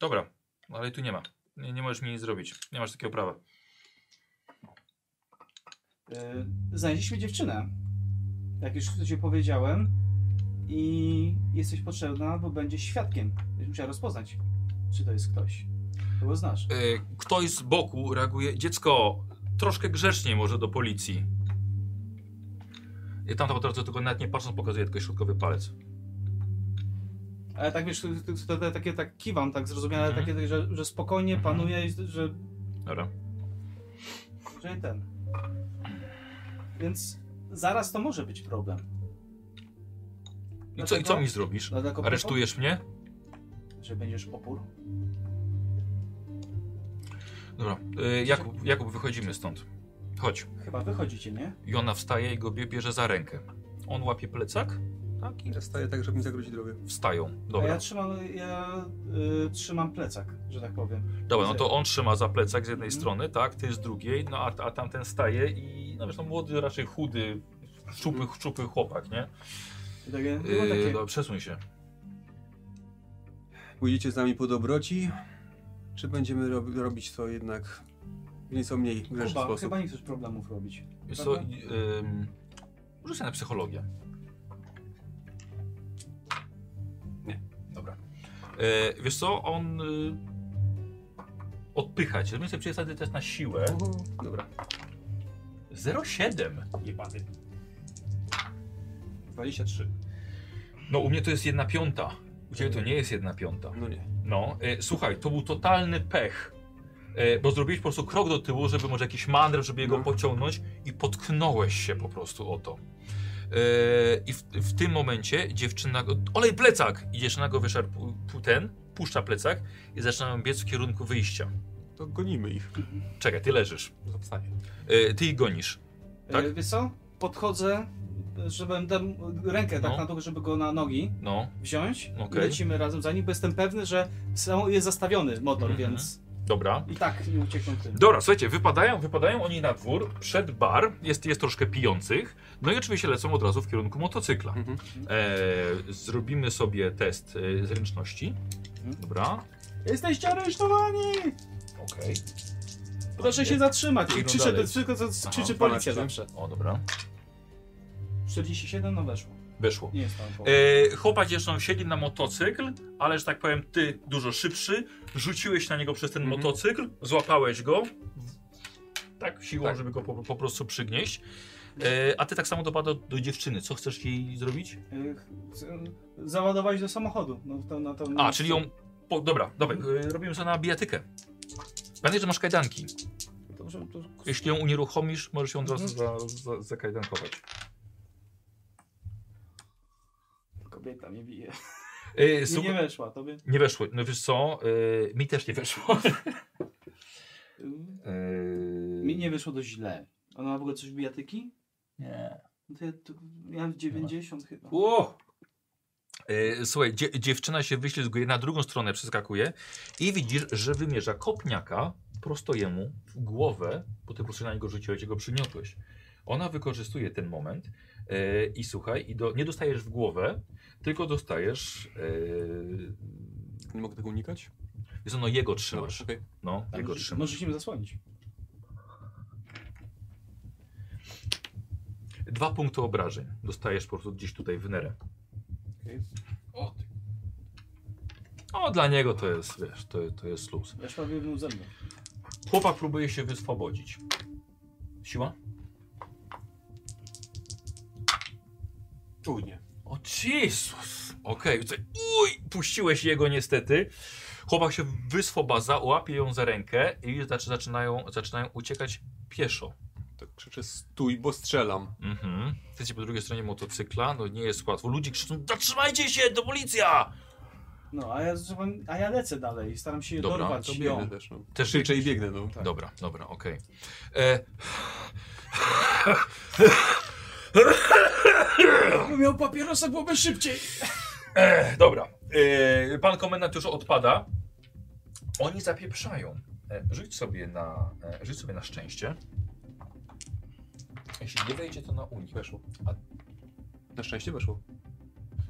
A: Dobra, ale tu nie ma. Nie, nie możesz mi nic zrobić. Nie masz takiego prawa.
F: Yy, znaleźliśmy dziewczynę. Jak już ci powiedziałem. I jesteś potrzebna, bo będziesz świadkiem. Będziesz musiała rozpoznać, czy to jest ktoś, kogo znasz.
A: E, ktoś z boku reaguje, dziecko, troszkę grzeczniej może do policji. I tamta potrafi tylko nawet nie patrząc pokazuje tylko środkowy palec.
F: Ale tak wiesz, to- to- to- to- takie tak kiwam, tak zrozumiałe, ale
A: Mhm.
F: takie, że, że spokojnie
A: Mhm.
F: panuje i że,
A: Dobra.
F: że nie ten. Więc zaraz to może być problem.
A: I co, I co mi zrobisz?
F: Dlatego
A: Aresztujesz mnie?
F: Że będziesz opór?
A: Dobra. E, Jakub, Jakub, wychodzimy stąd. Chodź.
F: Chyba wychodzicie, nie?
A: I ona wstaje i go bie, bierze za rękę. On łapie plecak,
C: Tak, i nastaje tak, żeby mi zagrozić drogę.
A: wstają.
F: A ja
A: Dobra.
F: trzymam, ja y, trzymam plecak, że tak powiem.
A: Dobra, no to on trzyma za plecak z jednej
F: Mhm.
A: strony, tak, ty z drugiej, no a, a tamten staje i no wiesz, no młody, raczej chudy, szczupły, szczupły chłopak, nie?
F: I takie, było
A: Yy,
F: takie
A: dobra, przesuń się.
C: Pójdziecie z nami po dobroci? Czy będziemy rob robić to jednak w nieco mniej grzeczny
F: Kuba,
C: sposób?
F: chyba nie chcesz problemów robić.
A: Wiesz co,
F: Prawda?
A: ym, rzucę na psychologię. Nie, dobra. E, wiesz co, on y, odpycha cię. Zrobimy sobie przejazdy test na siłę.
C: Uhu, Dobra,
A: 0,7.
M: Jebany.
C: 23.
A: No u mnie to jest jedna piąta. U ciebie to nie jest jedna piąta.
C: No nie.
A: No, e, słuchaj, to był totalny pech. E, bo zrobiłeś po prostu krok do tyłu, żeby może jakiś manewr, żeby jego
C: No.
A: pociągnąć i potknąłeś się po prostu o to. E, I w, w tym momencie dziewczyna go... Olej plecak! I dziewczyna go wyszarpuje, ten, puszcza plecak i zaczynają biec w kierunku wyjścia.
C: To gonimy ich.
A: Czekaj, ty leżysz.
C: Zostanie.
A: E, ty ich gonisz. Tak?
F: E, wiesz co? Podchodzę, żebym dam rękę tak
A: No.
F: na dół, żeby go na nogi
A: No,
F: wziąć.
A: Okej.
F: I lecimy razem za nim, bo jestem pewny, że są, jest zastawiony motor,
A: Mhm.
F: więc
A: dobra.
F: i tak nie uciekną tym.
A: Dobra, słuchajcie, wypadają, wypadają oni na dwór, przed bar, jest, jest troszkę pijących, no i oczywiście lecą od razu w kierunku motocykla.
C: Mhm.
A: E, zrobimy sobie test e, zręczności.
F: Mhm.
A: Dobra,
F: Jesteście aresztowani!
A: okej.
F: Proszę się zatrzymać! I
A: Idą
F: krzyczy,
A: dalej.
F: krzyczy, krzyczy,
A: Aha,
F: krzyczy
C: 12.
F: policja zawsze.
A: O, dobra.
F: 47, no weszło.
A: Weszło.
B: Nie jest tam po...
A: E, chłopak zresztą siedzi na motocykl, ale że tak powiem, ty dużo szybszy, rzuciłeś na niego przez ten
C: Mhm.
A: motocykl, złapałeś go, tak siłą, żeby go po, po prostu przygnieść. E, a ty tak samo dopada do dziewczyny. Co chcesz jej zrobić?
B: Y, chcę Załadować do samochodu. No, to, na to,
A: A, czyli ją... Po, dobra, dawaj, e, robimy to na bijatykę. Pamiętaj, że masz kajdanki.
B: Dobrze, to...
A: Jeśli ją unieruchomisz, możesz ją od razu za, za, zakajdankować.
B: Kobieta mnie bije.
A: E,
B: Nie, nie
A: słuchaj-
B: weszła, tobie.
A: nie weszło. No wiesz co, e, mi też nie weszło. [laughs]
B: Y,
A: E,
B: Mi nie wyszło dość źle.
F: no,
B: Ona ma w ogóle coś w bijatyki?
A: nie.
B: No to ja tu miałem 90 chyba.
N: O!
A: E, Słuchaj, dzie dziewczyna się wyślizguje, na drugą stronę przeskakuje i widzisz, że wymierza kopniaka prosto jemu w głowę, bo ty po prostu na niego rzuciłeś, jego przyniosłeś. Ona wykorzystuje ten moment e, i słuchaj, i do, nie dostajesz w głowę, tylko dostajesz, y,
C: Nie mogę tego unikać?
A: e, jest ono jego trzymasz,
C: okej.
A: no,
F: Tak,
B: A
A: jego
B: może-
A: trzymasz.
B: Możesz im zasłonić.
A: Dwa punkty obrażeń dostajesz po prostu gdzieś tutaj w nerę.
O: O, ty.
A: O, dla niego to jest, wiesz, to, to jest luz.
B: Ja szłabię jedną ze mną.
A: Chłopak próbuje się wyswobodzić. Siła?
C: Trudnie.
A: O Jezus! Okej, okay. uj, puściłeś jego niestety. Chłopak się wyswobaza, łapie ją za rękę i zaczy, zaczynają, zaczynają uciekać pieszo.
C: Tak krzyczę stój, bo strzelam.
A: Mhm. Jesteście po drugiej stronie motocykla, no nie jest łatwo. Ludzie krzyczą, zatrzymajcie się, to policja!
B: No, a ja, zaczynam- a ja lecę dalej. Staram się
A: Dobra,
B: dorwać
C: To
B: ją.
C: biegnę też, no.
A: Też
C: Krzyczę i biegnę, no. Tak.
A: Dobra, dobra, okej. E,
B: Jakbym miał papierosa, byłoby szybciej.
A: e, dobra, e, pan komendant już odpada. Oni zapieprzają. E, rzuć, sobie na, e, rzuć sobie na szczęście. Jeśli nie wejdzie, to na unik.
C: Weszło.
A: A-
C: Na szczęście weszło.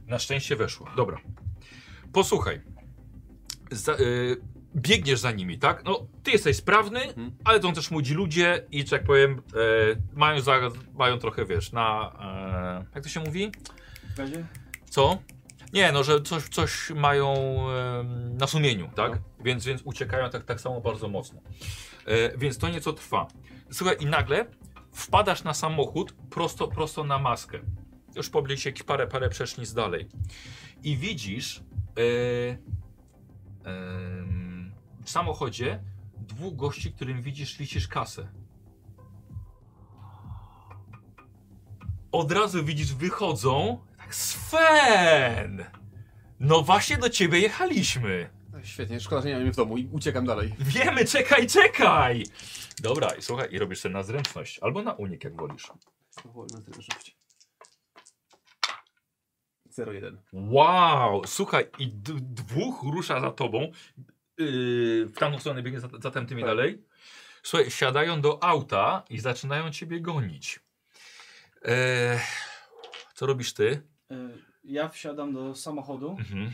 A: Na szczęście weszło. Dobra. Posłuchaj. Za, y, biegniesz za nimi, tak? No, ty jesteś sprawny,
C: Mhm.
A: ale to też młodzi ludzie i, że tak powiem, y, mają, za, mają trochę, wiesz, na... y, jak to się mówi?
B: W razie?
A: Co? Nie, no, że coś, coś mają em, na sumieniu, tak? Więc, więc uciekają tak, tak samo bardzo mocno. E, więc to nieco trwa. Słuchaj, i nagle wpadasz na samochód prosto, prosto na maskę. Już pobliżej jakieś parę, parę przecznic dalej. I widzisz e, em, w samochodzie dwóch gości, którym widzisz, liczysz kasę. od razu widzisz, wychodzą. Tak, Sven! No właśnie do ciebie jechaliśmy.
C: No, Świetnie, szkoda, że nie mam jej w domu i uciekam dalej.
A: Wiemy, czekaj, czekaj! Dobra, i słuchaj, i robisz sobie na zręczność. Albo na unik, jak wolisz.
C: Znowu na tyle żyć. 0-1.
A: Wow! Słuchaj, i d- dwóch rusza za tobą. Yy, w tamtą stronę biegnie za, za tamtymi
C: Tak.
A: dalej. Słuchaj, siadają do auta i zaczynają ciebie gonić. Eee, co robisz ty?
B: Y, Ja wsiadam do samochodu
A: Mhm.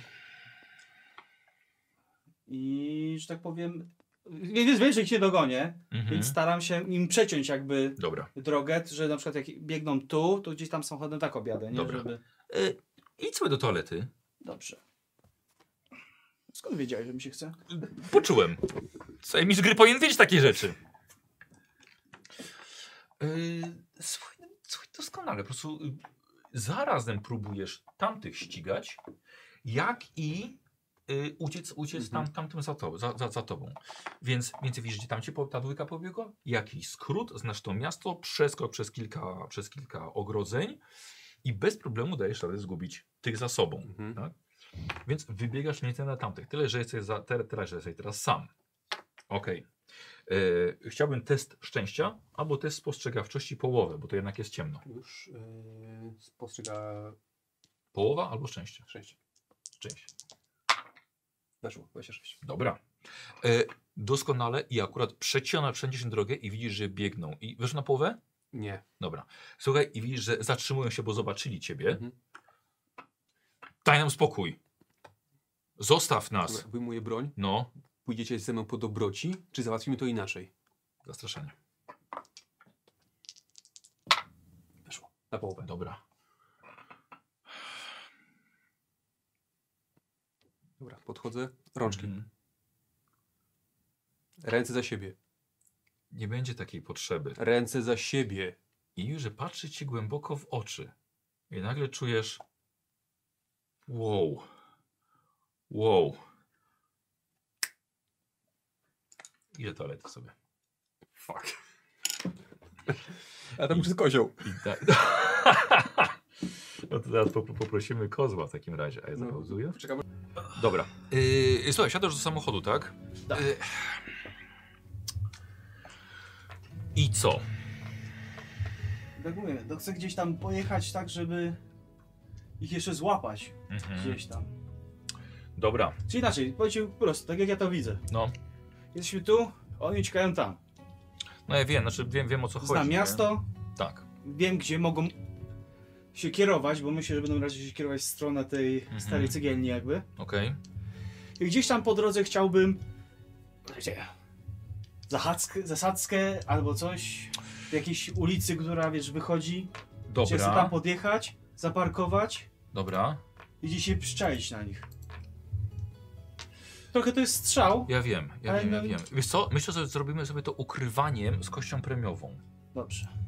B: i, że tak powiem, więc wiem, że ich nie dogonię,
A: Mhm.
B: więc staram się im przeciąć jakby
A: Dobra.
B: drogę, że na przykład jak biegną tu, to gdzieś tam samochodem tak objadę, nie?
A: Dobra.
B: Żeby...
A: Yy, idźmy do toalety.
B: Dobrze. Skąd wiedziałeś, że mi się chce?
A: Poczułem. Co mi z gry powinien wiedzieć takie rzeczy. Yy, słuchaj, słuchaj, doskonale. Po prostu yy, zarazem próbujesz tamtych ścigać, jak i yy, uciec, uciec tam, tamtym za, to, za, za, za tobą. Więc między widzisz, gdzie tam cię po- ta dwójka pobiegła? Jakiś skrót, znasz to miasto, przeskok przez kilka, przez kilka ogrodzeń i bez problemu dajesz radę zgubić tych za sobą.
C: Mhm.
A: Więc wybiegasz nie na tamtych. Tyle, że jesteś, za, te, teraz, że jesteś teraz sam. Okej. E, Chciałbym test szczęścia albo test spostrzegawczości połowę, bo to jednak jest ciemno.
C: Już yy, spostrzega
A: Połowa albo szczęście.
C: szczęście.
A: Szczęście.
C: Weszło, 26.
A: Dobra. E, doskonale i akurat przeciona wszędzie się drogę i widzisz, że biegną. I wiesz na połowę?
C: Nie.
A: Dobra. Słuchaj, i widzisz, że zatrzymują się, bo zobaczyli ciebie.
C: Mhm.
A: Daj nam spokój. Zostaw nas.
C: Dobra, wyjmuję broń.
A: No,
C: Pójdziecie ze mną po dobroci, czy załatwimy to inaczej?
A: zastraszenie.
C: Na połowę.
A: Dobra.
C: Dobra, podchodzę. Rączki.
A: Mhm.
C: Ręce za siebie.
A: Nie będzie takiej potrzeby.
C: Ręce za siebie.
A: I już patrzy ci głęboko w oczy. I nagle czujesz. Wow. Wow. Idę do toalety sobie.
C: Fuck. A tam już jest kozioł.
A: I da... [laughs] No to teraz pop- poprosimy kozła w takim razie. A
F: No.
A: ja zapauzuję.
C: Czekamy.
A: Dobra. Yy, słuchaj, siadasz do samochodu, tak?
F: Tak.
A: Yy. I co?
F: Tak mówię, to chcę gdzieś tam pojechać tak, żeby ich jeszcze złapać
A: Mhm.
F: gdzieś tam.
A: Dobra.
F: Czy inaczej, powiedzcie po prostu, tak jak ja to widzę.
A: No.
F: Jesteśmy tu, oni uciekają tam.
A: No ja wiem, znaczy wiem, wiem o co chodzi.
F: Znam
A: nie?
F: miasto,
A: Tak.
F: wiem gdzie mogą się kierować, bo myślę, że będą raczej się kierować w stronę tej
A: Mhm.
F: starej cegielni jakby.
A: Okej.
F: I gdzieś tam po drodze chciałbym. Gdzie? Zachadzkę, zasadzkę albo coś. W jakiejś ulicy, która wiesz, wychodzi. Gdzie chcę
A: Dobra.
F: tam podjechać, zaparkować
A: Dobra.
F: i gdzieś się przyczaić na nich. Trochę to jest strzał.
A: Ja wiem, ja
F: Ale
A: wiem, ja
F: no-
A: wiem. Wiesz co? Myślę, że zrobimy sobie to ukrywaniem z kością premiową.
F: Dobrze.
A: Mhm.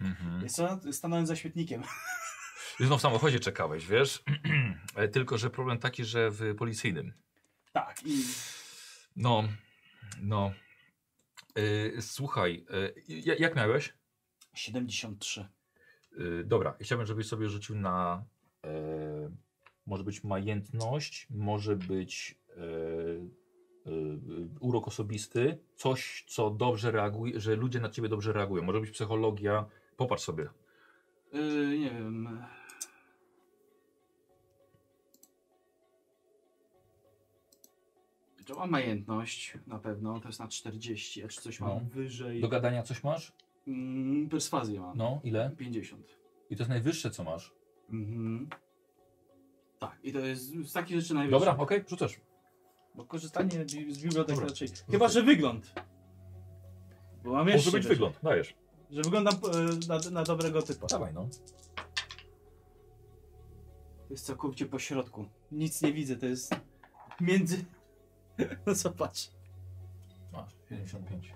A: Mhm.
F: Wiesz co? Stanąłem
P: [laughs]
F: za świetnikiem.
A: No w samochodzie czekałeś, wiesz? [clears throat] E, Tylko, że problem taki, że w policyjnym.
F: Tak. I
A: No, no. E, słuchaj, e, ja- jak miałeś?
F: 73.
A: E, dobra, chciałbym, żebyś sobie rzucił na. E, może być majętność, może być e, e, urok osobisty, coś, co dobrze reaguje, że ludzie na ciebie dobrze reagują. Może być psychologia. Popatrz sobie.
P: Yy, nie wiem. To ma majętność na pewno, to jest na 40, a czy coś
A: No.
P: mam wyżej.
A: Do gadania coś masz?
P: Mm, perswazję mam.
A: No, ile?
P: 50.
A: I to jest najwyższe, co masz.
P: Mhm. Tak, i to jest z takich rzeczy najwyżej.
A: Dobra, okej, rzucasz.
F: Bo korzystanie bi- z bibliotek
A: Dobra.
F: raczej. Chyba, że wygląd. Bo mam jeszcze.
A: Może być
F: też,
A: wygląd, dajesz.
F: Że wyglądam e, na, na dobrego typa.
A: Dawaj, no.
F: To jest całkowicie po środku. Nic nie widzę, to jest między. [laughs] No zobacz.
A: Masz, 75.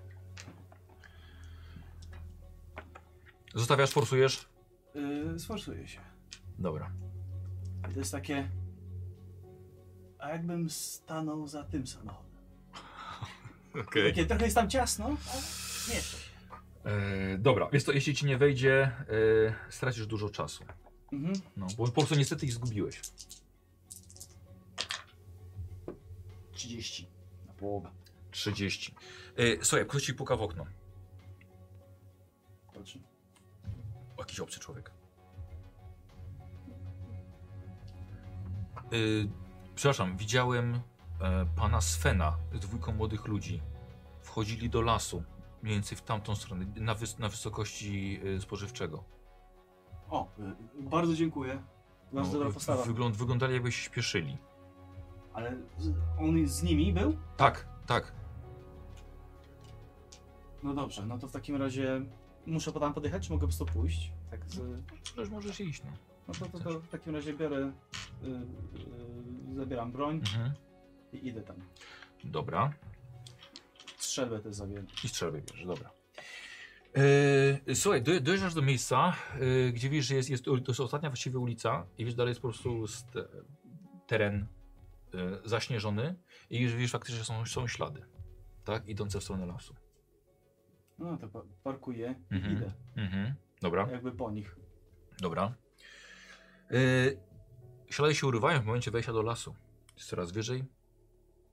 A: Zostawiasz, forsujesz?
F: Yy, sforsuję się.
A: Dobra.
F: I to jest takie. A jakbym stanął za tym samochodem?
A: [laughs] Okej.
F: Takie trochę jest tam ciasno, ale nie.
A: E, dobra, jest to, jeśli ci nie wejdzie, e, stracisz dużo czasu.
F: Mhm.
A: No, bo po prostu niestety ich zgubiłeś.
F: 30. Na połowę.
A: 30. E, słuchaj, ktoś ci puka w okno.
F: Patrzę.
A: Jakiś obcy człowiek. Y, przepraszam, widziałem e, pana Svena z dwójką młodych ludzi. Wchodzili do lasu, mniej więcej w tamtą stronę, na, wys na wysokości y, spożywczego.
F: O, y, bardzo dziękuję. Bardzo dobra
A: wy-
F: postawa.
A: Wygląd No, wyglądali jakby się śpieszyli.
F: Ale z- on z nimi był?
A: Tak, tak.
F: No dobrze, no to w takim razie muszę po tam podjechać, czy mogę po prostu pójść? Tak z...
A: Już możesz iść, no.
F: No to, to, to w takim razie biorę, y, y, zabieram broń
A: Mhm.
F: i idę tam.
A: Dobra.
F: Strzelbę też zabieram.
A: I strzelbę bierzesz, dobra. Yy, słuchaj, doje- dojeżdżasz do miejsca, yy, gdzie wiesz, że jest, jest, to jest ostatnia właściwie ulica i wiesz, dalej jest po prostu st- teren yy, zaśnieżony i już wiesz faktycznie, że są, są ślady, tak, idące w stronę lasu.
F: No to pa- parkuję i
A: Mhm.
F: idę,
A: Mhm. Dobra,
F: jakby po nich.
A: dobra. Yy, ślady się urywają w momencie wejścia do lasu. Jest coraz wyżej,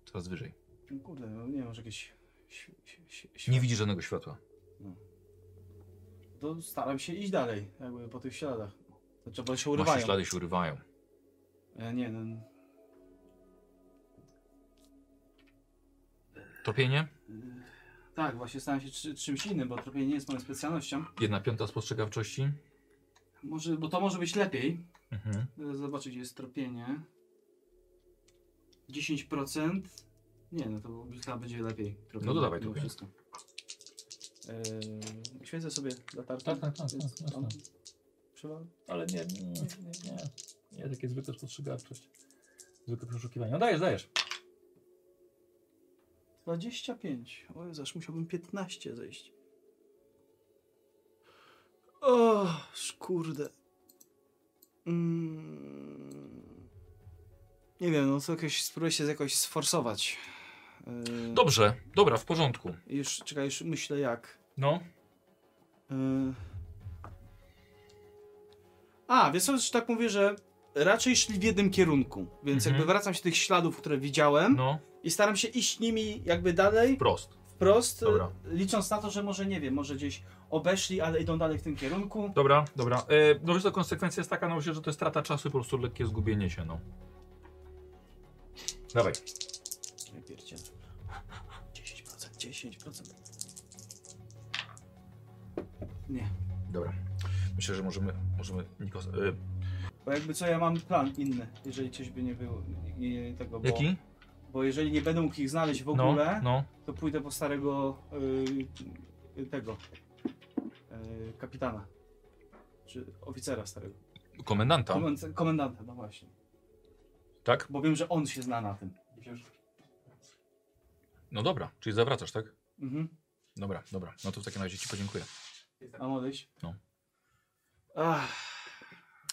A: coraz wyżej.
F: No kurde, no nie wiem, może jakieś... Ś- ś- ś- ś-
A: Nie widzisz żadnego światła.
F: To staram się iść dalej, jakby po tych śladach. To trzeba się
A: Właśnie
F: urywają.
A: ślady się urywają.
F: E, nie, no...
A: Tropienie?
F: Tak, właśnie staram się czy, czymś innym, bo trochę nie jest moją specjalnością.
A: Jedna piąta spostrzegawczości.
F: Może, bo to może być lepiej,
A: Mhm.
F: Teraz Zobaczę, gdzie jest tropienie. 10%. Nie, no to chyba będzie lepiej. Tropienie,
A: No to dawaj
F: mimo
A: tropienie.
F: wszystko.
B: Yy, świecę sobie latarkę.
Q: Tak, tak, tak,
B: więc
Q: tak, tak,
B: on
Q: tak.
B: przewal-
Q: Ale nie, nie, nie. nie. Nie, takie zwykłe spostrzegawczość. Zwykłe przeszukiwanie. No dajesz, dajesz.
B: 25. O Jezus, musiałbym 15 zejść. O, kurde. Mm. Nie wiem, no to jakieś, spróbuję się jakoś sforsować. Yy,
A: Dobrze, dobra, w porządku.
B: Już, czekaj, już myślę jak.
A: No,
B: Yy. A, więc już tak mówię, że raczej szli w jednym kierunku, więc
A: Mhm.
B: jakby wracam się do tych śladów, które widziałem
A: no,
B: i staram się iść nimi jakby dalej,
A: wprost.
B: wprost,
A: Dobra.
B: licząc na to, że może nie wiem, może gdzieś obeszli, ale idą dalej w tym kierunku.
A: Dobra, dobra. E, no wiesz, to konsekwencja jest taka, no myślę, że to jest strata czasu i po prostu lekkie zgubienie się, no. Dawaj.
B: 10%, 10%.
A: Dobra. Myślę, że możemy, możemy, Nikos... E,
B: Bo jakby co, ja mam plan inny, jeżeli coś by nie było nie, nie, tego, bo,
A: jaki?
B: bo jeżeli nie będę mógł ich znaleźć w
A: No,
B: ogóle,
A: no.
B: to pójdę po starego y, tego y, kapitana, czy oficera starego,
A: no. Komendanta,
B: Komend- komendanta, no właśnie,
A: tak?
B: bo wiem, że on się zna na tym.
A: No dobra, czyli zawracasz, tak?
B: Mhm.
A: Dobra, dobra. No to w takim razie ci podziękuję.
B: A odejść?
A: No.
B: Ach,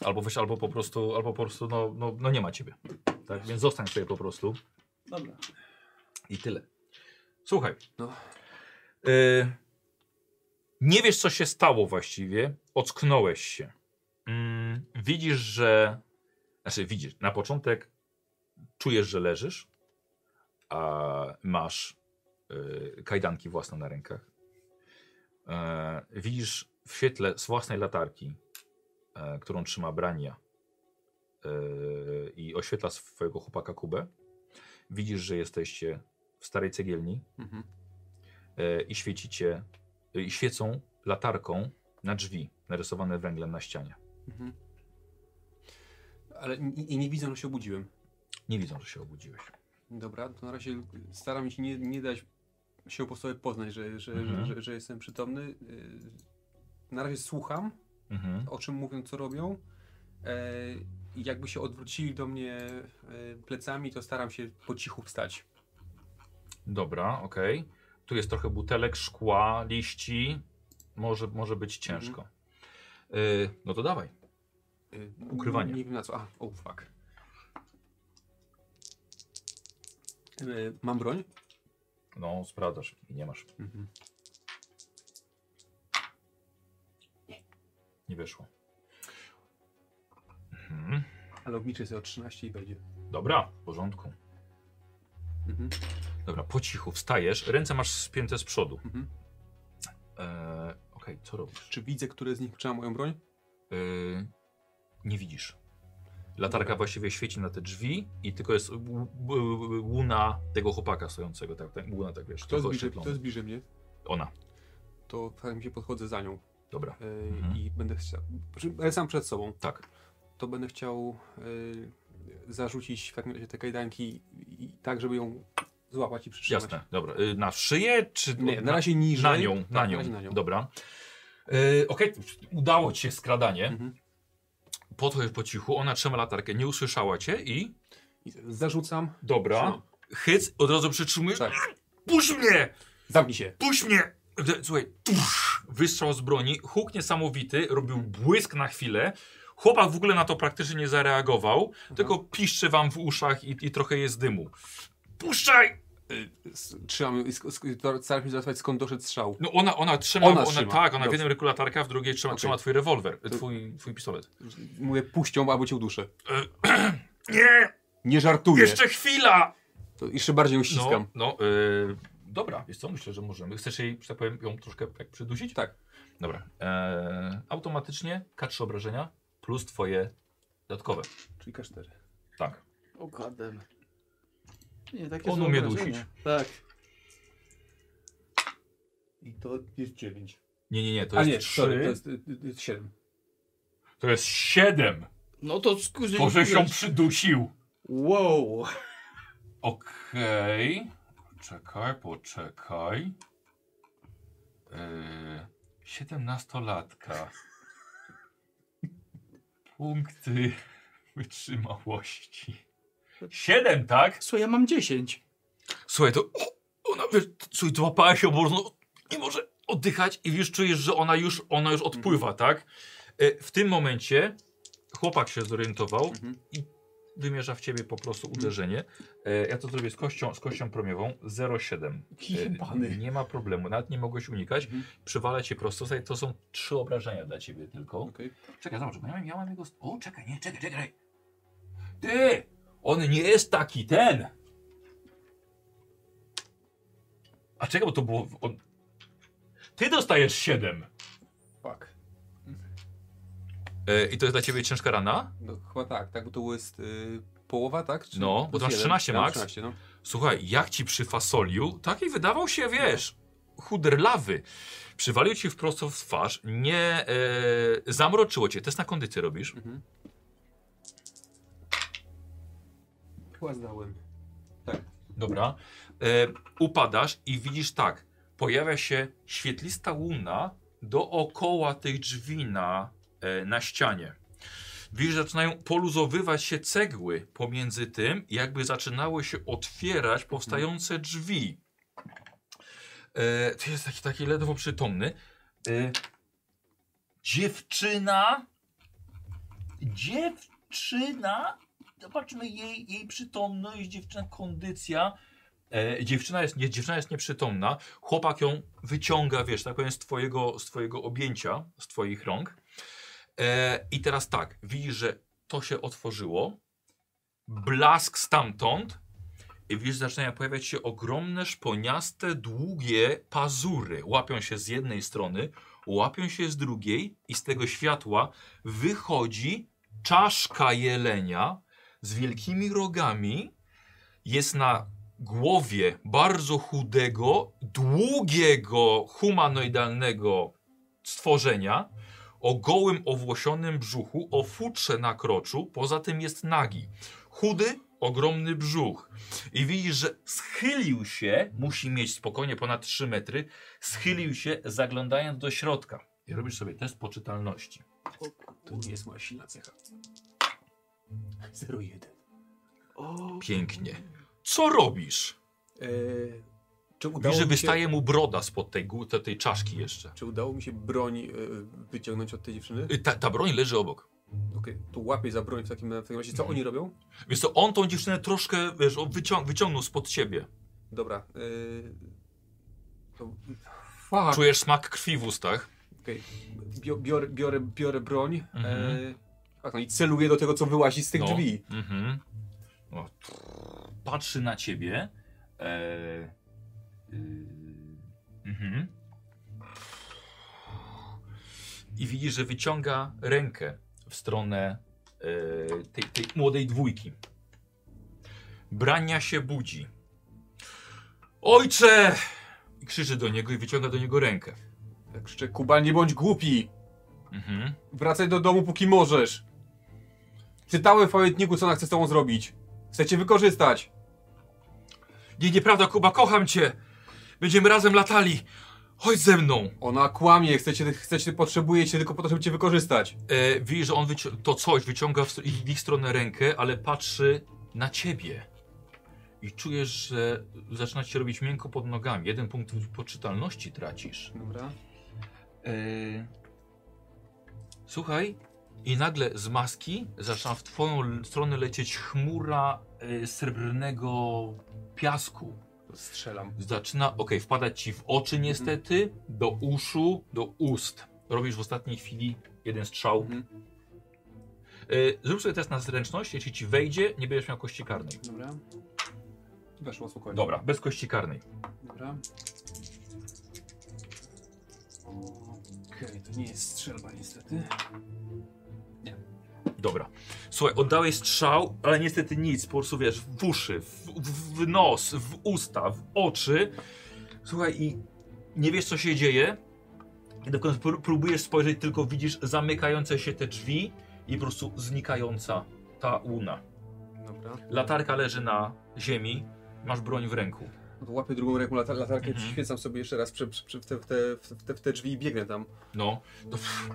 A: Albo weź, albo po prostu, albo po prostu, no, no, no nie ma ciebie. Tak, więc zostań sobie po prostu
B: dobra.
A: i tyle. Słuchaj.
C: No.
A: Y, nie wiesz, co się stało właściwie. Ocknąłeś się. Mm, widzisz, że. Znaczy, widzisz, na początek czujesz, że leżysz, a masz y, kajdanki własne na rękach. E, widzisz w świetle z własnej latarki, e, którą trzyma Brania e, i oświetla swojego chłopaka Kubę. Widzisz, że jesteście w starej cegielni
C: Mhm.
A: e, i świecicie, e, i świecą latarką na drzwi narysowane węglem na ścianie.
C: Mhm. Ale i, i nie widzę, że się obudziłem.
A: Nie widzą, że się obudziłeś.
C: Dobra, to na razie staram się nie, nie dać się po sobie poznać, że, że,
A: Mhm.
C: że, że, że jestem przytomny. Yy, Na razie słucham,
A: Mhm.
C: o czym mówią, co robią. E, I jakby się odwrócili do mnie e, plecami, to staram się po cichu wstać.
A: Dobra, okej. Tu jest trochę butelek, szkła, liści. Może, może być ciężko.
C: Mhm.
A: E, no to dawaj.
C: Y,
A: Ukrywanie.
C: Nie wiem na co. A, oh fuck. Y, Mam broń?
A: No, sprawdzasz i nie masz.
C: Mhm.
A: Nie wyszło. Mhm.
C: Ale obliczę sobie o 13 i będzie.
A: Dobra, w porządku.
C: Mhm.
A: Dobra, po cichu wstajesz, ręce masz spięte z przodu.
C: Mhm.
A: Eee, Okej, co robisz?
C: Czy widzę, które z nich trzyma moją broń?
A: Eee, nie widzisz. Latarka właściwie świeci na te drzwi i tylko jest ł- ł- łuna tego chłopaka stojącego, tak, tak łuna tak wiesz,
C: Kto
A: tylko
C: zbliży,
A: oświetlona.
C: kto zbliży mnie,
A: Ona,
C: to tam się podchodzę za nią
A: dobra,
C: y,
A: Mhm.
C: i będę chciał. przy- Ale sam przed sobą.
A: tak.
C: To będę chciał y, zarzucić w takim razie te kajdanki i, i tak, żeby ją złapać i przytrzymać.
A: Jasne, dobra. Y, Na szyję czy...
C: Nie, na razie niżej.
A: Na nią,
C: Tak,
A: na nią,
C: razie na nią.
A: dobra. Yy, Okej, udało ci się skradanie.
C: Mhm.
A: Podchodzisz po cichu, ona trzyma latarkę, nie usłyszała cię i...
C: I Zarzucam.
A: Dobra.
C: Trzymam.
A: Hyc, od razu przytrzymujesz.
C: Tak.
A: Puść mnie!
C: Zamknij się.
A: Puść mnie! Słuchaj, tusz, wystrzał z broni, huk niesamowity, robił błysk na chwilę. Chłopak w ogóle na to praktycznie nie zareagował, tylko piszczy wam w uszach i, i trochę jest dymu. Puszczaj!
C: S- Trzymam ją i sk- sk- staram się zastanawiać skąd doszedł strzał.
A: No ona, ona trzyma,
C: Ona
A: ona
C: trzyma.
A: tak, ona w
C: Dobrze.
A: jednym ręku latarka, w drugiej trzyma,
C: Okej.
A: trzyma twój rewolwer, e, twój, twój pistolet.
C: Mówię, puść ją, albo cię uduszę.
A: Nie!
C: Nie żartuję.
A: Jeszcze chwila!
C: To jeszcze bardziej ją
A: No,
C: ściskam.
A: no yy, dobra, wiesz co, myślę, że możemy. Chcesz jej, że tak powiem, ją troszkę jak przydusić?
C: Tak.
A: Dobra. E, automatycznie K3 obrażenia plus twoje dodatkowe.
C: Czyli K4.
A: Tak.
B: O
F: no.
B: godem. Nie, takie
A: On
B: złe
A: umie
B: wrażenie.
A: dusić.
B: Tak.
C: I to jest 9.
A: Nie, nie, nie, to
C: A
A: jest
C: nie,
A: trzy.
C: sorry, to jest, y, y, y, 7.
A: to jest 7.
B: No to skurzyli.
A: To żeś ją przydusił.
B: Wow.
A: Okej. Poczekaj, poczekaj. Eee,
R: Yy, 17-latka. Punkty wytrzymałości. 7, tak?
F: Słuchaj, ja mam 10.
A: Słuchaj, to o, ona, wiesz, słuchaj, złapała się oborną i może oddychać i wiesz, czujesz, że ona już, ona już
C: Mhm.
A: odpływa, tak? E, W tym momencie chłopak się zorientował
C: Mhm.
A: i wymierza w ciebie po prostu uderzenie. E, Ja to zrobię z kością, z kością promiową 0,7. E,
C: Jebany.
A: Nie ma problemu, nawet nie mogłeś unikać.
C: Mhm.
A: Przywala cię prosto, Słuchaj, to są trzy obrażenia dla ciebie tylko.
C: Okej.
A: Czekaj, zobacz, bo ja mam, ja mam jego... O, czekaj, nie, czekaj, czekaj. Ty! On nie jest taki ten! A czekaj, bo to było... On... Ty dostajesz 7!
C: Fuck.
A: E, I to jest dla ciebie ciężka rana?
C: No chyba tak, tak, bo to jest y, połowa, tak? Czy
A: No, bo
C: plus
A: to masz 13
C: jeden? Ja mam
A: max.
C: 13, no.
A: Słuchaj, jak ci przyfasolił, taki wydawał się, wiesz, chuderlawy. Przywalił ci wprost w twarz, nie... E, zamroczyło cię. Test na kondycję robisz.
C: Mhm.
S: Chyba zdałem. Tak.
A: Dobra. E, upadasz i widzisz tak. Pojawia się świetlista łuna dookoła tych drzwi na, e, na ścianie. Widzisz, zaczynają poluzowywać się cegły pomiędzy tym, jakby zaczynały się otwierać powstające drzwi. E, ty jest taki, taki ledwo przytomny. E, dziewczyna. Dziewczyna zobaczmy jej, jej przytomność, dziewczyna kondycja. E, dziewczyna, jest, nie, dziewczyna jest nieprzytomna, chłopak ją wyciąga, wiesz, tak powiem, z twojego, z twojego objęcia, z twoich rąk. E, I teraz tak, widzisz, że to się otworzyło, blask stamtąd i widzisz, zaczynają pojawiać się ogromne, szponiaste, długie pazury. Łapią się z jednej strony, łapią się z drugiej i z tego światła wychodzi czaszka jelenia, z wielkimi rogami. Jest na głowie bardzo chudego, długiego, humanoidalnego stworzenia o gołym, owłosionym brzuchu, o futrze na kroczu, poza tym jest nagi. Chudy, ogromny brzuch. I widzisz, że schylił się, musi mieć spokojnie ponad 3 metry, schylił się, zaglądając do środka. I robisz sobie test poczytalności.
C: To nie jest moja silna cecha. 0,1.
A: Pięknie. Co robisz?
C: Eee, czy udało
A: Widzisz, że
C: mi się-
A: wystaje mu broda spod tej, gó- tej, tej czaszki jeszcze.
C: Czy udało mi się broń y, wyciągnąć od tej dziewczyny?
A: Y, Ta, ta broń leży obok.
C: Okej, to łapię za broń w takim, w takim razie.
A: Mhm.
C: Co oni robią?
A: Więc to on tą dziewczynę troszkę wiesz, on wycią wyciągnął spod siebie.
C: Dobra. Y, to... Fuck.
A: Czujesz smak krwi w ustach.
C: Bio, biorę, biorę, biorę broń.
A: Mhm.
C: Eee, tak, no i celuję do tego, co wyłazi z tych
A: No.
C: drzwi.
A: Mhm. O, trrr, patrzy na ciebie. Eee, yy, mhm. I widzisz, że wyciąga rękę w stronę eee, tej, tej młodej dwójki. Brania się budzi. Ojcze! I krzyczy do niego i wyciąga do niego rękę.
C: Ja Krzyczę, Kuba, nie bądź głupi!
A: Mhm.
C: Wracaj do domu, póki możesz! Czytałem w pamiętniku, co ona chce z tobą zrobić. Chce cię wykorzystać.
A: Nie, nieprawda, Kuba, kocham cię! Będziemy razem latali! Chodź ze mną!
C: Ona kłamie, chce cię, chce cię, potrzebuje cię tylko po to, żeby cię wykorzystać.
A: E, widzisz, że on wyci- to coś wyciąga w, st- ich- w ich stronę rękę, ale patrzy na ciebie. I czujesz, że zaczyna ci się robić miękko pod nogami. Jeden punkt poczytalności tracisz.
C: Dobra.
A: E, Słuchaj, i nagle z maski zaczyna w twoją l- stronę lecieć chmura e, srebrnego piasku.
C: Strzelam.
A: Zaczyna, okej, wpadać ci w oczy niestety, do uszu, do ust. Robisz w ostatniej chwili jeden strzał.
C: Mhm.
A: Y, zrób sobie test na zręczność, jeśli ci wejdzie, nie będziesz miał kości karnej.
C: Dobra. Weszło spokojnie.
A: Dobra, bez kości karnej.
C: Dobra. Okej, to nie jest strzelba niestety.
A: Dobra. Słuchaj, oddałeś strzał, ale niestety nic, po prostu wiesz, w uszy, w, w, w nos, w usta, w oczy. Słuchaj i nie wiesz co się dzieje. I dokąd pró- próbujesz spojrzeć, tylko widzisz zamykające się te drzwi i po prostu znikająca ta łuna.
C: Dobra.
A: Latarka leży na ziemi, masz broń w ręku.
C: No to łapię drugą ręką latar latarkę, świecam sobie jeszcze raz przy, przy, przy, w, te, w, te, w, te, w te drzwi i biegnę tam.
A: No, to pff,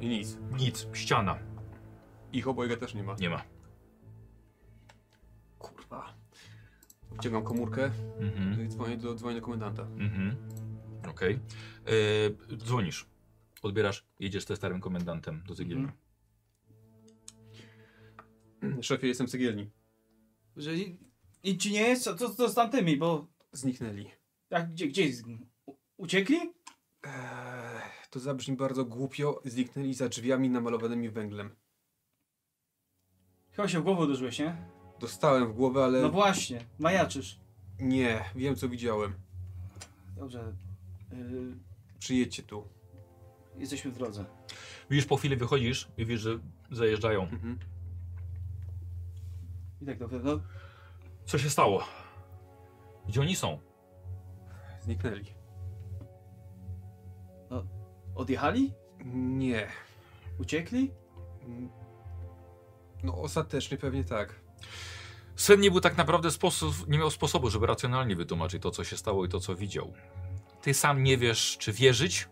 C: I nic.
A: nic, ściana,
C: Ich obojga też nie ma.
A: nie ma.
C: Kurwa. Wciągam komórkę no
A: Mhm,
C: i dzwonię do, dzwonię do komendanta.
A: mhm. Okej. E, Dzwonisz, odbierasz, jedziesz ze starym komendantem do Cegielni.
C: Szefie, jestem w cygielni.
F: Że i, i ci nie jest? Co, co, co z tamtymi, bo...
C: Zniknęli.
F: Jak, gdzie, gdzie z- u- Uciekli?
C: Eee, to zabrzmi bardzo głupio. Zniknęli za drzwiami namalowanymi węglem.
F: Chyba się w głowę uderzyłeś, nie?
C: Dostałem w głowę, ale
F: No właśnie, majaczysz.
C: nie, wiem co widziałem.
F: Dobrze. Y,
C: Przyjedźcie tu.
F: jesteśmy w drodze.
A: Widzisz, po chwili wychodzisz i wiesz, że zajeżdżają.
C: Mhm.
F: I tak dobrze. No,
A: Co się stało? Gdzie oni są?
C: Zniknęli.
F: odjechali?
C: Nie.
F: Uciekli?
C: No ostatecznie pewnie tak.
A: Sen nie był tak naprawdę sposób, nie miał sposobu, żeby racjonalnie wytłumaczyć to, co się stało i to, co widział. Ty sam nie wiesz, czy wierzyć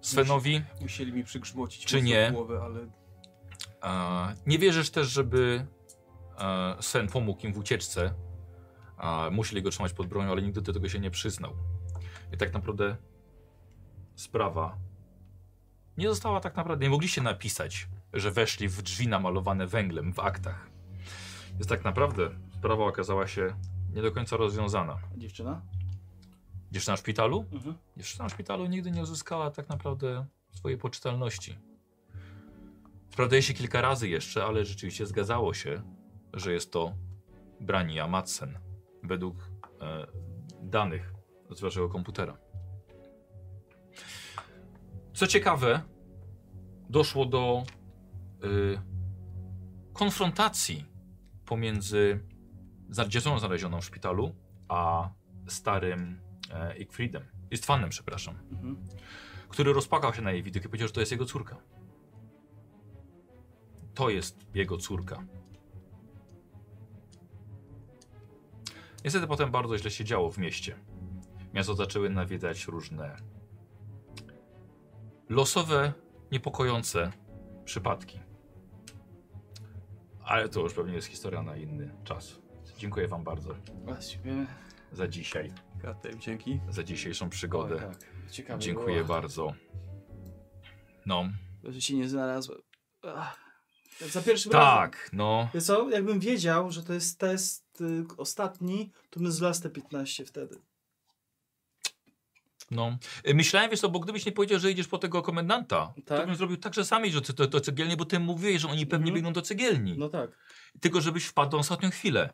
A: Svenowi.
C: Musieli mi przygrzmocić
A: Czy
C: mocno
A: nie?
C: w głowę, ale
A: E, nie wierzysz też, żeby e, Sen pomógł im w ucieczce. E, musieli go trzymać pod bronią, ale nigdy do tego się nie przyznał. I tak naprawdę sprawa nie została tak naprawdę. Nie mogliście napisać, że weszli w drzwi namalowane węglem w aktach. Więc tak naprawdę sprawa okazała się nie do końca rozwiązana.
F: Dziewczyna?
A: Dziewczyna w szpitalu?
F: Mhm.
A: Dziewczyna w szpitalu nigdy nie uzyskała tak naprawdę swojej poczytalności. Sprawdzaje się kilka razy jeszcze, ale rzeczywiście zgadzało się, że jest to Brania Madsen według e, danych z waszego komputera. Co ciekawe, doszło do y, konfrontacji pomiędzy za- dziewczyną znalezioną w szpitalu a starym e, Siegfriedem. Jest fanem, przepraszam.
F: Mhm.
A: Który rozpakał się na jej widok i powiedział, że to jest jego córka. To jest jego córka. Niestety potem bardzo źle się działo w mieście. Miasto zaczęły nawiedzać różne losowe, niepokojące przypadki. Ale to już pewnie jest historia na inny czas. Dziękuję Wam bardzo
F: Właściwie...
A: za dzisiaj,
C: Katem, dzięki.
A: za dzisiejszą przygodę.
F: Oj, tak. Ciekawe
A: Dziękuję
F: było.
A: bardzo. No,
F: Że się nie znalazłem. Ach. Za pierwszym razem.
A: tak, no.
F: Wiesz co, jakbym wiedział, że to jest test y, ostatni, to bym zlazł te 15 wtedy.
A: No. Y, Myślałem, wiesz co, bo gdybyś nie powiedział, że idziesz po tego komendanta, to
F: Tak.
A: bym zrobił tak, że sam idziesz do, do, do cegielni, bo ty mówiłeś, że oni pewnie
F: Mhm.
A: biegną do cegielni.
F: No tak.
A: Tylko żebyś wpadł na ostatnią chwilę.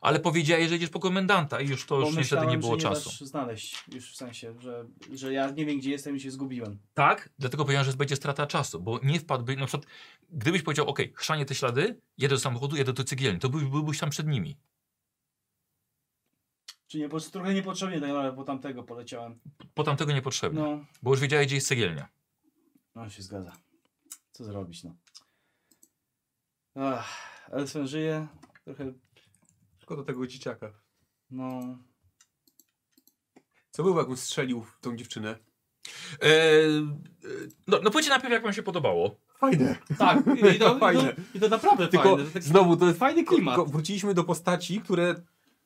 A: Ale powiedziałeś, że idziesz po komendanta i już to już niestety nie było
F: że
A: czasu.
F: Nie dasz znaleźć już w sensie, że, że ja nie wiem gdzie jestem i się zgubiłem.
A: Tak? Dlatego powiedziałem, że będzie strata czasu, bo nie wpadłby, na przykład, gdybyś powiedział, ok, chrzanie te ślady, jedę do samochodu, jedę do cegielni, to by, byłbyś tam przed nimi.
F: Czyli nie, po- trochę niepotrzebnie tak naprawdę po tamtego poleciałem.
A: Po tamtego niepotrzebnie,
F: No,
A: bo już wiedziałeś, gdzie jest cegielnia.
F: no się zgadza. Co zrobić, no. Ach, Elfen żyje. Trochę,
C: Szkoda tego dzieciaka.
F: no...
C: Co było, jakbym strzelił w tą dziewczynę?
A: E, e, no, no powiedzcie najpierw, jak wam się podobało.
C: [laughs] Fajne.
F: Tak, i to, i to,
C: Fajne.
F: i to naprawdę
C: Tylko
F: fajne. To taki
C: znowu to jest
F: fajny klimat.
C: Tylko wróciliśmy do postaci, które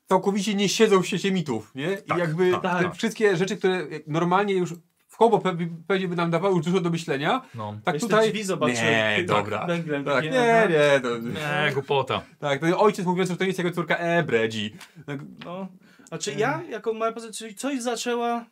C: całkowicie nie siedzą w sieci mitów, nie? I
A: Tak,
C: jakby
A: tak,
C: te
A: tak.
C: wszystkie rzeczy, które normalnie już w koło pewnie, pewnie by nam dawały już dużo do myślenia,
A: No.
C: tak
F: Jeszcze
C: tutaj...
F: drzwi zobaczyłem.
C: Nie,
F: Tak,
C: dobra.
F: Węglem
C: Tak,
F: takie, no,
C: nie,
F: aha.
C: nie, to,
A: Nie, E, głupota.
C: tak, ten ojciec mówiący, że to nie jest jego córka, e, bredzi. Tak,
F: No. A czy ja, jako moja pozycja, czyli coś zaczęła,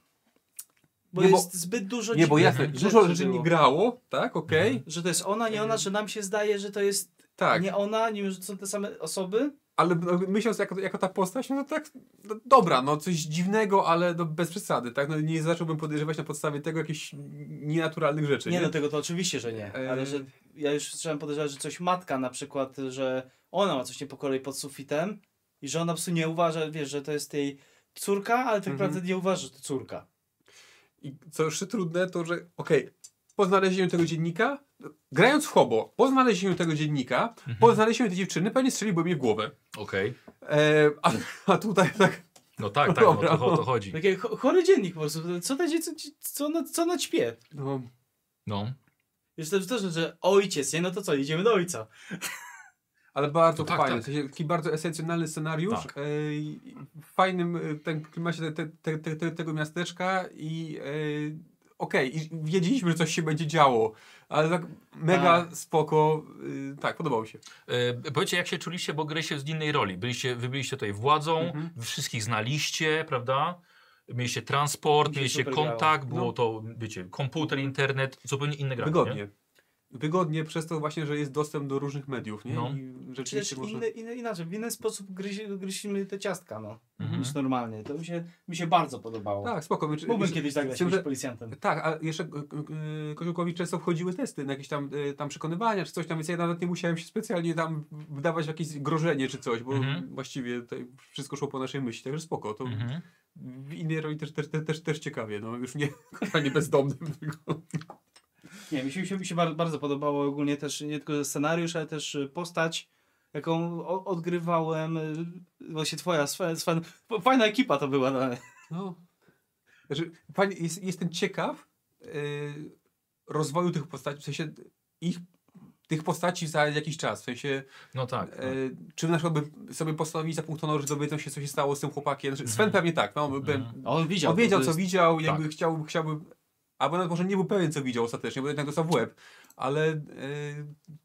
F: bo
C: Nie, bo-
F: jest zbyt dużo
C: nie, bo
F: dziwnych
C: jasne, dużo rzeczy nie
F: było. Mhm.
C: grało, tak, okej,
F: Że to jest ona, nie ona, że nam się zdaje, że to jest
C: tak,
F: nie ona, nie wiem, że to są te same osoby.
C: ale no, myśląc jako, jako ta postać, no tak, no, dobra, no coś dziwnego, ale no, bez przesady, tak, no nie zacząłbym podejrzewać na podstawie tego jakichś nienaturalnych rzeczy,
F: Nie, no do tego to oczywiście, że nie.
C: E,
F: Ale że ja już zacząłem podejrzewać, że coś matka na przykład, że ona ma coś nie po kolei pod sufitem i że ona po prostu nie uważa, wiesz, że to jest jej córka, ale tak
C: Mhm.
F: naprawdę nie uważa, że to córka.
C: I co jeszcze trudne, to że okej, po znalezieniu tego dziennika, grając w hobo, po znalezieniu tego dziennika,
A: Mhm.
C: po znalezieniu tej dziewczyny, pewnie strzeliłbym jej w głowę.
A: Okej.
C: E, a, a tutaj tak,
A: No tak, tak,
C: Dobra,
A: no to, o to chodzi.
F: Taki cho- chory dziennik po prostu. Co na dziecko, co ona, co ona ćpie?
C: no,
A: No.
F: Wiesz, to, to, że, że ojciec, nie? No to co, idziemy do ojca.
C: ale bardzo
A: No tak,
C: fajny,
A: tak.
C: w sensie taki bardzo esencjonalny scenariusz,
A: Tak.
C: e, i w fajnym e, ten, klimacie te, te, te, te, tego miasteczka i e, okej, i wiedzieliśmy, że coś się będzie działo, ale tak mega spoko, e, tak, podobało mi się.
A: E, powiedzcie, jak się czuliście, bo graliście z innej roli. Byliście, wy byliście tutaj władzą,
C: Mhm.
A: wy wszystkich znaliście, prawda? Mieliście transport,
F: Mi się
A: mieliście
F: super grało.
A: kontakt, było
C: No.
A: to, wiecie, komputer, internet, zupełnie inne granie. Tak, Nie?
C: Wygodnie. Wygodnie przez to właśnie, że jest dostęp do różnych mediów, nie?
A: No.
C: I
F: Czy też
C: rzeczywiście można...
F: inny, inny, inaczej, w inny sposób gryzi, gryzimy te ciastka, no.
A: Mhm.
F: Niż normalnie. To mi się, mi się bardzo podobało.
C: Tak, spoko.
F: Mógłbym kiedyś zagrać
C: Chciałem,
F: jakimś
C: że-
F: policjantem.
C: Tak, a jeszcze y, y, Koziołkowi często wchodziły testy na jakieś tam, y, tam przekonywania czy coś tam, więc ja nawet nie musiałem się specjalnie tam wdawać w jakieś grożenie czy coś, bo
A: Mhm.
C: właściwie tutaj wszystko szło po naszej myśli, także spoko. To
A: Mhm.
C: w innej roli też, też, też, też, też ciekawie, no już nie, [laughs] nie bezdomnym, tylko...
F: Nie, mi się, mi się, mi się bardzo, bardzo podobało ogólnie też nie tylko scenariusz, ale też y, postać, jaką o, odgrywałem. y, Właśnie twoja, swe- swe- fajna ekipa to była. No.
C: No. Znaczy, fajnie, jest, jestem ciekaw y, rozwoju tych postaci, w sensie ich, tych postaci za jakiś czas, w sensie
A: No tak.
C: E, czy na przykład by sobie postanowili za punkt honoru, że dowiedzą się, co się stało z tym chłopakiem? Znaczy, Sven pewnie tak, no, by,
A: Mhm.
F: A On widział.
C: on wiedział,
F: to, to
C: co
F: jest-
C: widział, jakby chciał, chciałby, albo nawet może nie był pewien, co widział ostatecznie, bo jednak dostał w łeb, ale e,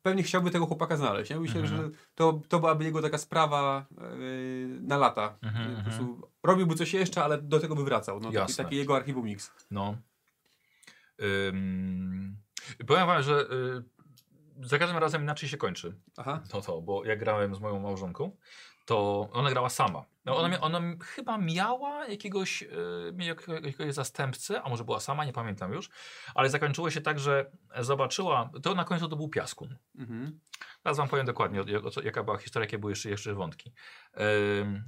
C: pewnie chciałby tego chłopaka znaleźć. Ja myślę,
A: Mhm.
C: że to, to byłaby jego taka sprawa e, na lata.
A: Mhm,
C: E, po
A: mhm.
C: prostu robiłby coś jeszcze, ale do tego by wracał. No, taki,
A: Jasne.
C: taki jego archiwum mix.
A: No. Ym, powiem wam, że y, za każdym razem inaczej się kończy.
C: Aha.
A: No to, bo jak grałem z moją małżonką, to ona grała sama. No ona, mia- ona m- chyba miała jakiegoś, y, miała jak- jakiegoś zastępcę, a może była sama, nie pamiętam już, ale zakończyło się tak, że zobaczyła, to na końcu to był piaskun.
C: Mhm.
A: Teraz wam powiem dokładnie, o- o co- jaka była historia, jakie były jeszcze, jeszcze wątki. Ym,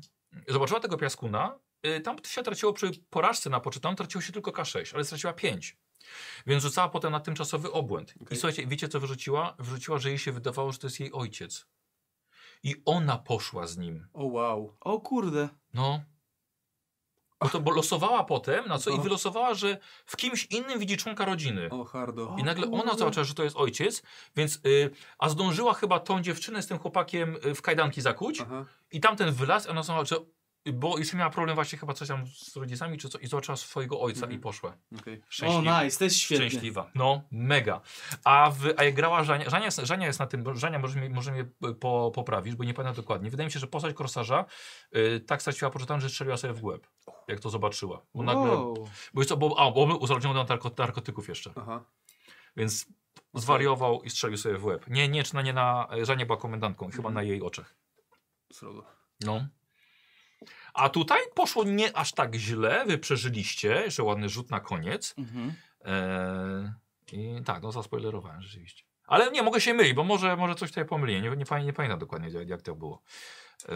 A: zobaczyła tego piaskuna. y, Tam się traciło przy porażce na poczytam, traciło się tylko K6, ale straciła 5. Więc rzucała potem na tymczasowy obłęd. I
C: Okej.
A: słuchajcie, wiecie co wyrzuciła? Wyrzuciła, że jej się wydawało, że to jest jej ojciec. I ona poszła z nim.
C: O wow.
F: O kurde.
A: No. Bo to bo losowała potem, na co i
C: No.
A: wylosowała, że w kimś innym widzi członka rodziny.
C: O hardo.
A: I nagle ona zobaczyła, że to jest ojciec, więc y, a zdążyła chyba tą dziewczynę z tym chłopakiem y, w kajdanki zakuć
F: Tak.
C: Aha.
A: i tamten wylazł, a ona zobaczyła, że- bo jeszcze miała problem właśnie chyba coś tam z rodzicami czy co i zobaczyła swojego ojca
C: Mhm.
A: i poszła.
C: okej.
F: O,
A: Szczęśliwa.
F: nice, to jest świetnie.
A: Szczęśliwa. No, mega. A, w, a jak grała Żania, Żania, jest, Żania jest na tym, bo Żania może mnie, może mnie y, po, poprawisz, bo nie pamiętam dokładnie. Wydaje mi się, że postać Korsarza y, tak straciła poczytam, że strzeliła sobie w głęb, jak to zobaczyła. Bo nagle,
F: Wow.
A: bo, jest to- bo, a, bo był uzależniony od narko- narkotyków jeszcze.
C: Aha.
A: Więc zwariował i strzelił sobie w łeb. Nie, nie, czy na nie na. Żania była komendantką, chyba
C: Mhm.
A: na jej oczach.
C: Srogo.
A: No. A tutaj poszło nie aż tak źle. Wy przeżyliście. Jeszcze ładny rzut na koniec.
F: Mhm.
A: Eee, I tak, no zaspoilerowałem rzeczywiście. Ale nie, mogę się mylić, bo może, może coś tutaj pomyliłem. Nie, nie, pamię- nie pamiętam dokładnie, jak, jak to było. Eee,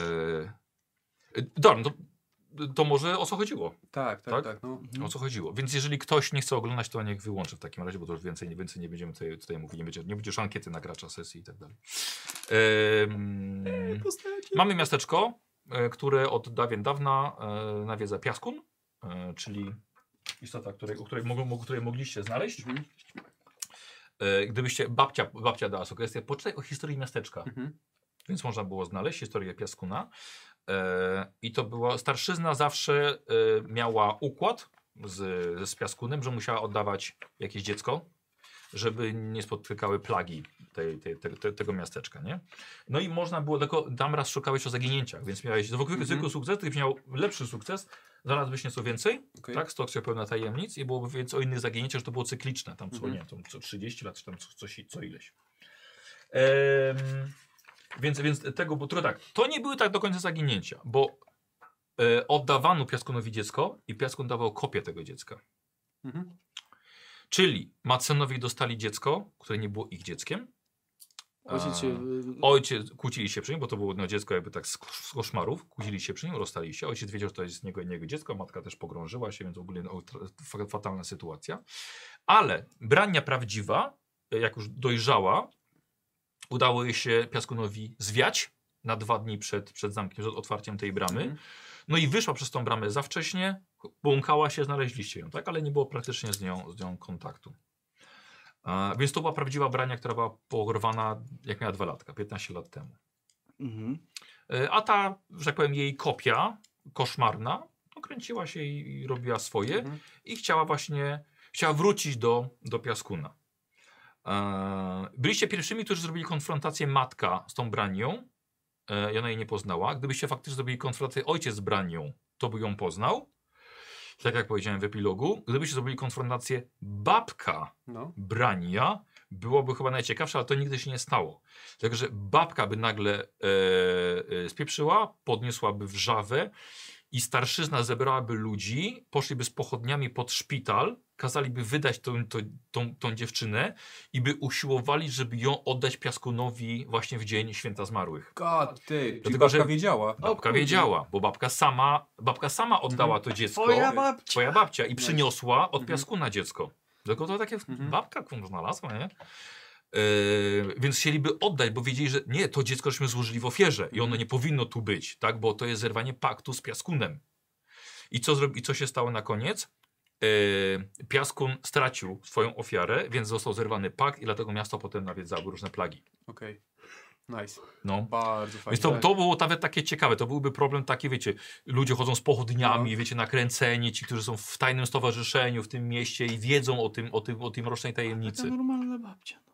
A: e, dobra, to, to może o co chodziło?
C: Tak, tak,
A: Tak?
C: tak. no.
A: O co chodziło? Więc jeżeli ktoś nie chce oglądać, to niech wyłączy w takim razie, bo to już więcej, więcej nie będziemy tutaj, tutaj mówić, nie będzie, nie będzie już ankiety na gracza sesji i tak dalej. Em, mamy miasteczko, e, które od dawien dawna e, nawiedza Piaskun, e, czyli istota, której, o której, mogą, o której mogliście znaleźć.
C: Mhm.
A: E, gdybyście, babcia, babcia dała sugestię, poczytaj o historii miasteczka.
C: Mhm.
A: Więc można było znaleźć historię Piaskuna. E, I to była starszyzna zawsze e, miała układ z, z Piaskunem, że musiała oddawać jakieś dziecko, żeby nie spotykały plagi tej, tej, te, te, tego miasteczka. Nie? No i można było tylko tam raz szukałeś o zaginięciach, więc miałeś zwykły,
C: Mhm.
A: zwykły sukces, gdybyś miał lepszy sukces, znalazłbyś nieco więcej,
C: Okej.
A: tak? Stokcja pełna tajemnic i byłoby więc o innych zaginięciach, że to było cykliczne, tam co,
C: Mhm.
A: nie, wiem, tam co 30 lat, czy tam co, coś, co ileś. Em, więc, więc tego, bo to tak, to nie były tak do końca zaginięcia, bo e, oddawano Piaskunowi dziecko i Piaskun dawał kopię tego dziecka.
C: Mhm.
A: Czyli Macenowie dostali dziecko, które nie było ich dzieckiem.
F: Ojciec
A: A,
F: się...
A: Ojciec kłócili się przy nim, bo to było no, dziecko jakby tak z, kosz- z koszmarów. Kłócili się przy nim, rozstali się. Ojciec wiedział, że to jest niego, niego dziecko, matka też pogrążyła się, więc ogólnie no, tra- fa- fatalna sytuacja. Ale brania prawdziwa, jak już dojrzała, udało jej się Piaskunowi zwiać na dwa dni przed, przed zamkiem, przed otwarciem tej
C: Mhm.
A: bramy. No i wyszła przez tą bramę za wcześnie, błąkała się, znaleźliście ją, tak? Ale nie było praktycznie z nią, z nią kontaktu. A, więc to była prawdziwa brania, która była porwana, jak miała dwa latka, 15 lat temu.
F: Mhm.
A: E, A ta, że tak powiem, jej kopia koszmarna no, kręciła się i i robiła swoje
C: Mhm.
A: i chciała właśnie, chciała wrócić do, do Piaskuna. E, byliście pierwszymi, którzy zrobili konfrontację matka z tą branią e, i ona jej nie poznała. Gdybyście faktycznie zrobili konfrontację ojciec z branią, to by ją poznał. Tak jak powiedziałem w epilogu. Gdybyście zrobili konfrontację babka
C: No.
A: brania byłoby chyba najciekawsze, ale to nigdy się nie stało. Dlatego, że babka by nagle e, e, spieprzyła, podniosłaby wrzawę i starszyzna zebrałaby ludzi, poszliby z pochodniami pod szpital, kazaliby wydać tą, tą, tą, tą dziewczynę i by usiłowali, żeby ją oddać Piaskunowi właśnie w dzień Święta Zmarłych.
C: God, ty, czyli
A: Dlatego,
C: babka
A: że-
C: wiedziała.
A: Babka wiedziała, bo babka sama, babka sama oddała to dziecko.
C: Twoja
A: babcia. Twoja babcia i przyniosła od
C: No Mhm.
A: piasku na dziecko. Tylko to takie
C: Mhm.
A: babka kurwa znalazła, nie? Yy, więc chcieliby oddać, bo wiedzieli, że nie, to dziecko żeśmy złożyli w ofierze i ono
C: Mhm.
A: nie powinno tu być, tak? Bo to jest zerwanie paktu z piaskunem. I co, zrobi, i co się stało na koniec? Yy, piaskun stracił swoją ofiarę, więc został zerwany pakt i dlatego miasto potem nawiedzały różne plagi.
C: Okej. Nice.
A: No.
C: Bardzo fajnie. Tak.
A: Więc to, to było nawet takie ciekawe, to byłby problem taki, wiecie, ludzie chodzą z pochodniami, wiecie, nakręceni, ci, którzy są w tajnym stowarzyszeniu w tym mieście i wiedzą o tym, o tym, o tym rocznej
F: Taka
A: tajemnicy.
F: normalna babcia. No.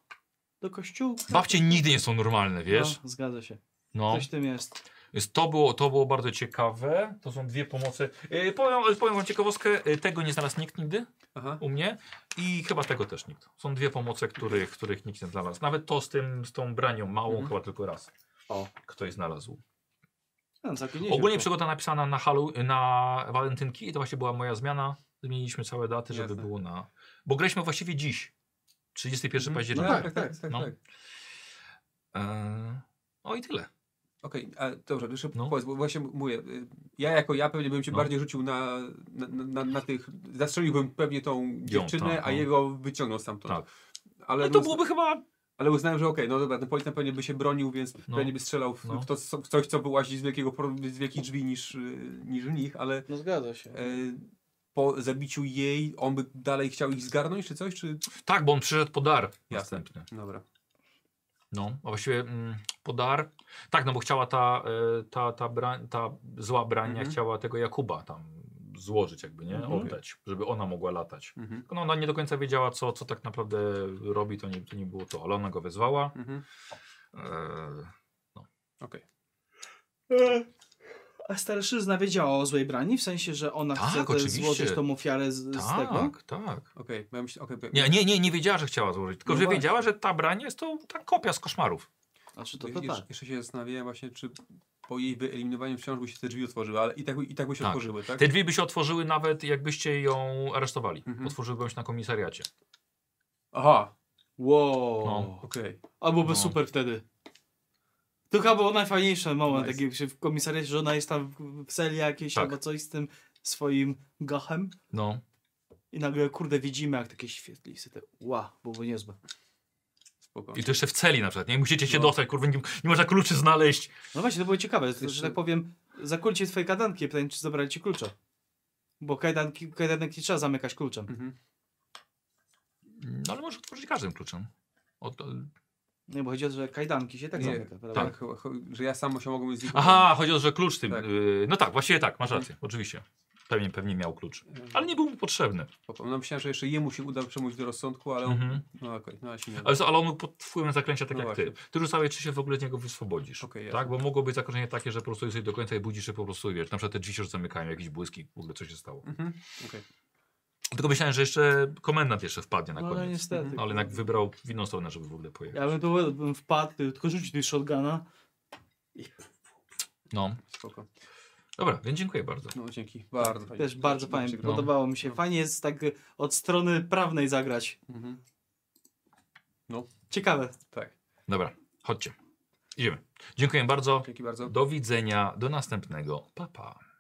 F: Do kościółka.
A: Babcie nigdy nie są normalne, wiesz?
F: No, zgadza się.
A: No.
F: Coś w tym jest.
A: Więc to było, to było bardzo ciekawe. To są dwie pomocy. Yy, powiem, powiem wam ciekawostkę, yy, tego nie znalazł nikt nigdy
C: Aha.
A: u mnie i chyba tego też nikt. Są dwie pomoce, których, których nikt nie znalazł. Nawet to z, tym, z tą branią małą
C: Mhm.
A: chyba tylko raz
C: O.
A: ktoś znalazł.
F: No, całkiem nieźle.
A: Ogólnie przygoda napisana na, halu, na walentynki i to właśnie była moja zmiana. Zmieniliśmy całe daty, żeby
C: Jasne.
A: było na... Bo graliśmy właściwie dziś, 31
C: No
A: października.
C: tak, tak, tak. tak,
A: No.
C: tak.
A: Eee, o i tyle.
C: Okej, a dobrze, jeszcze
A: No.
C: powiedz, bo właśnie mówię, y, ja jako ja pewnie bym się
A: No.
C: bardziej rzucił na, na, na, na tych, zastrzeliłbym pewnie tą dziewczynę,
A: tak,
C: a
A: no.
C: jego wyciągnął stamtąd.
A: Tak.
C: Ale,
A: No to
C: uzna-
A: byłoby chyba...
C: ale uznałem, że okej, no dobra, ten policjant pewnie by się bronił, więc
A: No.
C: pewnie by strzelał w,
A: No.
C: w, to, co- w coś, co wyłazi z, wielkiego, pro- z wielkich drzwi niż, y, niż w nich, ale
F: No zgadza się.
C: e, po zabiciu jej on by dalej chciał ich zgarnąć czy coś, czy...
A: Tak, bo on przyszedł po dar następny.
C: Dobra.
A: No, a właściwie mm, po dar... Tak, no bo chciała ta, e, ta, ta, brań, ta zła brania,
C: Mhm.
A: chciała tego Jakuba tam złożyć jakby, nie? Oddać, żeby ona mogła latać.
C: Mhm.
A: No, ona nie do końca wiedziała, co, co tak naprawdę robi, to nie, to nie było to, ale ona go wezwała.
C: Mhm.
A: Eee,
C: Okej.
F: A starszyzna wiedziała o złej brani, w sensie, że ona
A: Tak,
F: chce też
A: oczywiście.
F: złożyć tą ofiarę z, z tego.
A: Tak, tak.
C: Okej, bo ja myślę, okej, bo-
A: Nie, nie, nie, nie wiedziała, że chciała złożyć, tylko
C: No
A: że
C: właśnie.
A: wiedziała, że ta brań jest to ta kopia z koszmarów.
F: Znaczy to,
C: Je-
F: to
C: jeż-
F: tak.
C: Jeszcze się zastanawiałem właśnie, czy po jej wyeliminowaniu wciąż by się te drzwi otworzyły, ale i tak, by- i tak by się
A: Tak.
C: otworzyły, tak?
A: Te drzwi by się otworzyły nawet jakbyście ją aresztowali.
C: Mhm.
A: Otworzyłbym się na komisariacie.
C: Aha,
F: Wow.
A: No.
C: okej.
F: A byłoby
A: No.
F: super wtedy. To chyba był najfajniejszy moment,
C: Nice.
F: jak się w komisariacie, że ona jest tam w- w celi jakiejś
A: Tak.
F: albo coś z tym swoim gachem.
A: No.
F: I nagle, kurde, widzimy jak takie świetlice. Te... Ła, byłoby niezłe.
C: Spoko.
A: I to jeszcze w celi na przykład. Nie musicie się
C: No.
A: dostać, kurwa, nie, nie można kluczy znaleźć.
F: No właśnie, to było ciekawe, że, że
C: Jeszcze-
F: tak powiem, zakulcie twoje kadanki, pytanie, czy zabrali ci klucze. Bo kajdanki, kajdanek nie trzeba zamykać kluczem.
C: Mhm.
A: No ale możesz otworzyć każdym kluczem. Od,
F: Nie, bo chodzi o to, że kajdanki się tak
C: Nie,
F: zamyka, prawda?
C: Tak, chyba- chyba- że ja samo się mogłem z nich...
A: Aha, chodzi o to, że klucz tym.
C: Tak.
A: y, no tak, właściwie tak, masz rację, oczywiście. Pewnie, pewnie miał klucz. Ale nie był mu potrzebny.
C: e, Spoko. No myślałem, że jeszcze jemu się uda przemówić do rozsądku, ale on...
A: Mhm.
C: No okej, no ja się nie
A: Ale, co, ale on był pod wpływem zaklęcia tak
C: No
A: jak ty.
C: właśnie.
A: Ty rzucałeś, czy się w ogóle z niego wyswobodzisz.
C: Okej, jasne.
A: tak? Bo mogło być zakończenie takie, że po prostu jesteś do końca i budzisz się po prostu, wiesz, na przykład te drzwi się już zamykają, jakieś błyski, w ogóle co się stało.
C: Mhm. okej.
A: Tylko myślałem, że jeszcze komendant jeszcze wpadnie na
F: No ale
A: koniec.
F: niestety.
A: No, ale jednak wybrał w inną stronę, żeby w ogóle pojechać.
F: Ja bym tu bym wpadł, tylko rzucił tej shotguna.
A: No,
C: Spoko.
A: dobra, więc dziękuję bardzo.
C: No dzięki, bardzo fajnie.
F: Też bardzo
C: Dobrze
F: fajnie,
C: się grało.
F: podobało mi się. Fajnie jest tak y, od strony prawnej zagrać.
C: Mhm.
F: Ciekawe.
C: Tak,
A: Dobra, chodźcie. Idziemy. Dziękuję bardzo.
C: dzięki bardzo.
A: Do widzenia, do następnego. Pa, pa.